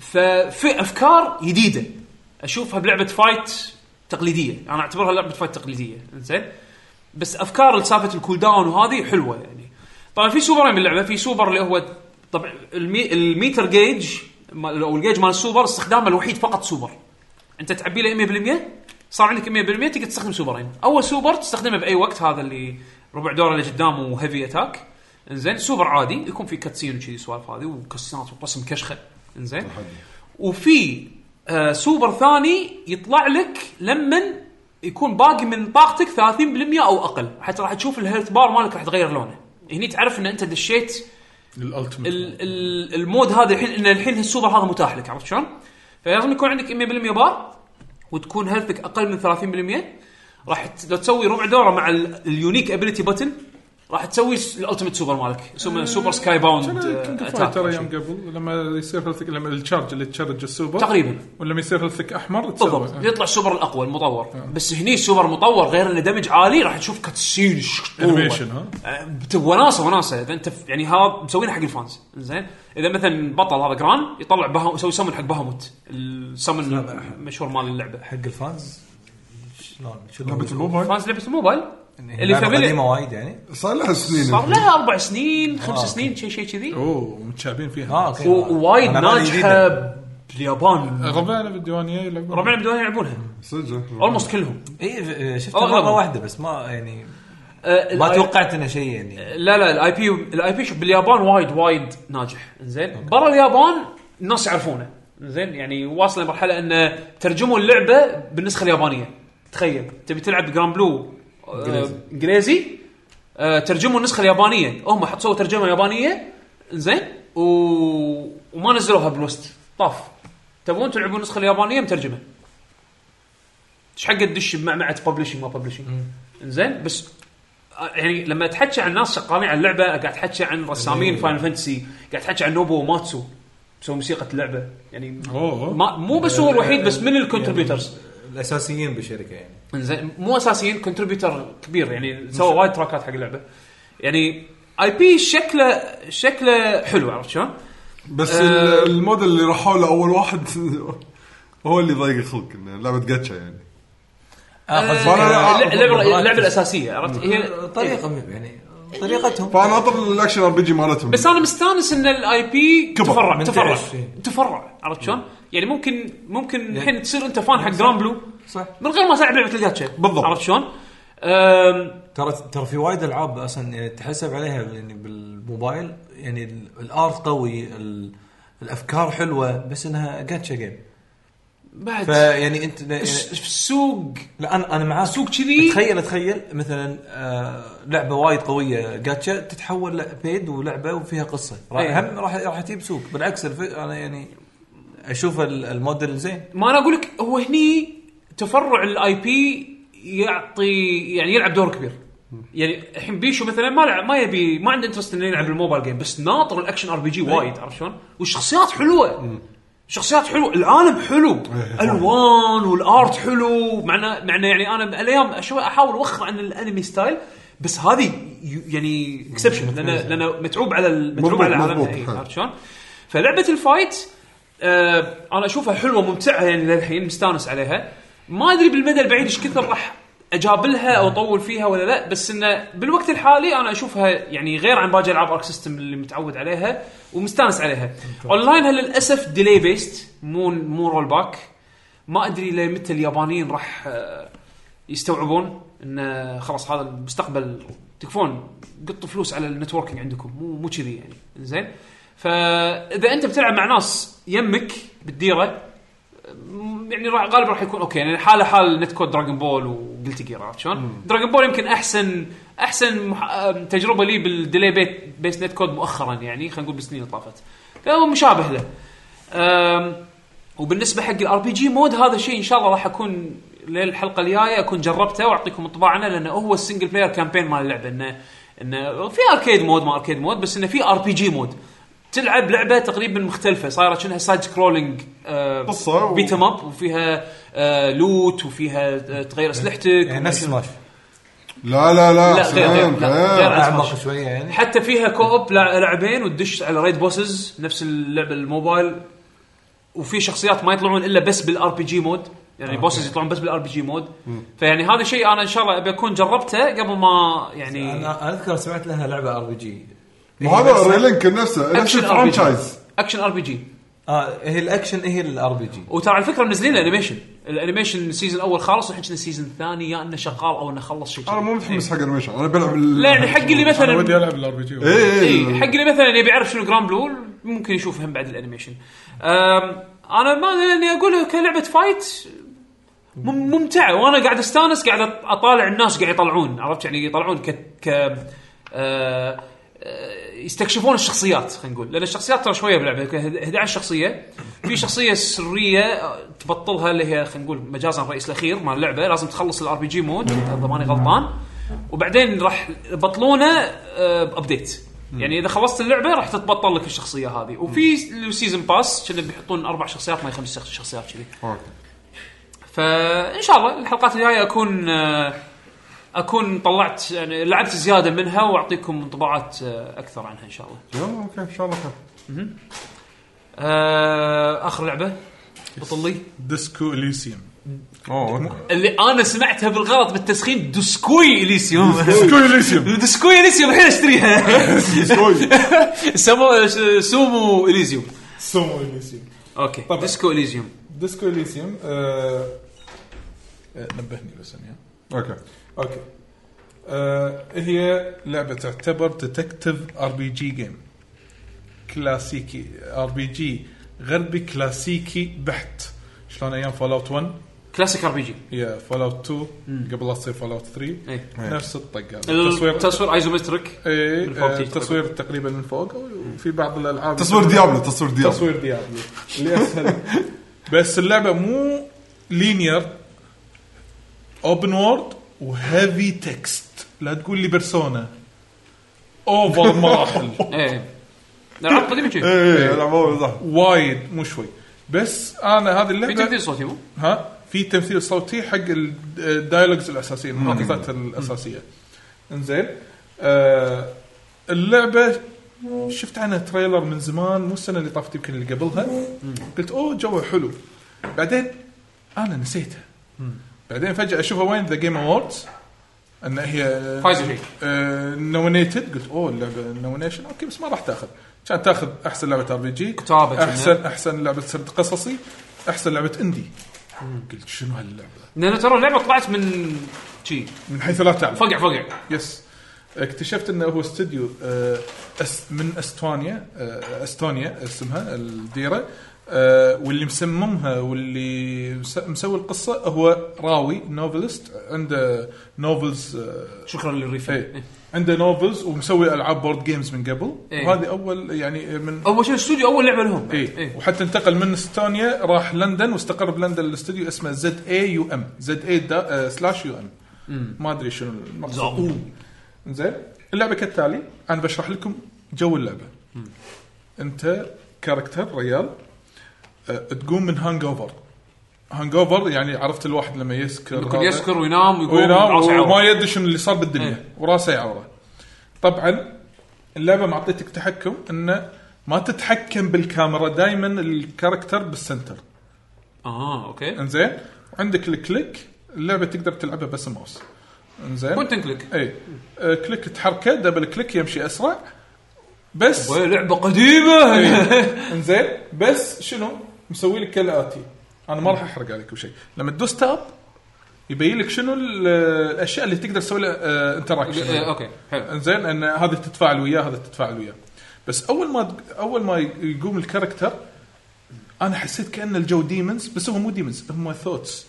A: ففي افكار جديده اشوفها بلعبه فايت تقليديه انا اعتبرها لعبه فايت تقليديه زين بس افكار سالفه الكول داون وهذه حلوه يعني طبعا في سوبرين باللعبه في سوبر اللي هو طبعا المي... الميتر جيج مال- او الجيج مال السوبر استخدامه الوحيد فقط سوبر انت تعبي له 100% صار عندك 100% تقدر تستخدم سوبرين اول سوبر تستخدمه باي وقت هذا اللي ربع دوره اللي قدام وهيفي اتاك انزين سوبر عادي يكون في كاتسين وشي سوالف هذه وكسنات ورسم كشخه انزين وفي آه سوبر ثاني يطلع لك لما يكون باقي من طاقتك 30% او اقل حتى راح تشوف الهيلث بار مالك راح تغير لونه هني تعرف ان انت دشيت
B: الالتيميت
A: ال- ال- المود هذا الحين ان الحين السوبر هذا متاح لك عرفت شلون؟ فلازم يكون عندك 100% بار وتكون هيلثك اقل من 30% راح ت- لو تسوي ربع دوره مع ال- اليونيك ابيلتي بتن راح تسوي س- الاوتوميت سوبر مالك سوبر, سوبر سكاي باوند
B: كان
A: آه،
B: كينج
A: أتاك
B: اوف
A: أو
B: فايتر ايام
A: شيء.
B: قبل لما يصير هيلثك لما التشارج اللي تشارج السوبر
A: تقريبا
B: ولما يصير هيلثك احمر تسوي.
A: بالضبط يطلع السوبر الاقوى المطور بس هني السوبر مطور غير انه دمج عالي راح تشوف كاتسين
B: انيميشن ها
A: آه، بت- وناسه وناسه اذا انت ف- يعني ها مسوينها حق الفانز زين اذا مثلا بطل هذا جران يطلع بها يسوي سمن حق بهاموت السمن المشهور مال اللعبه
E: حق الفانز شلون شلون
C: لعبه الموبايل
A: فانز لعبه الموبايل اللي
E: اللي
A: فاميلي
E: قديمه وايد يعني
C: صار لها سنين
A: صار لها اربع سنين خمس سنين شيء شيء كذي
B: اوه متشعبين فيها
A: آه،
E: اه اوكي
A: و- ووايد
E: أنا مالي
A: ناجحه
E: جديدة.
A: باليابان
B: ربعنا بالديوانيه يلعبون
A: ربعنا بدون يلعبونها
C: صدق
A: اولموست كلهم
E: اي إيه، شفت
A: أغلب.
E: مره واحده بس ما يعني
A: آه،
E: ما
A: الآي-
E: توقعت انه شيء يعني
A: لا لا الاي بي الاي بي باليابان وايد وايد ناجح زين برا اليابان الناس يعرفونه زين يعني واصل لمرحله ان ترجموا اللعبه بالنسخه اليابانيه تخيل تبي تلعب جران بلو آه، انجليزي آه، ترجموا النسخه اليابانيه هم حط سووا ترجمه يابانيه زين و... وما نزلوها بالوست طاف تبون تلعبون النسخه اليابانيه مترجمه ايش حق تدش بمعمعه ببلشنج ما ببلشنج زين بس يعني لما تحكي عن ناس شغالين على اللعبه قاعد تحكي عن رسامين فاين فانتسي قاعد تحكي عن نوبو وماتسو مسوي موسيقى اللعبه يعني
B: اوه
A: ما مو بس هو الوحيد بس من الكونتربيوترز
H: الاساسيين بالشركه يعني
A: انزين مو اساسيين كونتربيوتر كبير يعني سوى وايد تراكات حق اللعبه يعني اي بي شكله شكله حلو عرفت شلون؟
C: بس
A: آه.
C: ال- الموديل اللي راحوا له اول واحد هو اللي ضايق الخلق إنه لعبه جاتشا يعني
E: اخذ
C: فأنا-
A: آه،
C: أعرف
A: اللعبه
E: براكتس.
A: اللعبه الاساسيه عرفت هي
E: طريقه يعني طريقتهم
C: فانا اطر الاكشن ار بي جي مالتهم
A: بس انا مستانس ان الاي بي
C: كبر،
A: تفرع
E: من
A: تفرع
E: تعرف، إيه.
A: تفرع عرفت شلون؟ يعني ممكن ممكن الحين تصير انت فان حق جران بلو صح من غير ما تلعب لعبه الجاتشا
C: بالضبط.
A: عرفت شلون؟ أم،
E: ترى ترى في وايد العاب اصلا يعني تحسب عليها يعني بالموبايل يعني ال- الارت قوي ال- الافكار حلوه بس انها جاتشا جيم
A: بعد
E: فيعني انت يعني
A: الس- في السوق
E: لا انا انا معاك
A: سوق كذي
E: تخيل تخيل مثلا آه لعبه وايد قويه جاتشا تتحول ل- بيد ولعبه وفيها قصه راح
A: أي.
E: هم راح راح تجيب سوق بالعكس الف... انا يعني اشوف ال- الموديل زين
A: ما انا اقول لك هو هني تفرع الاي بي يعطي يعني يلعب دور كبير يعني الحين بيشو مثلا ما لعب ما يبي ما عنده انترست انه يلعب الموبايل جيم بس ناطر الاكشن ار بي جي وايد عرفت شلون؟ والشخصيات حلوه شخصيات حلوه العالم حلو الوان والارت حلو معنا معنا يعني انا الايام شوي احاول اوخر عن الانمي ستايل بس هذه ي- يعني اكسبشن لان لان متعوب على ال- متعوب
C: مضبوط،
A: على العالم
C: مضبوط.
A: إيه،
C: حلو.
A: عرفت شلون؟ فلعبه الفايت آه انا اشوفها حلوه ممتعه يعني للحين مستانس عليها ما ادري بالمدى البعيد ايش كثر راح اجابلها او اطول فيها ولا لا بس انه بالوقت الحالي انا اشوفها يعني غير عن باقي العاب ارك سيستم اللي متعود عليها ومستانس عليها اونلاينها للاسف ديلي بيست مو مو رول باك ما ادري لمتى اليابانيين راح آه، يستوعبون ان خلاص هذا المستقبل تكفون قطوا فلوس على النتوركينج عندكم مو مو كذي يعني زين فاذا انت بتلعب مع ناس يمك بالديره م- يعني راح غالبا راح يكون اوكي يعني حاله حال نت كود دراجون بول وقلت جير عرفت شلون؟ دراجون بول يمكن احسن احسن مح... آم، تجربه لي بالديلي بيت بيس نت كود مؤخرا يعني خلينا نقول بالسنين اللي طافت كان هو مشابه له أم، وبالنسبه حق الار بي جي مود هذا شيء ان شاء الله راح اكون للحلقه الجايه اكون جربته واعطيكم انطباع عنه لانه هو السنجل بلاير كامبين مال اللعبه انه انه في اركيد مود ما اركيد مود بس انه في ار بي جي مود تلعب لعبه تقريبا مختلفه صايره شنها سايد سكرولينج
C: قصة و-
A: بيتم اب وفيها آه، لوت وفيها آه، تغير اسلحتك
E: يعني نفس سماش
A: إيه.
C: لا لا لا
A: لا، غير- غير-
C: حسين،
A: لا،
C: غير.
A: غير.
E: اعمق شويه يعني
A: حتى فيها كوب لع- لاعبين وتدش على ريد بوسز نفس اللعبه الموبايل وفي شخصيات ما يطلعون الا بس بالار بي جي مود يعني بوسز يطلعون بس بالار بي جي مود فيعني هذا شيء انا ان شاء الله ابي اكون جربته قبل ما يعني
E: انا أنا اذكر سمعت لها لعبه ار بي جي إيه،
C: ما هذا ريلينك نفسه نفس
A: اكشن ار بي جي
C: الفرانشايز
A: اكشن ار بي جي
E: اه هي الاكشن هي الار بي جي
A: وترى على فكره منزلين الانيميشن الانيميشن السيزون الاول خالص الحين كنا السيزون الثاني يا انه شغال او انه خلص شيء
C: انا مو متحمس حق انيميشن انا بلعب إيه،
A: لا يعني حق اللي
B: انا
A: مثلا
B: ودي العب الار بي جي
C: اي
A: اي إيه، حق اللي مثلا يبي يعرف شنو جرام بلو ممكن يشوف هم بعد الانيميشن أم، انا ما يعني اقول كلعبه فايت مم- ممتعه وانا قاعد استانس قاعد أط- اطالع الناس قاعد يطلعون عرفت يعني يطلعون ك ك آه، آه، يستكشفون الشخصيات خلينا نقول لان الشخصيات ترى شويه بلعبه يمكن 11 شخصيه في شخصيه سريه آه، تبطلها اللي هي خلينا نقول مجازا الرئيس الاخير مال اللعبه لازم تخلص الار بي جي مود اذا ماني غلطان وبعدين راح يبطلونه آه، بابديت يعني اذا خلصت اللعبه راح تتبطل لك الشخصيه هذه وفي سيزون باس كنا بيحطون اربع شخصيات ما خمس شخصيات كذي
C: اوكي
A: فان شاء الله الحلقات الجايه اكون آه، اكون طلعت يعني لعبت زياده منها واعطيكم انطباعات آه، اكثر عنها ان شاء الله.
C: يلا اوكي ان شاء الله خير
A: آه، اخر لعبه بطلي
B: ديسكو اليسيوم
C: اوه أوكي.
A: اللي انا سمعتها بالغلط بالتسخين دوسكوي اليسيوم
B: ديسكو اليسيوم
A: دوسكوي اليسيوم الحين اشتريها
C: سوي.
A: سمو ش- آه، سومو طيب. اليزيوم
B: سومو اليسيوم
A: اوكي
B: طبعاً.
A: ديسكو اليزيوم
B: ديسكو اليسيوم آه، آه، نبهني بس إني-
C: اوكي
B: اوكي آه هي لعبه تعتبر ديتكتيف ار بي جي جيم كلاسيكي ار بي جي غربي كلاسيكي بحت شلون ايام فول اوت 1
A: كلاسيك ار بي جي
B: هي فول اوت 2 قبل لا تصير فول اوت 3
A: إيه.
B: نفس الطق هذا التصوير
A: التصوير ايزومتريك
B: ايه
A: من فوق
B: آه،
A: تيجي
B: التصوير تقريبا من فوق وفي بعض الالعاب
C: تصوير ديابلو تصوير ديابلو
B: تصوير ديابلو اللي اسهل بس اللعبه مو لينير اوبن وورد وهيفي تكست لا تقول لي بيرسونا اوفر مراحل
A: ايه العاب قديمه شي
C: ايه لعبوه صح
B: وايد مو شوي بس انا هذه
A: في
B: اللعبه
A: تمثيل صوتي مو؟
B: ها في تمثيل صوتي حق ال- الدايلوجز الاساسيه المحادثات الاساسيه انزين آه اللعبه شفت عنها تريلر من زمان مو السنه اللي طافت يمكن اللي قبلها قلت اوه جوه حلو بعدين انا نسيتها بعدين فجاه اشوفها وين ذا جيم اووردز ان هي
A: فايزة شيء.
B: نومينيتد قلت اوه اللعبه نومينيشن اوكي بس ما راح تاخذ كانت تاخذ احسن لعبه ار بي جي
A: كتابة كنا.
B: احسن احسن لعبه سرد قصصي احسن لعبه اندي قلت شنو هاللعبه
A: لان ترى اللعبه طلعت من شي
B: من حيث لا تعلم
A: فقع فقع
B: يس اكتشفت انه هو استوديو آه، أس- من استونيا آه، استونيا اسمها الديره آه، واللي مسممها واللي مس- مسوي القصه هو راوي نوفلست عنده نوفلز آه،
A: شكرا للريفيل
B: ايه عنده نوفلز ومسوي العاب بورد جيمز من قبل
A: إيه.
B: وهذه اول يعني من
A: اول شيء الاستوديو اول لعبه لهم
B: اي
A: إيه.
B: وحتى انتقل من استونيا راح لندن واستقر بلندن الاستوديو اسمه زد اي يو ام زد اي سلاش يو ام ما ادري شنو المقصود زين اللعبه كالتالي انا بشرح لكم جو اللعبه انت كاركتر ريال أه، تقوم من هانج اوفر هانج اوفر يعني عرفت الواحد لما يسكر
A: يكون
B: هذا.
A: يسكر وينام ويقوم
B: وينام
A: راسه
B: وما
A: عور.
B: يدري شنو اللي صار بالدنيا
A: إيه.
B: وراسه يعوره طبعا اللعبه معطيتك تحكم انه ما تتحكم بالكاميرا دائما الكاركتر بالسنتر
A: اه اوكي
B: انزين وعندك الكليك اللعبه تقدر تلعبها بس ماوس انزين
A: بوينت اند كليك
B: اي آه، كليك تحركه دبل كليك يمشي اسرع بس
A: لعبه قديمه
B: إيه. انزين بس شنو مسوي لك كالاتي انا ما راح احرق عليكم شيء لما تدوس تاب يبين لك شنو ال- الاشياء اللي تقدر تسوي لها آه، انتراكشن
A: إيه، اوكي حلو
B: انزين ان هذا تتفاعل وياه هذا تتفاعل وياه بس اول ما اول ما يقوم الكاركتر انا حسيت كان الجو ديمونز بس هم مو ديمونز هم ثوتس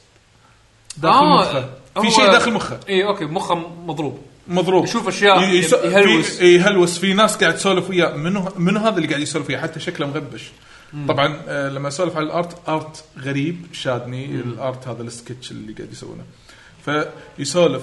B: داخل
A: آه،
B: مخه
A: هو-
B: في شيء داخل مخه
A: اي اوكي مخه مضروب
B: مضروب
A: يشوف أشياء
B: ي- يس-
A: يهلوس.
B: في- إيه، يهلوس في ناس قاعد تسولف وياه منو منو هذا اللي قاعد يسولف وياه حتى شكله مغبش طبعا آه، لما اسولف على الارت ارت غريب شادني الارت هذا السكتش اللي قاعد يسوونه فيسولف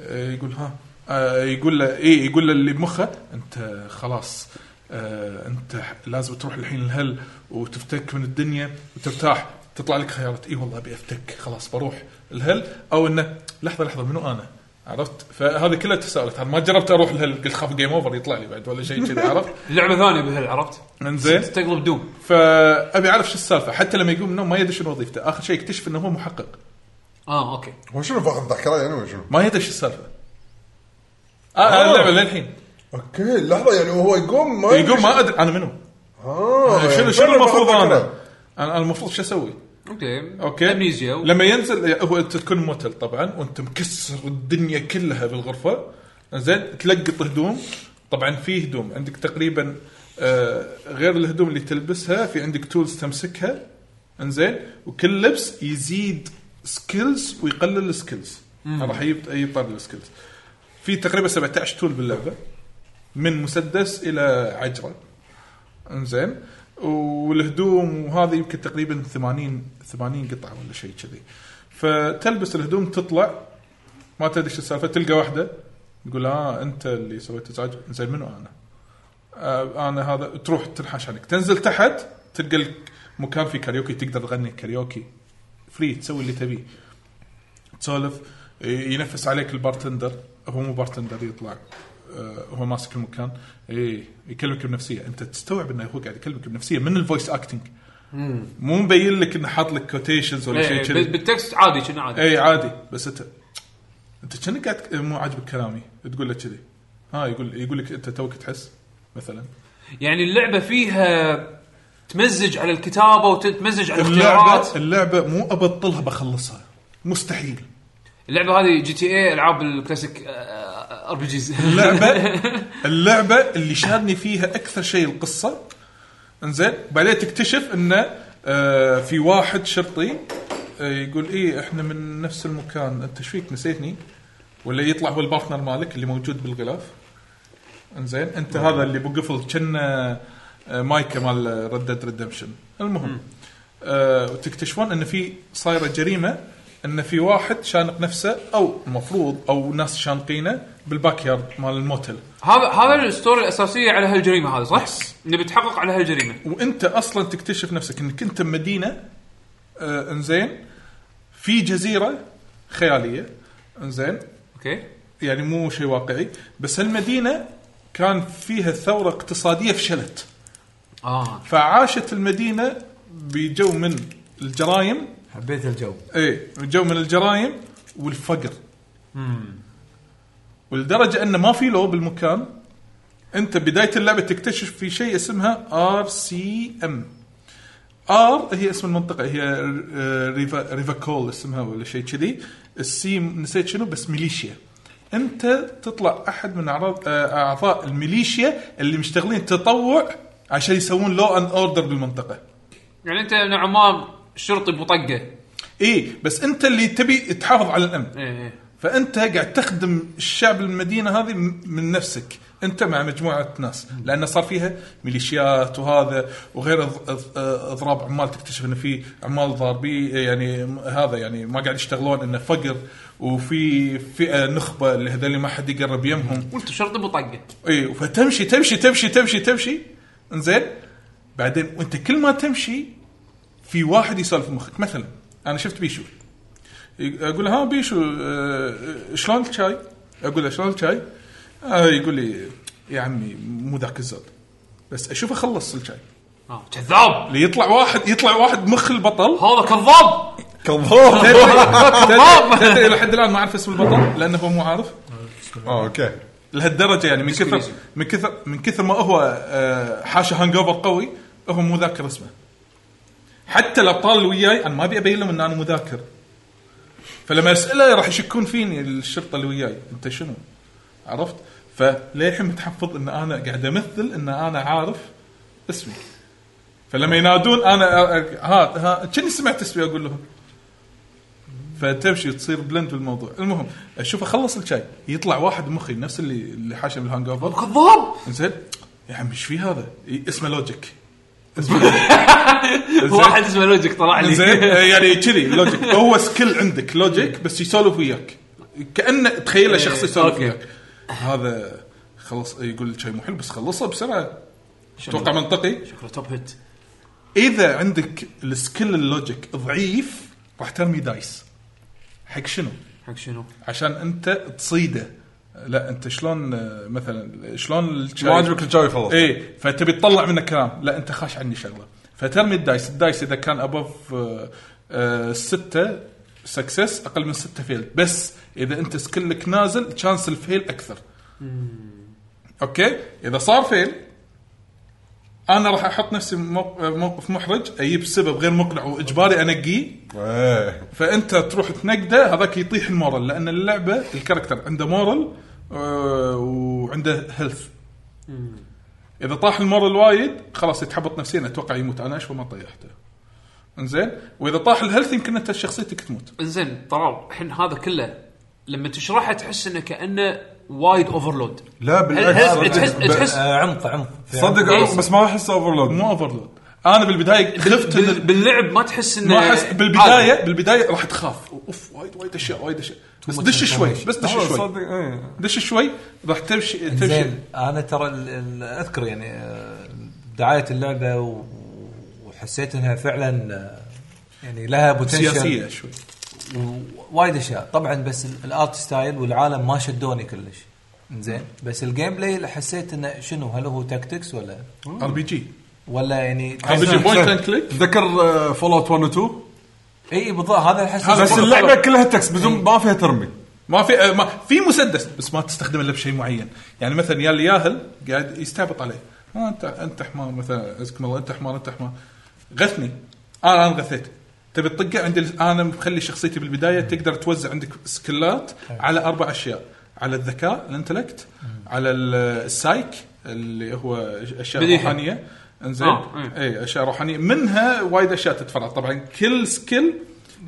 B: آه، يقول ها آه، يقول له اي يقول له اللي بمخه انت خلاص آه، انت ح- لازم تروح الحين الهل وتفتك من الدنيا وترتاح تطلع لك خيارات اي والله ابي افتك خلاص بروح الهل او انه لحظه لحظه منو انا عرفت فهذه كلها تساؤلات أنا ما جربت اروح الهل قلت خاف جيم اوفر يطلع لي بعد ولا شيء كذا عرفت
A: لعبه ثانيه بهل عرفت
B: انزين
A: تقلب دوم
B: فابي اعرف شو السالفه حتى لما يقوم من النوم ما يدري شنو وظيفته اخر شيء يكتشف انه هو محقق
A: اه اوكي
C: هو شنو فاقد ذاكره يعني ولا شنو؟
B: ما يدري شو السالفه آه آه اللعبه للحين
C: اوكي لحظه يعني وهو يقوم ما
B: يقوم ما ادري انا منو
C: اه
B: شنو
C: يعني
B: طيب، شنو
C: فعلاً
B: المفروض
C: فقد
B: انا
C: ذاكرة.
B: انا أنا المفروض شو اسوي
A: اوكي
B: اوكي
A: امنيزيا و...
B: لما ينزل هو انت تكون موتل طبعا وانت مكسر الدنيا كلها بالغرفه زين تلقط هدوم طبعا في هدوم عندك تقريبا آه غير الهدوم اللي تلبسها في عندك تولز تمسكها انزين وكل لبس يزيد سكيلز ويقلل السكيلز راح يب- يطلع السكيلز في تقريبا 17 تول باللعبه من مسدس الى عجره انزين والهدوم وهذا يمكن تقريبا 80 80 قطعه ولا شيء كذي فتلبس الهدوم تطلع ما تدري شو السالفه تلقى واحده يقول اه انت اللي سويت ازعاج زين منو انا؟ آه انا هذا تروح تنحاش عنك تنزل تحت تلقى لك مكان في كاريوكي تقدر تغني كاريوكي فري تسوي اللي تبيه تسولف ي- ينفس عليك البارتندر هو مو بارتندر يطلع آه، هو ماسك المكان اي يكلمك بنفسيه انت تستوعب انه هو قاعد يكلمك بنفسيه من الفويس اكتنج مو مبين لك انه حاط لك كوتيشنز ولا شيء
F: إيه،
B: كذي إيه.
F: بال- بالتكست عادي كنا عادي
B: اي عادي بس انت انت كأنك قاعد مو عاجبك كلامي تقول له كذي ها يقول يقول لك انت توك تحس مثلا
F: يعني اللعبه فيها تمزج على الكتابه وتمزج على الاختيارات
B: اللعبه اللعبه مو ابطلها بخلصها مستحيل
F: اللعبه هذه جي تي اي العاب الكلاسيك آه، ار بي جيز
B: اللعبه اللعبه اللي شادني فيها اكثر شيء القصه انزين بعدين تكتشف انه آه، في واحد شرطي آه، يقول ايه احنا من نفس المكان انت ايش فيك نسيتني ولا يطلع هو البارتنر مالك اللي موجود بالغلاف انزين انت هذا اللي بقفل كنا مايكا مال ردد ريدمشن المهم آه، وتكتشفون ان في صايره جريمه ان في واحد شانق نفسه او المفروض او ناس شانقينه بالباك يارد مال الموتل
F: هذا هذا الستوري الاساسيه على هالجريمه هذه صح؟ نبي نتحقق على هالجريمه
B: وانت اصلا تكتشف نفسك انك انت بمدينه آه انزين في جزيره خياليه انزين
F: اوكي
B: يعني مو شيء واقعي بس هالمدينه كان فيها ثوره اقتصاديه فشلت آه.
F: اه
B: فعاشت المدينه بجو من الجرائم
E: حبيت الجو
B: ايه جو من الجرائم والفقر ولدرجه انه ما في لو بالمكان انت بدايه اللعبه تكتشف في شيء اسمها ار سي ام ار هي اسم المنطقه هي آه، ريفا ريفاكول اسمها ولا شيء كذي السي نسيت شنو بس ميليشيا انت تطلع احد من اعراض آه، اعضاء الميليشيا اللي مشتغلين تطوع عشان يسوون لو ان اوردر بالمنطقه
F: يعني انت نوعا ما شرطي بطقه
B: ايه بس انت اللي تبي تحافظ على الامن
F: ايه ايه
B: فانت قاعد تخدم الشعب المدينه هذه م- من نفسك انت مع مجموعه ناس لان صار فيها ميليشيات وهذا وغير إض- إض- اضراب عمال تكتشف انه في عمال ضاربي يعني م- هذا يعني ما قاعد يشتغلون انه فقر وفي فئه نخبه اللي هذول ما حد يقرب يمهم
F: وانت شرطي بطقه
B: اي إيه، فتمشي تمشي تمشي تمشي تمشي انزين بعدين وانت كل ما تمشي في واحد يسولف مخك مثلا انا شفت بيشو ي- اقول له ها بيشو آه، شلون الشاي؟ اقول له شلون الشاي؟ آه، يقول لي يا عمي مو ذاك الزود بس اشوف اخلص الشاي
F: اه كذاب
B: اللي يطلع واحد يطلع واحد مخ البطل
F: هذا كذاب
C: كظهور
B: تدري- تدري- تدري لحد الان ما اعرف اسم البطل لانه هو مو عارف
C: اوكي
B: لهالدرجه يعني من كثر
F: Disco Elysium.
B: من كثر من كثر ما هو آه، حاشه هانج اوفر قوي هو مو ذاكر اسمه حتى الابطال اللي وياي انا ما ابي ابين لهم ان انا مذاكر فلما اساله راح يشكون فيني الشرطه اللي وياي انت شنو؟ عرفت؟ فللحين متحفظ ان انا قاعد امثل ان انا عارف اسمي فلما ينادون انا أ- أ- ها ها كني سمعت اسمي اقول لهم فتمشي تصير بلند بالموضوع المهم اشوف اخلص الشاي يطلع واحد مخي نفس اللي اللي حاشم الهانج اوفر
F: كذاب
B: زين يا عمي ايش في هذا؟ ي- اسمه لوجيك
F: واحد اسمه لوجيك طلع لي
B: زين يعني كذي لوجيك هو سكيل عندك لوجيك بس يسولف وياك كانه تخيله شخص يسولف
F: إيه، أوكي.
B: وياك هذا خلص يقول شيء مو حلو بس خلصه بسرعه اتوقع منطقي
F: شكله توب هيت
B: اذا عندك السكيل اللوجيك ضعيف راح ترمي دايس حق شنو؟
F: حق شنو؟
B: عشان انت تصيده لا انت شلون آه، مثلا شلون الشاي-
C: ما عجبك الجاي خلاص
B: ايه فتبي تطلع منه كلام لا انت خاش عني شغله فترمي الدايس الدايس اذا كان آه، ابوف سته سكسس اقل من سته فيل بس اذا انت سكلك نازل تشانس الفيل اكثر اوكي اذا صار فيل انا راح احط نفسي موق- موقف محرج اجيب سبب غير مقنع واجباري انقيه
C: ايه
B: فانت تروح تنقده هذاك يطيح المورال لان اللعبه الكاركتر عنده مورال آه، وعنده هيلث اذا طاح المورال وايد خلاص يتحبط نفسيا اتوقع يموت انا اشوف ما طيحته انزين واذا طاح الهيلث يمكن انت شخصيتك تموت
F: انزين طلال الحين هذا كله لما تشرحه تحس انه كانه وايد اوفرلود
C: لا
F: هل- هل-
C: بالعكس
F: تحس
E: إيه،
C: صدق.
F: تحس
E: آه، عمق عمق في عمق.
C: صدق
F: إيه.
C: بس ما احس اوفرلود
B: مو اوفرلود انا بالبدايه خفت ان
F: بال- آه. باللعب ما تحس انه
B: ما احس
F: عادي.
B: بالبدايه بالبدايه راح تخاف اوف وايد وايد اشياء وايد اشياء بس دش شوي بس دش
F: آه،
B: شوي
C: صدق إيه.
B: دش شوي راح تمشي تمشي
E: زين انا ترى ال- ال- اذكر يعني آه، دعايه اللعبه و- وحسيت انها فعلا آه، يعني لها
B: سياسيه
E: بوتنشل
B: شوي
E: وايد اشياء طبعا بس ال- الارت ستايل والعالم ما شدوني كلش زين بس الجيم بلاي حسيت انه شنو هل هو تاكتكس ولا
F: آه.
B: ار بي جي
E: ولا يعني
B: ار بي جي بوينت اند كليك
C: تذكر آه، فول اوت 1 و 2
E: اي بالضبط هذا الحس
B: هذا
C: بس
B: فول
C: اللعبه كلها تكس بدون ما فيها ترمي
B: ما في آه، ما في مسدس بس ما تستخدمه الا بشيء معين يعني مثلا يا اللي ياهل قاعد يستعبط عليه آه انت انت حمار مثلا اسكم الله انت حمار انت حمار غثني انا انا غثيت تبي تطقه عندي انا مخلي شخصيتي بالبدايه تقدر توزع عندك سكلات على اربع اشياء على الذكاء الانتلكت على ال- السايك اللي هو اشياء
F: بديهة.
B: روحانيه انزين
F: آه، إيه.
B: اي اشياء روحانيه منها وايد اشياء تتفرع طبعا كل سكيل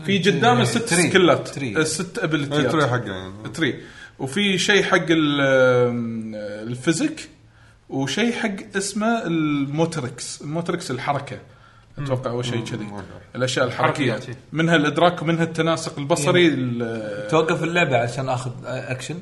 B: في قدامه ست
E: تري.
B: سكلات
E: تري.
B: آه، ست ابيلتيات
C: التري حقه يعني
B: تري وفي شيء حق ال- الفيزيك وشيء حق اسمه الموتركس الموتركس الحركه اتوقع اول شيء كذي الاشياء الحركيه
F: حركيات.
B: منها الادراك ومنها التناسق البصري ال-
E: توقف اللعبه عشان آه، اخذ اكشن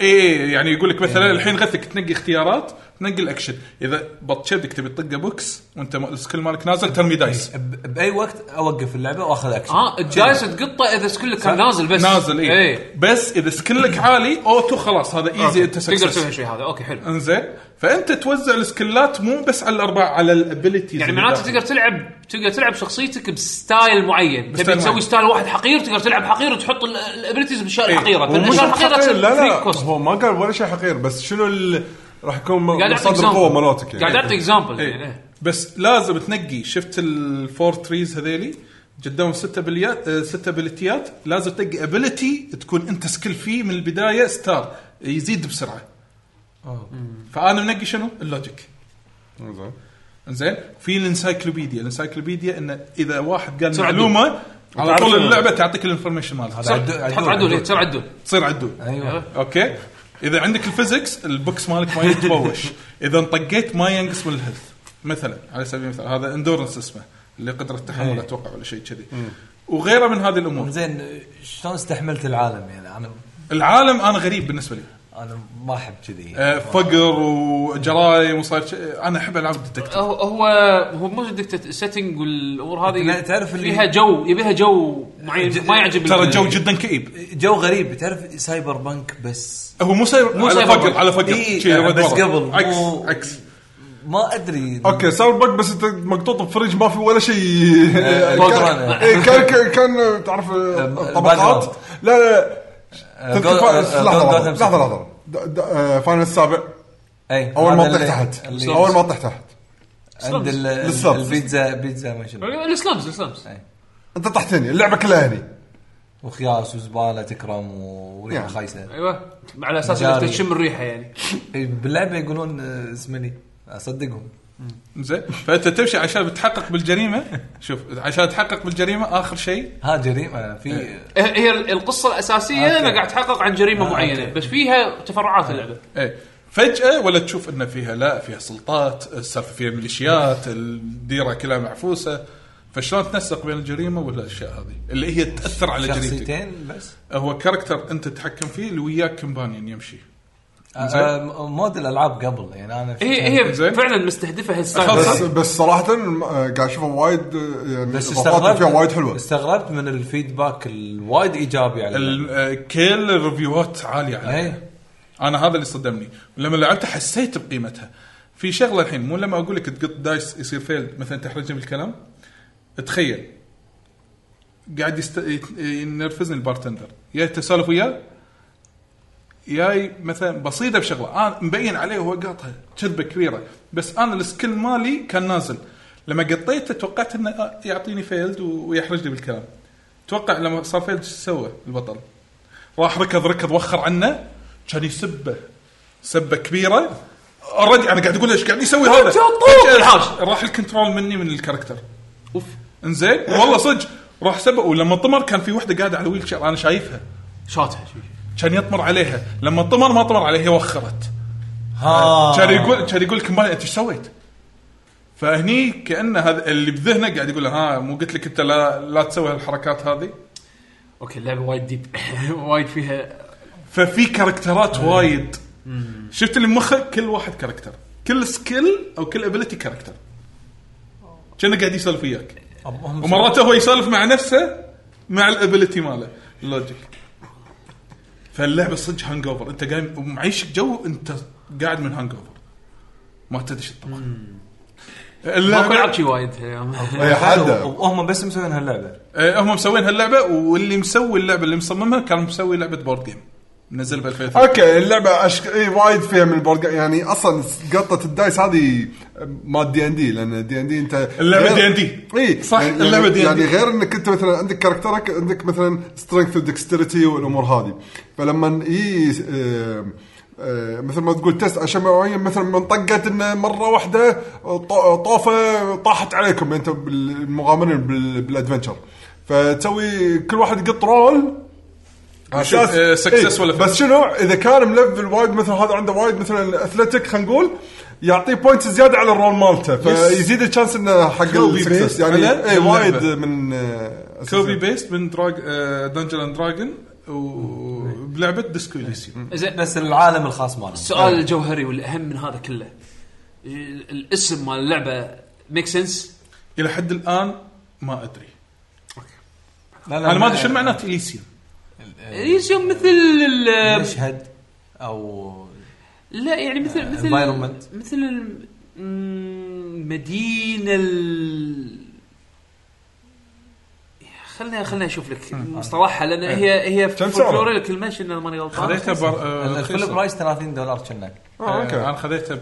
B: ايه يعني يقول لك
F: إيه.
B: مثلا الحين غثك تنقي اختيارات تنقي الاكشن اذا بط شدك تبي تطقه بوكس وانت م- السكيل مالك نازل ترمي دايس
E: ب- باي وقت اوقف اللعبه واخذ اكشن
A: آه،
F: اه الجايز تقطه اذا سكلك كان نازل بس إيه.
B: نازل ايه بس اذا سكيلك عالي اوتو خلاص هذا ايزي انت
F: تقدر
B: success.
F: تسوي شيء هذا اوكي حلو
B: انزين فانت توزع السكلات مو بس على الاربع على الابيلتيز
F: يعني معناته تقدر تلعب تقدر تلعب شخصيتك بستايل معين تبي
B: بستايل
F: تسوي
B: معين.
F: ستايل واحد حقير تقدر تلعب حقير وتحط الابيلتيز بالاشياء الحقيره
C: ومش
F: فالاشياء الحقيره
C: حقير،
F: تصير
C: لا
F: فري
C: لا
F: كوست
C: هو ما قال ولا شيء حقير بس شنو ال- راح يكون
F: قاعد اعطي
C: مصدر
F: example.
C: القوه مالتك
F: قاعد
C: يعني
F: اعطي اكزامبل يعني
B: إيه.
F: إيه.
B: بس لازم تنقي شفت الفور تريز هذيلي قدامهم ست ابليات آه، ست ابيلتيات لازم تنقي ابيلتي تكون انت سكيل فيه من البدايه ستار يزيد بسرعه فانا منقي شنو؟ اللوجيك
C: إنزين.
B: زين في الانسايكلوبيديا الانسايكلوبيديا انه اذا واحد قال
F: تصير
B: معلومه على
C: وتعرف
B: طول
C: شنو.
B: اللعبه تعطيك الانفورميشن
E: هذا
B: مالها
E: عدو-
F: تحط عدول إيه، تصير عدول
B: تصير عدول
E: ايوه
B: اوكي اذا عندك الفيزكس البوكس مالك ما يتبوش اذا انطقيت ما ينقص من الهيلث مثلا على سبيل المثال هذا اندورنس اسمه اللي قدره تحمل اتوقع ولا شيء كذي وغيره من هذه الامور
E: زين شلون استحملت العالم يعني انا
B: العالم انا غريب بالنسبه لي
E: انا ما احب كذي
B: آه، فقر وجرايم وصار شيء. انا احب العاب الديتكتيف
F: هو هو هو مو دكتة السيتنج والامور هذه
E: لا، تعرف اللي-
F: فيها جو يبيها جو معين ما يعجب
B: ترى
F: ال-
B: الجو جدا كئيب
E: جو غريب تعرف سايبر بنك بس
B: هو مو سايبر
F: مو
B: مو على
F: سايبر
B: فقر
F: بانك.
B: على فقر
E: إيه،
B: شي
E: بس
B: رد
E: قبل،
B: ورا. عكس
E: مو-
B: عكس
E: ما ادري
C: اوكي ساوند بق بس انت مقطوط بفرج ما في ولا شيء
E: آه،
C: كان,
E: بودران.
C: إيه، كان كان- كان تعرف آه،
E: الباكراوند.
C: طبقات لا لا
E: آه،
C: تذكر-
E: آه،
C: لحظه
E: جوثام
C: لحظه
E: سيتي.
C: لحظه لحظه د- د- آه، فاينل السابع
E: اي
C: اول
E: إيه، هذا
C: ما طحت
E: اللي-
C: تحت
E: اللي
C: اول ما طحت تحت
E: عند ال-
C: بالضبط.
E: البيتزا بيتزا ما
B: إيه.
E: شنو
F: السلمز السلمز
C: انت طحت هني اللعبه كلها يعني. هني
E: وخياس وزباله تكرم وريحه
C: نعم.
E: خايسه
F: ايوه على اساس
E: مجاري.
F: انك تشم الريحه يعني
E: إيه، باللعبه يقولون آه، اسمه لي اصدقهم
B: زين فانت تمشي عشان تحقق بالجريمه شوف عشان تحقق بالجريمه اخر شيء
E: ها جريمه في
B: إيه،
F: هي ال- القصه الاساسيه
E: أوكي.
F: انا قاعد اتحقق عن جريمه معينه
E: أوكي.
F: بس فيها تفرعات اللعبه
B: ايه فجأة ولا تشوف ان فيها لا فيها سلطات السالفة فيها ميليشيات الديرة كلها معفوسة فشلون تنسق بين الجريمه والاشياء هذه اللي هي تاثر على جريمتك
E: شخصيتين بس
B: هو كاركتر انت تتحكم فيه اللي وياك كمبانيون يمشي
E: آه،
B: زين. إيه،
E: آه، مود الالعاب قبل يعني انا
F: هي
E: شفتها-
F: هي
B: زين.
F: فعلا مستهدفه هالستايل
B: أخلص.
C: بس
F: هذا.
C: بس صراحه آه، قاعد اشوفها وايد آه، يعني
E: بس
C: إضافاتها
E: استغربت
C: فيها وايد حلوه
E: استغربت من الفيدباك الوايد ايجابي على
B: ال-
E: اللعبة.
B: آه، كل الريفيوهات عالية عليها
E: إيه.
B: انا هذا اللي صدمني ولما لعبتها حسيت بقيمتها في شغله الحين مو لما اقول لك تقط دايس يصير فيل مثلا تحرجني بالكلام تخيل قاعد يست... يت- ينرفزني البارتندر يا تسولف وياه ياي مثلا بسيطه بشغله انا مبين عليه وهو قاطها كذبه كبيره بس انا السكيل مالي كان نازل لما قطيته توقعت انه آه، يعطيني فيلد و- ويحرجني بالكلام توقع لما صار فيلد شو سوى البطل راح ركض ركض وخر عنه كان يسبه سبه كبيره اوريدي انا قاعد اقول ايش قاعد يسوي هذا
F: طوق الحاج.
B: راح الكنترول مني من الكاركتر اوف انزين والله صدق راح سبق ولما طمر كان في وحده قاعده على ويل شير انا شايفها
F: شاتها شي.
B: كان يطمر عليها لما طمر ما طمر عليها هي وخرت
E: ها آه.
B: كان يقول كان يقول لك "مالي، انت ايش سويت؟ فهني كانه هذا اللي بذهنه قاعد يقول له، ها مو قلت لك انت لا لا تسوي هالحركات هذه
A: اوكي اللعبه وايد ديب وايد فيها
B: ففي كاركترات وايد شفت اللي مخك كل واحد كاركتر كل سكيل او كل ابيلتي كاركتر كأنه قاعد يسولف وياك ومرات هو يسولف مع نفسه مع الابيلتي ماله اللوجيك فاللعبه صدق هانج اوفر انت قايم معيشك جو انت قاعد من هانج اوفر ما تدري شو تطبخ
A: ماكو
B: اللعبة
A: العاب شي وايد هالأيام.
C: اي حدا
E: وهم بس مسوين هاللعبه
B: آه، هم مسوين هاللعبه واللي مسوي اللعبه اللي مصممها كان مسوي لعبه بورد جيم نزل ب 2003
C: اوكي اللعبه أشك... اي وايد فيها من البورد جيم، يعني اصلا قطه الدايس هذه مال دي ان دي لان دي ان دي انت
B: اللعبة
C: غير-
B: D&D.
C: اي
B: صح،
C: يعني
B: اللعبة D&D.
C: يعني غير انك انت مثلا عندك كاركترك عندك مثلا سترينث ودكستريتي والامور هذه فلما اي مثل ما تقول تست عشان معين مثلا منطقت انه مره واحده ط- طوفه طاحت عليكم انت المغامرين بال- بالادفنشر فتسوي كل واحد يقط رول
B: وشوف، آه، success ولا fail.
C: إيه، بس شنو اذا كان ملفل وايد مثلا هذا عنده وايد مثلا اثلتيك خلينا نقول يعطيه بوينتس زياده على الرول مالته فيزيد الشانس انه حق
B: كوبي
C: السكسس
B: بيست
C: يعني
B: على
C: اي
B: اللعبة.
C: وايد من آه،
B: كوبي
C: أساسيات.
B: بيست من آه، دراج دنجن اند دراجون وبلعبه ديسكو اليسيوم
A: زين
E: بس العالم الخاص ماله
A: السؤال الجوهري والاهم من هذا كله ال- الاسم مال اللعبه ميك سنس
B: الى حد الان ما ادري
E: لا لا
B: انا ما ادري شنو معناته اليسيوم
A: يسيوم مثل ال-
E: مشهد او
A: لا يعني مثل مثل
E: آه، environment.
A: مثل الم- مم، مدينه ال... خلنا خلنا اشوف لك مصطلحها لان
E: إيه.
A: هي هي
C: كم سعرها؟
A: فولكلوري الكلمه شنو انا ماني غلطان
B: خذيته بر... آه،
E: الفيلم
B: رخيصة.
E: برايس 30 دولار كنا
C: آه،
B: آه،
C: اوكي
B: انا خذيته ب-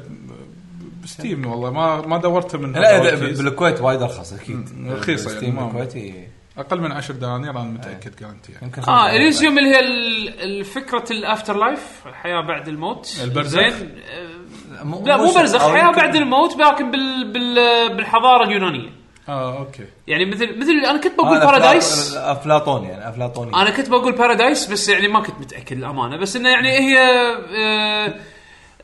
B: بستيم والله ما ما دورته من
E: لا
B: هذا
E: لا،
B: الكيس.
E: بالكويت وايد ارخص اكيد
B: رخيصة يعني،
E: ستيم
B: ما-
E: الكويتي
B: اقل من 10 دنانير انا متاكد جارنتي يعني
E: يمكن
A: اه
E: خمسة.
A: اليزيوم اللي هي ال- ال- فكره الافتر لايف الحياه بعد الموت
B: البرزخ.
A: زين آه، لا مو برزخ
E: أو
A: حياه
E: يمكن-
A: بعد الموت لكن بال... بال... بالحضاره اليونانيه
B: اه اوكي
A: يعني مثل مثل انا كنت
E: آه،
A: بقول
E: أفلا-
A: بارادايس
E: افلاطون يعني افلاطوني
A: انا كنت بقول بارادايس بس يعني ما كنت متاكد الامانه بس انه يعني هي آه،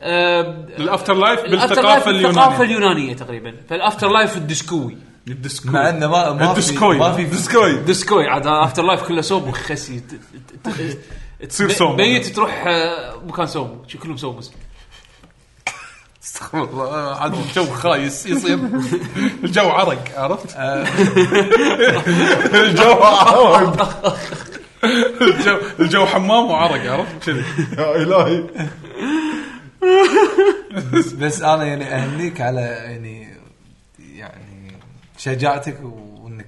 A: آه،
B: الافتر لايف
A: الأفتر لايف
B: بالثقافه
A: الثقافه
B: اليونانيه
A: اليونانيه تقريبا فالافتر لايف الديسكوي
B: الديسكو
E: مع انه ما ما في
B: الديسكوي.
E: ما في
C: ديسكوي
A: ديسكوي عاد افتر لايف كله سوب وخسي ت- ت- ت-
B: تصير
A: ب-
B: سومو.
A: ميت تروح آه، مكان سومو شو كلهم سومو
B: استغفر الله آه، عاد الجو خايس يصير الجو عرق عرفت؟
E: آه.
C: الجو عوض.
B: الجو الجو حمام وعرق عرفت كذي
C: يا الهي
E: بس انا يعني اهنيك على يعني يعني شجاعتك وانك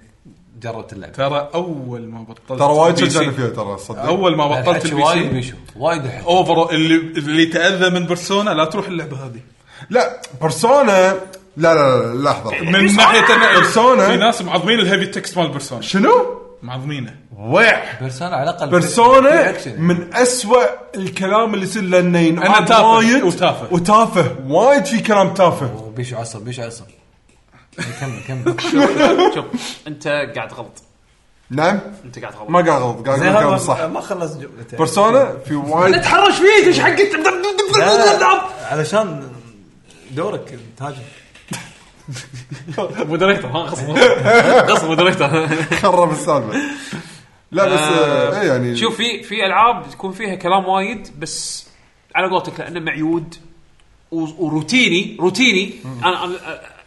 E: جربت اللعبه
B: ترى اول ما بطلت
C: ترى وايد
B: بي سي-
C: شجعني فيها ترى صدق
B: اول ما بطلت
E: الحكي
B: البي
E: وايد
B: سي
E: بيشو وايد حلو
B: اوفر اللي اللي تاذى من بيرسونا لا تروح اللعبه هذه
C: لا بيرسونا لا لا لا لحظه
B: من ناحيه أن-
C: بيرسونا.
B: في ناس معظمين الهيفي تكست مال بيرسونا
C: شنو؟
B: معظمينه
C: ويع
E: بيرسونا على الاقل في
C: بيرسونا
E: أكشن.
C: من أسوأ الكلام اللي يصير لانه ينعاد
B: تافه
C: وايد
B: وتافه.
C: وتافه وايد في كلام تافه
E: بيشو عصر بيشو عصر كمل كمل
A: شوف انت قاعد غلط
C: نعم
A: انت قاعد غلط
C: ما قاعد غلط قاعد أقول كلام صح
E: إيه، ما خلص جملته
C: بيرسونا في وايد
A: تحرش فيك ايش حقك
E: لا، لا، علشان دورك تهاجم
A: مودريتر ها قصد قصد مودريتر
C: خرب السالفه لا بس آه إيه يعني
A: شوف في في العاب تكون فيها كلام وايد بس على قولتك لانه معيود و- وروتيني روتيني انا أنا-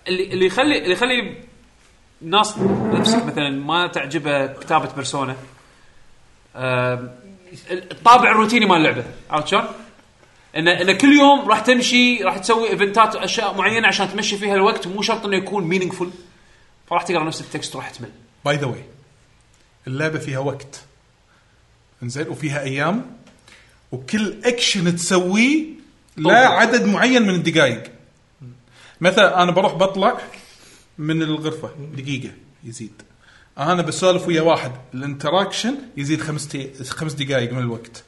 A: اللي اللي يخلي اللي يخلي ناس نفسك مثلا ما تعجبه كتابه بيرسونا آم، الطابع الروتيني مال اللعبه عرفت شلون؟ ان ان كل يوم راح تمشي راح تسوي ايفنتات واشياء معينه عشان تمشي فيها الوقت ومو شرط انه يكون مينينغفول فراح تقرا نفس التكست وراح تمل
B: باي ذا واي اللعبه فيها وقت انزين وفيها ايام وكل اكشن تسويه لا عدد معين من الدقائق مثلا انا بروح بطلع من الغرفه دقيقه يزيد انا بسولف ويا واحد الانتراكشن يزيد خمس تي- خمس دقائق من الوقت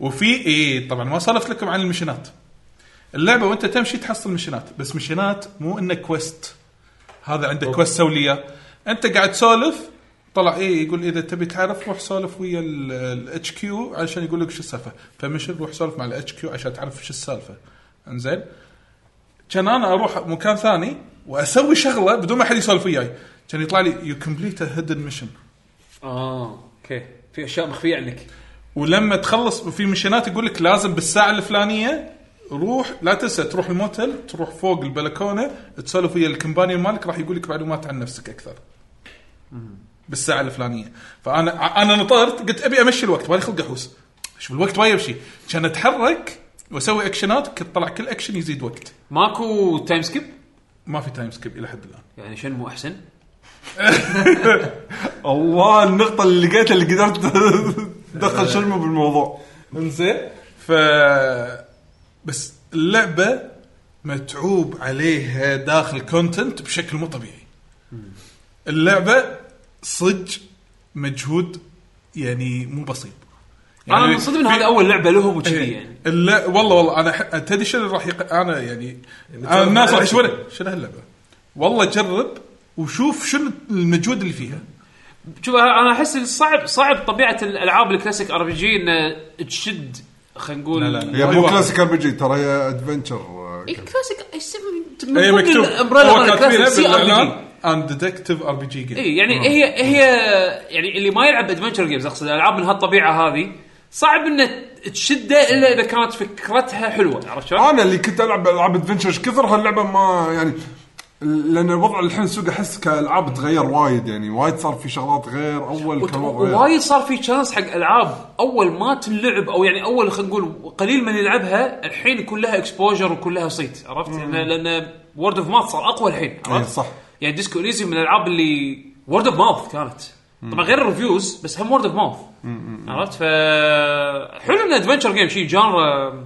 B: وفي اي طبعا ما سولفت لكم عن المشينات اللعبه وانت تمشي تحصل مشينات بس مشينات مو انه كويست هذا عنده كويست سوي لي إياه. انت قاعد تسولف طلع ايه يقول اذا تبي تعرف روح سولف ويا الاتش كيو عشان يقول لك شو السالفه فمشي روح سولف مع الاتش كيو عشان تعرف شو السالفه انزين كان انا اروح مكان ثاني واسوي شغله بدون ما حد يسولف وياي كان يطلع لي يو كومبليت هيدن ميشن
A: اه اوكي في اشياء مخفيه عنك
B: ولما تخلص في مشينات يقول لك لازم بالساعه الفلانيه روح لا تنسى تروح الموتل تروح فوق البلكونه تسولف ويا الكمبانيون مالك راح يقول لك معلومات عن نفسك اكثر بالساعه الفلانيه فانا انا نطرت قلت ابي امشي الوقت مالي خلق احوس شوف الوقت ما يمشي كان اتحرك واسوي اكشنات كنت طلع كل اكشن يزيد وقت
A: ماكو تايم سكيب
B: ما في تايم سكيب الى حد الان
A: يعني شنمو احسن
C: الله النقطة اللي لقيتها اللي قدرت
A: آه.
C: تدخل شلمه بالموضوع
B: انزين ف بس اللعبه متعوب عليها داخل كونتنت بشكل مو طبيعي اللعبه صج مجهود يعني مو بسيط يعني
A: انا منصدم ان
B: في-
A: هذا اول لعبه لهم وكذي
B: إيه.
A: يعني
B: لا والله والله انا ح- تدري شنو راح يق... انا يعني أنا الناس راح يشوفون شنو هاللعبه والله جرب وشوف شنو المجهود اللي فيها
A: شوف انا احس الصعب صعب طبيعه الالعاب الكلاسيك ار بي جي انه تشد خلينا نقول
B: لا، لا، لا.
C: هي
B: أي
C: يعني مو
A: أيوة.
B: واحد.
C: كلاسيك ار بي جي ترى هي ادفنشر
I: اي كلاسيك يسمى
B: هي مكتوب هو كاتبينها بالاعلان
I: بالإعلان
B: ان ديتكتيف ار بي جي جيم
A: اي يعني هي هي يعني اللي ما يلعب ادفنشر جيمز اقصد الالعاب من هالطبيعه هذه صعب انه تشده الا اذا كانت فكرتها حلوه عرفت شلون؟
C: انا اللي كنت العب العاب ادفنشر ايش كثر هاللعبه ما يعني لان الوضع الحين السوق احس كالعاب تغير وايد يعني وايد صار في شغلات غير اول
A: وت-
C: كان وضع غير.
A: وايد صار في تشانس حق العاب اول ما تنلعب او يعني اول خلينا نقول قليل من يلعبها الحين يكون لها اكسبوجر ويكون لها صيت عرفت؟ لان لان وورد اوف ماوث صار اقوى الحين
C: إيه،
A: عرفت؟
C: صح
A: يعني ديسكو اليزيوم من الالعاب اللي وورد اوف ماوث كانت طبعا غير الريفيوز بس هم وورد اوف ماوث عرفت ف حلو ان ادفنشر جيم شيء جانرا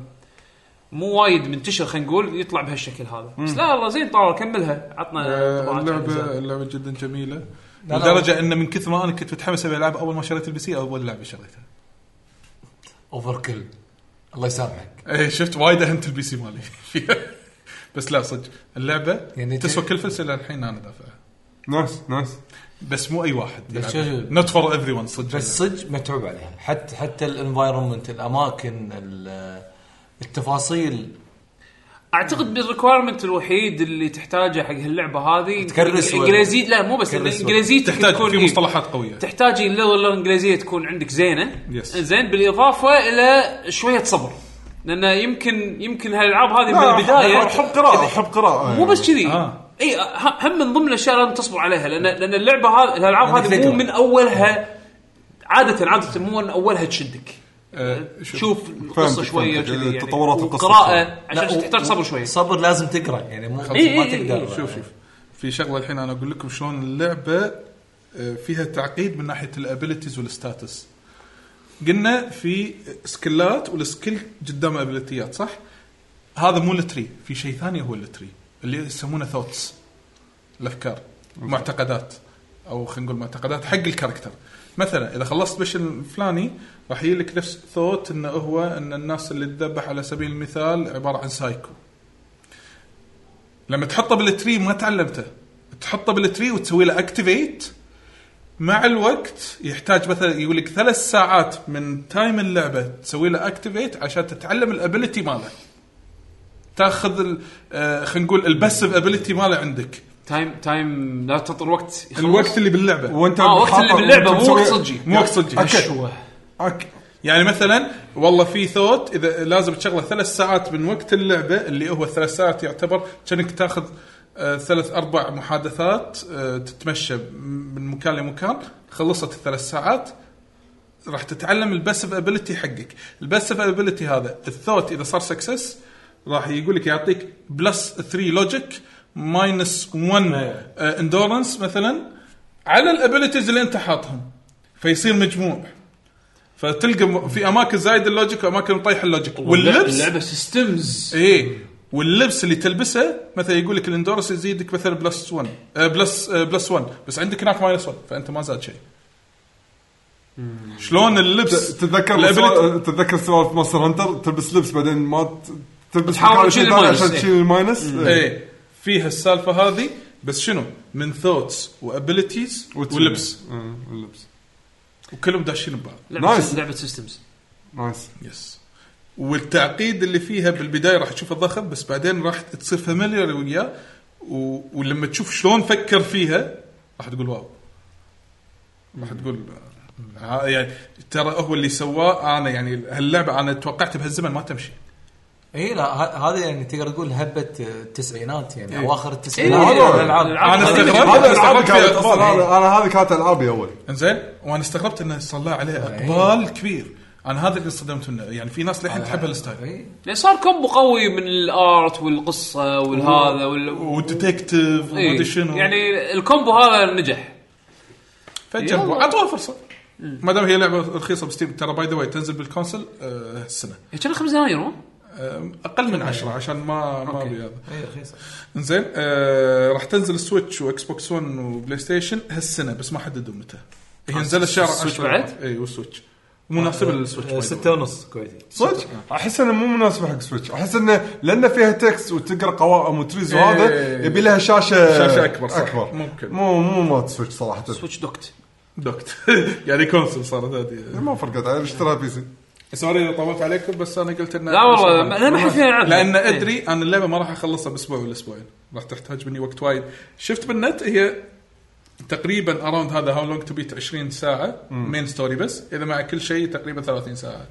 A: مو وايد منتشر خلينا نقول يطلع بهالشكل هذا بس لا والله زين طار كملها عطنا
B: آه،
A: طبعات عن
B: اللعبه
A: الأجزاء.
B: اللعبه جدا جميله
E: لا.
B: لدرجه ان من كثر ما انا كنت متحمس ابي العب اول ما شريت البي سي اول لعبه شريتها
E: اوفر كل الله يسامحك
B: ايه شفت وايد اهمت البي سي مالي فيها. بس لا صدق اللعبه
E: يعني
B: يعني تسوى
E: ت-
B: كل فلسه الحين انا دافعها
C: نايس نايس
B: بس مو اي واحد
E: بس شو-
B: نوت فور ايفري ون صدق
E: بس صدق متعوب عليها حتى حتى الانفايرمنت الاماكن ال- التفاصيل
A: اعتقد بالريكوايرمنت الوحيد اللي تحتاجه حق هاللعبه هذه
E: تكرس ولا-
A: انجليزي لا مو بس
E: تكرس ولا-
A: انجليزيتك
B: تحتاج
A: تكون
B: في
A: إيه.
B: مصطلحات قويه
A: تحتاج اللغه الانجليزيه تكون عندك زينه
B: Yes.
A: زين بالاضافه الى شويه صبر لان يمكن يمكن هالالعاب هذه من البدايه
C: حب قراءه حب يعني. قراءه
A: مو بس كذي
B: آه.
A: اي ه- هم من ضمن الاشياء لازم تصبر عليها لان لان اللعبه هذه الالعاب
E: عندك
A: هذه
E: فكرة.
A: مو من اولها عاده عاده مو من اولها تشدك
B: آه، شوف.
A: شوف القصه
C: فهمتك،
A: شويه
C: فهمتك.
A: كذي يعني
C: تطورات القصة
A: وقراءه
E: لا،
A: عشان
E: و-
A: تحتاج صبر إيه، شويه
E: صبر لازم تقرا يعني مو
A: إي
E: ما
A: إي إي
E: تقدر
B: شوف شوف في شغله الحين انا اقول لكم شلون اللعبه آه، فيها تعقيد من ناحيه الابيلتيز والستاتس قلنا في سكلات والسكيل قدام ابيلتيات صح؟ هذا مو التري في شيء ثاني هو التري اللي يسمونه ثوتس الافكار معتقدات او خلينا نقول معتقدات حق الكاركتر مثلا اذا خلصت بشن الفلاني راح يجي لك نفس ثوت انه هو ان الناس اللي تذبح على سبيل المثال عباره عن سايكو لما تحطه بالتري ما تعلمته تحطه بالتري وتسوي له اكتيفيت مع الوقت يحتاج مثلا يقول لك ثلاث ساعات من تايم اللعبه تسوي له اكتيفيت عشان تتعلم الابيلتي ماله تاخذ ال- آه، خلينا نقول الباسف ابيلتي ماله عندك
A: تايم تايم لا تنطر وقت يخلص.
B: الوقت اللي باللعبه
C: وانت
A: اه وقت اللي
C: حاطط-
A: باللعبه
C: وأنت
A: مو وقت
C: مسوي-
A: صجي
B: مو وقت صجي
A: أشوه.
C: أوكي.
B: يعني مثلا والله في ثوت اذا لازم تشغله ثلاث ساعات من وقت اللعبه اللي هو الثلاث ساعات يعتبر كأنك تاخذ آه، ثلاث اربع محادثات آه، تتمشى من مكان لمكان خلصت الثلاث ساعات راح تتعلم الباسف ابيلتي حقك، الباسف ابيلتي هذا الثوت اذا صار سكسس راح يقول لك يعطيك بلس 3 لوجيك ماينس 1 اندورنس مثلا آه، على الابيلتيز اللي انت حاطهم فيصير مجموع فتلقى م- في اماكن زايد اللوجيك واماكن طايح اللوجيك واللبس
A: اللعبه سيستمز
B: ايه واللبس اللي تلبسه مثلا يقول لك الاندورس يزيدك مثلا بلس 1 آه، بلس آه، بلس 1 بس عندك هناك ماينس 1 فانت ما زاد شيء شلون اللبس
C: تتذكر
B: الابيلتي
C: مسوا- تتذكر سوالف ماستر هانتر تلبس لبس بعدين ما ت- تلبس
A: تحاول
C: مكان
A: تشيل
C: شيء ثاني
A: الماينس،
C: عشان
A: إيه.
C: تشيل الماينس إيه.
B: ايه فيها السالفه هذه بس شنو من ثوتس وابيلتيز
C: وتشيل.
B: ولبس
C: إيه، اللبس
B: وكلهم داشين ببعض
A: لعبه
C: Nice.
A: لعبه سيستمز
C: نايس
B: يس والتعقيد اللي فيها بالبدايه راح تشوفه ضخم بس بعدين راح تصير فاميليار وياه و... ولما تشوف شلون فكر فيها راح تقول واو راح تقول ها- يعني ترى هو اللي سواه انا يعني هاللعبه انا توقعت بهالزمن ما تمشي
E: اي لا ه- هذه يعني تقدر تقول هبه التسعينات يعني اواخر
A: إيه،
E: التسعينات
A: والله.
E: الألعاب.
A: الألعاب.
B: انا استغربت
C: هذا العاب
B: استغربت
C: كانت
B: فيها
C: اصلا
B: اقبال
C: انا انا هذه كانت العابي اول
B: انزين وانا استغربت انه صار له عليه
A: إيه.
B: اقبال كبير انا هذا اللي انصدمت منه يعني في ناس للحين تحب هالستايل
E: إي.
A: لان يعني صار كومبو قوي من الارت والقصه والهذا وال
B: وديتكتيف
A: إيه.
B: ومدري شنو
A: يعني الكومبو هذا نجح
B: فجربوا اعطوها فرصه ما دام هي لعبه رخيصه بستيم ترى باي ذا واي تنزل بالكونسل آه السنه
A: إيه، كان 5 دنانير مو؟
B: آه اقل من 10 عشان ما ما ابي هذا
E: اي رخيصه
B: انزين آه راح تنزل سويتش واكس بوكس 1 وبلاي ستيشن هالسنه بس ما حددوا متى هي نزلت شهر 10
A: السويتش بعد؟
B: اي والسويتش مناسبه
E: آه،
B: للسويتش by the way.
G: ستة ونص كويتي
C: صدق احس انه مو مناسب حق سويتش احس انه لان فيها تكست وتقرا قوائم وتريز وهذا
B: إيه.
C: يبي لها شاشه
B: شاشة أكبر، صح.
C: اكبر
B: ممكن.
C: مو مو مات سويتش صراحه
A: سويتش دوكت
B: دوكت يعني كونسل صارت هذه
C: ما فرقت انا اشتريها بي سي
B: سوري إذا طولت عليكم بس انا قلت انه
A: لا والله ما- انا ما حد إيه. فينا يلعب
B: لان ادري ان اللعبه ما راح اخلصها باسبوع ولا اسبوعين راح تحتاج مني وقت وايد شفت بالنت هي تقريبا اراوند هذا هاو لونج تو بيت 20 ساعه مين ستوري بس اذا مع كل شيء تقريبا 30 ساعه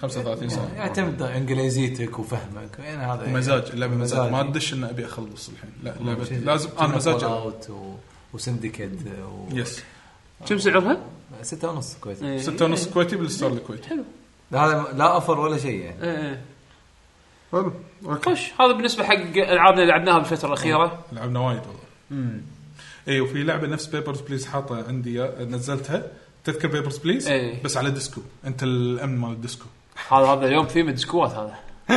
B: 35 ساعه
E: يعتمد انجليزيتك وفهمك يعني هذا
B: مزاج اللعبه مزاج ما
E: مزاج.
B: تدش ان ابي اخلص الحين لا اللعبه
E: شيء-
B: لازم انا مزاج
E: Fallout و... وسندكيت و...
B: يس
A: كم سعرها؟
E: ستة ونص كويس
A: إيه.
B: 6 ونص كويتي بالستور الكويتي
E: هذا لا اوفر ولا شيء يعني
A: إيه، إيه.
C: حلو اوكي
A: خوش هذا بالنسبه حق العابنا اللي لعبناها بالفتره الاخيره
B: لعبنا وايد والله اي وفي لعبه نفس بيبرز بليز حاطه عندي إياه، نزلتها تذكر بيبرز بليز
A: إي.
B: بس على ديسكو انت الامن مال الديسكو
A: هذا هذا اليوم في ديسكوات هذا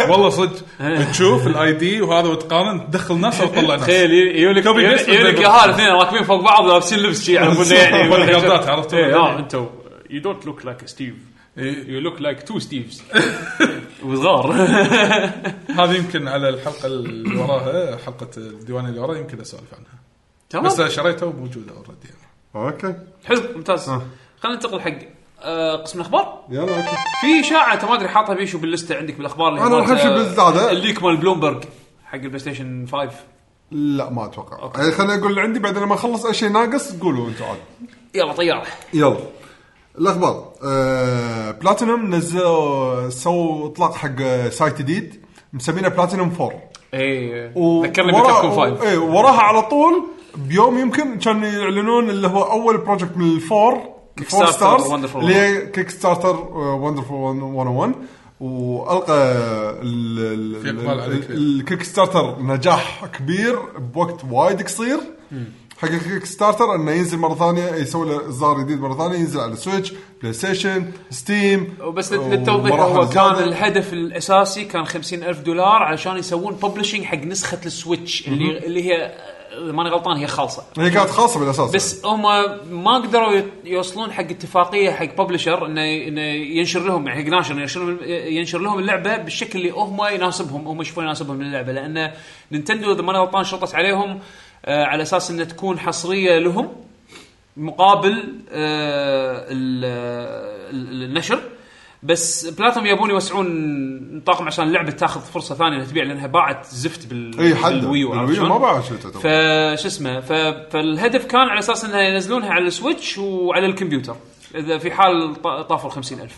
B: والله صدق
A: إيه.
B: تشوف الاي دي وهذا وتقارن تدخل ناس او تطلع ناس
A: تخيل يقول لك
B: كوبي
A: يقول
B: بيست
A: لك
B: بالضبط.
A: يا هال اثنين راكبين فوق بعض لابسين لبس شي يعرفون يعني
B: بالضبط، بالغلطات، عرفت؟
A: إيه، اه انتم يو دونت لوك لايك ستيف
B: إي،
A: يو لوك لايك تو ستيفز وصغار
B: هذه يمكن على الحلقه اللي وراها حلقه الديوان اللي وراها يمكن اسولف عنها بس
A: تمام
B: أنا شريتها وموجوده اوريدي يعني
C: اوكي
A: حلو ممتاز
C: آه.
A: خلينا ننتقل حق آه، قسم الاخبار
C: يلا اوكي
A: في اشاعه انت ما ادري حاطها بيشو باللسته عندك بالاخبار اللي
C: أنا
A: مالت-
C: راح أمشي بالزادة.
A: الليك مال بلومبرج حق البلاي ستيشن 5
C: لا ما اتوقع يعني خليني اقول اللي عندي بعدين لما اخلص اي شيء ناقص قولوا انتم عاد
A: يلا طياره
C: يلا الاخبار آه، بلاتينوم نزلوا سووا اطلاق حق آه، سايت جديد مسمينه بلاتينوم 4
A: اي
C: و-
A: ذكرني
C: ورا-
A: بتحكم
C: و-
A: 5
C: إيه وراها على طول بيوم يمكن كان يعلنون اللي هو اول بروجكت من الفور الفور
A: Kickstarter
C: ستارز
A: Wonderful
C: اللي هي uh, كيك ستارتر وندرفول 101 والقى oh ال-
B: في
C: ال-
B: إقبال عليه كبير.
C: ال- الكيك ستارتر نجاح كبير بوقت وايد قصير حق الكيك ستارتر انه ينزل مره ثانيه يسوي له اصدار جديد مره ثانيه ينزل على سويتش بلاي ستيشن ستيم
A: وبس لل- للتوضيح هو
C: ومراحل
A: كان
C: زيادة.
A: الهدف الاساسي كان خمسين ألف دولار علشان يسوون ببلشنج حق نسخه السويتش اللي اللي هي آه، إذا ماني غلطان هي خالصه
C: هي كانت خاصه بالاساس
A: بس هم ما قدروا يت- يوصلون حق اتفاقيه حق ببلشر انه انه ينشر لهم يعني حق ناشر ينشر, ينشر لهم اللعبه بالشكل اللي هم يناسبهم هم يشوفون يناسبهم من اللعبه لان نينتندو اذا ماني غلطان شرطت عليهم آه على اساس انها تكون حصريه لهم مقابل آه ال- ال- النشر بس بلاتهم يبون يوسعون نطاقهم عشان اللعبه تاخذ فرصه ثانيه انها تبيع لانها باعت زفت بال
C: اي حد
A: إيه، بالويو عرفت
C: الويو
A: شلون؟
C: ما باع شيء تعتبر.
A: فش اسمه ف... فالهدف كان على اساس انها ينزلونها على السويتش وعلى الكمبيوتر اذا في حال ط- طافوا ال 50000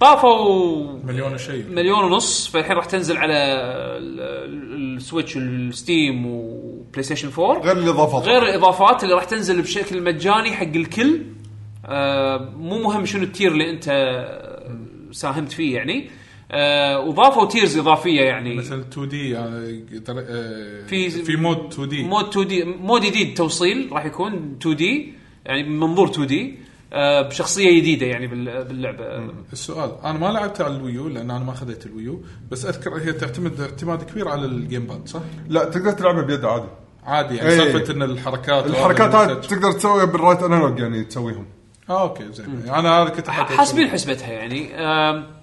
A: طافوا
B: مليون وشيء
A: مليون ونص فالحين راح تنزل على ال- ال- السويتش والستيم وبلاي ستيشن 4
C: غير الاضافات
A: غير الاضافات اللي راح تنزل بشكل مجاني حق الكل آه مو مهم شنو التير اللي انت ساهمت فيه يعني آه وضافوا تيرز اضافيه يعني
B: مثل 2 دي يعني ترى- آه،
A: في-
B: في مود 2 دي
A: مود 2 دي مود جديد توصيل راح يكون 2 دي يعني من منظور 2 دي بشخصيه جديده يعني بال- باللعبه
B: السؤال انا ما لعبت على الويو لان انا ما خذيت الويو بس اذكر هي تعتمد اعتماد كبير على الجيم باد صح؟
C: لا تقدر تلعبها بيد عادي
B: عادي يعني
C: إي.
B: سالفه ان الحركات
C: الحركات
B: وهذا
C: هاي
B: المسج.
C: تقدر تسويها بالرايت انالوج يعني تسويهم
B: اه اوكي زين انا هذا كنت أحط-
A: حاسبين حسبتها يعني آم،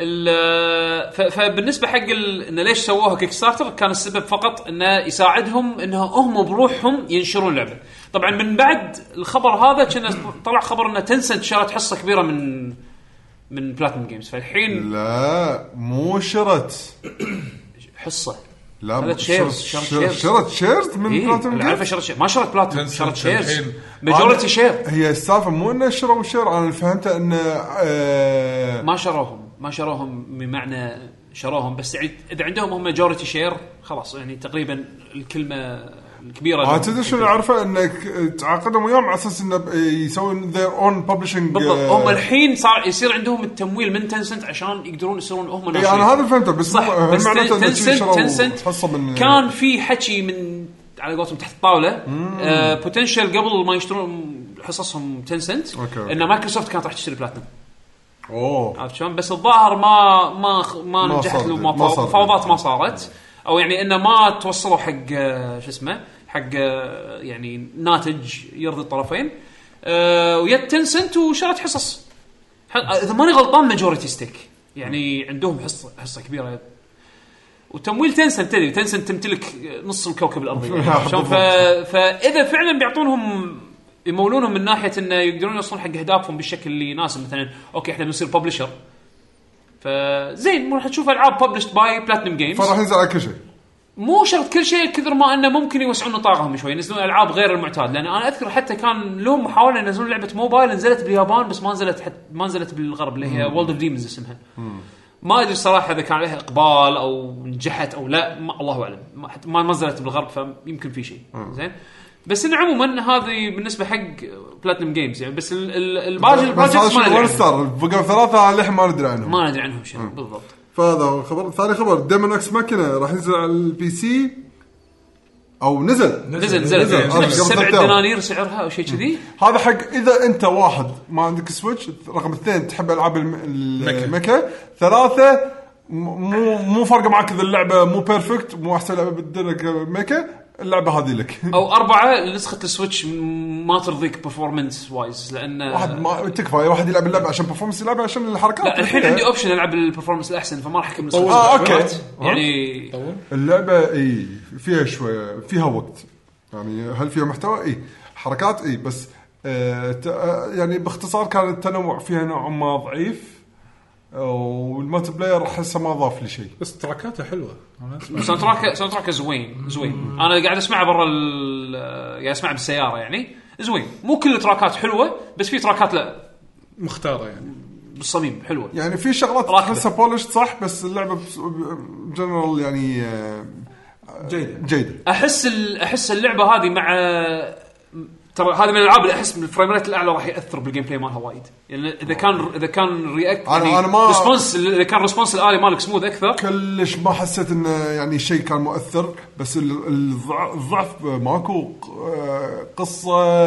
A: ال- ف- فبالنسبه حق ال- انه ليش سووها كيك ستارتر كان السبب فقط انه يساعدهم انه هم بروحهم ينشرون لعبه طبعا من بعد الخبر هذا كنا طلع خبر ان تنسنت شرت حصه كبيره من من بلاتنم جيمز فالحين
C: لا مو شرت
A: حصه
C: لا
A: هذا
C: مو-
A: شيرز،
C: شر-
A: شرت
C: شر-
A: شيرز.
C: شرت شيرز من
A: إيه،
C: بلاتينم
A: أنا عارفه
C: جيمز؟
A: شرط شير ما شرط بلاتنم
B: تنسل
A: شرط شيرز
B: الحين.
A: ماجورتي شير
C: هي السالفه مو انه شروا شير انا اللي فهمته انه آه،
A: ما شروهم ما شروهم بمعنى شروهم بس يعني اذا عندهم هم ماجورتي شير خلاص يعني تقريبا الكلمه الكبيره
C: ما
A: لهم.
C: تدري شنو اللي اعرفه انك تعاقدهم وياهم على اساس انه ب- يسوون ذير اون ببلشنج
A: بالضبط هم الحين صار يصير عندهم التمويل من تنسنت عشان يقدرون يصيرون هم
C: اي انا هذا فهمته بس
A: صح
C: مو-
A: بس
C: معناته إنه شي
A: تنسنت
C: شروا
A: تنسنت
C: حصه من
A: كان في حكي من على قولتهم تحت الطاوله آه بوتنشل قبل ما يشترون حصصهم تنسنت
C: أوكي، أوكي.
A: ان مايكروسوفت كانت راح تشتري بلاتنم
C: اوه
A: عرفت شلون بس الظاهر ما ما خ- ما,
C: ما
A: ما نجحت
C: صار-
A: له ما
C: ما صار.
A: مفاوضات ما صارت او يعني انه ما توصلوا حق آه، شو اسمه حق آه، يعني ناتج يرضي الطرفين آه، ويت تنسنت وشرت حصص ح- اذا ماني غلطان ماجورتي ستيك يعني عندهم حصه حصه كبيره وتمويل تنسنت تدري تنسنت تمتلك نص الكوكب الارضي يعني شلون ف... فاذا فعلا بيعطونهم يمولونهم من ناحيه انه يقدرون يوصلون حق اهدافهم بالشكل اللي يناسب مثلا اوكي احنا بنصير ببلشر فزين راح تشوف العاب ببلشت باي بلاتنم جيمز
C: فراح ينزل على كل شيء
A: مو شرط كل شيء كثر ما انه ممكن يوسعون نطاقهم شوي ينزلون العاب غير المعتاد لان انا اذكر حتى كان لهم محاوله ينزلون لعبه موبايل نزلت باليابان بس ما نزلت حت ما نزلت بالغرب اللي هي وولد اوف ديمز اسمها ما ادري صراحه اذا كان عليها اقبال او نجحت او لا ما الله اعلم ما, حت- ما ما نزلت بالغرب فيمكن في شيء زين بس انه عموما هذه بالنسبه حق بلاتنم جيمز يعني بس ال- ال- الباقي
C: بس هذا
A: البروجكتس ما
C: شيء
A: ندري
C: ون
A: عنهم.
C: ستار بقوا ثلاثه للحين ما ندري عنهم
A: ما ندري عنهم شنو بالضبط
C: فهذا هو خبر ثاني خبر ديمون اكس ماكينه راح ينزل على البي سي او نزل
A: نزل نزلت
C: نزل.
A: نزلت
C: قبل
A: سبع
C: ثلاثة أيام.
A: دنانير سعرها او شيء كذي
C: هذا حق اذا انت واحد ما عندك سويتش رقم اثنين تحب العاب الم- المكة ثلاثه م- مو مو فارقه معك اذا اللعبه مو بيرفكت مو احسن لعبه بالدنيا كمكة اللعبه هذه لك
A: او اربعه نسخه السويتش م- ما ترضيك برفورمنس وايز لان
C: واحد ما تكفى واحد يلعب اللعبه عشان برفورمس يلعبها عشان الحركات
A: لا الحين عندي اوبشن العب البرفورمنس الاحسن فما راح اكمل نسخه
C: آه،
A: السويتش.
C: أوكي.
A: عرفت؟ يعني
C: اللعبه اي فيها شويه فيها وقت يعني هل فيها محتوى؟ اي حركات اي بس آه ت- آه، يعني باختصار كان التنوع فيها نوع ما ضعيف آه، والمالتي بلاير احسه ما ضاف لي شيء
B: بس تراكاته حلوه أنا أسمع.
A: ساوند تراك ساوند تراك زوين زوين انا قاعد اسمعه برا ال- قاعد اسمعه بالسياره يعني زوين مو كل التراكات حلوه بس في تراكات لا
B: مختاره يعني
A: بالصميم حلوه
C: يعني في شغلات
A: راكبة.
C: تحسها بولش صح بس اللعبه بس- ب- جنرال يعني آه،
J: جيده
C: جيده
A: احس ال... احس اللعبه هذه مع ترى هذه من الالعاب اللي احس من الفريم ريت الاعلى راح ياثر بالجيم بلاي مالها وايد يعني اذا كان اذا كان يعني رياكت
C: أنا- أنا ما-
A: ريسبونس اذا كان ريسبونس الالي مالك سموث اكثر
C: كلش ما حسيت انه يعني شيء كان مؤثر بس ال- الضع- الضعف ماكو آه، قصه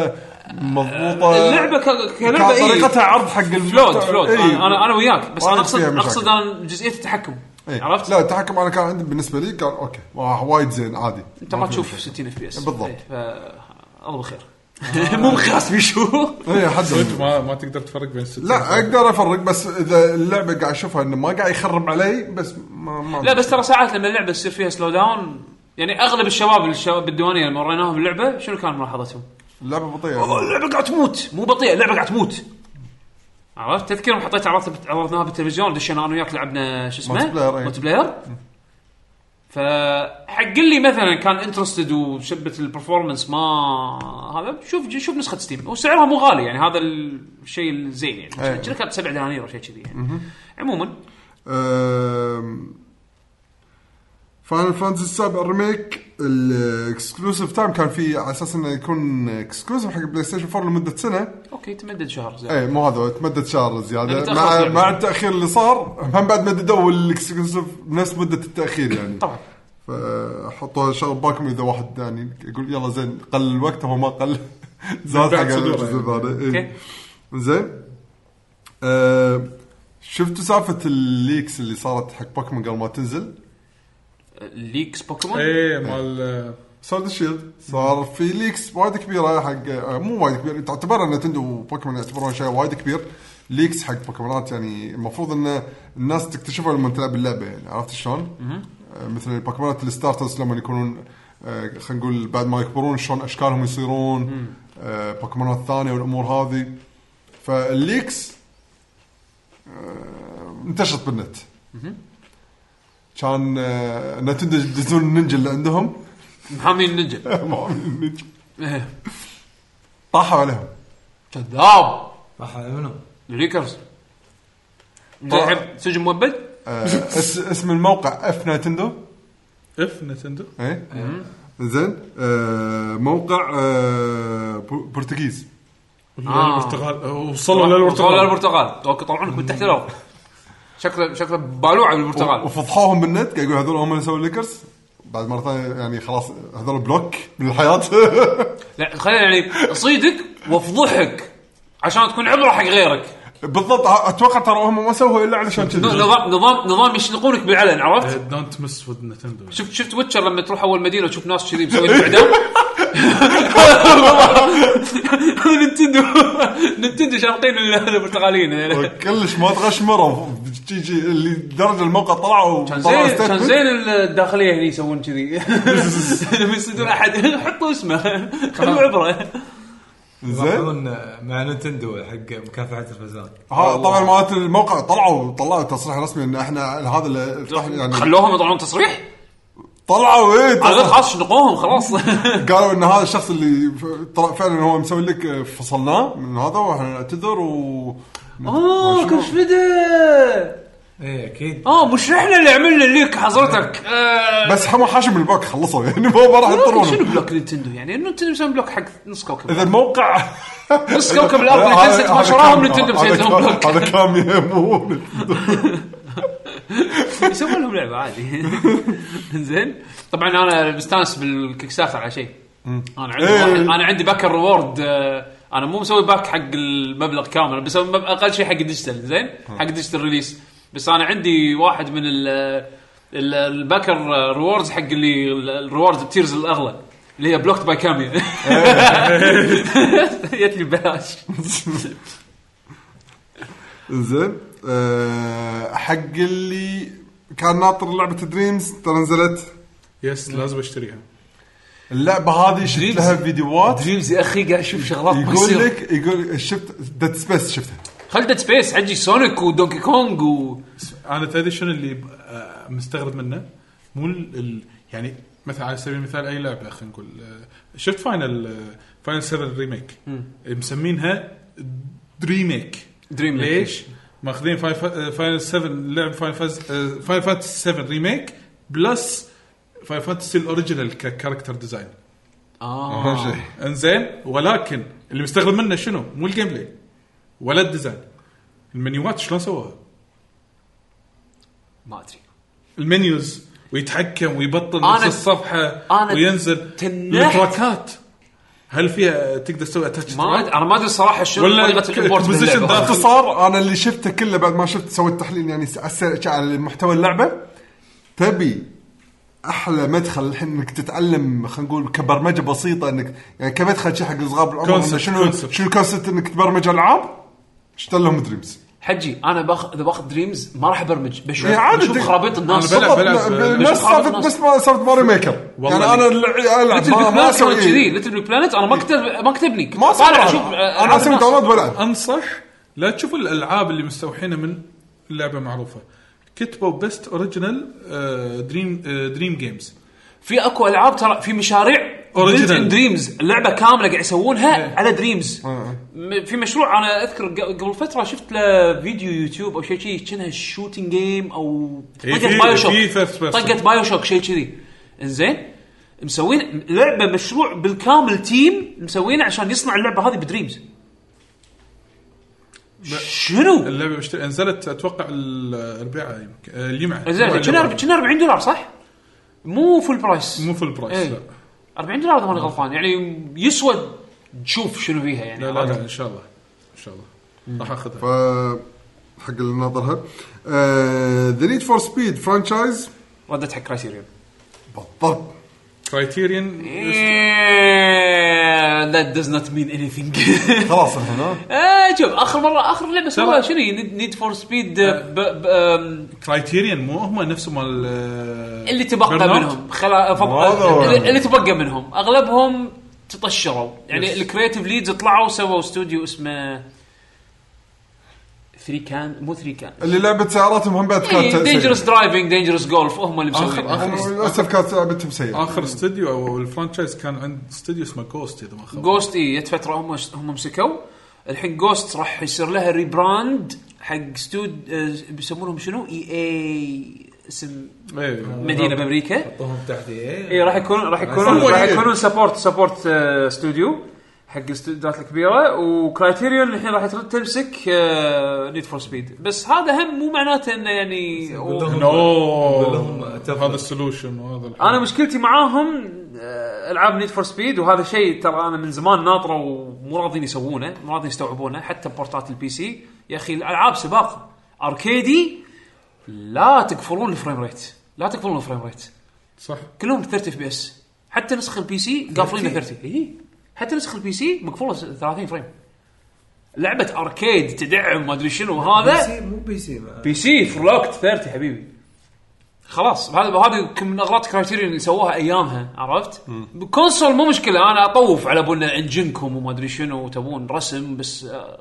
C: مضبوطه
A: اللعبه ك... كلعبه
C: كان
A: إيه.
C: طريقتها عرض حق
A: فلود فلود
C: إيه.
A: انا انا آه، أنا وياك بس
C: وايد
A: انا اقصد
C: فيها مشاكل.
A: اقصد انا جزئيه التحكم
C: إيه.
A: عرفت؟
C: لا التحكم انا كان عندي بالنسبه لي كان اوكي واه، وايد زين عادي
A: انت ما تشوف 60 اف بي اس
C: بالضبط.
A: إيه،
C: آه.
A: الله بخير مو بخاص بيشو
C: اي إيه، حد
B: صدق طيب، ما ما تقدر تفرق بين ستة
C: لا
B: وسبعة.
C: اقدر افرق بس اذا اللعبه قاعد اشوفها انه ما قاعد يخرب علي بس ما, ما
A: لا بس ترى ساعات لما اللعبه تصير فيها سلو داون يعني اغلب الشباب الشباب بالديوانيه لما وريناهم اللعبه شنو كان ملاحظتهم؟
C: اللعبه
A: والله
C: بطيئه
A: اللعبه قاعد تموت مو بطيئه اللعبه قاعد تموت عرفت تذكرهم حطيت عرضت عرضناها بالتلفزيون دشينا انا وياك لعبنا شو اسمه
C: مالتي بلاير، إيه.
A: ملتي بلاير فحق اللي مثلا كان انترستد وشبت البرفورمانس ما هذا شوف شوف نسخه ستيم وسعرها مو غالي يعني هذا الشيء الزين يعني
C: إيه.
A: شنو كانت 7 دنانير او شيء كذي يعني عموما
C: فاينل فانتسي السابع ريميك الاكسكلوسيف تايم كان في على اساس انه يكون اكسكلوسيف حق بلاي ستيشن 4 لمده سنه
A: اوكي تمدد شهر زين
C: اي إيه، مو هذا تمدد شهر
A: يعني
C: زياده
A: تأخر
C: مع
A: اللعبة.
C: مع التاخير اللي صار هم بعد مددوا الاكسكلوسيف بنفس مده التاخير يعني
A: طبعا
C: فحطوا شغل ببالكم اذا واحد يعني يقول يلا زين قل الوقت هو ما قل زاد حق
B: بعد صدوره
C: الجزء هذا
A: اوكي
C: إيه. زين آه، شفتوا سالفه الليكس اللي صارت حق بوكيمون قبل ما تنزل
A: ليكس بوكيمون
C: إيه.
B: ايه مال
C: سولد شيلد صار في ليكس وايد كبيره حق آه، مو وايد كبيره تعتبر ان نتندو وبوكيمون يعتبرون شيء وايد كبير ليكس حق بوكيمونات يعني المفروض ان الناس تكتشفها لما تلعب اللعبه يعني عرفت شلون؟ آه، مثل البوكيمونات الستارترز لما يكونون آه، خلينا نقول بعد ما يكبرون شلون اشكالهم يصيرون آه، بوكيمونات ثانيه والامور هذه فالليكس آه، انتشرت بالنت كان آه، نتندو يدزون النينجا اللي عندهم
A: محامي النينجا
C: ما في النينجا.
A: إيه.
C: طاحوا عليهم
A: كذاب
E: راح على منو؟
A: الريكرز الحين سجن مؤبد
C: آه، اس- اسم الموقع اف نتندو
B: اف نتندو
C: ايه زين آه، موقع آه، بو- برتغيز
A: آه.
B: البرتغال آه، وصلوا للبرتغال
A: البرتغال أوكي، طلعونك من تحت الارض شكله شكله بالوعه بالبرتغال
C: وفضحوهم بالنت قاعد يقول هذول هم اللي سووا الليكرز بعد مره ثانيه يعني خلاص هذول بلوك من الحياه
A: لا خلينا يعني صيدك وافضحك عشان تكون عبره حق غيرك
C: بالضبط اتوقع ترى هم ما سووها الا علشان
A: ن-
C: كذي
A: نظام نظام نظام يشنقونك بالعلن عرفت؟
B: دونت مس وذ نتندو
A: شفت شفت ويتشر لما تروح اول مدينه وتشوف ناس كذي مسوين لك اعدام نتندو نتندو شرقين البرتغاليين
C: كلش ما تغشمروا جي جي اللي درجه الموقع طلعوا
A: كان
C: طلعوا
A: زين كان
C: statement.
A: زين الداخليه هني يسوون كذي لما يصيدون احد حطوا اسمه خلوا عبره
C: زين
E: يروحون مع نتندو حق مكافحه الفزان
C: ها طبعا مالت الموقع طلعوا طلعوا تصريح رسمي ان احنا هذا اللي فتح- يعني
A: خلوهم يطلعون تصريح
C: طلعوا ايه
A: على
C: طلعوا.
A: الأقل خلاص شنقوهم خلاص
C: قالوا ان هذا الشخص اللي ف- طلع فعلا هو مسوي لك آه، فصلناه من هذا واحنا نعتذر و
A: اه كشفده
E: اي اكيد
A: اه مش احنا اللي عملنا لك حضرتك آه،
C: بس حمو حاشم البلوك خلصوا يعني ما ما راح
A: شنو
C: يضطرون
A: بلوك نينتندو يعني نينتندو مسوي بلوك حق نص كوكب
C: اذا الموقع
A: نص كوكب الارض اللي
C: هذا-
A: فلست
C: هذا
A: ما شراهم
C: كان-
A: نينتندو
C: هذا
A: مسوي لهم
C: كان-
A: بلوك
C: هذا كان يهمون
A: يسوون لهم لعبه عادي زين طبعا انا مستانس بالكيك ستارتر على شيء انا عندي
C: إيه.
A: واحد- انا عندي باك الريورد آه، انا مو مسوي باك حق المبلغ كامل أنا بسوي مب- اقل شيء حق الديجيتال زين حق الديجيتال ريليس بس انا عندي واحد من ال ال- الباكر ريوردز حق اللي ال- الريوردز بتيرز الاغلى اللي هي بلوكت باي كاميا جت لي ببلاش
C: زين آه، حق اللي كان ناطر لعبه دريمز ترى نزلت
B: يس لازم اشتريها
C: اللعبه هذه شفت
A: Dreams.
C: لها فيديوهات
A: دريمز يا اخي قاعد اشوف شغلات
C: يقول لك يقول شفت ديد سبيس شفتها
A: خلدت سبيس عجي سونيك ودونكي كونج و
B: انا تدري شنو اللي ب- آه، مستغرب منه مو ال... ال- يعني مثلا على سبيل المثال اي لعبه خلينا نقول آه، شفت فاينل فاينل 7 ريميك مسمينها دريميك
A: دريم ليك.
B: ليش؟ ماخذين آه، فاينل 7 لعب فاينل فاينل فانتسي 7 ريميك بلس فاينل فانتسي الاوريجنال ككاركتر ديزاين
A: اه
C: أهم شيء.
B: انزين ولكن اللي مستغرب منه شنو؟ مو الجيم بلاي ولا الديزاين المنيوات شلون سووها؟
A: ما ادري
B: المنيوز ويتحكم ويبطل
A: أنا-
B: نفس الصفحه
A: أنا
B: وينزل
A: تنحت.
B: التراكات هل فيها تقدر تسوي اتاتش
A: ما أدري- انا ما ادري الصراحه شنو
B: ولا
A: طريقه
B: ك-
A: الامبورت
B: position
A: باللعبه
B: داخل.
C: باختصار انا اللي شفته كله بعد ما شفت سويت تحليل يعني س- على السريع على محتوى اللعبه تبي احلى مدخل الحين انك تتعلم خلينا نقول كبرمجه بسيطه انك يعني كمدخل شيء حق صغار بالعمر
B: Concept،
C: إنه شنو
B: concept.
C: شنو الكونسبت انك تبرمج العاب اشتغل لهم دريمز
A: حجي انا باخ... اذا باخذ دريمز ما راح ابرمج بشوف
C: إيه، عادي
A: بشوف
C: تقدر.
A: خرابيط الناس
B: أنا بلعب- بلعب-
C: نفس
A: بشوف خرابيط
C: سالفه
A: الناس.
C: بس ما سالفه ماري ميكر
B: والله
C: يعني انا اللي- العب
A: ليتل
C: ما-
A: بيج
C: ما
A: بلانت
C: اسوي
A: كان كذي
C: إيه.
A: ليتل بيج بلانت انا ما كتب ما كتبني
C: ما اسوي
A: طالع
C: ألعاب.
A: اشوف آه،
C: انا
A: ألعاب
C: اسوي
A: الناس.
C: داونلود والعب
B: انصح لا تشوفوا الالعاب اللي مستوحينه من لعبه معروفه كتبوا آه، بيست اوريجينال دريم دريم جيمز
A: في اكو العاب ترى في مشاريع
B: Original. إيه.
A: دريمز اللعبه كامله قاعد يسوونها على دريمز
B: آه.
A: م- في مشروع انا اذكر ق- قبل فتره شفت له فيديو يوتيوب او شيء كذي كانها شوتنج جيم او
B: إيه،
A: طقت
B: في-
A: بايو شوك
B: في first person.
A: طقت بايو شوك شيء كذي انزين مسوين لعبه مشروع بالكامل تيم مسوينه عشان يصنع اللعبه هذه بدريمز شنو؟
B: اللعبه مشت... نزلت اتوقع الاربعاء يمكن آه، الجمعه
A: زين كنا
B: الجمعة.
A: كنا 40 دولار صح؟ مو فول برايس
B: مو في البرايس
A: إيه.
B: لا
A: 40 دولار اذا ماني غلطان يعني يسود تشوف شنو فيها يعني
B: لا لا, لا ان شاء الله ان شاء الله راح اخذها
A: إيه.
C: ف- آه، حق اللي ناظرها آه، ذا نيد فور سبيد فرانشايز
A: ردت حق كرايسيريون
C: بالضبط
B: كرايتيريان
A: ذات داز نوت مين اني ثينج
C: خلاص الحين ها؟
A: آه، شوف اخر مره اخر لعبه سووها شنو نيد فور سبيد
B: آه. كرايتيريان مو هم نفسهم مال آه،
A: اللي تبقى
B: برنارد؟
A: منهم خلا فض-
C: هذا هو.
A: اللي- اللي تبقى منهم اغلبهم تطشروا يعني
B: Yes.
A: الكريتيف ليدز طلعوا سووا استوديو اسمه
K: 3 كان مو 3 كان
C: اللي لعبه سياراتهم هم بعد كانت
A: دينجرس درايفنج دينجرس جولف هم اللي
B: اخر
A: مسوينها
C: سيئة.
B: اخر
C: للاسف كانت لعبتهم
A: آه.
C: سيئه
B: اخر استوديو او الفرانشايز كان عند استوديو اسمه جوست اذا ما خاب
A: جوست اي جت فتره إيه، هم هم مسكوا الحين جوست راح يصير لها ريبراند حق ستود آه، بيسمونهم شنو اي اي اسم
B: إيه.
A: مدينه بامريكا
E: حطوهم تحت إيه.
A: اي
E: اي
A: إيه، راح يكون راح يكونون
C: هو
E: يعني
A: راح
C: إيه.
A: يكونون سبورت سبورت آه، استوديو حق الاستوديوهات الكبيره وكرايتيريون الحين راح ترد تمسك آه، نيد فور سبيد بس هذا هم مو معناته انه يعني
E: قول لهم- قول لهم
B: نو
E: اتفق.
B: هذا السولوشن وهذا الحل.
A: انا مشكلتي معاهم آه، العاب نيد فور سبيد وهذا شيء ترى انا من زمان ناطره ومو راضين يسوونه مو راضين يستوعبونه حتى بورتات البي سي يا اخي الالعاب سباق اركيدي لا تقفلون الفريم ريت لا تقفلون الفريم ريت
B: صح
A: كلهم 30 اف بي اس حتى نسخ البي سي قافلينه 30 اي حتى نسخ البي سي مقفوله 30 فريم لعبه اركيد تدعم ما ادري شنو
E: بي
A: هذا
E: سي مو بي سي ما-
A: بي سي فلوكت 30 حبيبي خلاص هذا هذه يمكن من اغلاط كرايتيريون اللي سووها ايامها عرفت؟ بكونسول مو مشكله انا اطوف على بالنا انجنكم وما ادري شنو وتبون رسم بس آه،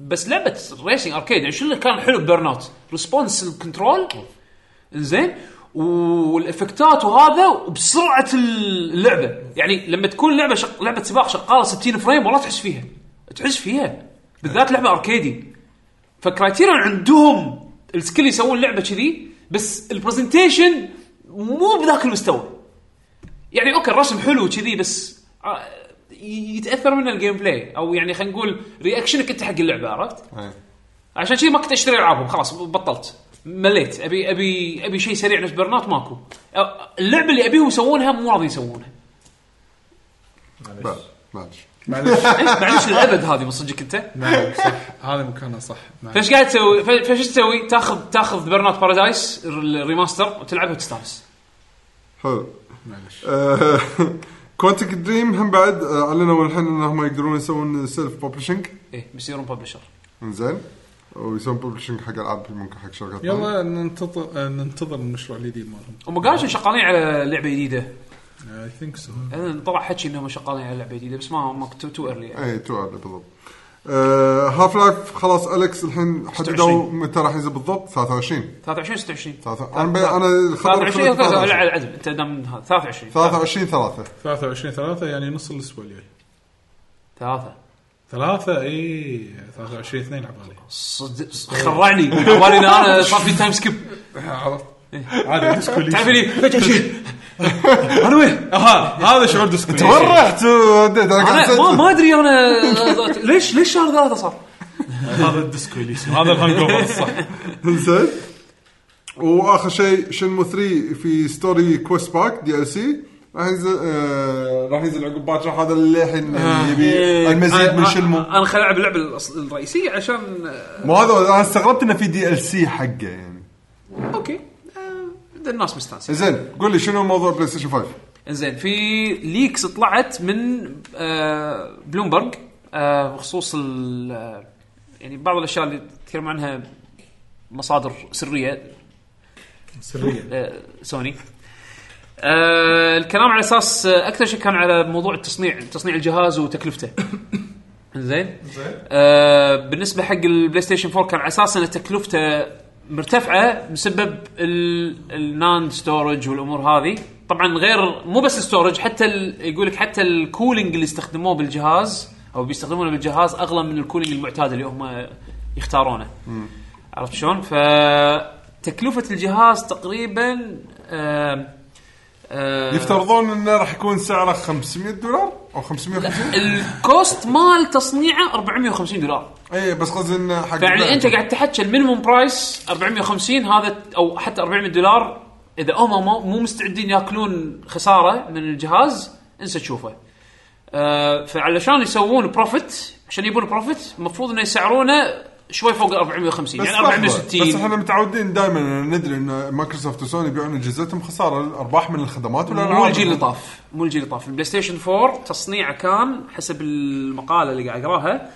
A: بس لعبه ريسنج اركيد يعني شو اللي كان حلو ببيرن اوت؟ ريسبونس الكنترول زين والافكتات وهذا وبسرعه اللعبه يعني لما تكون لعبه شق... لعبه سباق شغاله 60 فريم والله تحس فيها تحس فيها بالذات لعبه اركيدي فكرايتيريون عندهم السكيل يسوون لعبه كذي بس البرزنتيشن مو بذاك المستوى يعني اوكي الرسم حلو كذي بس آه، ي- يتاثر منه الجيم بلاي او يعني خلينا نقول رياكشنك انت حق اللعبه عرفت؟
C: إيه.
A: عشان كذي ما كنت اشتري العابهم خلاص بطلت مليت ابي ابي ابي شيء سريع نفس برنات ماكو أ- اللعبه اللي ابيهم يسوونها مو راضيين يسوونها
C: بعد- معلش
A: معلش للابد هذه من صدقك انت
B: نعم صح هذا مكانه صح نعم.
A: فايش قاعد تسوي ف- فايش تسوي تاخذ تاخذ برنات بارادايس الريماستر وتلعبها وتستانس
C: حلو
B: معلش
C: كوانتك دريم هم بعد آه، اعلنوا الحين انهم يقدرون يسوون سيلف ببلشنج
A: ايه بيصيرون ببلشر
C: انزين ويسوون ببلشنج حق العاب ممكن حق شركات ثانية.
B: يلا ننتظر ننتظر المشروع الجديد مالهم
A: هم قالوا شي شغالين على لعبه جديده
B: اي ثينك سو
A: أنا طلع حكي انهم شغالين على لعبه جديده بس ما ما تو تو ايرلي يعني.
C: اي تو على إيه، بالضبط آه، هاف لايف خلاص الكس الحين حددوا
A: 26.
C: متى راح ينزل بالضبط 23
A: 23 26
C: ثلاثة- انا بي- انا الخبر
A: 23
C: خلص
A: أوكي، آه، لا
C: 23
A: على العدد انت دام هذا 23
C: 23 ثلاثة
B: 23 3 يعني نص الاسبوع الجاي
A: ثلاثة
B: ثلاثة إيه. اي 23 2 على بالي
A: صدق خرعني عبالي إن انا صار في تايم سكيب
B: عرفت؟ عادي ديسكوليشن
A: تعرف لي فجاه شيء
B: انا وين؟ اها آه، هذا شعور ديسكوليشن
C: وين رحت وديت انا إيه. قاعد
A: انا ما
C: أسجل.
A: ما ادري انا ليش ليش شهر ثلاثة صار؟
B: هذا الديسكوليشن هذا الهانج اوفر الصح
C: زين واخر شيء شنمو 3 في ستوري كويست باك دي ال سي راح ينزل آه راح ينزل عقب باكر هذا اللي الحين
A: آه،
C: يبي المزيد من شنمو
A: انا إيه. خليني العب اللعبة الأص- الرئيسية عشان
C: ما هذا انا استغربت انه في دي ال سي حقه يعني
A: آه، اوكي آه، الناس مستانسة
C: زين قول لي شنو موضوع بلاي ستيشن 5
A: انزين في ليكس طلعت من آه، بلومبرج آه، بخصوص ال- آه، يعني بعض الاشياء اللي تكلم عنها مصادر سريه
B: سريا
A: آه، سوني آه، الكلام على اساس آه، اكثر شيء كان على موضوع التصنيع تصنيع الجهاز وتكلفته زين آه، بالنسبه حق البلاي ستيشن 4 كان على اساس ان تكلفته مرتفعه بسبب النان ستورج والامور هذه طبعا غير مو بس الستورج حتى ال- يقول لك حتى الكولينج اللي استخدموه بالجهاز او بيستخدمونه بالجهاز اغلى من الكولينج المعتاد اللي هم يختارونه عرفت شلون؟ فتكلفة الجهاز آه، تقريبا آم، آم،
C: يفترضون انه راح يكون سعره 500 دولار او 550
A: الكوست مال تصنيعه 450 دولار
C: اي إيه، بس قصدي انه حق
A: فيعني
C: البيع.
A: يعني انت قاعد تحكي المينيموم برايس 450 هذا او حتى 400 دولار اذا هم مو- مو مستعدين ياكلون خساره من الجهاز انسى تشوفه. آه، فعلشان يسوون بروفيت عشان يبون بروفيت المفروض انه يسعرونه شوي فوق 450
C: بس
A: يعني
C: لحظة.
A: 460
C: بس احنا متعودين دائما ندري ان مايكروسوفت وسوني يبيعون اجهزتهم خساره الارباح من الخدمات ولا
A: مو الجيل اللي طاف مو الجيل اللي طاف البلاي ستيشن 4 تصنيعه كان حسب المقاله اللي قاعد اقراها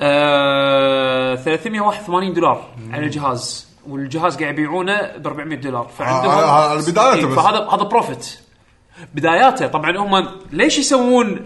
A: آه 381 دولار على الجهاز والجهاز قاعد يبيعونه ب 400 دولار فعندهم
C: على- على آه، بداياته
A: إيه،
C: بس.
A: فهذا هذا بروفيت آه، بداياته طبعا هم ليش يسوون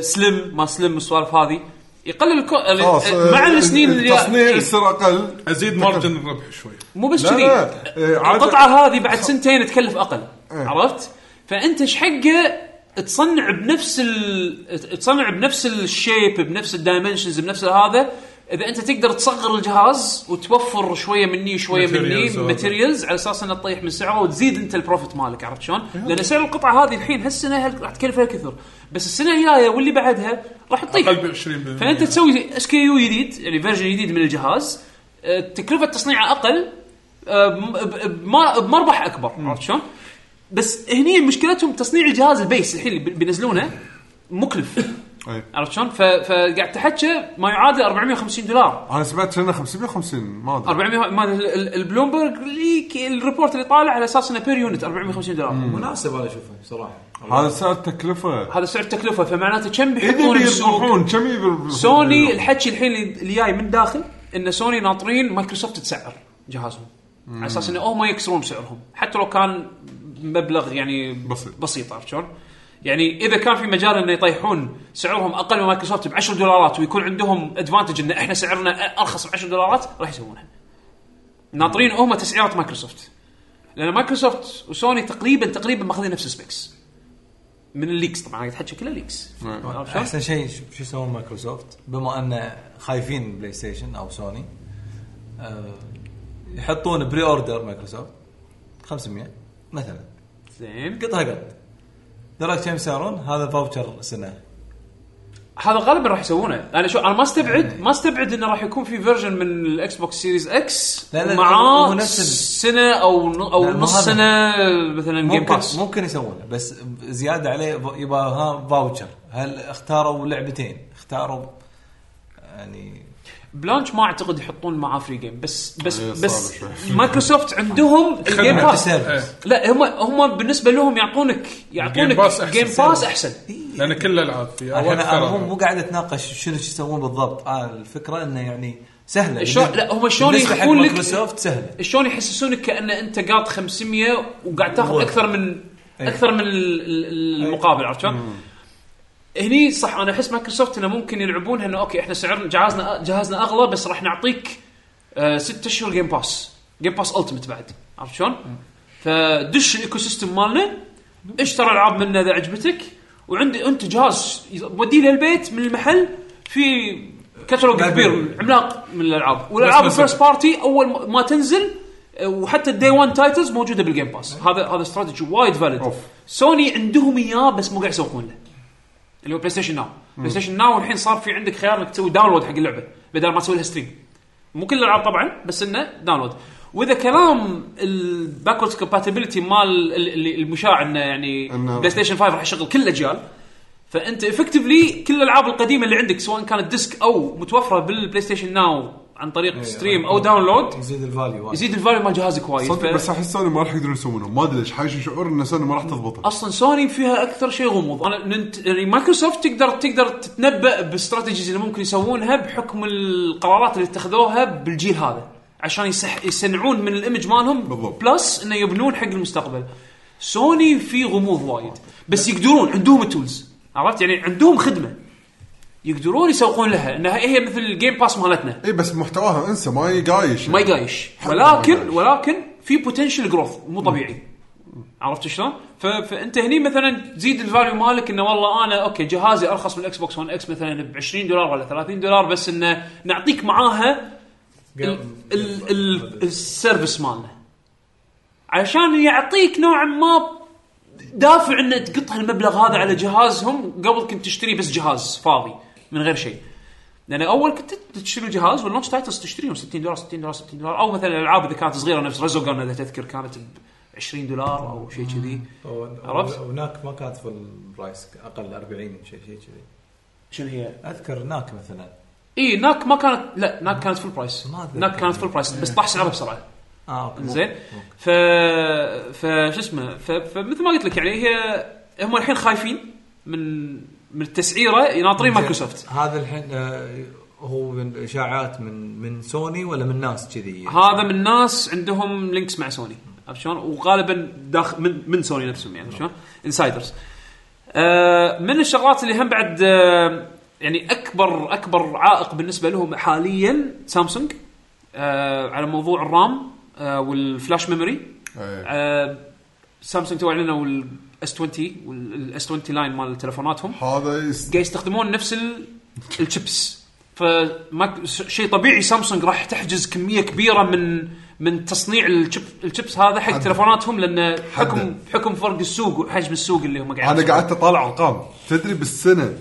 A: سلم ما سلم السوالف هذه يقلل الكو...
C: خلاص آه،
A: إيه، مع السنين اللي
C: التصنيع
A: إيه.
C: يصير اقل
B: ازيد مارجن الربح شوي
A: مو بس
C: لا،
A: كذي
C: لا. إيه، عادة-
A: القطعه هذه بعد سنتين تكلف اقل
C: إيه.
A: عرفت فانت ايش حقه تصنع بنفس ال... تصنع بنفس الشيب بنفس الدايمنشنز بنفس هذا اذا انت تقدر تصغر الجهاز وتوفر شويه مني وشويه مني
B: Materials وهذا.
A: ماتيريالز على اساس انه تطيح من سعره وتزيد انت البروفيت مالك عرفت شلون؟ لان سعر القطعه هذه الحين هالسنه هل- راح تكلفها كثر بس السنه الجايه واللي بعدها راح تطيح
B: اقل ب 20%
A: فانت تسوي اس كي يو جديد يعني فيرجن جديد من الجهاز آه، تكلفه تصنيعه اقل آه، بم- ب- بم- بمربح اكبر عرفت شلون؟ بس هني مشكلتهم تصنيع الجهاز البيس الحين اللي بي- بينزلونه مكلف
C: أي.
A: عرفت شلون؟ ف- فقاعد تحكي ما يعادل 450 دولار
C: انا سمعت انه 550 ما ادري
A: 400 ما أدري، ال- ال- البلومبرج ليك الريبورت اللي طالع على اساس انه بير يونت 450 دولار
G: مناسب انا اشوفه بصراحه
C: هذا سعر التكلفه
A: هذا سعر التكلفه فمعناته كم
C: اذا
A: بيحطون السوق
C: بيربحون كم يبي-
A: سوني الحكي الحين اللي- اللي جاي من داخل ان سوني ناطرين مايكروسوفت تسعر جهازهم على اساس انه هم يكسرون سعرهم حتى لو كان مبلغ يعني
C: بسيط.
A: بسيط عرفت شلون؟ يعني اذا كان في مجال انه يطيحون سعرهم اقل من مايكروسوفت ب 10 دولارات ويكون عندهم ادفانتج ان احنا سعرنا ارخص ب 10 دولارات راح يسوونها. ناطرين هم تسعيرات مايكروسوفت. لان مايكروسوفت وسوني تقريبا تقريبا ماخذين نفس السبيكس. من الليكس طبعا قاعد احكي كلها ليكس. عرفت شلون؟
E: احسن شيء شو شو يسوون مايكروسوفت بما ان خايفين بلاي ستيشن او سوني آه، يحطون بري اوردر مايكروسوفت 500 مثلا
A: زين
E: قطها قط درجة كم يسعرون هذا فاوتشر سنه
A: هذا غالبا راح يسوونه انا شو انا ما استبعد ما استبعد انه راح يكون في فيرجن من الاكس بوكس سيريز اكس
E: لا، لا، هو
A: مع
E: نفس ال-
A: سنه او ن- او
E: لا، مو
A: نص
E: هذا.
A: سنه مثلا جيم
E: ممكن
A: باس
E: ممكن يسوونه بس زياده عليه ب- يبقى ها فاوتشر هل اختاروا لعبتين اختاروا يعني
A: بلانش ما اعتقد يحطون معاه فري جيم بس بس
C: إيه، صعب
A: بس
C: شوي.
A: مايكروسوفت عندهم الجيم
E: مالتي
A: باس
B: إيه.
E: سيرفيس
A: لا هم هم بالنسبه لهم يعطونك يعطونك
B: Game Pass أحسن
A: جيم باس
B: سيرفيس.
A: احسن
B: لان كل الالعاب فيها او
E: الحين انا مو مو
B: اكثرها
E: قاعد اتناقش شنو شو يسوون بالضبط آه الفكره انه يعني سهله
A: شلون- لا، هم شلون
E: بالنسبة حق
A: يخفون لك-
E: مايكروسوفت سهله
A: شلون يحسسونك كان انت قاط 500 وقاعد تاخذ
E: والله.
A: اكثر من
E: أي.
A: اكثر من ال- ال- المقابل عرفت شلون؟ هني صح انا احس مايكروسوفت انه ممكن يلعبونها انه اوكي احنا سعرنا جهازنا جهازنا اغلى بس راح نعطيك آه ست اشهر جيم باس جيم باس التمت بعد عرفت شلون؟ فدش الايكو سيستم مالنا اشترى العاب منا اذا عجبتك وعندي انت جهاز وديه للبيت من المحل في كتالوج كبير عملاق من الالعاب والالعاب
B: بس- بس-
A: الفيرست بارتي اول ما- ما تنزل أه، وحتى الدي 1 تايتلز موجوده بالجيم باس هذا هذا استراتيجي وايد فاليد
C: أوف.
A: سوني عندهم اياه بس مو قاعد يسوقون له اللي هو بلاي ستيشن ناو بلاي ستيشن ناو الحين صار في عندك خيار انك تسوي داونلود حق اللعبه بدل ما تسوي لها ستريم مو كل الالعاب طبعا بس انه داونلواد واذا كلام الباكوردز كومباتيبلتي مال ال- ال- المشاع انه يعني
C: إنه-
A: بلاي ستيشن 5 راح يشغل كل الاجيال فانت افكتفلي كل الالعاب القديمه اللي عندك سواء كانت ديسك او متوفره بالبلاي ستيشن ناو عن
C: إيه،
A: طريق ستريم او داونلود
E: يزيد الفاليو وايد.
A: يزيد الفاليو مال جهازك وايد
C: صدق
A: ف-
C: بس احس سوني ما راح يقدرون يسوونه ما ادري ليش حاشي شعور ان سوني ما راح تضبطه
A: اصلا سوني فيها اكثر شيء غموض انا ننت... يعني مايكروسوفت تقدر تقدر تتنبا باستراتيجيز اللي ممكن يسوونها بحكم القرارات اللي اتخذوها بالجيل هذا عشان يسح... يصنعون من الايمج مالهم
C: بالضبط.
A: بلس انه يبنون حق المستقبل سوني في غموض وايد بس يقدرون عندهم التولز عرفت يعني عندهم خدمه يقدرون يسوقون لها انها هي مثل الجيم باس مالتنا
C: اي إيه، بس محتواها انسى ما يقايش
A: ما يقايش ولكن ولكن في بوتنشل جروث مو طبيعي عرفت شلون؟ ف... فانت هني مثلا تزيد الفاليو مالك انه والله انا اوكي جهازي ارخص من الاكس بوكس 1 اكس مثلا ب 20 دولار ولا 30 دولار بس انه نعطيك معاها ال- ال- ال- السيرفس مالنا عشان يعطيك نوعا ما دافع ان تقط هالمبلغ هذا على جهازهم قبل كنت تشتري بس جهاز فاضي من غير شيء لان اول كنت تشتري الجهاز واللونش تايتلز تشتريهم 60 دولار 60 دولار 60 دولار او مثلا الالعاب اذا كانت صغيره نفس ريزوجان اذا تذكر كانت ب 20 دولار او شيء كذي عرفت؟
E: عرفت؟ هناك ما كانت فل برايس اقل 40 شيء شيء كذي
A: شنو هي؟
E: اذكر هناك مثلا
A: اي ناك ما كانت لا ناك كانت فول برايس
E: ما أتذكر.
A: ناك كانت فول برايس بس طاح سعرها بسرعه
E: اه اوكي
A: آه، زين ف ف شو اسمه ف... فمثل ما قلت لك يعني هي هم الحين خايفين من من التسعيره ناطرين مايكروسوفت
E: هذا الحين آه، هو من اشاعات من من سوني ولا من ناس كذي؟
A: هذا من ناس عندهم لينكس مع سوني عرفت شلون؟ وغالبا داخل من من سوني نفسهم يعني عرفت شلون؟ انسايدرز. آه من الشغلات اللي هم بعد آه يعني اكبر اكبر عائق بالنسبه لهم حاليا سامسونج آه على موضوع الرام آه والفلاش ميموري
C: إيه.
A: آه سامسونج تو اعلنوا الاس 20 والاس 20 لاين مال تلفوناتهم
C: هذا يس-
A: قاعد يستخدمون نفس ال- الشيبس فما س- شيء طبيعي سامسونج راح تحجز كميه كبيره من من تصنيع الشيب الشيبس هذا حق تلفوناتهم لان حكم حكم فرق السوق وحجم السوق اللي هم قاعدين
C: انا قعدت اطالع ارقام تدري بالسنه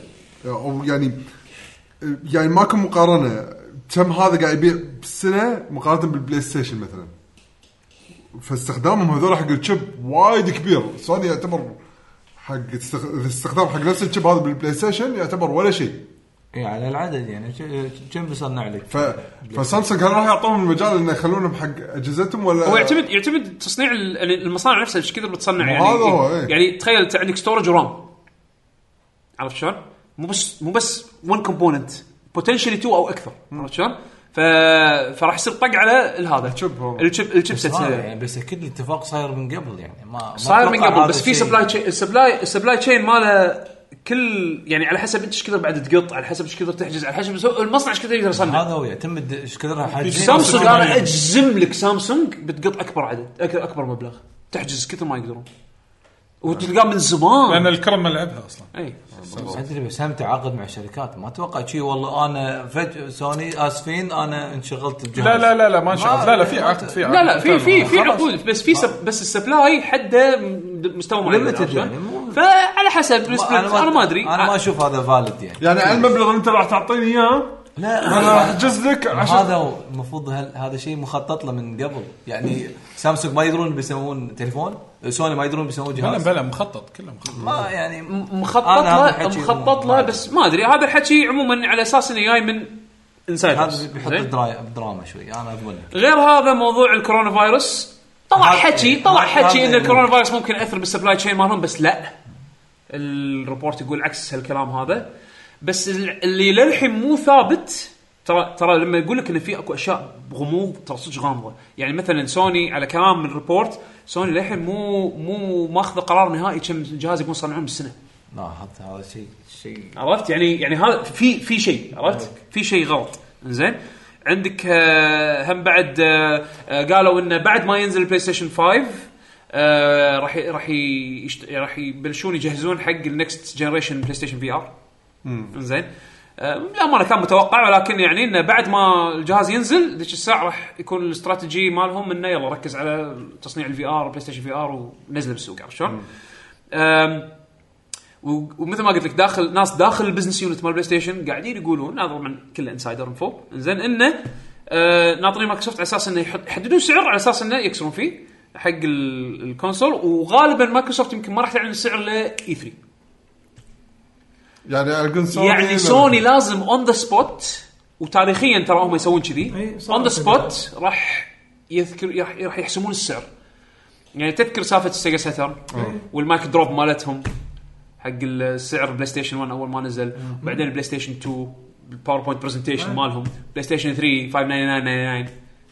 C: او يعني يعني ماكو مقارنه كم هذا قاعد يبيع بالسنه مقارنه بالبلاي ستيشن مثلا فاستخدامهم هذول حق الشيب وايد كبير سوني يعتبر حق استخ- الاستخدام حق نفس الشيب هذا بالبلاي ستيشن يعتبر ولا شيء
E: اي على العدد يعني ش- كم بيصنع لك؟
C: ف... فسامسونج هل راح يعطوهم المجال انه يخلونهم حق اجهزتهم ولا
A: هو يعتمد يعتمد تصنيع ال- يعني المصانع نفسها ايش كثر بتصنع يعني
C: هذا هو، إيه.
A: يعني تخيل انت عندك ستورج ورام عرفت شلون؟ مو بس مو بس 1 كومبوننت بوتنشلي 2 او اكثر عرفت شلون؟ ف... فراح يصير طق على الهذا
C: الشيب هو.
A: الشيب الشيب
E: بس هذا يعني بس اكيد الاتفاق صاير من قبل يعني ما ما
A: صاير من
E: أتوقع
A: قبل
E: هذا
A: بس في
E: الشيء-
A: سبلاي تشين السبلاي السبلاي تشين ماله كل يعني على حسب انت ايش كثر بعد تقط على حسب ايش كثر تحجز على حسب المصنع ايش كثر يقدر يصنع
E: هذا هو يعتمد ايش كثر حجم
A: سامسونج انا اجزم لك سامسونج بتقط اكبر عدد أك- اكبر مبلغ تحجز كثر ما يقدرون وتلقاه من
B: لان
A: زمان
B: الكرم ما لعبها اصلا
A: اي
E: ادري بس هم تعاقد مع الشركات ما اتوقع شيء والله انا فجاه سوني اسفين انا انشغلت بجهاز
B: لا لا لا لا ما انشغلت لا لا في عقد في عقد
A: لا لا في في في عقود بس في سب بس السبلاي حده م- مستوى معين
E: Limited
A: عرفت شلون؟
E: يعني، مو-
A: فعلى حسب السبلت انا ما ادري
E: انا ما اشوف هذا فالid يعني
C: يعني على المبلغ اللي انت راح تعطيني اياه
E: لا
C: انا راح احجز لك عشان
E: هذا هو، المفروض هل- هذا شيء مخطط له من قبل يعني سامسونج ما يدرون بيسوون تليفون سوني ما يدرون بيسوون
B: بلا
E: جهاز
B: بلا مخطط كله مخطط
E: ما يعني م-
A: مخطط
E: أنا هذا
A: له
E: الحكي
A: مخطط
E: ما
A: له
E: أدري.
A: بس ما ادري هذا الحكي عموما على اساس انه جاي من انسايدرز
E: هذا بيحط الدرا- الدراما شوي انا اضمن لك
A: غير هذا موضوع الكورونا فايروس طلع
E: هذا-
A: حكي طلع
E: هذا-
A: حكي ان
E: هذا-
A: الكورونا فايروس ممكن ياثر بالسبلاي تشين مالهم بس لا الريبورت يقول عكس هالكلام هذا بس ال- اللي للحين مو ثابت ترى ترى لما يقول لك ان في اكو اشياء غموض ترى صدق غامضه يعني مثلا سوني على كلام من الريبورت سوني للحين مو مو ماخذ قرار نهائي كم جهاز يبون يصنعون بالسنه
E: لا هذا- هذا شيء شيء
A: عرفت يعني يعني هذا في في شيء عرفت في شيء غلط زين عندك آه، هم بعد آه، آه، قالوا انه بعد ما ينزل البلاي ستيشن 5 آه، راح ي- راح ي- يشت- راح يبلشون يجهزون حق النكست جنريشن بلاي ستيشن في ار زين آه، لا ما كان متوقع ولكن يعني انه بعد ما الجهاز ينزل ذيك الساعه راح يكون الاستراتيجي مالهم انه يلا ركز على تصنيع الفي ار بلاي ستيشن في ار ونزله بالسوق عرفت شلون؟ آم، و- ومثل ما قلت لك داخل ناس داخل البزنس يونت مال بلاي ستيشن قاعدين يقولون هذا طبعا كله انسايدر انفو زين انه آه ناطرين مايكروسوفت على اساس انه يحط- يحددون سعر على اساس انه يكسرون فيه حق ال- الكونسول وغالبا مايكروسوفت يمكن ما راح تعلن السعر E ل اي 3
C: يعني اقول سوني
A: يعني
C: لا-
A: سوني لازم اون ذا سبوت وتاريخيا ترى هم يسوون كذي
G: إي، صار
A: اون ذا
G: كذي.
A: سبوت راح يذكر راح- راح يحسمون السعر يعني تذكر سالفه السيجا ساتر والمايك دروب مالتهم حق السعر بلاي ستيشن 1 اول ما نزل وبعدين بلاي ستيشن 2 الباوربوينت برزنتيشن مالهم بلاي ستيشن 3 59999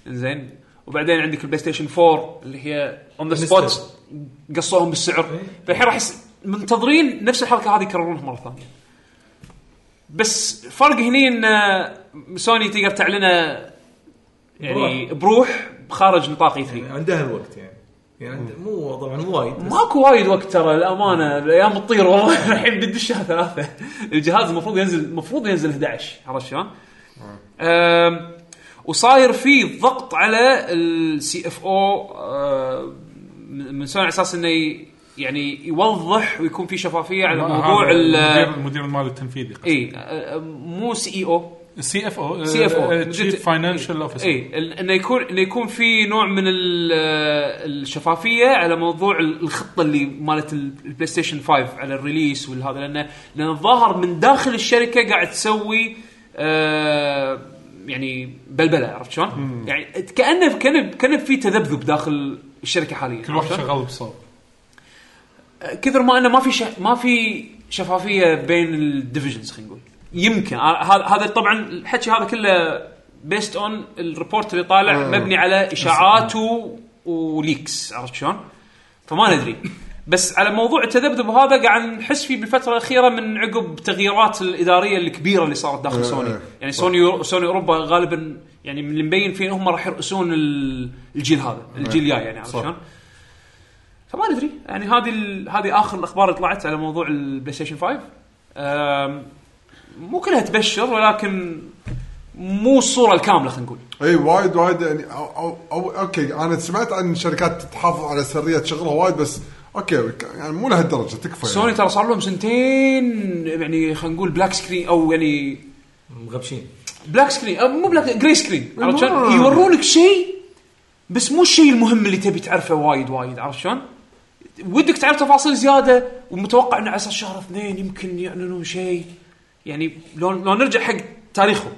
A: زين وبعدين عندك البلاي ستيشن 4 اللي هي اون ذا سبوت قصوهم بالسعر فالحين راح يس... منتظرين نفس الحركه هذه يكررونها مره ثانيه بس فرق هني ان سوني تقدر تعلنه يعني بروح خارج نطاق E اي 3
G: عندها الوقت يعني يعني عند- مو طبعا مو وايد بس
A: ماكو وايد وقت ترى الامانه الايام تطير والله الحين بدي الشهر ثلاثه الجهاز المفروض ينزل المفروض ينزل 11 عرفت شلون؟ أم، وصاير في ضغط على السي اف او من سوني على اساس انه ي- يعني يوضح ويكون في شفافيه على يعني موضوع
B: المدير
A: ال
B: المدير المال التنفيذي قصدي.
A: اي أه، مو سي اي او
B: سي اف او
A: سي اف او
B: تشيف
A: إيه.
B: فاينانشال اوفيسر
A: اي ال- انه يكون انه يكون في نوع من ال- آه، الشفافيه على موضوع ال- الخطه اللي مالت ال- البلاي ستيشن 5 على الريليس والهذا لانه لان الظاهر من داخل الشركه قاعد تسوي آه يعني بلبله عرفت شلون؟ يعني كانه كان كان في تذبذب داخل الشركه حاليا
B: كل واحد
A: عرفت شلون؟
B: شغال بصوب
A: كثر ما انه ما في شه... ما في شفافيه بين الديفيجنز خلينا نقول يمكن آه، هذا هذا طبعا الحكي هذا كله بيست اون الريبورت اللي طالع مبني على اشاعات و... وليكس عرفت شلون؟ فما ندري بس على موضوع التذبذب هذا قاعد نحس فيه بالفتره الاخيره من عقب التغييرات الاداريه الكبيره اللي صارت داخل سوني
C: إيه.
A: يعني سوني سوني اوروبا غالبا يعني من اللي مبين فيه هم راح يرأسون ال- الجيل هذا الجيل الجاي يعني عرفت شلون؟ فما ندري يعني هذه ال- هذه اخر الاخبار اللي طلعت على موضوع البلاي ستيشن 5 أم، مو كلها تبشر ولكن مو الصوره الكامله خلينا نقول
C: اي إيه، وايد وايد يعني أو, أو, او اوكي انا سمعت عن شركات تحافظ على سريه شغلها وايد بس اوكي ك- يعني مو لهالدرجه تكفى
A: سوني
C: يعني.
A: ترى صار لهم سنتين يعني خلينا نقول بلاك سكرين او يعني
G: مغبشين
A: بلاك سكرين أو مو بلاك جري سكرين عرفت شلون؟
C: آه.
A: يورونك شيء بس مو الشيء المهم اللي تبي تعرفه وايد وايد عرفت شلون؟ ودك تعرف تفاصيل زياده ومتوقع انه على اساس شهر اثنين يمكن يعلنون شيء يعني لو لو نرجع حق تاريخهم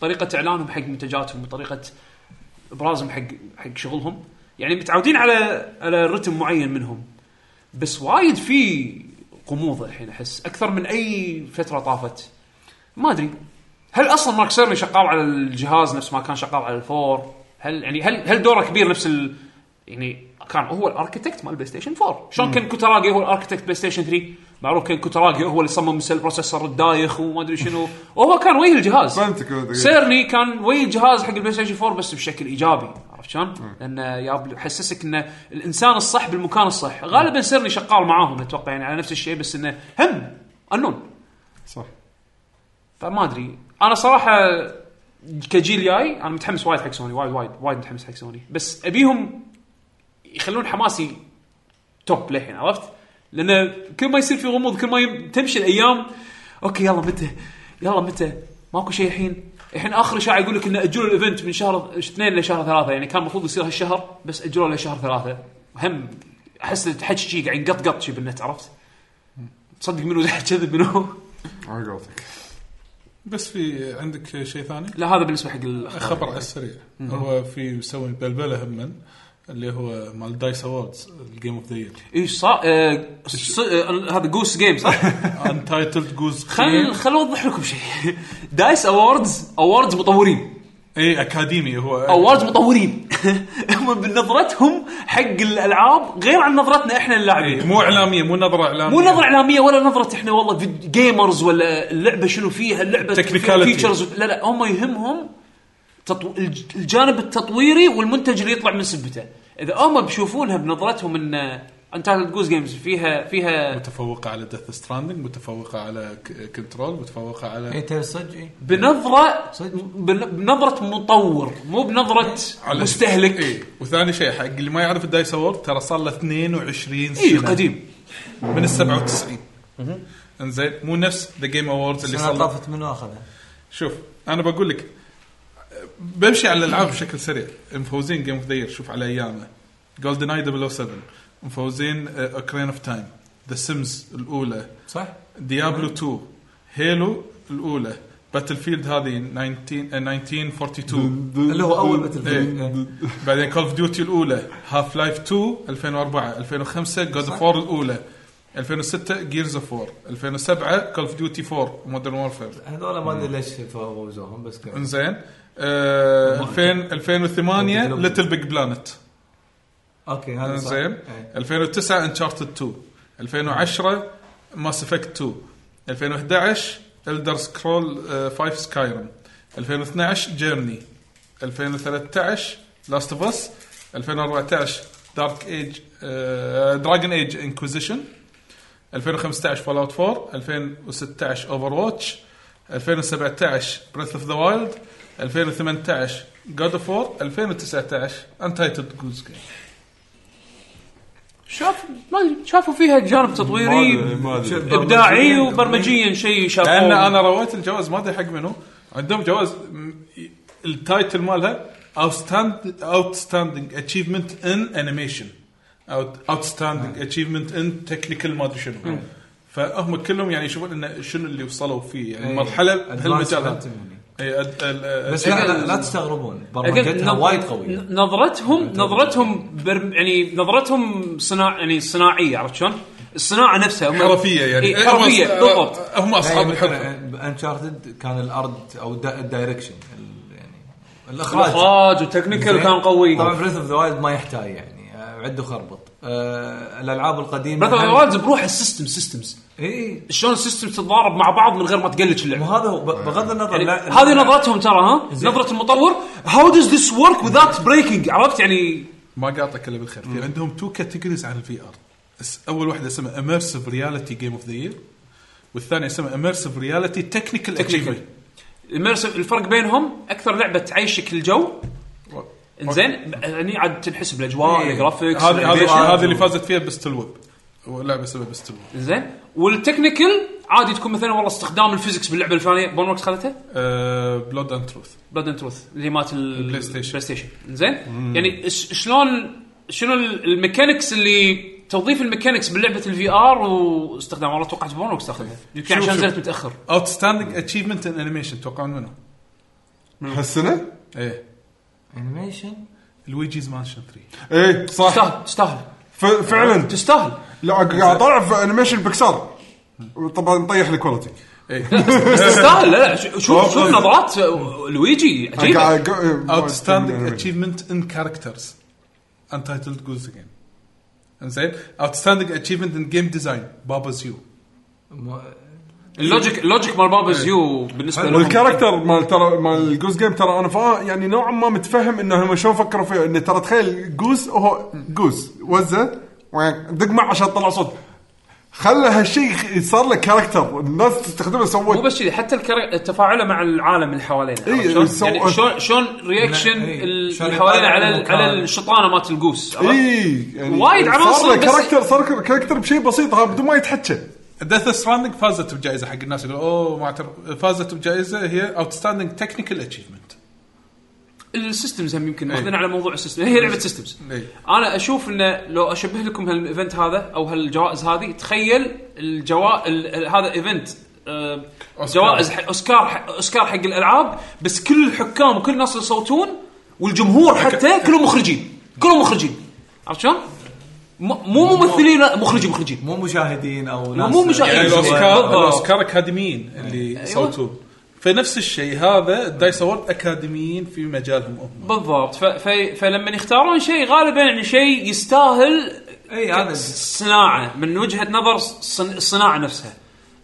A: طريقه اعلانهم حق منتجاتهم وطريقه ابرازهم حق حق شغلهم يعني متعودين على على رتم معين منهم بس وايد في غموض الحين احس اكثر من اي فتره طافت ما ادري هل اصلا مارك سيرني شغال على الجهاز نفس ما كان شغال على الفور هل يعني هل هل دوره كبير نفس ال يعني كان هو الاركتكت مال بلاي ستيشن 4 شلون كان كوتراجي هو الاركتكت بلاي ستيشن 3 معروف كان كوتراجي هو اللي صمم السيل بروسيسور الدايخ وما ادري شنو وهو كان وجه الجهاز
C: فهمتك.
A: سيرني كان وجه الجهاز حق البلاي ستيشن 4 بس بشكل ايجابي عرفت شلون؟ لانه ياب- يحسسك انه الانسان الصح بالمكان الصح غالبا سيرني شغال معاهم اتوقع يعني على نفس الشيء بس انه هم انون
C: صح
A: فما ادري انا صراحه كجيل جاي انا متحمس وايد حق سوني وايد وايد وايد متحمس حق سوني بس ابيهم يخلون حماسي توب للحين عرفت؟ لان كل ما يصير في غموض كل ما يم... تمشي الايام اوكي يلا متى يلا متى ماكو شيء الحين الحين اخر اشاعه يقول لك ان اجلوا الايفنت من شهر اثنين لشهر ثلاثه يعني كان المفروض يصير هالشهر بس اجلوه لشهر ثلاثه هم احس الحكي شي قاعد ينقط قط شي بالنت عرفت؟ تصدق منو كذب منو؟
C: على قولتك
B: بس في عندك شيء ثاني؟
A: لا هذا بالنسبه حق الاخبار
B: خبر على السريع هو في مسوي بلبله هما اللي هو مال دايس اووردز الجيم اوف ذا يير
A: ايش صار؟ آه، ص- آه، هذا جوس جيم صح؟
B: انتايتلد جوز
A: خل خل اوضح لكم شيء دايس اووردز اووردز مطورين
B: اي اكاديمي إيه، هو
A: اووردز مطورين هم بنظرتهم حق الالعاب غير عن نظرتنا احنا اللاعبين
B: مو اعلاميه مو نظره اعلاميه
A: مو نظره اعلاميه ولا نظره احنا والله فيد- جيمرز ولا اللعبه شنو فيها اللعبه
B: Technicality.
A: فيتشرز لا لا هم يهمهم تطو... الج- الجانب التطويري والمنتج اللي يطلع من سبته اذا هم بيشوفونها بنظرتهم ان انتايتد جوز جيمز فيها فيها
B: متفوقه على ديث ستراندنج متفوقه على كنترول متفوقه
E: اي
A: إيه.
B: على
E: إيه، ترى صدق اي
A: بنظره بن- بنظره مطور مو بنظره
B: على إيه.
A: مستهلك اي
B: اي وثاني شيء حق اللي ما يعرف الدايس اوورد ترى صار له 22 سنه
A: إيه قديم
B: من ال 97 انزين مو نفس ذا جيم اووردز اللي صار
E: السنه
B: له
E: طافت منو اخذها
B: شوف انا بقول لك بمشي على الالعاب بشكل سريع مفوزين جيم اوف ذا شوف على ايامه جولدن اي 007 uh, مفوزين اوكرين اوف تايم ذا سيمز الاولى
E: صح؟
B: ديابلو 2 هيلو الاولى باتل فيلد هذه 19 آه، 1942
G: اللي هو اول باتل فيلد
B: إيه.
G: إيه.
B: بعدين كول اوف ديوتي الاولى هاف لايف 2 2004 2005 جود اوف وور الاولى 2006 جيرز اوف وور 2007 كول اوف ديوتي 4 مودرن وورفير
E: هذول ما ادري ليش فوزوهم بس كمل.
B: انزين آه، 2000 2008 ليتل بيج بلانت
E: اوكي هذا صح.
B: انزين
E: إيه.
B: 2009 انشارتد 2 2010 ماس افكت 2 2011 الدر سكرول 5 سكايرم 2012 جيرني 2013 لاست اوف اس 2014 دارك ايج دراجون ايج انكوزيشن 2015 فول اوت 4 2016 اوفر واتش 2017 بريث اوف ذا وايلد 2018 جود اوف 4 2019 انتايتد جوز جيم
A: شاف ما ادري شافوا فيها جانب
E: طيب،
A: تطويري ابداعي وبرمجيا شيء شافوه
B: لان انا رويت الجواز ما ادري حق منو عندهم جواز م- ي- التايتل مالها اوتستاندينج اتشيفمنت ان انيميشن اوتستاندينج
E: آه.
B: اتشيفمنت ان تكنيكال ما ادري شنو فهم كلهم يعني يشوفون انه شنو اللي وصلوا فيه يعني المرحله بهالمجال هذا. إي، إيه، أد- ال- ال-
E: إيه،
B: إيه،
E: بس لا, لا, لا تستغربون
A: أقل-
E: برمجتها
A: نظ-
E: وايد قويه
A: ن- نظرتهم نظرتهم برم يعني نظرتهم صناع يعني صناعيه عرفت شلون؟ الصناعه نفسها هم-
B: حرفيه يعني آه،
A: إيه، حرفيه
B: هم-
A: بالضبط
B: هم
E: إيه،
B: اصحاب الحرفه
E: انشارتد كان الارض او الدا- الدايركشن ال- يعني الاخراج
A: الاخراج والتكنيكال
E: زين.
A: كان قوي
E: طبعا بريث اوف ذا وايلد ما يحتاج يعني عد وخربط آه، الالعاب القديمه
A: بريث اوف وايلد بروحه سيستم سيستمز
E: اي
A: شلون السيستم تتضارب مع بعض من غير ما تقلج اللعبه
E: وهذا إيه، هو ب- بغض النظر
A: يعني
E: لا-
A: هذه نظرتهم ترى ها نظره المطور هاو دز ذس ورك وذات بريكنج عرفت يعني
B: ما قاطعك الا بالخير في عندهم تو كاتيجوريز عن الفي ار اول واحده اسمها اميرسيف رياليتي جيم اوف ذا يير والثانيه اسمها اميرسيف رياليتي تكنيكال اتشيفمنت
A: immersive- الفرق بينهم اكثر لعبه تعيشك الجو انزين هني يعني عاد تنحسب الاجواء
E: إيه.
A: الجرافكس
B: هذه هذه
A: الانيميشن.
B: هذه اللي فازت فيها بستل ويب لعبه اسمها بستل ويب
A: زين والتكنيكال عادي تكون مثلا والله استخدام الفيزكس باللعبه الفلانيه بون وركس خذتها
B: بلود اند تروث
A: بلاد اند تروث اللي مات البلاي
B: ستيشن.
A: البلاي ستيشن زين يعني ش- شلون شنو ال- الميكانكس اللي توظيف الميكانكس بلعبه الفي ار واستخدام والله توقعت بون وركس تاخذها يمكن
B: شوف-
A: عشان
B: شوف.
A: نزلت متاخر
B: اوتستاندينج اتشيفمنت ان انيميشن توقعون منه
C: هالسنه؟
B: ايه
E: انيميشن
B: لويجيز مانشن 3
C: ايه صح
A: تستاهل تستاهل
C: ف- فعلا
A: تستاهل
C: لا قاعد طالع في انيميشن بيكسار طبعا مطيح الكواليتي
B: إيه.
A: بس تستاهل لا لا ش- شوف شوف نظرات آه، لويجي عجيبه
C: قاعد قاعد-
B: اوتستاندينج اتشيفمنت ان كاركترز انتايتلد جولز جيم انزين اوتستاندينج اتشيفمنت ان جيم ديزاين بابا زيو
A: اللوجيك اللوجيك مال
C: إيه.
A: بابا زيو بالنسبه لهم
C: والكاركتر مال ترى مال جوز جيم ترى انا فا يعني نوعا ما متفهم انه هم شلون فكروا فيه انه ترى تخيل جوز هو جوز وزه وعك، دق معه عشان تطلع صوت خلى هالشيء صار له كاركتر الناس تستخدمه
A: مو
C: سوت
A: بس كذي حتى الكر... تفاعله مع العالم اللي حوالينا
C: إي،
A: عرفت شلون؟
C: إيه، سو-
A: يعني شلون شلون رياكشن
E: إي،
A: ال-
E: شلون
A: اللي حوالينا على ال-
E: المكان.
A: على الشطانه مالت القوس عرفت؟
C: اي يعني
A: وايد عناصر
C: صار له
A: بس-
C: كاركتر صار كاركتر بشيء بسيط ها بدون ما يتحكى
B: ديث ستراندنج فازت بجائزه حق الناس يقولوا اوه ما اعترف فازت بجائزه هي اوتستاندينج تكنيكال اتشيفمنت
A: السيستمز هم يمكن ماخذين على موضوع السيستم هي لعبه سيستمز
B: إي.
A: انا اشوف انه لو اشبه لكم هالايفنت هذا او هالجوائز هذه تخيل الجوا ال- ال- هذا ايفنت آه،
B: أوسكار.
A: جوائز حق اوسكار حق اوسكار حق الالعاب بس كل الحكام وكل الناس اللي يصوتون والجمهور حتى كلهم مخرجين كلهم مخرجين عرفت شلون؟ م- مو ممثلين لا مخرجين مخرجين
E: مو مشاهدين او ناس
A: مو مشاهدين.
B: يعني
A: أيوة.
B: الاوسكار
A: بالضبط.
B: الاوسكار اكاديميين اللي
A: أيوة.
B: يصوتون فنفس الشيء هذا الدايس اوورد اكاديميين في مجالهم هم
A: بالضبط ف... ف... فلما يختارون شيء غالبا يعني شيء يستاهل
E: اي هذا
A: صناعه من وجهه نظر صن... الصناعه نفسها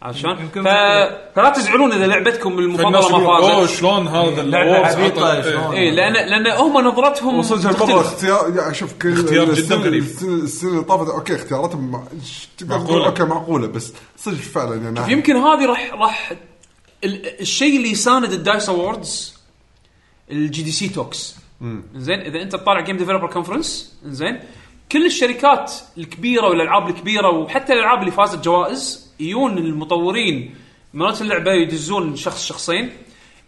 A: عرفت شلون؟
E: يمكن-
A: ف... فلا تزعلون اذا لعبتكم
B: فالناس
A: المفضله
B: يقولون اوه
A: ما فازت
B: شلون هذا
E: لعبه
B: الأوردز
E: عبيطه
B: عطل-
E: شلون
A: اي لان لان هم نظرتهم
C: وصلت المره
A: تختلف.
C: اختيار يعني شوف كل
B: اختيار جداً
C: السنة-
B: غريب.
C: السنة السنة اللي طافت اوكي اختياراتهم مع- ش- تقدر تقول
B: معقولة.
C: اوكي معقوله بس صدق فعلا يعني
A: يمكن هذه راح راح ال... الشيء اللي ساند الدايس اووردز الجي دي سي توكس زين اذا انت تطالع جيم ديفلوبر كونفرنس زين كل الشركات الكبيره والالعاب الكبيره وحتى الالعاب اللي فازت جوائز يجون المطورين مرات اللعبه يدزون شخص شخصين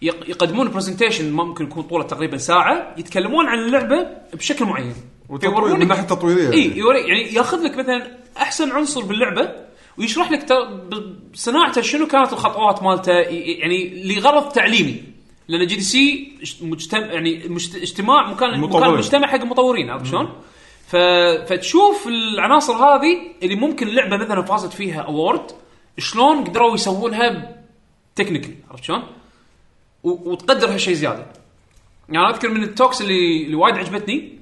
A: يق- يقدمون برزنتيشن ممكن يكون طوله تقريبا ساعه يتكلمون عن اللعبه بشكل معين
C: وتطوير-
A: يورونك-
C: من ناحية تطويرية
A: اي
C: يعني.
A: يوري يعني ياخذ لك مثلا احسن عنصر باللعبه ويشرح لك ت- ب- صناعته شنو كانت الخطوات مالته ي- ي- يعني لغرض تعليمي لان جي دي سي مجتمع يعني مجت- اجتماع مكان مكان
C: مطورين.
A: مجتمع حق المطورين عرفت شلون؟ ف... فتشوف العناصر هذه اللي ممكن اللعبه مثلا فازت فيها اوورد شلون قدروا يسوونها تكنيكال عرفت شلون؟ و... وتقدر هالشيء زياده. يعني أنا اذكر من التوكس اللي اللي وايد عجبتني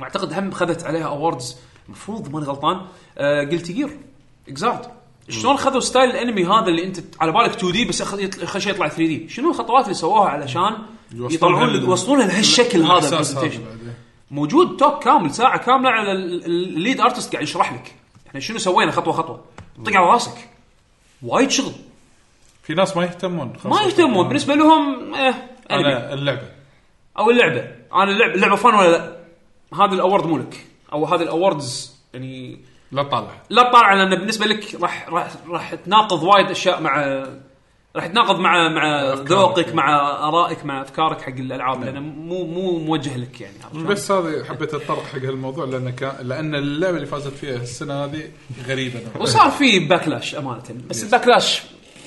A: واعتقد هم خذت عليها اووردز المفروض ماني غلطان آه قلت جير اكزارد شلون خذوا ستايل الانمي هذا اللي انت على بالك 2 دي بس أخذ- يطل- خل شيء يطلع 3 دي شنو الخطوات اللي سووها علشان يطلعون
B: لل-
A: يوصلونها لهالشكل هذا
B: الإحساس
A: البرزنتيشن
B: بعد.
A: موجود توك كامل ساعه كامله على ال- ال- الليد ارتست قاعد يشرح لك احنا شنو سوينا خطوه خطوه طق على راسك وايد شغل
B: في ناس ما يهتمون
A: ما
B: خلاص.
A: يهتمون بالنسبه لهم اه أنمي.
B: انا اللعبه
A: او اللعبه انا اللعبه اللعبه فان ولا لا هذا الاورد مو لك او هذا الاوردز يعني
B: لا طالع
A: لا تطالع لان بالنسبه لك راح راح راح تناقض وايد اشياء مع راح تناقض مع مع ذوقك مع ارائك مع افكارك حق الالعاب لان مو مو موجه لك يعني عرفت شلون؟
B: بس هذه حبيت اتطرق حق هالموضوع لان كان لان اللعبه اللي فازت فيها السنه هذه غريبه نوعاً.
A: وصار في باكلاش امانه بس الباكلاش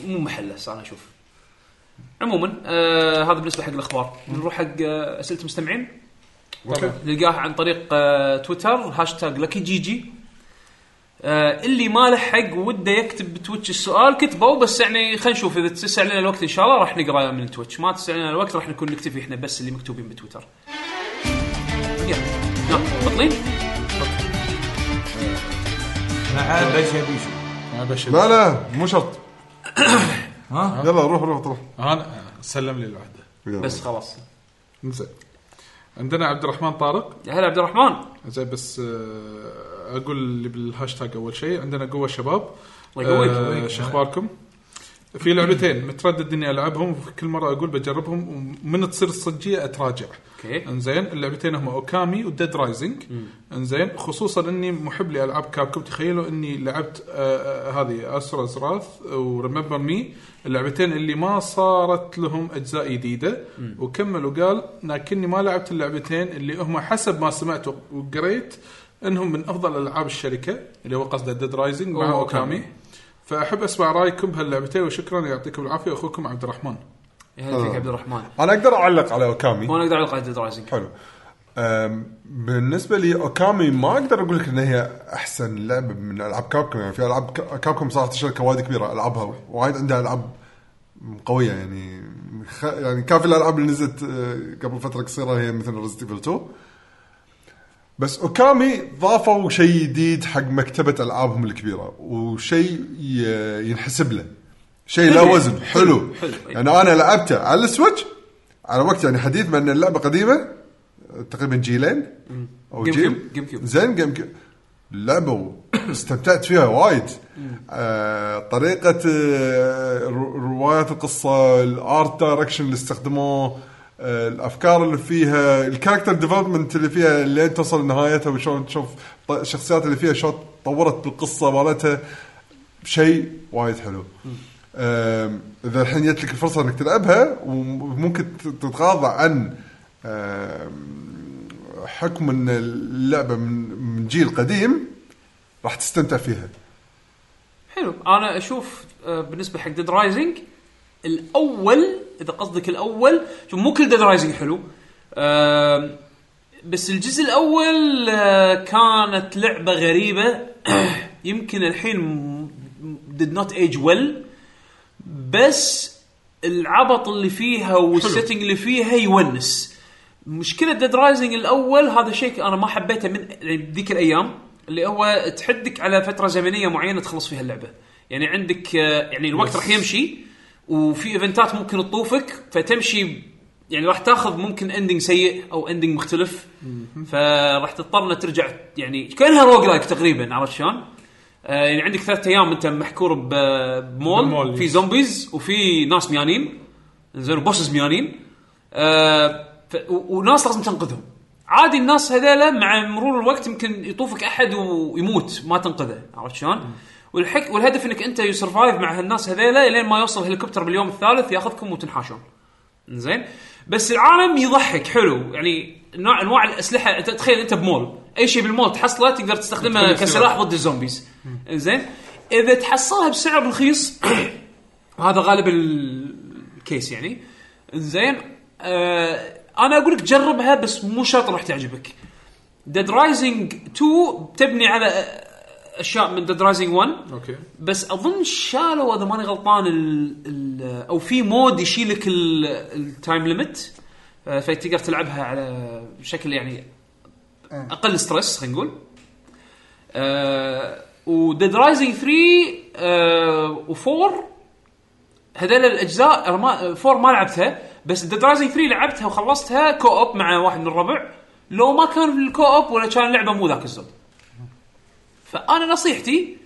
A: مو محله صار انا اشوف عموما آه هذا بالنسبه حق الاخبار نروح حق آه، اسئله المستمعين نلقاه عن طريق آه، تويتر هاشتاج لكي جي جي آه، اللي ما لحق وده يكتب بتويتش السؤال كتبه بس يعني خلينا نشوف اذا تسع لنا الوقت ان شاء الله راح نقرا من تويتش ما تسع لنا الوقت راح نكون نكتفي احنا بس اللي مكتوبين بتويتر يلا يلا بطلين
E: مع بشا بيشو
B: ما بشد
C: لا لا مو شرط يلا روح روح روح
B: انا سلم لي الوحده
C: يلا.
A: بس خلاص
B: انزين عندنا عبد الرحمن طارق
A: يا هلا عبد الرحمن
B: زين بس آه، اقول اللي بالهاشتاج اول شيء عندنا قوه شباب
A: الله يقويك.
B: آه، شو اخباركم؟ في لعبتين متردد اني العبهم وكل مره اقول بجربهم ومن تصير الصجيه اتراجع.
A: اوكي.
B: انزين اللعبتين هم اوكامي وديد رايزنج. انزين خصوصا اني محب لالعاب كابكم تخيلوا اني لعبت آه، آه، هذه استراز راث وريمبر مي اللعبتين اللي ما صارت لهم اجزاء جديده وكمل وقال لكني ما لعبت اللعبتين اللي هم حسب ما سمعت وقريت انهم من افضل العاب الشركه اللي هو قصده ديد رايزنج مع اوكامي. فاحب اسمع رايكم بهاللعبتين وشكرا يعطيكم العافيه اخوكم عبد الرحمن
A: يا هلا فيك عبد الرحمن
C: انا اقدر اعلق على اوكامي
A: وانا اقدر على قاعده درايزنج
C: حلو أم، بالنسبه لي اوكامي ما اقدر اقول لك ان هي احسن لعبه من العاب كابكوم يعني في العاب كا- كابكوم صارت شركه وايد كبيره العابها وايد عندها العاب قويه يعني خ... يعني كان في الالعاب اللي نزلت آه، قبل فتره قصيره هي مثل ريزنت ايفل 2 بس اوكامي ضافوا شيء جديد حق مكتبه العابهم الكبيره وشيء ي- ينحسب له شيء لا وزن حلو,
A: حلو، أي.
C: يعني انا لعبته على السويتش على وقت يعني حديث مع ان اللعبه قديمه تقريبا جيلين او
A: جيم
C: جيل
A: كيوب، جيم كيوب.
C: زين جيم كيوب لعبه استمتعت فيها وايد آه طريقه آه رو- روايه القصه الارت دايركشن اللي استخدموه آه الافكار اللي فيها الكاركتر ديفلوبمنت اللي فيها لين توصل نهايتها وشلون تشوف ط- الشخصيات اللي فيها شلون تطورت بالقصه مالتها شيء وايد حلو أم، اذا الحين جت لك الفرصه انك تلعبها وممكن ت- تتغاضى عن أم، حكم ان اللعبه من من جيل قديم راح تستمتع فيها
A: حلو انا اشوف آه، بالنسبه حق ديد رايزنج الاول اذا قصدك الاول شوف مو كل ديد رايزنج حلو آم، بس الجزء الاول آه، كانت لعبه غريبه يمكن الحين did not age well بس العبط اللي فيها والسيتنج اللي فيها يونس مشكله ديد رايزنج الاول هذا شيء انا ما حبيته من يعني ذيك الايام اللي هو تحدك على فتره زمنيه معينه تخلص فيها اللعبه يعني عندك آه، يعني الوقت راح يمشي وفي ايفنتات ممكن تطوفك فتمشي يعني راح تاخذ ممكن اندنج سيء او اندنج مختلف فراح تضطر انك ترجع يعني كانها روج لايك تقريبا عرفت شلون؟ آه، يعني عندك ثلاث ايام انت محكور ب- بمول
B: بالمول،
A: في
B: يس.
A: زومبيز وفي ناس ميانين زين وبوسز ميانين آه ف... و- وناس لازم تنقذهم عادي الناس هذيلا مع مرور الوقت يمكن يطوفك احد ويموت ما تنقذه عرفت شلون؟ والحك... والهدف انك انت يسرفايف مع هالناس هذيلا لين ما يوصل هليكوبتر باليوم الثالث ياخذكم وتنحاشون زين بس العالم يضحك حلو يعني نوع انواع الاسلحه انت تخيل انت بمول اي شيء بالمول تحصله تقدر تستخدمه
B: تخلي سلاح.
A: كسلاح ضد الزومبيز زين اذا تحصلها بسعر رخيص هذا غالب الكيس يعني زين آه انا اقول لك جربها بس مو شرط راح تعجبك ديد رايزنج 2 تبني على آه، اشياء من ديد رايزنج 1
B: اوكي
A: بس اظن شالوا اذا ماني غلطان ال ال او في مود يشيلك ال- التايم ليمت آه، فتقدر تلعبها على شكل يعني اقل ستريس خلينا نقول آه وديد رايزنج 3 آه و4 هذول الاجزاء أنا ما 4 ما لعبتها بس ديد رايزنج 3 لعبتها وخلصتها كو اوب مع واحد من الربع لو ما كان الكو اوب ولا كان اللعبه مو ذاك الزود فانا نصيحتي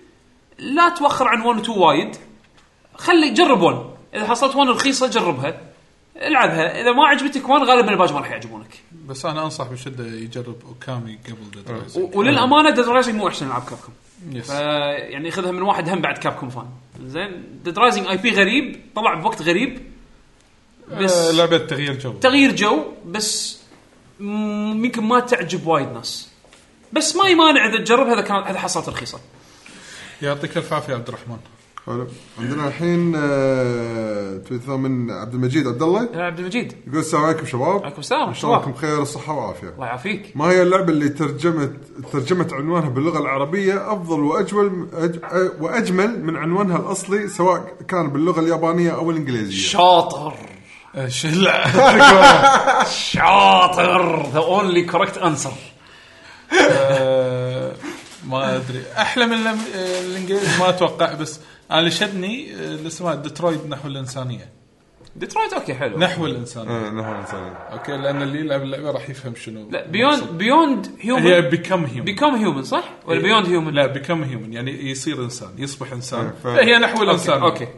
A: لا توخر عن 1 و 2 وايد خلي جرب 1 اذا حصلت 1 رخيصه جربها العبها اذا ما عجبتك 1 غالبا الباقي ما راح يعجبونك
B: بس انا انصح بشده يجرب اوكامي قبل ديد رايزنج
A: و- وللامانه ديد رايزنج مو احسن العاب كابكم
B: يس
A: يعني خذها من واحد هم بعد كابكم فان زين ديد رايزنج اي بي غريب طلع بوقت غريب بس
B: آه، لعبه تغيير جو
A: تغيير جو بس م- يمكن ما تعجب وايد ناس بس ما يمانع اذا تجربها اذا كانت اذا حصلت رخيصه
B: يعطيك الف عافيه عبد الرحمن
C: حلو عندنا الحين آه، تويتر من عبد المجيد عبد الله
A: يا عبد المجيد
C: يقول السلام عليكم شباب
A: عليكم السلام،
C: ان شاء الله
A: شباب.
C: بخير خير الصحه والعافيه
A: الله يعافيك
C: ما هي اللعبه اللي ترجمت ترجمت عنوانها باللغه العربيه افضل واجمل أج... أ- واجمل من عنوانها الاصلي سواء كان باللغه اليابانيه او الانجليزيه
A: شاطر
B: آه، شلع
A: شاطر ذا اونلي كوركت انسر
B: آه، ما ادري احلى من الأم- الانجليزي ما اتوقع بس انا اللي شدني آه، اللي اسمها ديترويد نحو الانسانيه
A: ديترويت اوكي حلو
B: نحو الانسانيه
C: نحو الانسان
B: اوكي لان آه. اللي يلعب اللعبه راح يفهم شنو
A: لا بيوند بيوند
B: هي
A: هيومن
B: بيكم هيومن
A: بيكم هيومن صح؟ ولا بيوند هيومن؟
B: لا بيكم هيومن يعني يصير انسان يصبح انسان
C: ف-
B: فهي نحو الانسان
A: اوكي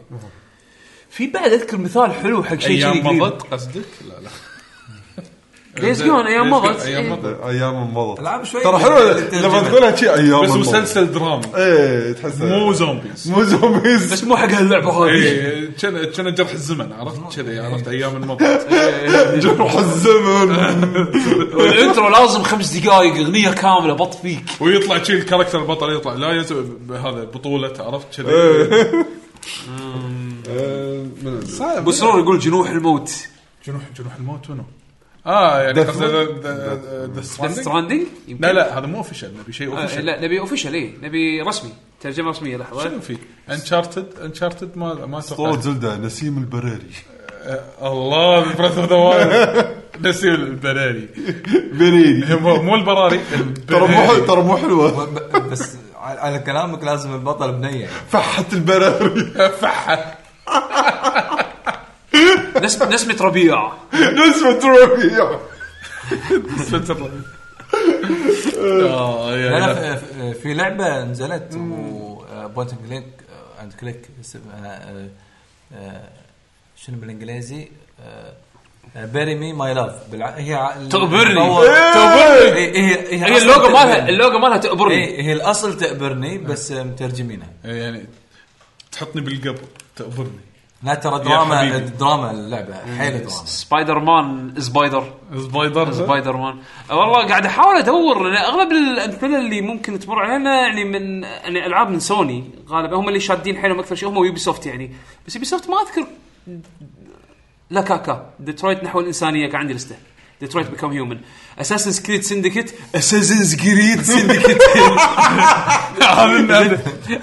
A: في بعد اذكر مثال حلو حق شيء
B: ايام
A: كذي
B: مضت قصدك؟ لا لا
A: Days Gone، أيام
B: Days Gone،
A: مضت.
B: ايام
A: إيه.
B: مضت
C: ايام مضت
E: العاب شوي
C: ترى حلو لما تقولها شي ايام
B: بس
C: مضت.
B: مسلسل درامي
C: ايه تحس
B: مو زومبيز
C: مو زومبيز
A: إيه. بس مو حق هاللعبه هذه
B: ايه كان كان جرح الزمن عرفت كذي عرفت ايام المضت
C: جروح الزمن
A: الانترو لازم خمس دقائق اغنيه كامله بط فيك
B: ويطلع شي الكاركتر البطل يطلع لا ينسى هذا بطولة عرفت كذي
A: ابو سرور يقول جنوح الموت
B: جنوح جنوح الموت منو؟ اه يعني
C: Death
B: قصدي
C: Note.
B: ذا- ذا- ذا- ذا Stranding؟
A: ستراندنج
B: لا لا هذا مو اوفيشال نبي شيء اوفيشال
A: آه، لا نبي اوفشل ايه نبي رسمي ترجمه رسميه لحظه
B: شنو في؟ انشارتد انشارتد ما ما
C: طول
B: اتوقع
C: زلدة نسيم البراري
B: الله بريث اوف ذا وايلد نسيب البراري
C: بريري
B: مو مو البراري
C: ترى مو حلو- ترى مو حلوه
E: ب- بس على على كلامك لازم البطل بنيه
C: فحت البراري
B: فحة
A: نس- نسمه ربيع
C: نسمة تروفي
B: آه، يا-
E: لا
B: يا-
E: لا ف- ف- في لعبه نزلت وبوينت اند كليك آه، اند كليك اسمها آه، آه، شنو آه، بالانجليزي بيري مي ماي لاف هي
A: تقبرني. إيه!
E: تقبرني هي
A: هي
E: أصل
A: اللوجو مالها
B: يعني.
E: تقبرني. إيه،
A: اللوجو مالها
B: إيه.
A: تقبرني إيه.
E: هي هي الاصل تقبرني بس آه، مترجمينها
B: يعني تحطني بالقبر تقبرني
E: لا ترى دراما
B: حبيبي.
E: دراما اللعبه
A: إيه.
E: حيل دراما
A: سبايدر مان سبايدر
B: سبايدر
A: سبايدر مان والله قاعد احاول ادور لان اغلب الامثله اللي ممكن تمر علينا يعني من يعني العاب من سوني غالبا هم اللي شادين حيلهم اكثر شيء هم ويوبي سوفت يعني بس يوبي سوفت ما اذكر لا كاكا ديترويت نحو الانسانيه كان عندي لسته ديترويت بيكم هيومن اساسن كريد سندكت اساسن كريد سندكت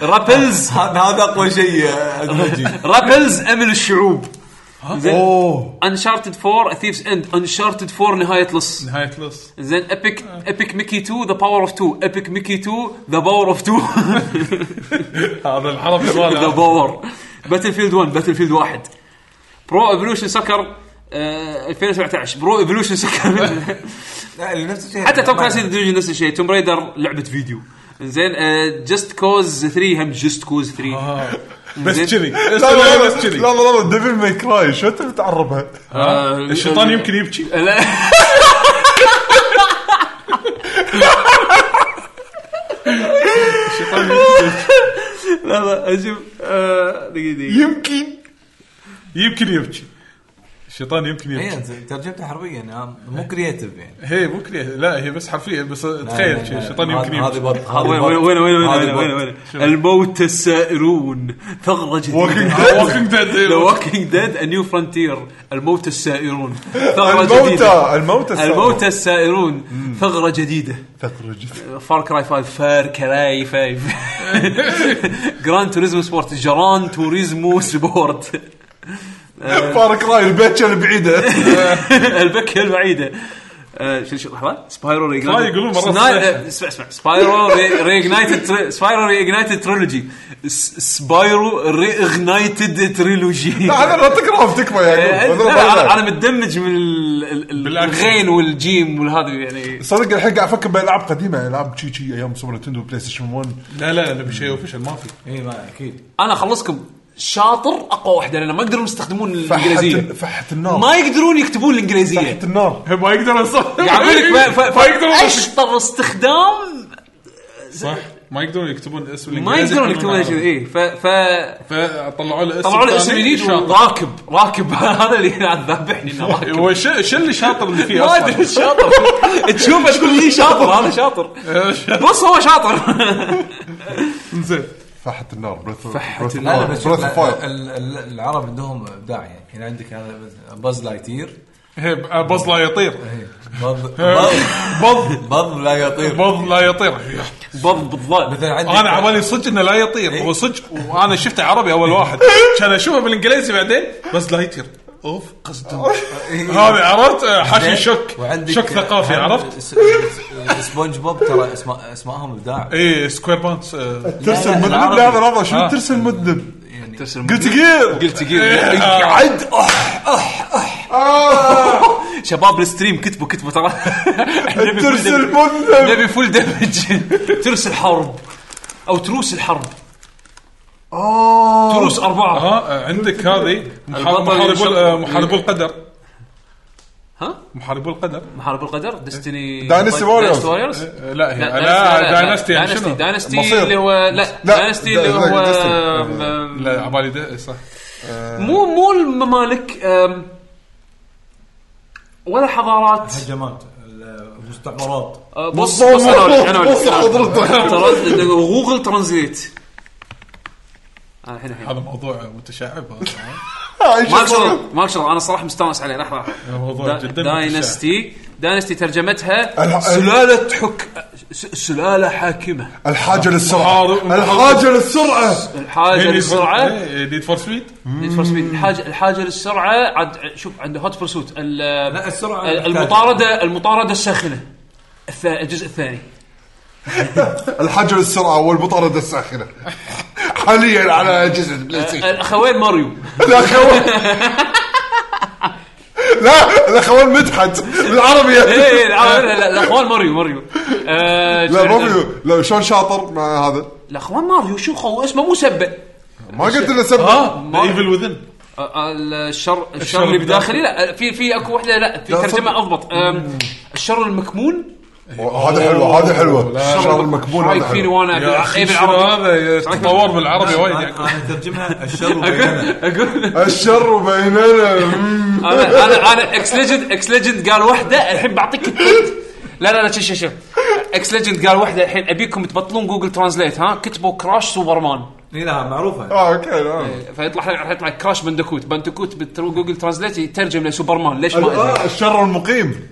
A: رابلز
E: هذا هذا اقوى شيء آه، أدمجي.
A: رابلز امل الشعوب انشارتد 4 ثيفز اند انشارتد 4 نهايه لص
B: نهاية لص
A: زين ابيك ابيك ميكي 2 ذا باور اوف 2 ابيك ميكي 2 ذا باور اوف 2
B: هذا الحرف
A: ذا
B: ماله
A: باور باتل فيلد 1 باتل فيلد 1 برو ايفولوشن سكر آه، 2017 برو ايفولوشن سكر
E: لا، اللي نفس الشيء
A: حتى توم
E: ما-
A: كلاسي ديفيجن نفس الشيء توم ريدر لعبه فيديو زين آه، جست كوز 3 هم جست كوز 3
B: آه. بس كذي
C: لا لا
B: بس
C: لا
B: كذي
C: لا لا ديفل ماي كراي شو انت بتعربها؟
A: آه،
B: الشيطان يمكن يبكي
A: لا لا لا اشوف آه، دقيقه دقيقه
C: يمكن
B: يمكن يبكي الشيطان يمكن
E: إيه،
B: يبكي
E: أنت ترجمته حرفيا آه، مو كرييتيف يعني
B: إيه. هي مو كريه لا هي بس حرفيا بس تخيل شي، الشيطان يمكن
E: هذه
B: يبكي
E: بط- هذه
A: وين
E: بط.
A: وين وين وين
E: هذه
A: وين وين
E: بط.
A: وين الموت السائرون ثغرة جديدة
B: ووكينج
A: The
B: ديد
A: Walking Dead A New Frontier الموت السائرون ثغرة جديدة
C: الموتى الموتى السابق.
A: الموت السائرون ثغرة جديدة
C: ثقل جدا.
A: فار كراي 5 فار كراي 5 جران توريزمو سبورت جران توريزمو سبورت
C: فارك راي البيتشة البعيدة
A: البكه البعيده آه، شو شو لحظه سبايرو
B: لا، يقولون مرة صحيحة.
A: آه، اسمع اسمع سبايرو ريجنايتد سبايرو ريجنايتد تريلوجي سبايرو ريجنايتد تريلوجي
C: لا هذا لا تكرهه تكفى
A: إيه،
C: يا يعقوب.
A: انا أنا متدمج من ال- ال- ال-
B: بالأكشن.
A: الغين والجيم والهذا يعني
C: صدق الحين قاعد افكر بالعاب قديمه العاب شي شي ايام سوبر نتندو بلاي ستيشن 1
B: لا لا نبي شيء اوفيشال ما في
E: اي ما اكيد
A: انا اخلصكم شاطر اقوى واحده لان ما يقدرون يستخدمون
C: فحت
A: الانجليزيه
C: ال- فحت النار
A: ما يقدرون يكتبون الانجليزيه
C: فحت النار
B: ما يقدر يصور
A: قاعد اقول يعني لك ف- ف-
B: ما يقدرون
A: اشطر استخدام
B: صح ما يقدرون يكتبون اسم
A: ما
B: الإنجليزي
A: يقدرون
B: كله
A: يكتبون
B: بالعربي.
A: شيء اي ف ف
B: فطلعوا له اسم
A: طلعوا له اسم
B: ثاني
A: جديد
B: شاطر.
A: وراكب راكب هذا اللي قاعد ذابحني انه راكب
B: هو شو شو اللي شاطر اللي فيه
A: ما ادري
B: اصلا؟
A: شاطر تشوفه تقول لي شاطر هذا شاطر بص هو شاطر
B: زين
C: فحت النار بريث
A: فحت
E: لا لا بس شوف،
C: بريث
E: لا،
C: فاير
E: ال- ال- العرب عندهم ابداع يعني هنا عندك هذا باز لايتير
B: هي بز لا يطير
A: إيه.
E: بض بض-
B: بض
E: بض لا يطير
B: بض لا يطير
A: بض بالضبط
E: مثلا عندك
B: انا عبالي صدق انه لا يطير هو صدق وانا شفته عربي اول واحد كان اشوفه بالانجليزي بعدين بس لا يطير اوف قصدم هذا عرفت آه، حاشي شك
L: وعندك
B: شك ثقافي
L: هم
B: عرفت
L: س- س- سبونج بوب ترى اسماء اسمائهم ابداع
B: اي سكوير بانس
C: ترسل مذنب
L: العربي.
C: لحظه لحظه شنو
B: آه.
C: ترسل مذنب؟
A: ترسل
C: قلت جير
A: قلت قلت
C: عد
A: آه. شباب الستريم كتبوا كتبوا ترى نبي full
C: ترسل
A: damage.
C: مذنب
A: نبي فول دمج ترسل حرب او تروس الحرب
C: اه
A: تروس اربعه
B: ها آه، عندك هذه محارب-
A: البطل ينشر-
B: محاربو آه، محاربو القدر
A: ها؟
B: محاربو القدر
A: محارب القدر ديستني
C: Dynasty Warriors.
A: واريورز
B: آه، لا هي
A: لا
B: لا داينستي يعني
A: داينستي
B: شنو؟
A: داينستي
C: مصير.
A: اللي هو لا
C: لا،
A: داينستي اللي
C: دا-
A: هو
C: داينستي.
A: أم، أم،
B: لا عبالي ده- صح
A: مو مو الممالك أم، ولا حضارات
E: الهجمات المستعمرات
A: أه، بص بص انا أقول لك، انا أقول لك. ترى آه، جوجل ترانزليت أنا الحين الحين
B: هذا موضوع متشعب هذا
A: ما شاء ما شاء انا صراحه مستانس عليه لحظه لحظة.
B: موضوع
A: دا-
B: جدا
A: داينستي داينستي ترجمتها
C: الح-
A: سلاله حك س- سلاله حاكمه
C: الحاجه للسرعه
B: محارب-
C: الحاجه للسرعه
A: الحاجه للسرعه
B: نيد فور سبيد
A: نيد فور سبيد الحاجه الحاجه للسرعه عاد شوف عنده هوت برسوت
E: لا السرعه
A: المطارده المطارده الساخنه الث- الجزء الثاني
C: الحاجه للسرعه والمطارده الساخنه حاليا على اجهزه البلاي ستيشن
A: الاخوين ماريو إيه،
C: الاخوان لا الاخوان مدحت بالعربيه
A: إيه، إيه، الع- لا، لا، الاخوان ماريو ماريو آه،
C: لا مو لا شلون شاطر مع هذا
A: الاخوان ماريو شو خو اسمه مو سبه
C: ما قلت انه سبب
B: اه ايفل وذن
A: آه، الشر الشر اللي بداخلي لا في في اكو وحده لا في
C: لا،
A: ترجمه
C: صدق.
A: اضبط آم، الشر المكمون
C: هذا حلوه هذا حلوه الشر المكبول
A: شايف
C: هذا
A: فيني
C: حلو
A: وانا
B: يا
A: أقول- إيه
B: اخي شنو
A: بالعربي
B: هذا تطور بالعربي وايد
E: انا
B: يعني.
E: أنا اترجمها الشر والجنة.
A: اقول
C: الشر بيننا مم.
A: انا انا انا اكس ليجند اكس ليجند قال وحده الحين بعطيك التويت. لا لا لا شوف شوف شوف اكس ليجند قال وحده الحين ابيكم تبطلون جوجل ترانزليت ها كتبوا كراش سوبرمان
E: إي لا معروفه
C: اه اوكي نعم.
A: فيطلع لك يطلع لك كراش بندكوت بندكوت بجوجل ترانزليت يترجم لسوبرمان ليش ما
C: آه،
A: ادري
C: الشر المقيم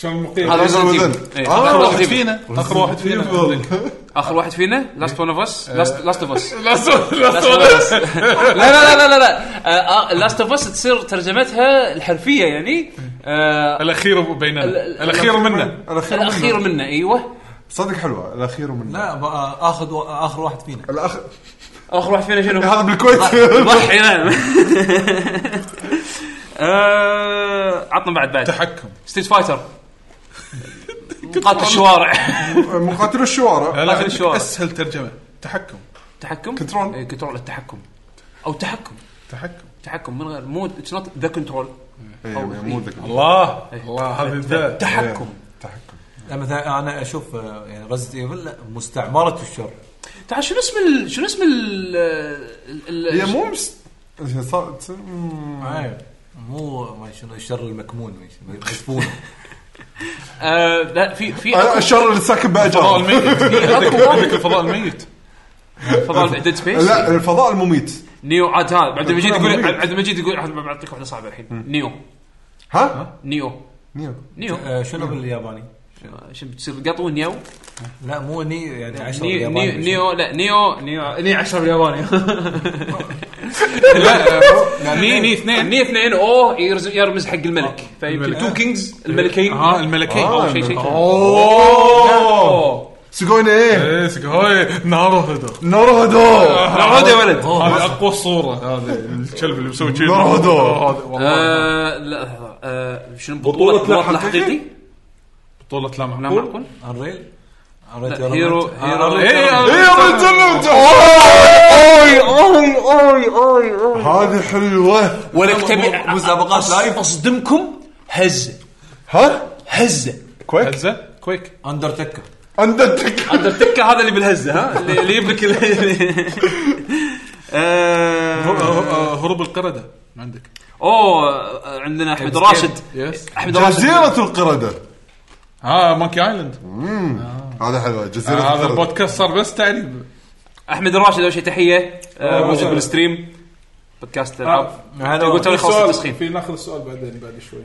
B: شلون مقيم
A: هذا Resident
C: Resident
A: Evil.
C: Evil.
A: إيه،
C: آه،
A: آخر واحد
B: واحد
A: فينا
B: فينا اخر واحد فينا
A: اخر واحد فينا لاست ون اوف اس لاست اوف اس
B: لا سو- لا سو-
A: لا لا لا لا آه، لا لاست اوف اس تصير ترجمتها الحرفيه يعني آه،
B: الاخير بيننا
A: ال-
B: الاخير منا
C: الاخير منه.
A: الاخير منه ايوه
C: صدق حلوه الاخير منه
E: لا بقى اخذ و- اخر واحد فينا
C: الاخر
A: اخر واحد فينا شنو؟
C: هذا بالكويت
A: ضحي نعم آه، عطنا بعد بعد
B: تحكم
A: ستريت فايتر مقاتل الشوارع
C: مقاتل الشوارع
B: لا
A: آخر
B: عندك
A: شوارع.
B: اسهل ترجمه تحكم
A: تحكم
C: كنترول.
A: إيه، كنترول التحكم او تحكم
B: تحكم
A: تحكم من غير مو اتس نوت ذا كنترول
C: إيه، مو ذكي
A: آه.
B: الله الله هذا ذا
A: إيه. تحكم
C: تحكم
E: لا مثلا انا اشوف آه، يعني رزت ايفل لا مستعمره الشر
A: تعال شنو اسم ال... شنو اسم ال... ال...
C: هي
A: ال...
C: مو مس... هي صار- تصير- مم.
E: مو ما شنو الشر المكمون ما شنو، المدفون
A: آه، لا في في
C: آه،
A: أكو-
C: الشر اللي ساكن
B: أه.
C: باجار
B: الفضاء الميت عندك- عندك الفضاء الميت
A: فضل ديد سبيس
C: لا الفضاء المميت
A: نيو عاد هذا عبد المجيد
C: الفضاء
A: يقول
C: مميت.
A: عبد المجيد يقول عاد بعطيك واحده صعبه الحين نيو
B: أه.
C: ها؟
A: نيو
C: نيو
A: نيو
E: آه، شنو بالياباني؟
A: شو بتصير قطو نيو
E: لا مو ني يعني 10
A: نيو
E: بالياباني
A: نيو- نيو لا نيو نيو ني 10 بالياباني
B: ني ني اثنين
A: ني اثنين اوه يرز- يرمز حق الملك فيمكن
B: الملك.
A: تو كينجز الملكين
B: اه الملكين
A: او شيء شيء
C: اوه سجوين ايه
B: إيه، أه. سك- هاي نارو هدو
C: ناروهدو
A: عود يا ولد
B: هذه اقوى صوره هذا الكلب اللي مسوي كذي
C: ناروهودو.
B: هذا والله
A: آه، لا آه، شنو بطولة بطولة حقيقي؟
B: بطوله لا
A: لا
B: معقول
A: معقول
E: انريل
A: لا، هيرو
E: نعم. آه،
A: هيرو
B: إيه،
C: يا رجل أنت-
B: أه.
C: اوي اوي اوي اوي اوي هذه حلوه
A: ولك
E: مسابقات لايف
A: اصدمكم هزه
C: ها؟
A: هزه
C: كويك
B: هزه كويك
E: اندرتيكر
C: اندرتك
A: اندرتيكر هذا اللي بالهزه ها اللي اللي يجيب لك ال-
B: هر-
A: آه،
B: آه، هروب القرده ما عندك
A: اوه آه، عندنا احمد راشد
B: يس
A: احمد راشد
C: جزيرة القردة
B: ها مونكي ايلاند
C: هذا حلوة جزيرة
B: آه، هذا
C: القردة
B: البودكاست صار بس تعريب
A: احمد راشد اول شيء تحيه آه، موجود
B: وسهلا.
A: بالستريم بودكاست
C: آه،
A: العاب
E: هلا
A: يقول توني خلصت
B: سؤال-
A: التسخين
B: آه، في ناخذ السؤال بعدين بعد شوي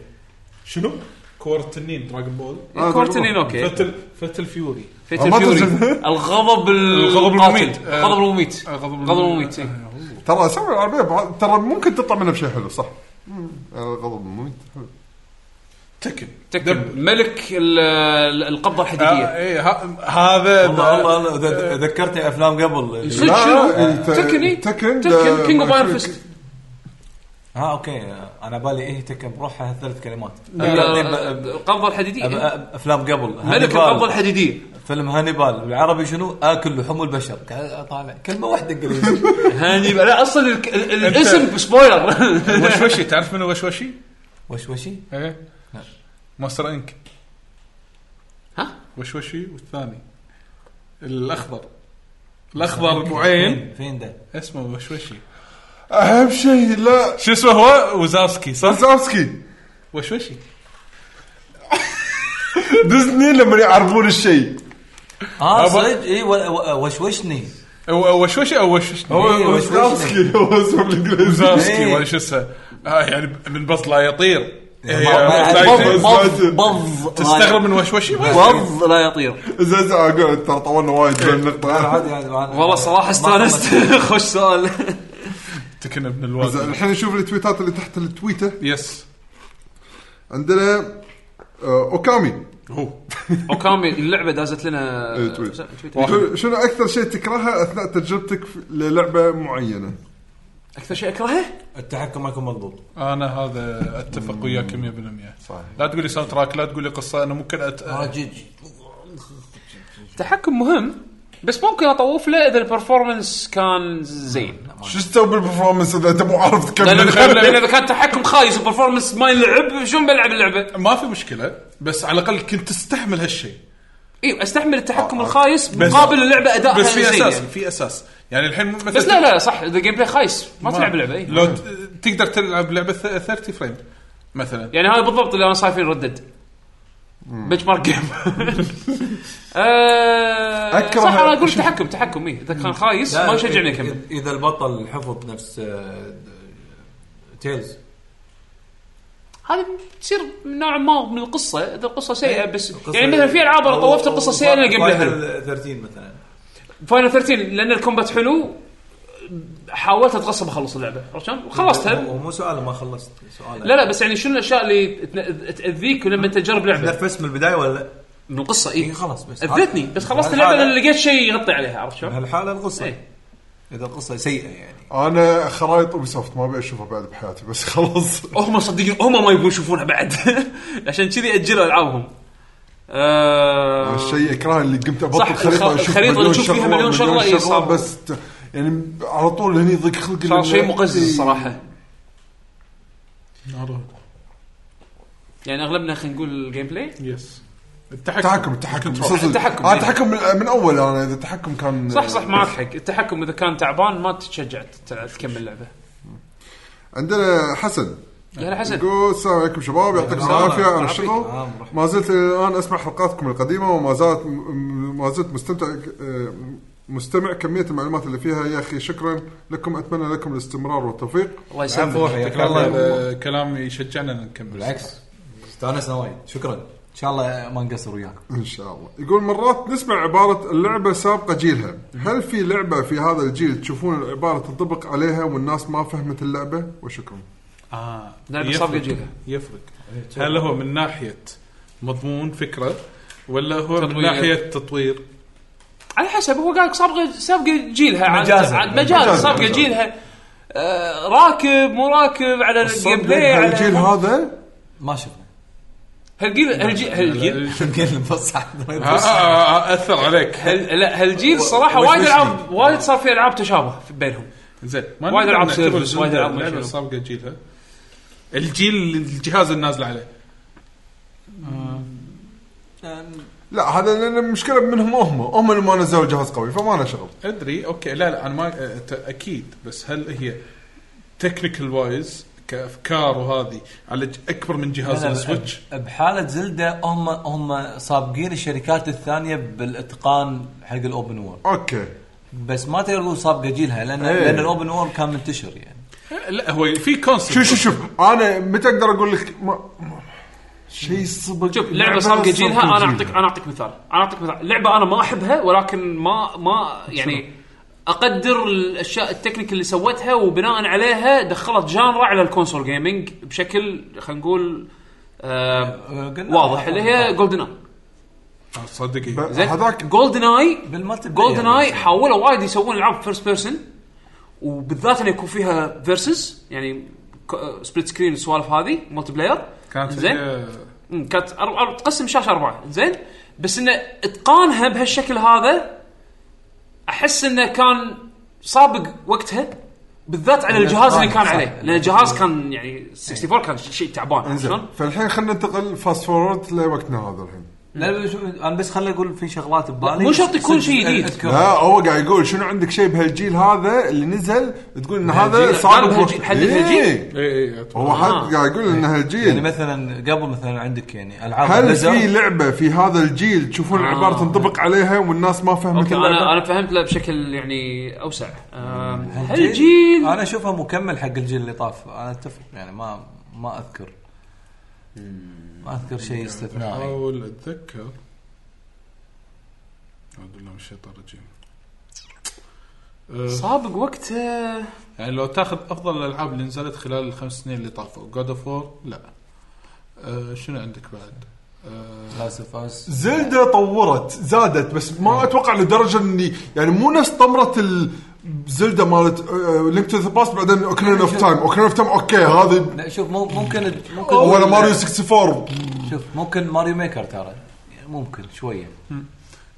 B: شنو؟ كورة التنين دراجون بول
C: آه،
A: كورتنين اوكي
B: فتل فتل فيوري
A: فيتل
C: ما
A: فيوري
C: ترجم.
A: الغضب
B: الغضب
A: القاتل.
B: المميت. آه.
A: الغضب المميت
B: الغضب
A: الغضب المميت إيه.
C: ترى اسامي العربية بعض- ترى ممكن تطلع منها بشيء حلو صح غضب مميت حلو.
B: تكن
A: تكن ملك ال- ال- القبضه
C: آه،
A: الحديديه
B: اي آه، إيه، هذا
E: والله والله ذ- ذكرتني افلام قبل
A: صدق
C: لا،
A: شنو؟
C: إيه، ت-
A: تكن إيه؟
C: تكن آه،
A: تكن كينج اوف ايرون
C: ده-
A: فيست
E: ها اوكي انا آه، بالي ايه تكن بروحها ثلاث كلمات
A: طيب، القبضه الحديديه
E: أب-
A: آه، إيه.
E: أب- افلام قبل
A: ملك
E: هانيبال.
A: القبضه الحديديه
E: فيلم هانيبال بالعربي شنو اكل لحوم البشر قاعد اطالع كلمه واحده انجليزي
A: هاني لا اصلا ال- ال- الاسم سبويلر
B: وشوشي تعرف منو وشوشي؟
E: وشوشي
B: ايه
E: نعم.
B: ماستر انك
A: ها؟
B: وشوشي والثاني الاخضر الاخضر ابو عين
E: فين ده؟
B: اسمه وشوشي
C: اهم شيء لا
B: شو اسمه هو وزافسكي صح؟
C: زامسكي
B: وشوشي
C: ديزني لما يعرفون الشيء
E: اه
B: أبا-
E: صدق اي و- و- وشوشني
B: او أو وشوشي او وشوشني
E: إيه، وشوشني
C: زامسكي هو اسمه بالانجليزي
B: وزافسكي
E: إيه.
B: ولا شو اسمه آه يعني من بط لا يطير إيه،
E: ما-
B: لا
E: ما-
B: يطير.
E: بض- بض- بض
B: تستغرب من وشوشي ما يصير.
F: وض لا يطير
C: زين اقول ترى طولنا وايد بالنقطه
E: عادي عادي
F: والله صراحه استانست خوش سؤال
B: تكن ابن
C: زين،
B: الوالد
C: الحين نشوف التويتات اللي تحت التويته
B: يس
C: عندنا آه، اوكامي
B: هو
A: اوكامي اللعبه دازت لنا
C: إيه، تويت.
A: تويتر.
C: شنو- شنو اكثر شيء تكرهه اثناء تجربتك في- للعبه معينه؟
A: اكثر شيء اكرهه
E: التحكم ما يكون مضبوط
B: انا هذا اتفق وياك 100% صح لا تقول لي ساوند تراك لا تقول لي قصه انا ممكن أت...
E: آه،
A: التحكم مهم بس ممكن اطوف له اذا البرفورمانس كان زين
C: شو تسوي بالبرفورمانس اذا انت مو عارف
A: لان إذا كان- لان
C: تكمل؟
A: اذا كان تحكم خايس البرفورمانس ما يلعب شلون بلعب اللعبه؟
B: ما في مشكله بس على الاقل كنت تستحمل هالشيء
A: اي استحمل إيه، التحكم الخايس مقابل اللعبه ادائها
B: بس في
A: زين
B: اساس
A: يعني.
B: في اساس يعني الحين مثلا
A: بس لا لا صح اذا جيم بلاي خايس ما تلعب إيه. لعبه اي
B: لو ت- تقدر تلعب لعبه ث- 30 فريم مثلا
A: يعني هذا بالضبط اللي انا صايفين ردد بنش مارك جيم
C: أكره-
A: اكره آه، صح انا اقول تحكم تحكم اي اذا كان خايس ما يشجعني اكمل
E: إذا- اذا البطل حفظ نفس آه، تيلز
A: هذه تصير نوع ما من القصه اذا القصه سيئه بس
E: إيه، القصة-
A: يعني مثلا في العاب انا طوفت القصه سيئه لان الجيم بلاي حلو
E: فاينل 13 مثلا
A: فاينل 13 لان الكومبات حلو حاولت اتغصب اخلص اللعبه عرفت شلون؟ خلصتها
E: هو مو سؤال ما خلصت سؤال
A: لا لا بس يعني شنو الاشياء اللي تن- تاذيك لما انت تجرب لعبه
E: نرفزت من البدايه ولا لا؟
A: من القصه اي
E: إي إيه، خلاص بس
A: اذتني بس خلصت اللعبه لان لقيت شيء يغطي عليها عرفت شلون؟
E: هالحاله القصه
A: إيه.
E: اذا القصه سيئه يعني
C: انا خرايط اوبي سوفت ما ابي اشوفها بعد بحياتي بس خلاص
A: هم صدقين هم ما يبون يشوفونها بعد عشان كذي اجلوا العابهم. آه،
C: الشيء اكراه اللي قمت ابطل
A: صح،
C: خريطه
A: الخ-
C: اشوف
A: الخريطة
C: مليون
A: تشوف فيها
C: شغله
A: مليون شغلة، إي، صعب.
C: بس ت- يعني على طول هني ضيق خلقي
A: صار شيء
C: لأن-
A: مقزز الصراحه.
B: ناروتو.
A: يعني اغلبنا خلينا نقول الجيم بلاي
B: يس التحكم
C: التحكم التحكم مسلسل.
A: التحكم،
C: آه
A: إي.
C: التحكم من, من اول انا اذا التحكم كان
A: صح صح معك حق التحكم اذا كان تعبان ما تتشجع تلعب- تكمل لعبه.
C: عندنا حسن
A: يا حسن
C: يقول السلام عليكم شباب يعطيكم العافيه انا الشغل
A: آه،
E: نعم، مرحبا.
C: ما زلت الان اسمع حلقاتكم القديمه وما زالت ما زلت مستمتع آه، مستمع كميه المعلومات اللي فيها يا اخي شكرا لكم اتمنى لكم الاستمرار والتوفيق
A: الله يسلمك.
E: عفو حياك الله
B: هذا كلام يشجعنا ان نكمل
E: يعني. بالعكس استانسنا وايد شكرا ان شاء الله ما نقصر وياك
C: ان شاء الله يقول مرات نسمع عباره اللعبه سابقه جيلها هل في لعبه في هذا الجيل تشوفون العباره تنطبق عليها والناس ما فهمت اللعبه وشكرا
B: اه
A: لعبة
B: يفرق-
A: سابقة جيلها.
B: يفرق هل هو من ناحيه مضمون فكره ولا هو من
A: تطوير.
B: ناحيه تطوير
A: على حسب هو قال لك سابقه سابقه جيلها عاد-
E: مجازاً.
A: عاد مجاز
C: مجازاً.
A: سابقه
C: مجازاً.
A: جيلها آه، راكب مو راكب على الجيم بلاي على
C: الجيل هذا
E: ما شفنا
A: هالجيل هالجيل هالجيل
E: نتكلم بس
B: آه، آه، آه، اثر عليك
A: هال- لا هالجيل الصراحه
E: وش-
A: وايد
E: وش
A: العاب وايد صار في العاب تشابه في بينهم
B: زين ما
A: وايد
B: نقدر
A: ألعاب
B: نعتبر
A: سيرفس، وايد ألعاب
B: اللعبه
A: مشهورة.
B: السابقه جيلها الجيل الجهاز النازل عليه
C: لا هذا لأن المشكله منهم هم هم اللي ما نزلوا جهاز قوي فما له شغل
B: ادري اوكي لا لا انا ما أه، ت- اكيد بس هل هي تكنيكال وايز كافكار وهذه على ج- اكبر من جهاز السويتش
E: بحاله زلده هم هم سابقين الشركات الثانيه بالاتقان حق الاوبن وورد
C: اوكي
E: بس ما تقدر تقول سابقه جيلها لان
C: إيه.
E: لان الاوبن وورد كان منتشر يعني
B: أه، لا هو في كونسبت
C: شوف شوف شوف انا متى اقدر اقول لك ما ما- شيء صبغ
A: شوف لعبه سابقه جيلها انا اعطيك انا اعطيك مثال انا اعطيك مثال لعبه انا ما احبها ولكن ما ما يعني اقدر الاشياء التكنيك اللي سوتها وبناء عليها دخلت جانرا على الكونسول جيمنج بشكل خلينا نقول آه
E: قلنا-
A: واضح اللي
E: آه،
A: هي جولدن اي
B: صدق إيه.
C: ب- هذاك
A: جولدن اي
E: بالمالتي بلاير. يعني.
A: جولدن اي حاولوا وايد يسوون العاب فيرست بيرسون وبالذات انه يكون فيها فيرسز يعني سبليت سكرين السوالف هذه ملتي بلاير
B: كانت
A: زين
B: هي إيه،
A: مم، كانت أر- أر- تقسم شاشه اربعه زين بس انه اتقانها بهالشكل هذا احس انه كان سابق وقتها بالذات على الجهاز اللي كان
E: صح.
A: عليه لان الجهاز كان يعني 64 كان شيء تعبان عرفت شلون؟
C: انزين فالحين خلينا ننتقل فاست فورورد لوقتنا هذا الحين
E: لا لا، شو- انا بس خليني اقول في شغلات ببالي
A: مو شرط يكون شيء
E: أذكر-
A: جديد.
E: أذكر.
C: لا هو قاعد يقول شنو عندك شيء بهالجيل هذا اللي نزل تقول ان هذا
E: بهالجيل؟
C: صعب
A: قال بهالجيل- حد بهالجيل؟
C: إيه.
B: اي اي
C: هو
A: آه.
C: حد قاعد يقول ان
E: يعني
C: هالجيل
E: مثلا قبل مثلا عندك يعني العاب
C: هل
E: بليزر.
C: في لعبه في هذا الجيل تشوفون
A: آه.
C: العباره تنطبق عليها والناس ما فهمت
A: اوكي انا
C: اللعبه؟
A: انا فهمت له بشكل يعني اوسع أم، هل
E: الجيل-
A: الجيل
E: انا اشوفها مكمل حق الجيل اللي طاف انا اتفق يعني ما ما اذكر ما اذكر شيء استثنائي
B: احاول اتذكر اعوذ بالله من الشيطان الرجيم
E: آه.
B: أه،
A: سابق وقته
B: يعني لو تاخذ افضل الالعاب اللي نزلت خلال الخمس سنين اللي طافوا جود اوف وور لا أه، شنو عندك بعد؟ أه،
E: لاست اوف اس
C: زلدة طورت زادت بس ما اتوقع لدرجه اني يعني مو نفس طمره ال زلدة مالت آه، لينك تو ذا باست بعدين اوكرين اوف تايم اوكرين اوف تايم اوكي هذه
E: لا شوف مو- ممكن ممكن
C: ولا ماريو 64
E: شوف ممكن ماريو ميكر ترى يعني ممكن شويه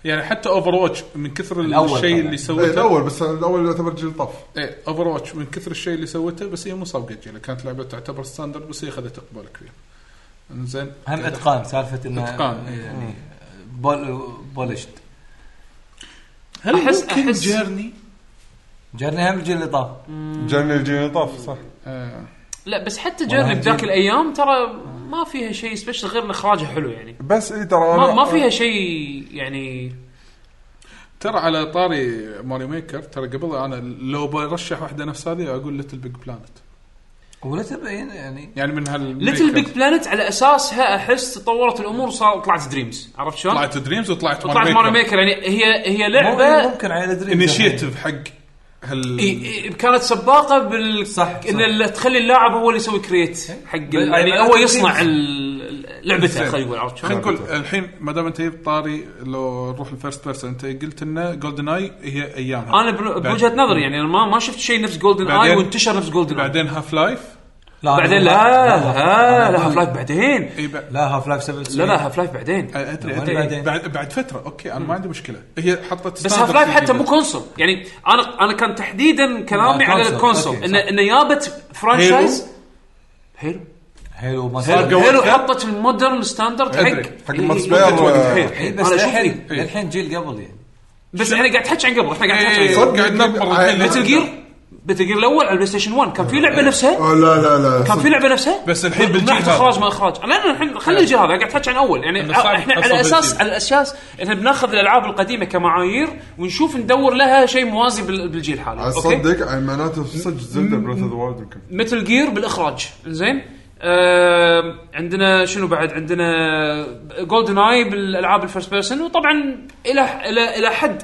B: يعني حتى اوفر واتش من كثر
E: الأول
B: الشيء
E: طبعاً.
B: اللي
C: إيه،
B: سوته
C: الاول بس الاول يعتبر جيل طف
B: ايه اوفر واتش من كثر الشيء اللي سوته بس هي مو سابقه جيله كانت لعبه تعتبر ستاندرد بس هي اخذت اقبال كبير انزين
E: هم اتقان سالفه انه
B: إتقان، إيه.
E: يعني بول بولشت
B: هل
A: أحس-
B: احس ممكن
A: أحس-
B: أحس جيرني
E: جرني هم الجيل اللي طاف
C: جاني الجيل طف صح
B: آه.
A: لا بس حتى
E: والله
A: جرب بذاك
E: الجيل.
A: الايام ترى ما فيها شيء سبيشل غير ان اخراجها حلو يعني
C: بس اي ترى
A: ما,
C: أنا-
E: آه.
A: ما فيها شيء يعني
B: ترى على طاري ماريو ميكر ترى قبل انا لو برشح واحده نفس هذه اقول ليتل بيج بلانت
E: ولا تبين يعني
B: يعني من هال
A: ليتل بيج بلانت على اساسها احس تطورت الامور وصار طلعت دريمز عرفت شلون؟
B: طلعت دريمز وطلعت
A: طلعت ماري ميكر يعني هي هي
E: مو-
A: لعبه
E: ممكن على دريم
B: انيشيتيف حق هال
A: إي- إي- كانت سباقه بال
E: صح،
A: ان
E: صح.
A: اللي تخلي اللاعب هو اللي يسوي كريت
B: إيه.
A: حق ال-
E: بل-
A: يعني
E: يعني
A: هو
E: أنا
A: يصنع
E: كنت-
A: ال- لعبته خلينا نقول عرفت
B: خلينا
A: شلون؟
B: نقول الحين ما دام انت جبت طاري لو نروح الفيرست بيرسون انت قلت انه جولدن اي هي ايامها
A: انا بل- بوجهه نظري يعني انا ما ما شفت شيء نفس جولدن اي
B: بعدين-
A: وانتشر نفس جولدن اي
B: بعدين هاف لايف
E: لا
A: بعدين لا لا لا هاف لايف بعدين
B: اي بعد
E: لا هاف لايف 7
A: لا لا هاف لايف بعدين
B: ادري
E: وين
B: ادري
E: بعدين؟
B: بعد بعد فتره اوكي انا ما عندي مشكله هي حطت
A: بس
B: standard
A: هاف لايف حتى
B: جديدة.
A: مو كونسول يعني انا انا كان تحديدا كلامي
E: آه،
A: على
E: كونسول.
A: الكونسول
E: أوكي،
A: ان
E: صح.
A: ان جابت فرانشايز حلو
E: حلو ما صار
A: حلو حلو حطت المودرن ستاندرد
B: أدري.
A: حق
C: حق
A: إي-
C: المالتي
A: إي-
C: بلاير،
A: إي-
C: آه،
A: حيل.
E: إيه، بس
A: انا اشوف إي.
E: الحين الحين جيل قبل يعني
A: بس احنا قاعد نحكي عن قبل احنا قاعد نحكي عن
B: إيه،
A: قبل.
B: صدق قاعد نبر الحين
A: باتل جير باتل جير الاول على البلاي ستيشن 1 كان في لعبه نفسها
C: آه، لا لا لا
A: كان في لعبه نفسها
B: إيه. بس الحين إيه.
A: من
B: بالجيل
A: ناحيه
B: هذا.
A: اخراج ما اخراج لا لا الحين خلي الجيل هذا قاعد تحكي عن اول يعني
B: إنه صعب
A: احنا
B: تحصل
A: على اساس
B: بالجيل.
A: على اساس احنا بناخذ الالعاب القديمه كمعايير ونشوف ندور لها شيء موازي بال- بالجيل الحالي اوكي
C: اصدق يعني معناته صدق زلدة بريث اوف ذا وايلد يمكن
A: متل جير بالاخراج زين آه عندنا شنو بعد عندنا جولدن اي بالالعاب الفيرست بيرسون وطبعا الى الى الى حد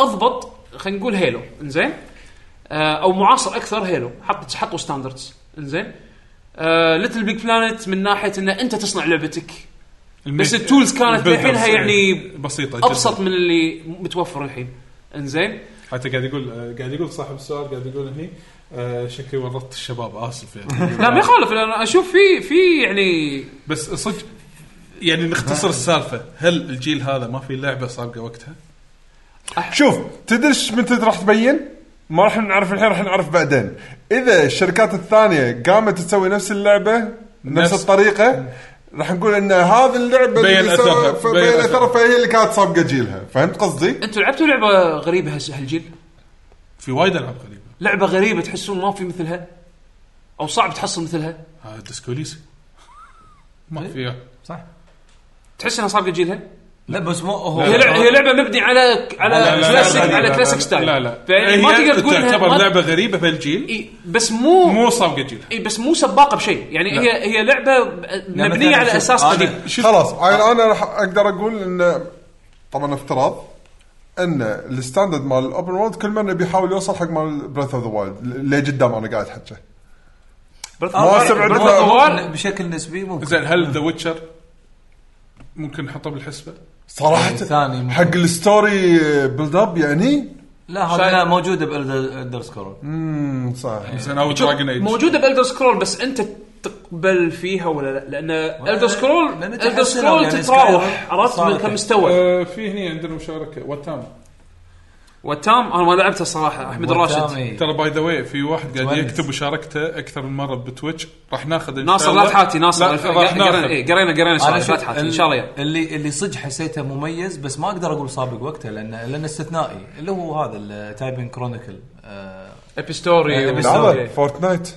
A: اضبط خلينا نقول هيلو انزين آه او معاصر اكثر هيلو حط حطوا ستاندردز انزين آه ليتل بيج بلانت من ناحيه ان انت تصنع لعبتك بس
B: الميك-
A: التولز كانت
B: البيلدرز
A: بحينها يعني
B: بسيطه جداً.
A: ابسط من اللي متوفر الحين انزين
B: حتى قاعد يقول قاعد يقول صاحب السؤال قاعد يقول هني آه، شكلي ورطت الشباب اسف يعني
A: لا ما يخالف انا اشوف في في يعني
B: بس صدق يعني نختصر السالفه هل الجيل هذا ما في لعبه سابقه وقتها؟
C: شوف تدري إيش متى راح تبين؟ ما راح نعرف الحين راح نعرف بعدين. اذا الشركات الثانيه قامت تسوي نفس اللعبه نفس
B: نفس-
C: الطريقه راح نقول ان هذه اللعبه
B: بين
C: اللي سوى-
B: أثرها،
C: ف-
B: بين
C: بين اثرها
B: أثرها.
C: فهي اللي كانت سابقه جيلها، فهمت قصدي؟
A: انتوا لعبتوا لعبه غريبه هس- هالجيل
B: في وايد العاب قريبه
A: لعبه غريبه تحسون ما في مثلها او صعب تحصل مثلها
B: آه، ديسكو ليسي ما فيها
A: تحس انها سابقه جيلها
E: إيه؟ لا بس مو هو
A: هي لعبه هي لعبه مبني على
B: لا،
A: على
B: لا،
A: كلاسيك
B: لا، لا،
A: على
B: لا،
A: كلاسيك
B: لا،
A: ستايل
B: لا لا إيه،
A: فيعني ما
B: هي
A: تقدر تقول إنها-
B: تعتبر
A: ما-
B: لعبه غريبه في الجيل
A: إي، بس مو,
B: مو سابقه جيلها
A: إي بس مو سباقه بشيء يعني
B: لا.
A: هي هي لعبه مبنيه
E: مثلاً
A: على
E: شوف،
A: اساس
E: أنا-
A: قديم
C: خلاص أنا- انا راح اقدر اقول ان طبعا افتراض ان الستاندرد مال الاوبن وورلد كل مره بيحاول يوصل حق مال بريث اوف ذا وايلد اللي قدام انا قاعد احكي ما استبعد له-
E: ممكن- بشكل نسبي ممكن
B: زين هل ذا ويتشر ممكن نحطه بالحسبه؟
A: يعني
C: صراحه
E: ثاني ممكن.
C: حق الستوري بيلد اب يعني
E: لا هذا لا، موجوده بالدر سكرول
C: امم صح
A: يعني
B: زين او دراجون ايج
A: موجوده بالدر سكرول بس انت تقبل فيها ولا لا لان الدر سكرول
E: لأن
A: الدر
E: تحسنوا
A: سكرول
E: يعني
A: تتراوح
E: Skyrim
A: عرفت من
E: صارت
A: كم مستوى
B: آه، في هني عندنا مشاركه وتام
A: وتام انا ما لعبته الصراحه احمد
E: إيه.
A: الراشد
B: ترى باي ذا واي في واحد قاعد
E: تونس.
B: يكتب مشاركته اكثر من مره بتويتش راح ناخذ إن شاء
A: ناصر لا
B: الله.
A: تحاتي ناصر
B: لا،
A: الف-
B: راح
A: قرينا
B: ناخذ
A: إيه، قرينا قرينا السؤال، لا تحاتي ان شاء الله يا.
E: اللي اللي صدق حسيته مميز بس ما اقدر اقول سابق وقته لان لان استثنائي اللي هو هذا تايبن كرونيكل آه،
A: ابيستوري و-
C: لحظه
A: إيه.
C: فورتنايت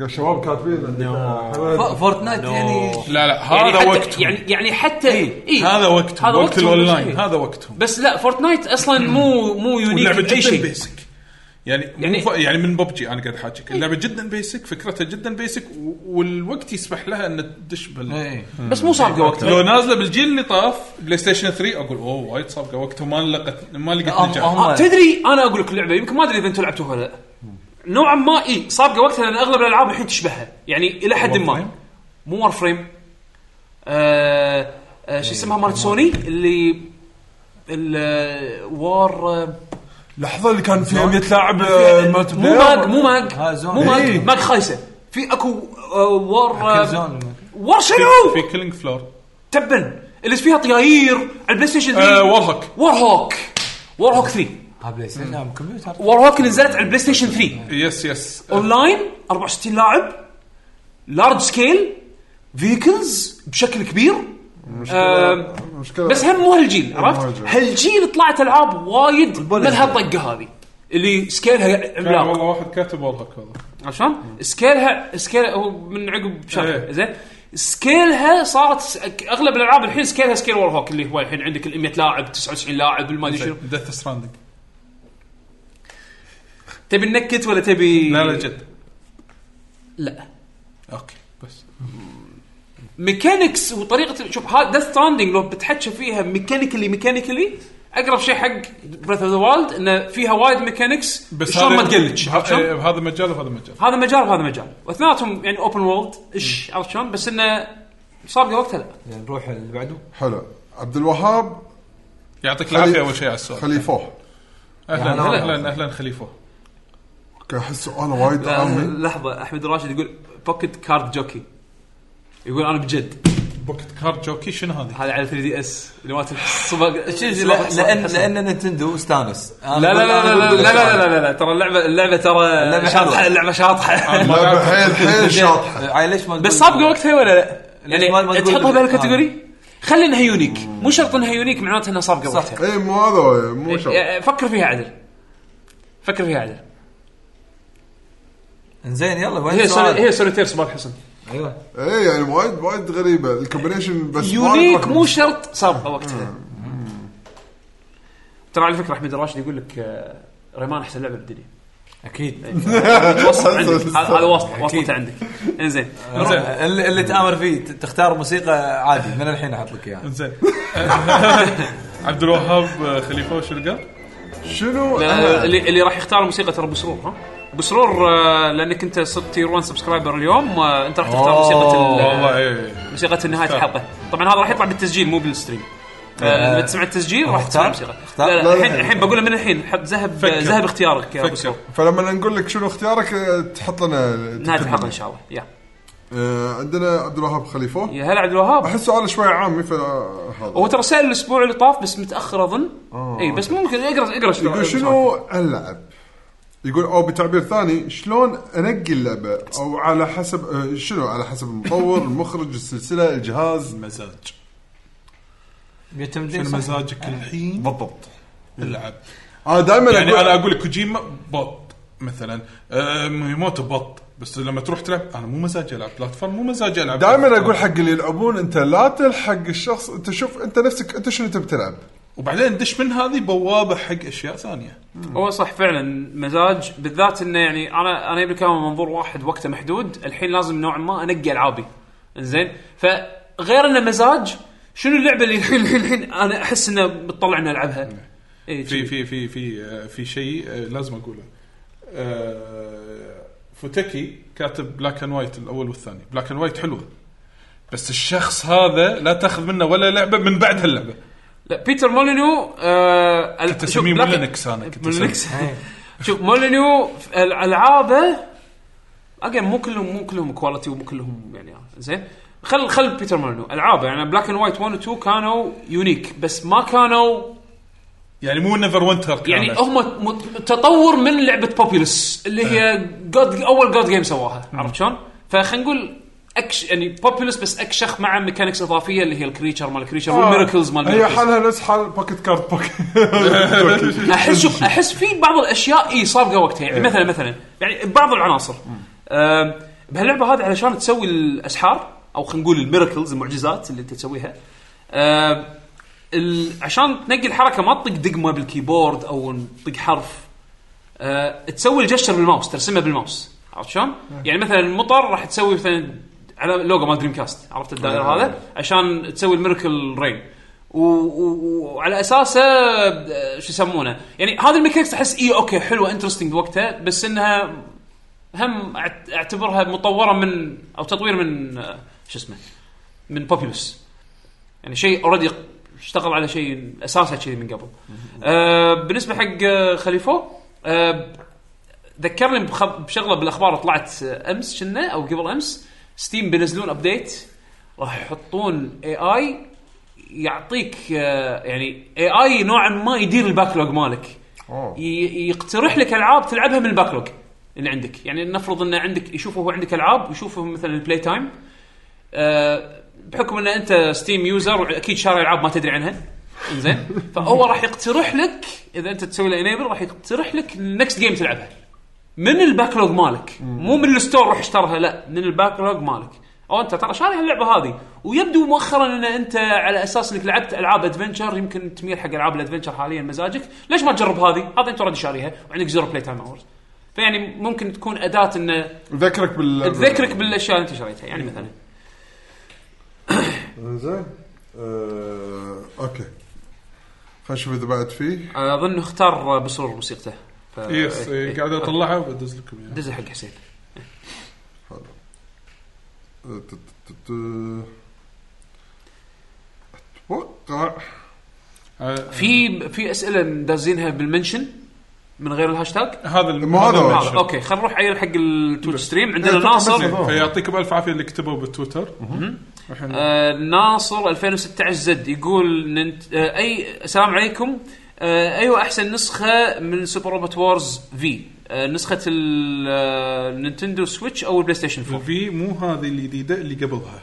C: قال شباب كاتبين
A: نعم.
B: آه.
C: حمد.
E: فورتنايت يعني
B: لا لا
A: يعني
B: هذا
A: حتى-
B: وقتهم
A: يعني يعني حتى إيه؟
B: هذا وقتهم
A: هذا
B: وقت
A: وقتهم،
B: الاونلاين
A: إيه.
B: هذا وقتهم
A: بس لا فورتنايت اصلا مو مو يونيك
B: واللعبه
A: باي
B: جدا
A: شيء
B: بيسك يعني يعني
A: يعني- إيه.
B: ف... يعني من ببجي انا قاعد حاجيك اللعبه جدا بيسك فكرتها جدا بيسك و... والوقت يسمح لها ان تدش بال
E: إيه.
A: بس مو سابقه وقتها
B: لو نازله بالجيل اللي طاف بلاي ستيشن 3 اقول اوه وايد سابقه وقتها ما لقت ما لقت
E: هم-
B: نجاح
A: آه، تدري انا اقول لك اللعبه يمكن ما ادري اذا انتم لعبتوها ولا لا نوعا ما اي سابقه وقتها لان اغلب الالعاب الحين تشبهها يعني الى حد ما مو وار فريم آه آه
B: إيه.
A: شو اسمها مالت سوني اللي ال- وار آه،
C: لحظه اللي كان آه، فيها 100 لاعب مالتي
A: مو ماج مو ماج
E: آه، زون.
A: مو ماج
E: إيه.
A: ماج خايسه في اكو آه، وار آه،
E: كلزون.
A: وار شنو
B: في كيلينج فلور
A: تبا اللي فيها طياير على البلاي ستيشن 3
B: آه، وارهوك.
A: وار هوك وار هوك 3
E: ها بلاي ستيشن نعم، كمبيوتر
A: وار هوك نزلت على البلاي ستيشن 3
B: يس يس
A: اونلاين 64 لاعب لارج سكيل فيكلز بشكل كبير آم،
C: مشكله
A: بس هم مو هالجيل
C: مو
A: عرفت؟
C: هالجيل.
A: هالجيل طلعت العاب وايد مالها الطقه هذه اللي سكيلها
B: كان
A: عملاق
B: والله واحد كاتب وارهوك هذا
A: عشان سكيلها سكيل هو من عقب شهر
B: إيه.
A: زين سكيلها صارت س- اغلب الالعاب الحين سكيلها سكيل وور هوك اللي هو الحين عندك ال 100 لاعب 99 لاعب ما ادري شنو
B: ديث ستراندنج
A: تبي نكت ولا تبي
B: لا لا جد
A: لا
B: اوكي بس
A: ميكانكس وطريقه شوف هذا ديث ستراندنج لو بتحكي فيها ميكانيكلي ميكانيكلي اقرب شيء حق بريث اوف ذا وايلد انه فيها وايد ميكانكس بس
B: بس
A: شلون
B: هذا-
A: ما تقلج
B: به-
A: عرفت شلون؟
B: إيه، بهذا مجال وهذا مجال
A: هذا مجال وهذا مجال واثنيناتهم يعني اوبن وورلد ايش عرفت شلون بس انه سابقه وقتها لا
E: يعني نروح اللي بعده
C: حلو عبد الوهاب
B: يعطيك العافيه اول شيء على السؤال
C: خليفوه
B: اهلا
E: أهلا.
B: اهلا اهلا خليفه
C: كان احس انا وايد
A: لا،
C: عامي
A: لحظة أحمد راشد يقول بوكيت كارد جوكي يقول أنا بجد
B: بوكت كارد جوكي شنو هذه؟
A: هذا على 3 دي اس اللي ما تنحسب
E: لا- لان لان نتندو استانس
A: لا لا لا لا لا لا لا لا لا لا ترى اللعبة اللعبة ترى
E: اللعبة
A: شاطحة
E: حلوة.
A: اللعبة شاطحة
C: لعبة حيل حيل شاطحه
E: عاي ليش ما
A: بس
E: نقول-
A: سابقة وقتها ولا لا؟
E: ما- ما
A: يعني
E: تقول
A: تحطها
E: بالضبط.
A: بهالكاتيجوري آه. خلي انها يونيك مو شرط انها يونيك معناته انها سابقة
E: صح.
A: وقتها
C: اي إيه، مو هذا مو شرط
A: يعني فكر فيها عدل فكر فيها عدل
E: زين يلا وين
A: هي
E: السؤال؟
A: سولي- هي سوليتيرز مال حسن
E: ايوه
C: اي يعني وايد وايد غريبه الكومبينيشن بس وايد
A: يونيك
C: رهيب.
A: مو شرط سابقه وقتها ترى على فكره احمد الراشد يقول لك آه، ريمان احسن لعبه بالدنيا
E: اكيد
A: وصل عندك هذا هذا وصل وصلته عندك انزين
E: اللي, اللي تامر فيه ت- تختار موسيقى عادي من الحين احط لك اياها
B: زين عبد الوهاب خليفه شو قال؟
C: شنو
A: آه، اللي اللي راح يختار الموسيقى ترى بسرور ها بسرور آه، لانك انت صرت تير 1 سبسكرايبر اليوم آه، انت راح تختار موسيقى ال-
B: والله ايه
A: موسيقى نهايه الحلقه طبعا هذا راح يطلع بالتسجيل مو بالستريم آه، لما تسمع التسجيل راح تسمع
E: اختار؟
A: الموسيقى
E: اختار؟
A: لا
C: لا،
A: لا الحين
C: لا.
A: الحين بقوله من الحين حط ذهب
B: فكر.
A: ذهب اختيارك يا
B: فكر
A: بسرور
C: فلما نقول لك شنو اختيارك آه، تحط لنا
A: نهايه الحلقه ان شاء الله يا
C: آه، عندنا عبد الوهاب خليفه
A: يا هلا عبد الوهاب
C: احس سؤال شوي إيه، عامي فهذا
A: هو ترى سال الاسبوع اللي طاف بس متاخر اظن اي بس ممكن اقرا اقرا شنو
C: يقول شنو العب؟ يقول او بتعبير ثاني شلون انقي اللعبه او على حسب آه، شنو على حسب المطور المخرج السلسله الجهاز
B: مزاج
E: يعتمدين
B: شنو
E: صح.
B: مزاجك الحين
C: بالضبط
B: العب
C: انا دائما
B: يعني انا اقول لك كوجيما بط مثلا آه، ميموتو بط بس لما تروح تلعب انا مو مزاجي العب بلاتفورم مو مزاجي العب
C: دائما اقول حق اللي يلعبون انت لا تلحق الشخص انت شوف انت نفسك انت شنو تبي تلعب
B: وبعدين دش من هذه بوابه حق اشياء ثانيه
A: هو صح فعلا مزاج بالذات انه يعني انا انا يبي الكلام من منظور واحد وقته محدود الحين لازم نوعا ما انقي العابي زين فغير انه مزاج شنو اللعبه اللي الحين الحين الحين انا احس انه بتطلعني العبها إيه،
B: في
A: شي.
B: في في في آه، في شيء آه، لازم اقوله آه، فوتكي كاتب بلاك اند وايت الاول والثاني بلاك اند وايت حلوه بس الشخص هذا لا تاخذ منه ولا لعبه من بعد هاللعبه
A: لا بيتر مولينو آه
B: كنت اسميه مولينكس انا كنت
A: مولينكس
B: أسميه.
A: شوف مولينو ف- العابه اجين مو كلهم مو كلهم كواليتي ومو كلهم يعني آه، زين خل خل بيتر مولينو العابه يعني بلاك اند وايت 1 و 2 كانوا يونيك بس ما كانوا
B: يعني مو نيفر وينتر
A: يعني هم م- تطور من لعبه بوبيلس اللي هي
B: إيه.
A: جود اول جود جيم سواها عرفت شلون؟ فخلينا نقول أكش يعني بوبيلس بس اكشخ مع ميكانكس اضافيه اللي هي الكريتشر مال الكريتشر
B: آه.
A: والميركلز مال
C: آه،
B: أيوة،
C: هي
A: الميركلز.
C: حالها نفس حال بوكيت كارد بوكيت
A: احس شوف احس في بعض الاشياء اي سابقه وقتها يعني مثلا مثلا يعني بعض العناصر آم، بهاللعبه هذه علشان تسوي الاسحار او خلينا نقول الميركلز المعجزات اللي انت تسويها آم، ال- عشان تنقي الحركه ما تطق دقمه بالكيبورد او تطق حرف آه، تسوي الجستر بالماوس ترسمه بالماوس عرفت شلون؟ يعني مثلا المطر راح تسوي مثلا على لوجو مال دريم كاست عرفت الدائره هذا عشان تسوي الميركل رين وعلى اساسه آه، شو يسمونه يعني هذه الميكانكس تحس اي اوكي حلوه انترستنج وقتها بس انها هم أعت- اعتبرها مطوره من او تطوير من آه، شو اسمه من بوبيلوس يعني شيء اوريدي اشتغل على شيء اساسه شيء من قبل. آه بالنسبه حق آه، خليفو آه ذكرني بخب- بشغله بالاخبار طلعت آه، امس كنا او قبل امس ستيم بينزلون ابديت راح يحطون اي اي يعطيك آه يعني اي اي نوعا ما يدير الباكلوج مالك. ي- يقترح لك العاب تلعبها من الباكلوج اللي عندك، يعني نفرض ان عندك يشوفه هو عندك العاب ويشوفه مثلا البلاي تايم آه، بحكم ان انت ستيم يوزر واكيد شاري العاب ما تدري عنها زين فهو راح يقترح لك اذا انت تسوي له انيبل راح يقترح لك النكست جيم تلعبها من الباكلوج مالك مو من الستور روح اشترها لا من الباكلوج مالك او انت ترى شاري هاللعبه هذه ويبدو مؤخرا ان انت على اساس انك لعبت العاب ادفنشر يمكن تميل حق العاب الادفنشر حاليا مزاجك ليش ما تجرب هذه هذه انت اوريدي شاريها وعندك زيرو بلاي تايم اورز فيعني ممكن تكون اداه انه
C: ذكرك بال
A: تذكرك بالاشياء اللي انت شريتها يعني مثلا
C: زين آه، اوكي خلينا نشوف اذا بعد فيه
A: اظن اختار بسرور موسيقته ف...
B: يس
A: إيه، إيه.
B: قاعد اطلعها وبدز لكم اياها
A: دزها حق حسين
C: آه، ت- ت- ت- اتوقع
B: آه،
A: في في اسئله دازينها بالمنشن من غير الهاشتاج
B: هذا ال-
C: مو هذا
B: ال-
C: هو.
A: هذا اوكي خلينا نروح عيل حق التويتش ستريم عندنا
C: إيه،
A: ناصر
C: تفضل.
B: فيعطيكم الف عافيه اللي كتبوا بالتويتر الحين
A: آه ناصر 2016 زد يقول ننت... آه اي السلام عليكم آه ايوه احسن نسخه من سوبر روبوت وورز في آه نسخه النينتندو سويتش او البلاي ستيشن
C: إيه.
A: 4
B: الفي مو هذه الجديده اللي قبلها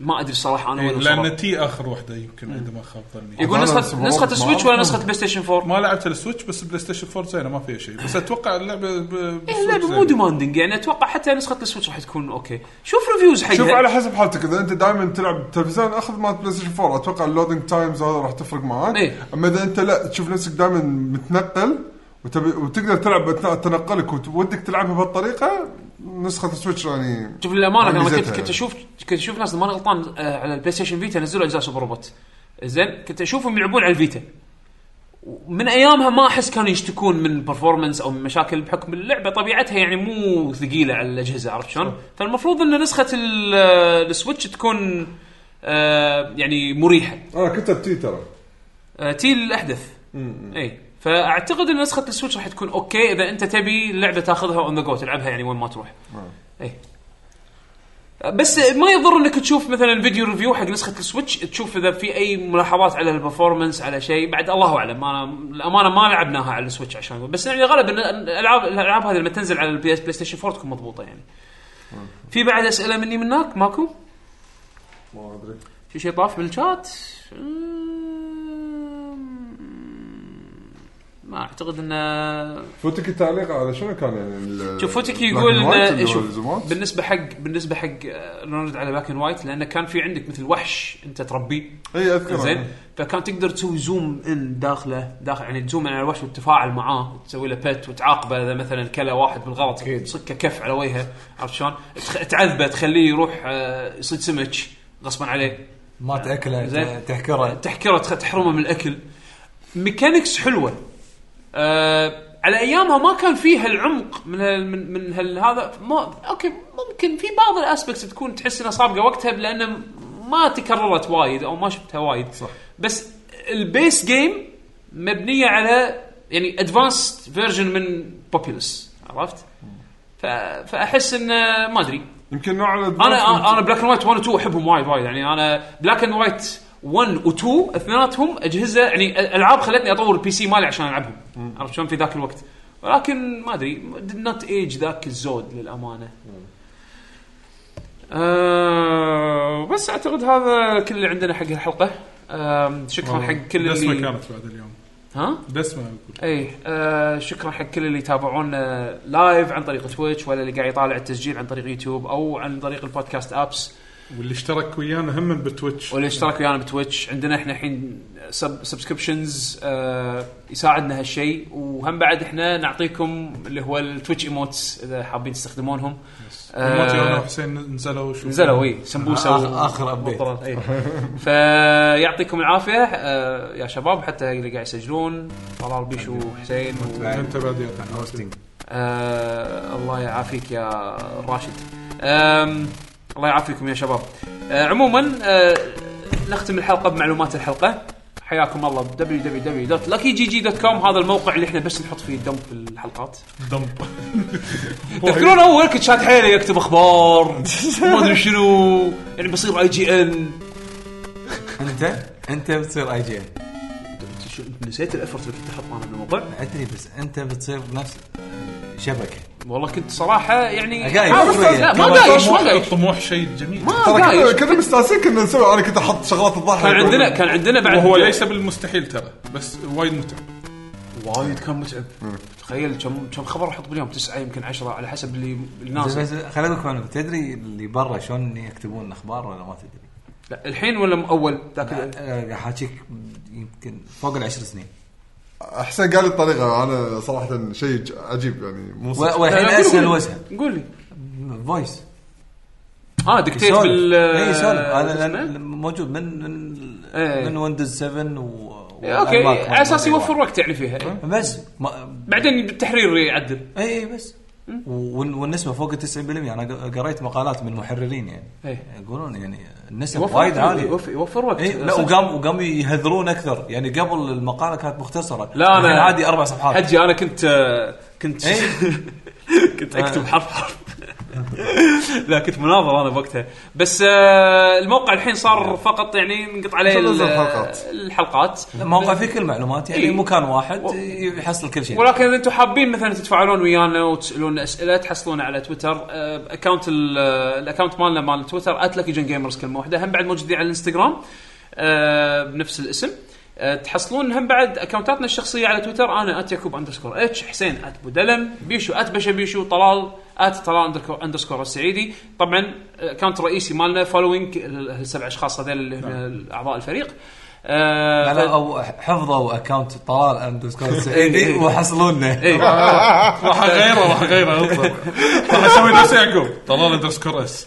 A: ما ادري الصراحه
C: إيه،
A: انا وين
B: لان
A: وصلت
B: تي اخر واحده يمكن اذا ما خاب ظني
A: يقول
C: أنا
A: نسخه
C: سوبر
A: نسخه
C: روبوت
A: السويتش
C: ما-
A: ولا نسخه البلاي ستيشن 4
B: ما لعبت السويتش بس بلاي ستيشن 4 زينه ما فيها شيء بس اتوقع اللعبه ب...
A: إيه اللعبه مو ديماندنج يعني اتوقع حتى نسخه السويتش راح تكون اوكي شوف ريفيوز حقها
C: شوف على حسب حالتك اذا انت دائما تلعب بالتلفزيون اخذ مال بلاي ستيشن 4 اتوقع اللودنج تايمز هذا راح تفرق معاك
A: إيه.
C: اما اذا انت لا تشوف نفسك دائما متنقل وتبي وتقدر تلعب اثناء تنقلك وت- ودك تلعبها بهالطريقه نسخه السويتش يعني
A: شوف للامانه انا كنت
C: ميزتها
A: كنت
C: يعني.
A: اشوف كنت اشوف ناس إذا ماني غلطان آه، على البلاي ستيشن فيتا نزلوا اجزاء سوبر روبوت زين كنت اشوفهم يلعبون على الفيتا من ايامها ما احس كانوا يشتكون من برفورمنس او من مشاكل بحكم اللعبه طبيعتها يعني مو ثقيله على الاجهزه عرفت شلون؟ فالمفروض ان نسخه ال- آه، السويتش تكون آه، يعني مريحه
C: انا كتبت تي ترى
A: آه، تي الاحدث اي فاعتقد ان نسخه السويتش راح تكون اوكي اذا انت تبي اللعبه تاخذها اون ذا جو تلعبها يعني وين ما تروح اي آه، بس ما يضر انك تشوف مثلا فيديو ريفيو حق نسخه السويتش تشوف اذا في اي ملاحظات على البرفورمانس على شيء بعد الله اعلم انا الامانه ما لعبناها على السويتش عشان أقول. بس يعني غالبا الالعاب الالعاب هذه لما تنزل على البلاي بلاي ستيشن 4 تكون مضبوطه يعني في بعد اسئله مني منك ماكو؟
C: ما ادري
A: في شيء طاف بالشات؟ أمم، ما اعتقد انه
C: فوتك التعليق على شنو كان يعني ال-
A: شوف فوتك
C: Black and
A: يقول آه،
C: White اللي
A: إنه-
C: هو
A: شوف
C: الزومات؟
A: بالنسبه حق بالنسبه حق آه، نرد على باك اند وايت لانه كان في عندك مثل وحش انت تربيه
C: اي اذكر
A: زين فكان تقدر تسوي زوم ان داخله داخل يعني تزوم على الوحش وتتفاعل معاه تسوي له بت وتعاقبه اذا مثلا كلا واحد بالغلط تصكه كف على وجهه عرفت شلون؟ تخ- تعذبه تخليه يروح آه، يصيد سمك غصبا عليه
E: ما تاكله
A: زين.
E: تحكره
A: تحكره تخ- تحرمه من الاكل ميكانكس حلوه أه على ايامها ما كان فيها العمق من هال من, من هال هذا ما اوكي ممكن في بعض الاسبكتس تكون تحس انها سابقه وقتها لان ما تكررت وايد او ما شفتها وايد صح بس البيس جيم مبنيه على يعني ادفانسد فيرجن من بوبيلس عرفت؟ ف- فاحس انه ما ادري
C: يمكن نوع
A: انا انا بلاك اند وايت 1 و 2 احبهم وايد وايد يعني انا بلاك اند وايت 1 و 2 اثنيناتهم اجهزه يعني العاب خلتني اطور البي سي مالي عشان العبهم عرفت شلون في ذاك الوقت ولكن ما ادري did not age ذاك الزود للامانه آه بس اعتقد هذا كل اللي عندنا حق الحلقه آه شكرا حق كل
B: دسمه
A: اللي
B: كانت بعد اليوم
A: ها
B: دسمه اقول
A: اي آه شكرا حق كل اللي يتابعونا لايف عن طريق تويتش ولا اللي قاعد يطالع التسجيل عن طريق يوتيوب او عن طريق البودكاست ابس
B: واللي اشترك ويانا هم بتويتش
A: واللي اشترك ويانا بتويتش عندنا احنا الحين سب سبسكريبشنز آه يساعدنا هالشيء وهم بعد احنا نعطيكم اللي هو التويتش ايموتس اذا حابين تستخدمونهم
B: موتي انا
A: آه
B: وحسين نزلوا شو
A: نزلوا إيه. اي سمبوسه و-
E: آه، آخر أبديت.
A: وطرات، إي. فيعطيكم العافيه آه يا شباب حتى اللي قاعد يسجلون طلال بيشو وحسين و-
B: انت بعد يا
A: آه الله يعافيك يا راشد آم الله يعافيكم يا شباب آه عموما آه نختم الحلقه بمعلومات الحلقه حياكم الله ب www.luckygg.com هذا الموقع اللي احنا بس نحط فيه دمب الحلقات
B: دمب
A: تذكرون اول كنت شاد حيلي يكتب اخبار ما ادري شنو يعني بصير اي جي ان
E: انت انت بتصير اي جي
A: نسيت الافرت اللي كنت احطه انا بالموقع
E: ادري بس انت بتصير نفس شبكه
A: والله كنت صراحه يعني
E: أقايل
A: حاول-
E: شوية.
A: لا ما دايش طيب، ما دايش
B: طيب، الطموح شيء جميل
A: ما
C: ترى كنا-
A: دايش
C: كنا مستانسين كنا نسوي انا كنت احط شغلات تضحك
A: كان طيب، عندنا كان عندنا بعد
B: وهو ليس بالمستحيل ترى بس وايد متعب
A: وايد كان متعب تخيل كم كم خبر احط باليوم تسعه يمكن عشرة على حسب اللي
E: بس
A: الناس
E: بس خليني اقول لك معلومة. تدري اللي برا شلون يكتبون اخبار ولا ما تدري؟
A: لا الحين ولا م- اول ذاك
E: أه، احاكيك يمكن فوق العشر سنين
C: حسين قال لي الطريقه انا صراحه شيء ج- عجيب يعني مو
E: و-
C: صح.
E: والحين اسهل واسهل
A: قول لي
E: فويس
A: اه دكتيت
E: يسولف.
A: بال
E: اي سولف
A: شو
E: انا
A: اسمه؟
E: إيه، لأن- موجود من من
A: إيه.
E: من ويندوز 7 و
A: اوكي
E: والأنماط
A: على اساس
E: والموضوع.
A: يوفر وقت يعني فيها إيه.
E: بس ما
A: بعدين بالتحرير يعدل
E: اي بس وال- والنسبه فوق ال 90% انا ق- قريت مقالات من محررين يعني
A: إيه.
E: يقولون يعني النسب
A: يوفر
E: وايد
A: وقت،
E: عاليه
A: يوفر- يوفر وقت
E: اي إيه، لا
A: صدق.
E: وقام وقام يهذرون اكثر يعني قبل المقاله كانت مختصره
A: لا
E: الحين
A: انا
E: عادي اربع صفحات
A: حجي انا كنت آه، كنت
E: إيه. آه.
A: كنت اكتب حرف حرف لا كنت مناظر انا بوقتها بس آه، الموقع الحين
E: نعم.
A: صار فقط يعني نقط عليه
C: نزل
A: ال-
C: الحلقات.
A: الحلقات
E: موقع فيه كل المعلومات يعني
A: إيه.
E: مكان واحد
A: و-
E: يحصل كل شيء
A: ولكن إذا انتم حابين مثلا تتفاعلون ويانا وتسالون اسئله تحصلون على آه، تويتر اكونت الاكونت آه، مالنا مال تويتر @لكيجن جيمرز كلمه واحده هم بعد موجودين على الانستغرام آه، بنفس الاسم آه، تحصلون هم بعد اكونتاتنا الشخصيه على تويتر انا @يعقوب اندرسكور اتش حسين @بودلم بيشو @بشبيشو طلال @طلال اندرسكور السعيدي طبعا اكونت رئيسي مالنا فولوينج السبع اشخاص هذول اللي هم اعضاء الفريق آه،
E: على- او حفظوا اكونت طلال اندرسكور سعيدي وحصلونا
A: إيه.
B: راح اغيره راح اغيره اصبر. راح اسوي نفس يعقوب طلال اندرسكور اس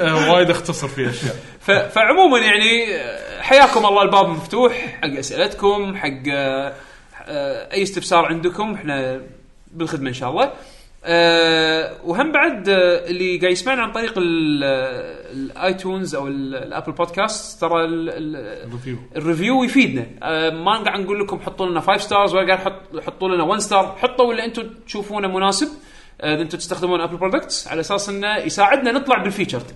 B: آه، وايد اختصر فيه اشياء
A: ف... فعموما يعني آه، حياكم الله الباب مفتوح حق اسئلتكم حق آه، آه، اي استفسار عندكم احنا بالخدمه ان شاء الله أه وهم بعد آه، اللي قاعد يسمعنا عن طريق الايتونز او ال- الابل بودكاست ترى ال- ال-
B: ريفيو
A: الريفيو يفيدنا أه ما قاعد نقول لكم حطوا لنا 5 ستارز ولا قاعد حط حطوا لنا 1 ستار حطوا اللي انتم تشوفونه مناسب آه، اذا انتم تستخدمون ابل برودكتس على اساس انه يساعدنا نطلع بالفيتشرد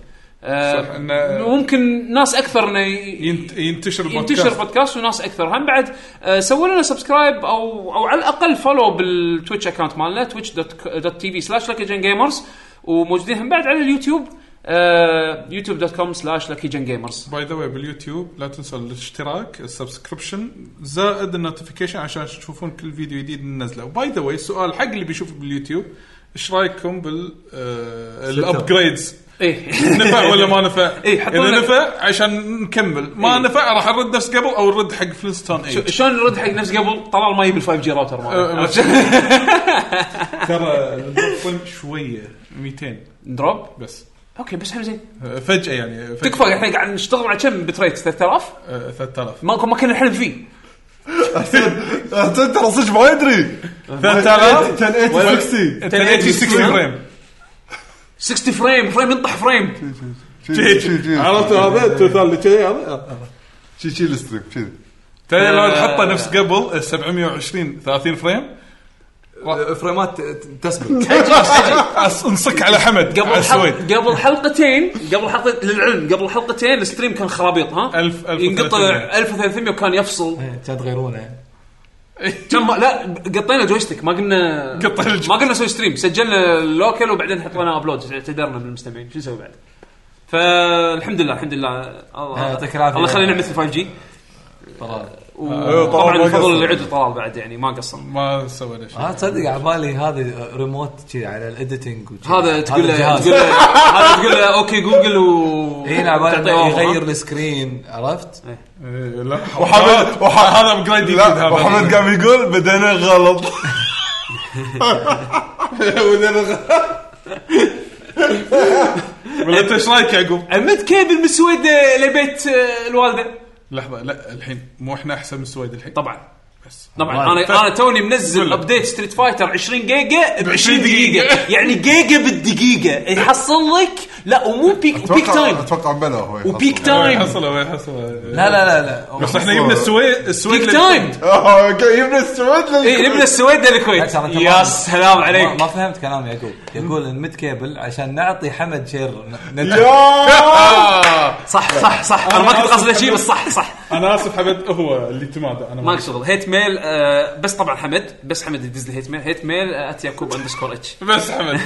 B: صح، إنه-
A: ممكن ناس اكثر انه ي-
B: ينت-
A: ينتشر
B: ينتشر البودكاست
A: بودكاست وناس اكثر هم بعد آه، سووا لنا سبسكرايب او او على الاقل فولو بالتويتش اكونت مالنا twitch.co- دوت تي في سلاش لكيجن جيمرز وموجودين هم بعد على اليوتيوب آه، يوتيوب دوت كوم سلاش لكيجن جيمرز
B: باي ذا واي باليوتيوب لا تنسوا الاشتراك السبسكربشن زائد النوتيفيكيشن عشان تشوفون كل فيديو جديد ننزله وباي ذا واي السؤال حق اللي بيشوف باليوتيوب ايش رايكم بال آه، الابجريدز
A: ايه
B: نفع ولا ما نفع؟
A: إيه، حطوا
B: اذا
A: لنا-
B: نفع عشان نكمل ما
A: إيه.
B: نفع راح نرد نفس قبل او نرد حق فلستون
A: شو-
B: اي
A: شلون نرد حق نفس قبل طلال ما يجيب الفايف جي راوتر
B: أه،
A: ماله
B: ترى نضخم شويه 200
A: دروب
B: بس
A: اوكي بس حلو زين
B: آه، فجاه يعني فجأة.
A: تكفى احنا قاعد نشتغل على كم بتريت 3000
B: آه، 3000
A: ما ما كنا نحلم فيه
C: احسن ترى صدق ما يدري
A: 3000
C: 1080 60
A: 1080
B: 60 فريم
A: 60 فريم فريم ينطح فريم
C: شي- شي- شي. آه.
B: عرفت هذا التمثال اللي كذي هذا
C: شي شي الستريم شي
B: تدري لو
E: آه.
B: تحطه نفس قبل 720 30 فريم
E: فريمات تسبق
B: أس- انصك على حمد على
A: قبل حلق
B: السويد
A: قبل حلقتين قبل حلقه للعلم قبل حلقتين الستريم كان خرابيط ها
B: 1000
A: ينقطع
B: 1300.
A: 1300 وكان يفصل
E: كان تغيرونه
A: كم لا قطينا جويستيك ما قلنا
B: قطينا الجو-
A: ما قلنا نسوي ستريم سجلنا اللوكل وبعدين حطينا ابلود اعتذرنا بالمستمعين شو نسوي بعد؟ فالحمد لله الحمد لله الله
E: آه، يعطيك العافية.
A: الله يخلينا مثل 5 جي
C: آه،
A: وطبعا
C: طلال ما
A: الفضل
C: قصر.
A: اللي عدل طلال بعد يعني ما قصر
B: ما سوينا شيء
E: اه تصدق على بالي هذه ريموت شي على الايديتنج وشي.
A: هذا تقول له
E: الجهاز.
A: تقول له هذا تقول له اوكي جوجل و
E: اي على بالي
A: تعطيه
E: إنه
A: أمر، ها؟
E: يغير السكرين عرفت؟
B: إيه، لا
C: وحمد
B: هذا ابجريد جديد
C: لا
B: هذا
C: وحمد قام يقول بدينا غلط
B: ولا انت ايش رايك يعقوب؟
A: عمد كيبل من السويد آه، لبيت آه، الوالده
B: لحظه لا الحين مو احنا احسن من السويد الحين
A: طبعا
B: بس
A: طبعا انا انا توني منزل
B: كله.
A: ابديت ستريت فايتر 20 جيجا ب 20
B: 20
A: دقيقه
B: دقيقة.
A: يعني جيجا بالدقيقه يحصل لك لا ومو بيك بيك
C: أتوقع-
A: تايم
C: اتوقع بلا هو يحصل.
A: وبيك
B: وين
A: تايم
B: طيب. حصل وين حصل
E: لا لا لا لا
B: بس احنا جبنا السويد السويد
A: بيك
B: لل-
A: تايم
C: آه، اوكي جبنا السويد لل-
A: اي نبنى إيه، السويد
E: لا،
A: للكويت
E: ترى أنت ما-
A: يا سلام
E: ما- ما
A: عليك
E: فهمت كلام يعقوب يقول نمد كيبل عشان نعطي حمد شير ن- ندعم.
C: يا
A: صح صح صح انا ما كنت قصده شيء بس صح صح
B: انا اسف حمد هو اللي تمادى انا
A: ماك شغل هيت ميل آه، بس طبعا حمد بس حمد يدز لي هيت ميل هيت ميل آه، ات يعقوب اندرسكور اتش
B: بس حمد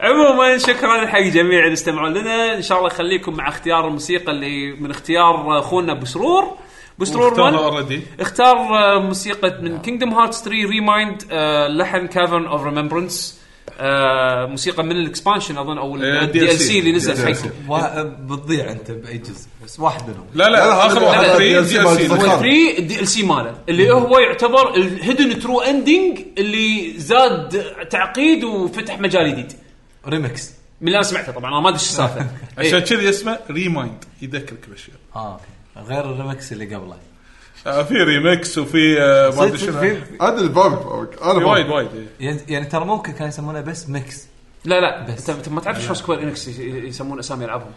A: عموما شكرا حق جميع اللي استمعوا لنا ان شاء الله خليكم مع اختيار الموسيقى اللي من اختيار اخونا بسرور بسرور 1
B: اوريدي
A: اختار آه، موسيقى من كينجدم هارتس 3 ريمايند آه، لحن كافرن اوف ريمبرنس آه، موسيقى من الاكسبانشن اظن او
B: آه،
A: الدي ال
B: DLC.
A: سي اللي نزل حق
E: وا- بتضيع انت باي جزء بس واحد منهم
B: لا لا اخر واحد
A: لا،
B: فري دي ال
C: DLC.
B: سي
A: هو 3 الدي ال سي ماله
E: Mm.
A: اللي هو يعتبر الهيدن ترو اندنج اللي زاد تعقيد وفتح مجال جديد
E: ريمكس
A: من اللي انا سمعته طبعا انا ما ادري شو السالفه إيه.
B: عشان كذي اسمه ريمايند يذكرك باشياء
E: اه أوكي. غير الريمكس اللي قبله
B: آه، في ريمكس وفي آه، ما ادري
E: صدق
B: شنو
E: في-
C: هذا الباب أوكي، انا
B: في
C: باب.
B: وايد وايد إيه.
E: يعني يعني ترى ممكن كانوا يسمونه بس ميكس
A: لا لا انت أنت ما تعرف شلون سكوير انكس يسمون اسامي العابهم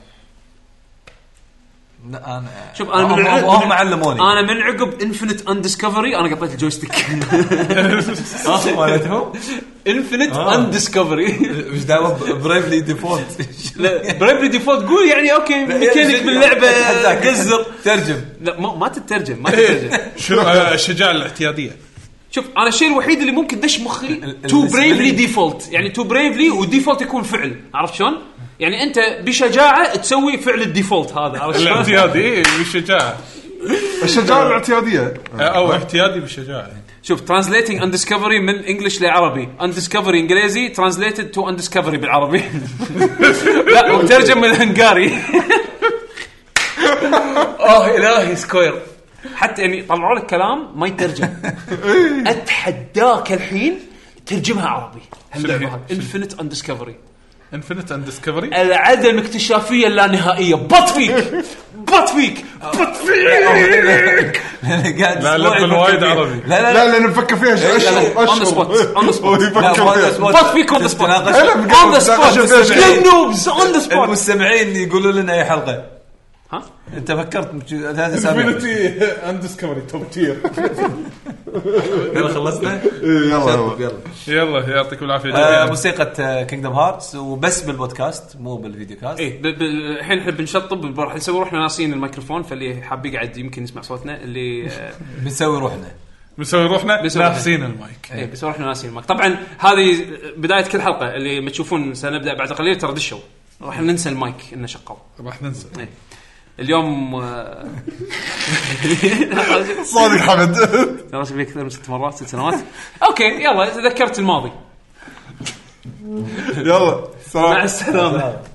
E: لا انا
A: شوف انا من
E: هم-
A: عقب-
E: هم- هم علموني
A: انا من عقب انفنت اندسكفري انا قطيت الجويستيك
E: مالتهم
A: انفنت
E: آه.
A: اندسكفري
E: مش دعوه بريفلي ديفولت
A: بريفلي ديفولت قول يعني اوكي ميكانيك باللعبه
E: أتحداك.
A: قزر إيه.
E: ترجم
A: لا ما, ما تترجم ما تترجم
B: شنو آه، الشجاعه الاعتياديه
A: شوف انا الشيء الوحيد اللي ممكن دش مخي
E: ال-
A: تو
E: بالنسبة
A: بريفلي
E: لي-
A: ديفولت يعني تو بريفلي وديفولت يكون فعل عرفت شلون؟ يعني انت بشجاعه تسوي فعل الديفولت هذا عرفت شلون؟
B: الاعتيادي إيه، بالشجاعه
C: الشجاعه الاعتياديه
B: آه، او اعتيادي بالشجاعه
A: شوف ترانزليتنج اندسكفري من انجلش لعربي اندسكفري انجليزي ترانزليتد تو اندسكفري بالعربي لا ومترجم من الهنغاري اوه الهي سكوير حتى يعني طلعوا لك كلام ما يترجم اتحداك الحين ترجمها عربي انفنت اندسكفري
B: انفنت اند ديسكفري
A: العدم اكتشافيه اللانهائيه بط فيك بط فيك بط فيك
E: قاعد
B: لا لا
E: أسبوع
B: بل وايد
E: يفكر فيه.
B: عربي
E: لا
C: لا
E: لا لا
C: لان نفكر فيها ش- اشهر
A: إيه، on the spot، on the spot.
C: هو يفكر فيها
A: بط فيك اون ذا سبوت
E: تناقش.
A: اون ذا
C: تناقش فيها
A: سبوت
C: شيء.
A: يا نوبز اون ذا سبوت
E: المستمعين يقولوا لنا اي حلقه
A: ها؟
E: انت فكرت بش- ثلاث اسابيع
B: انفنتي اند ديسكفري توب تير
E: يلا خلصنا
C: إيه، يلا يلا
E: يلا
B: يلا يعطيكم العافيه
E: آه،
B: جميعا
E: موسيقى كينجدم هارتس وبس بالبودكاست مو بالفيديو كاست
A: ايه ب- ب- الحين احنا بنشطب راح نسوي روحنا ناسيين الميكروفون فاللي حاب يقعد يمكن يسمع صوتنا اللي آه،
E: بنسوي روحنا
B: بنسوي روحنا
A: بنسوي روحنا.
B: ناقصين المايك
A: ايه بس راح ناسي المايك طبعا هذه بدايه كل حلقه اللي ما تشوفون سنبدا بعد قليل ترى دشوا راح ننسى المايك انه شغال
B: راح ننسى
A: إيه. اليوم آه،
C: صادق حمد
A: درس بي اكثر من ست مرات ست سنوات اوكي يلا تذكرت الماضي
C: يلا
A: مع
C: سلام
A: السلامه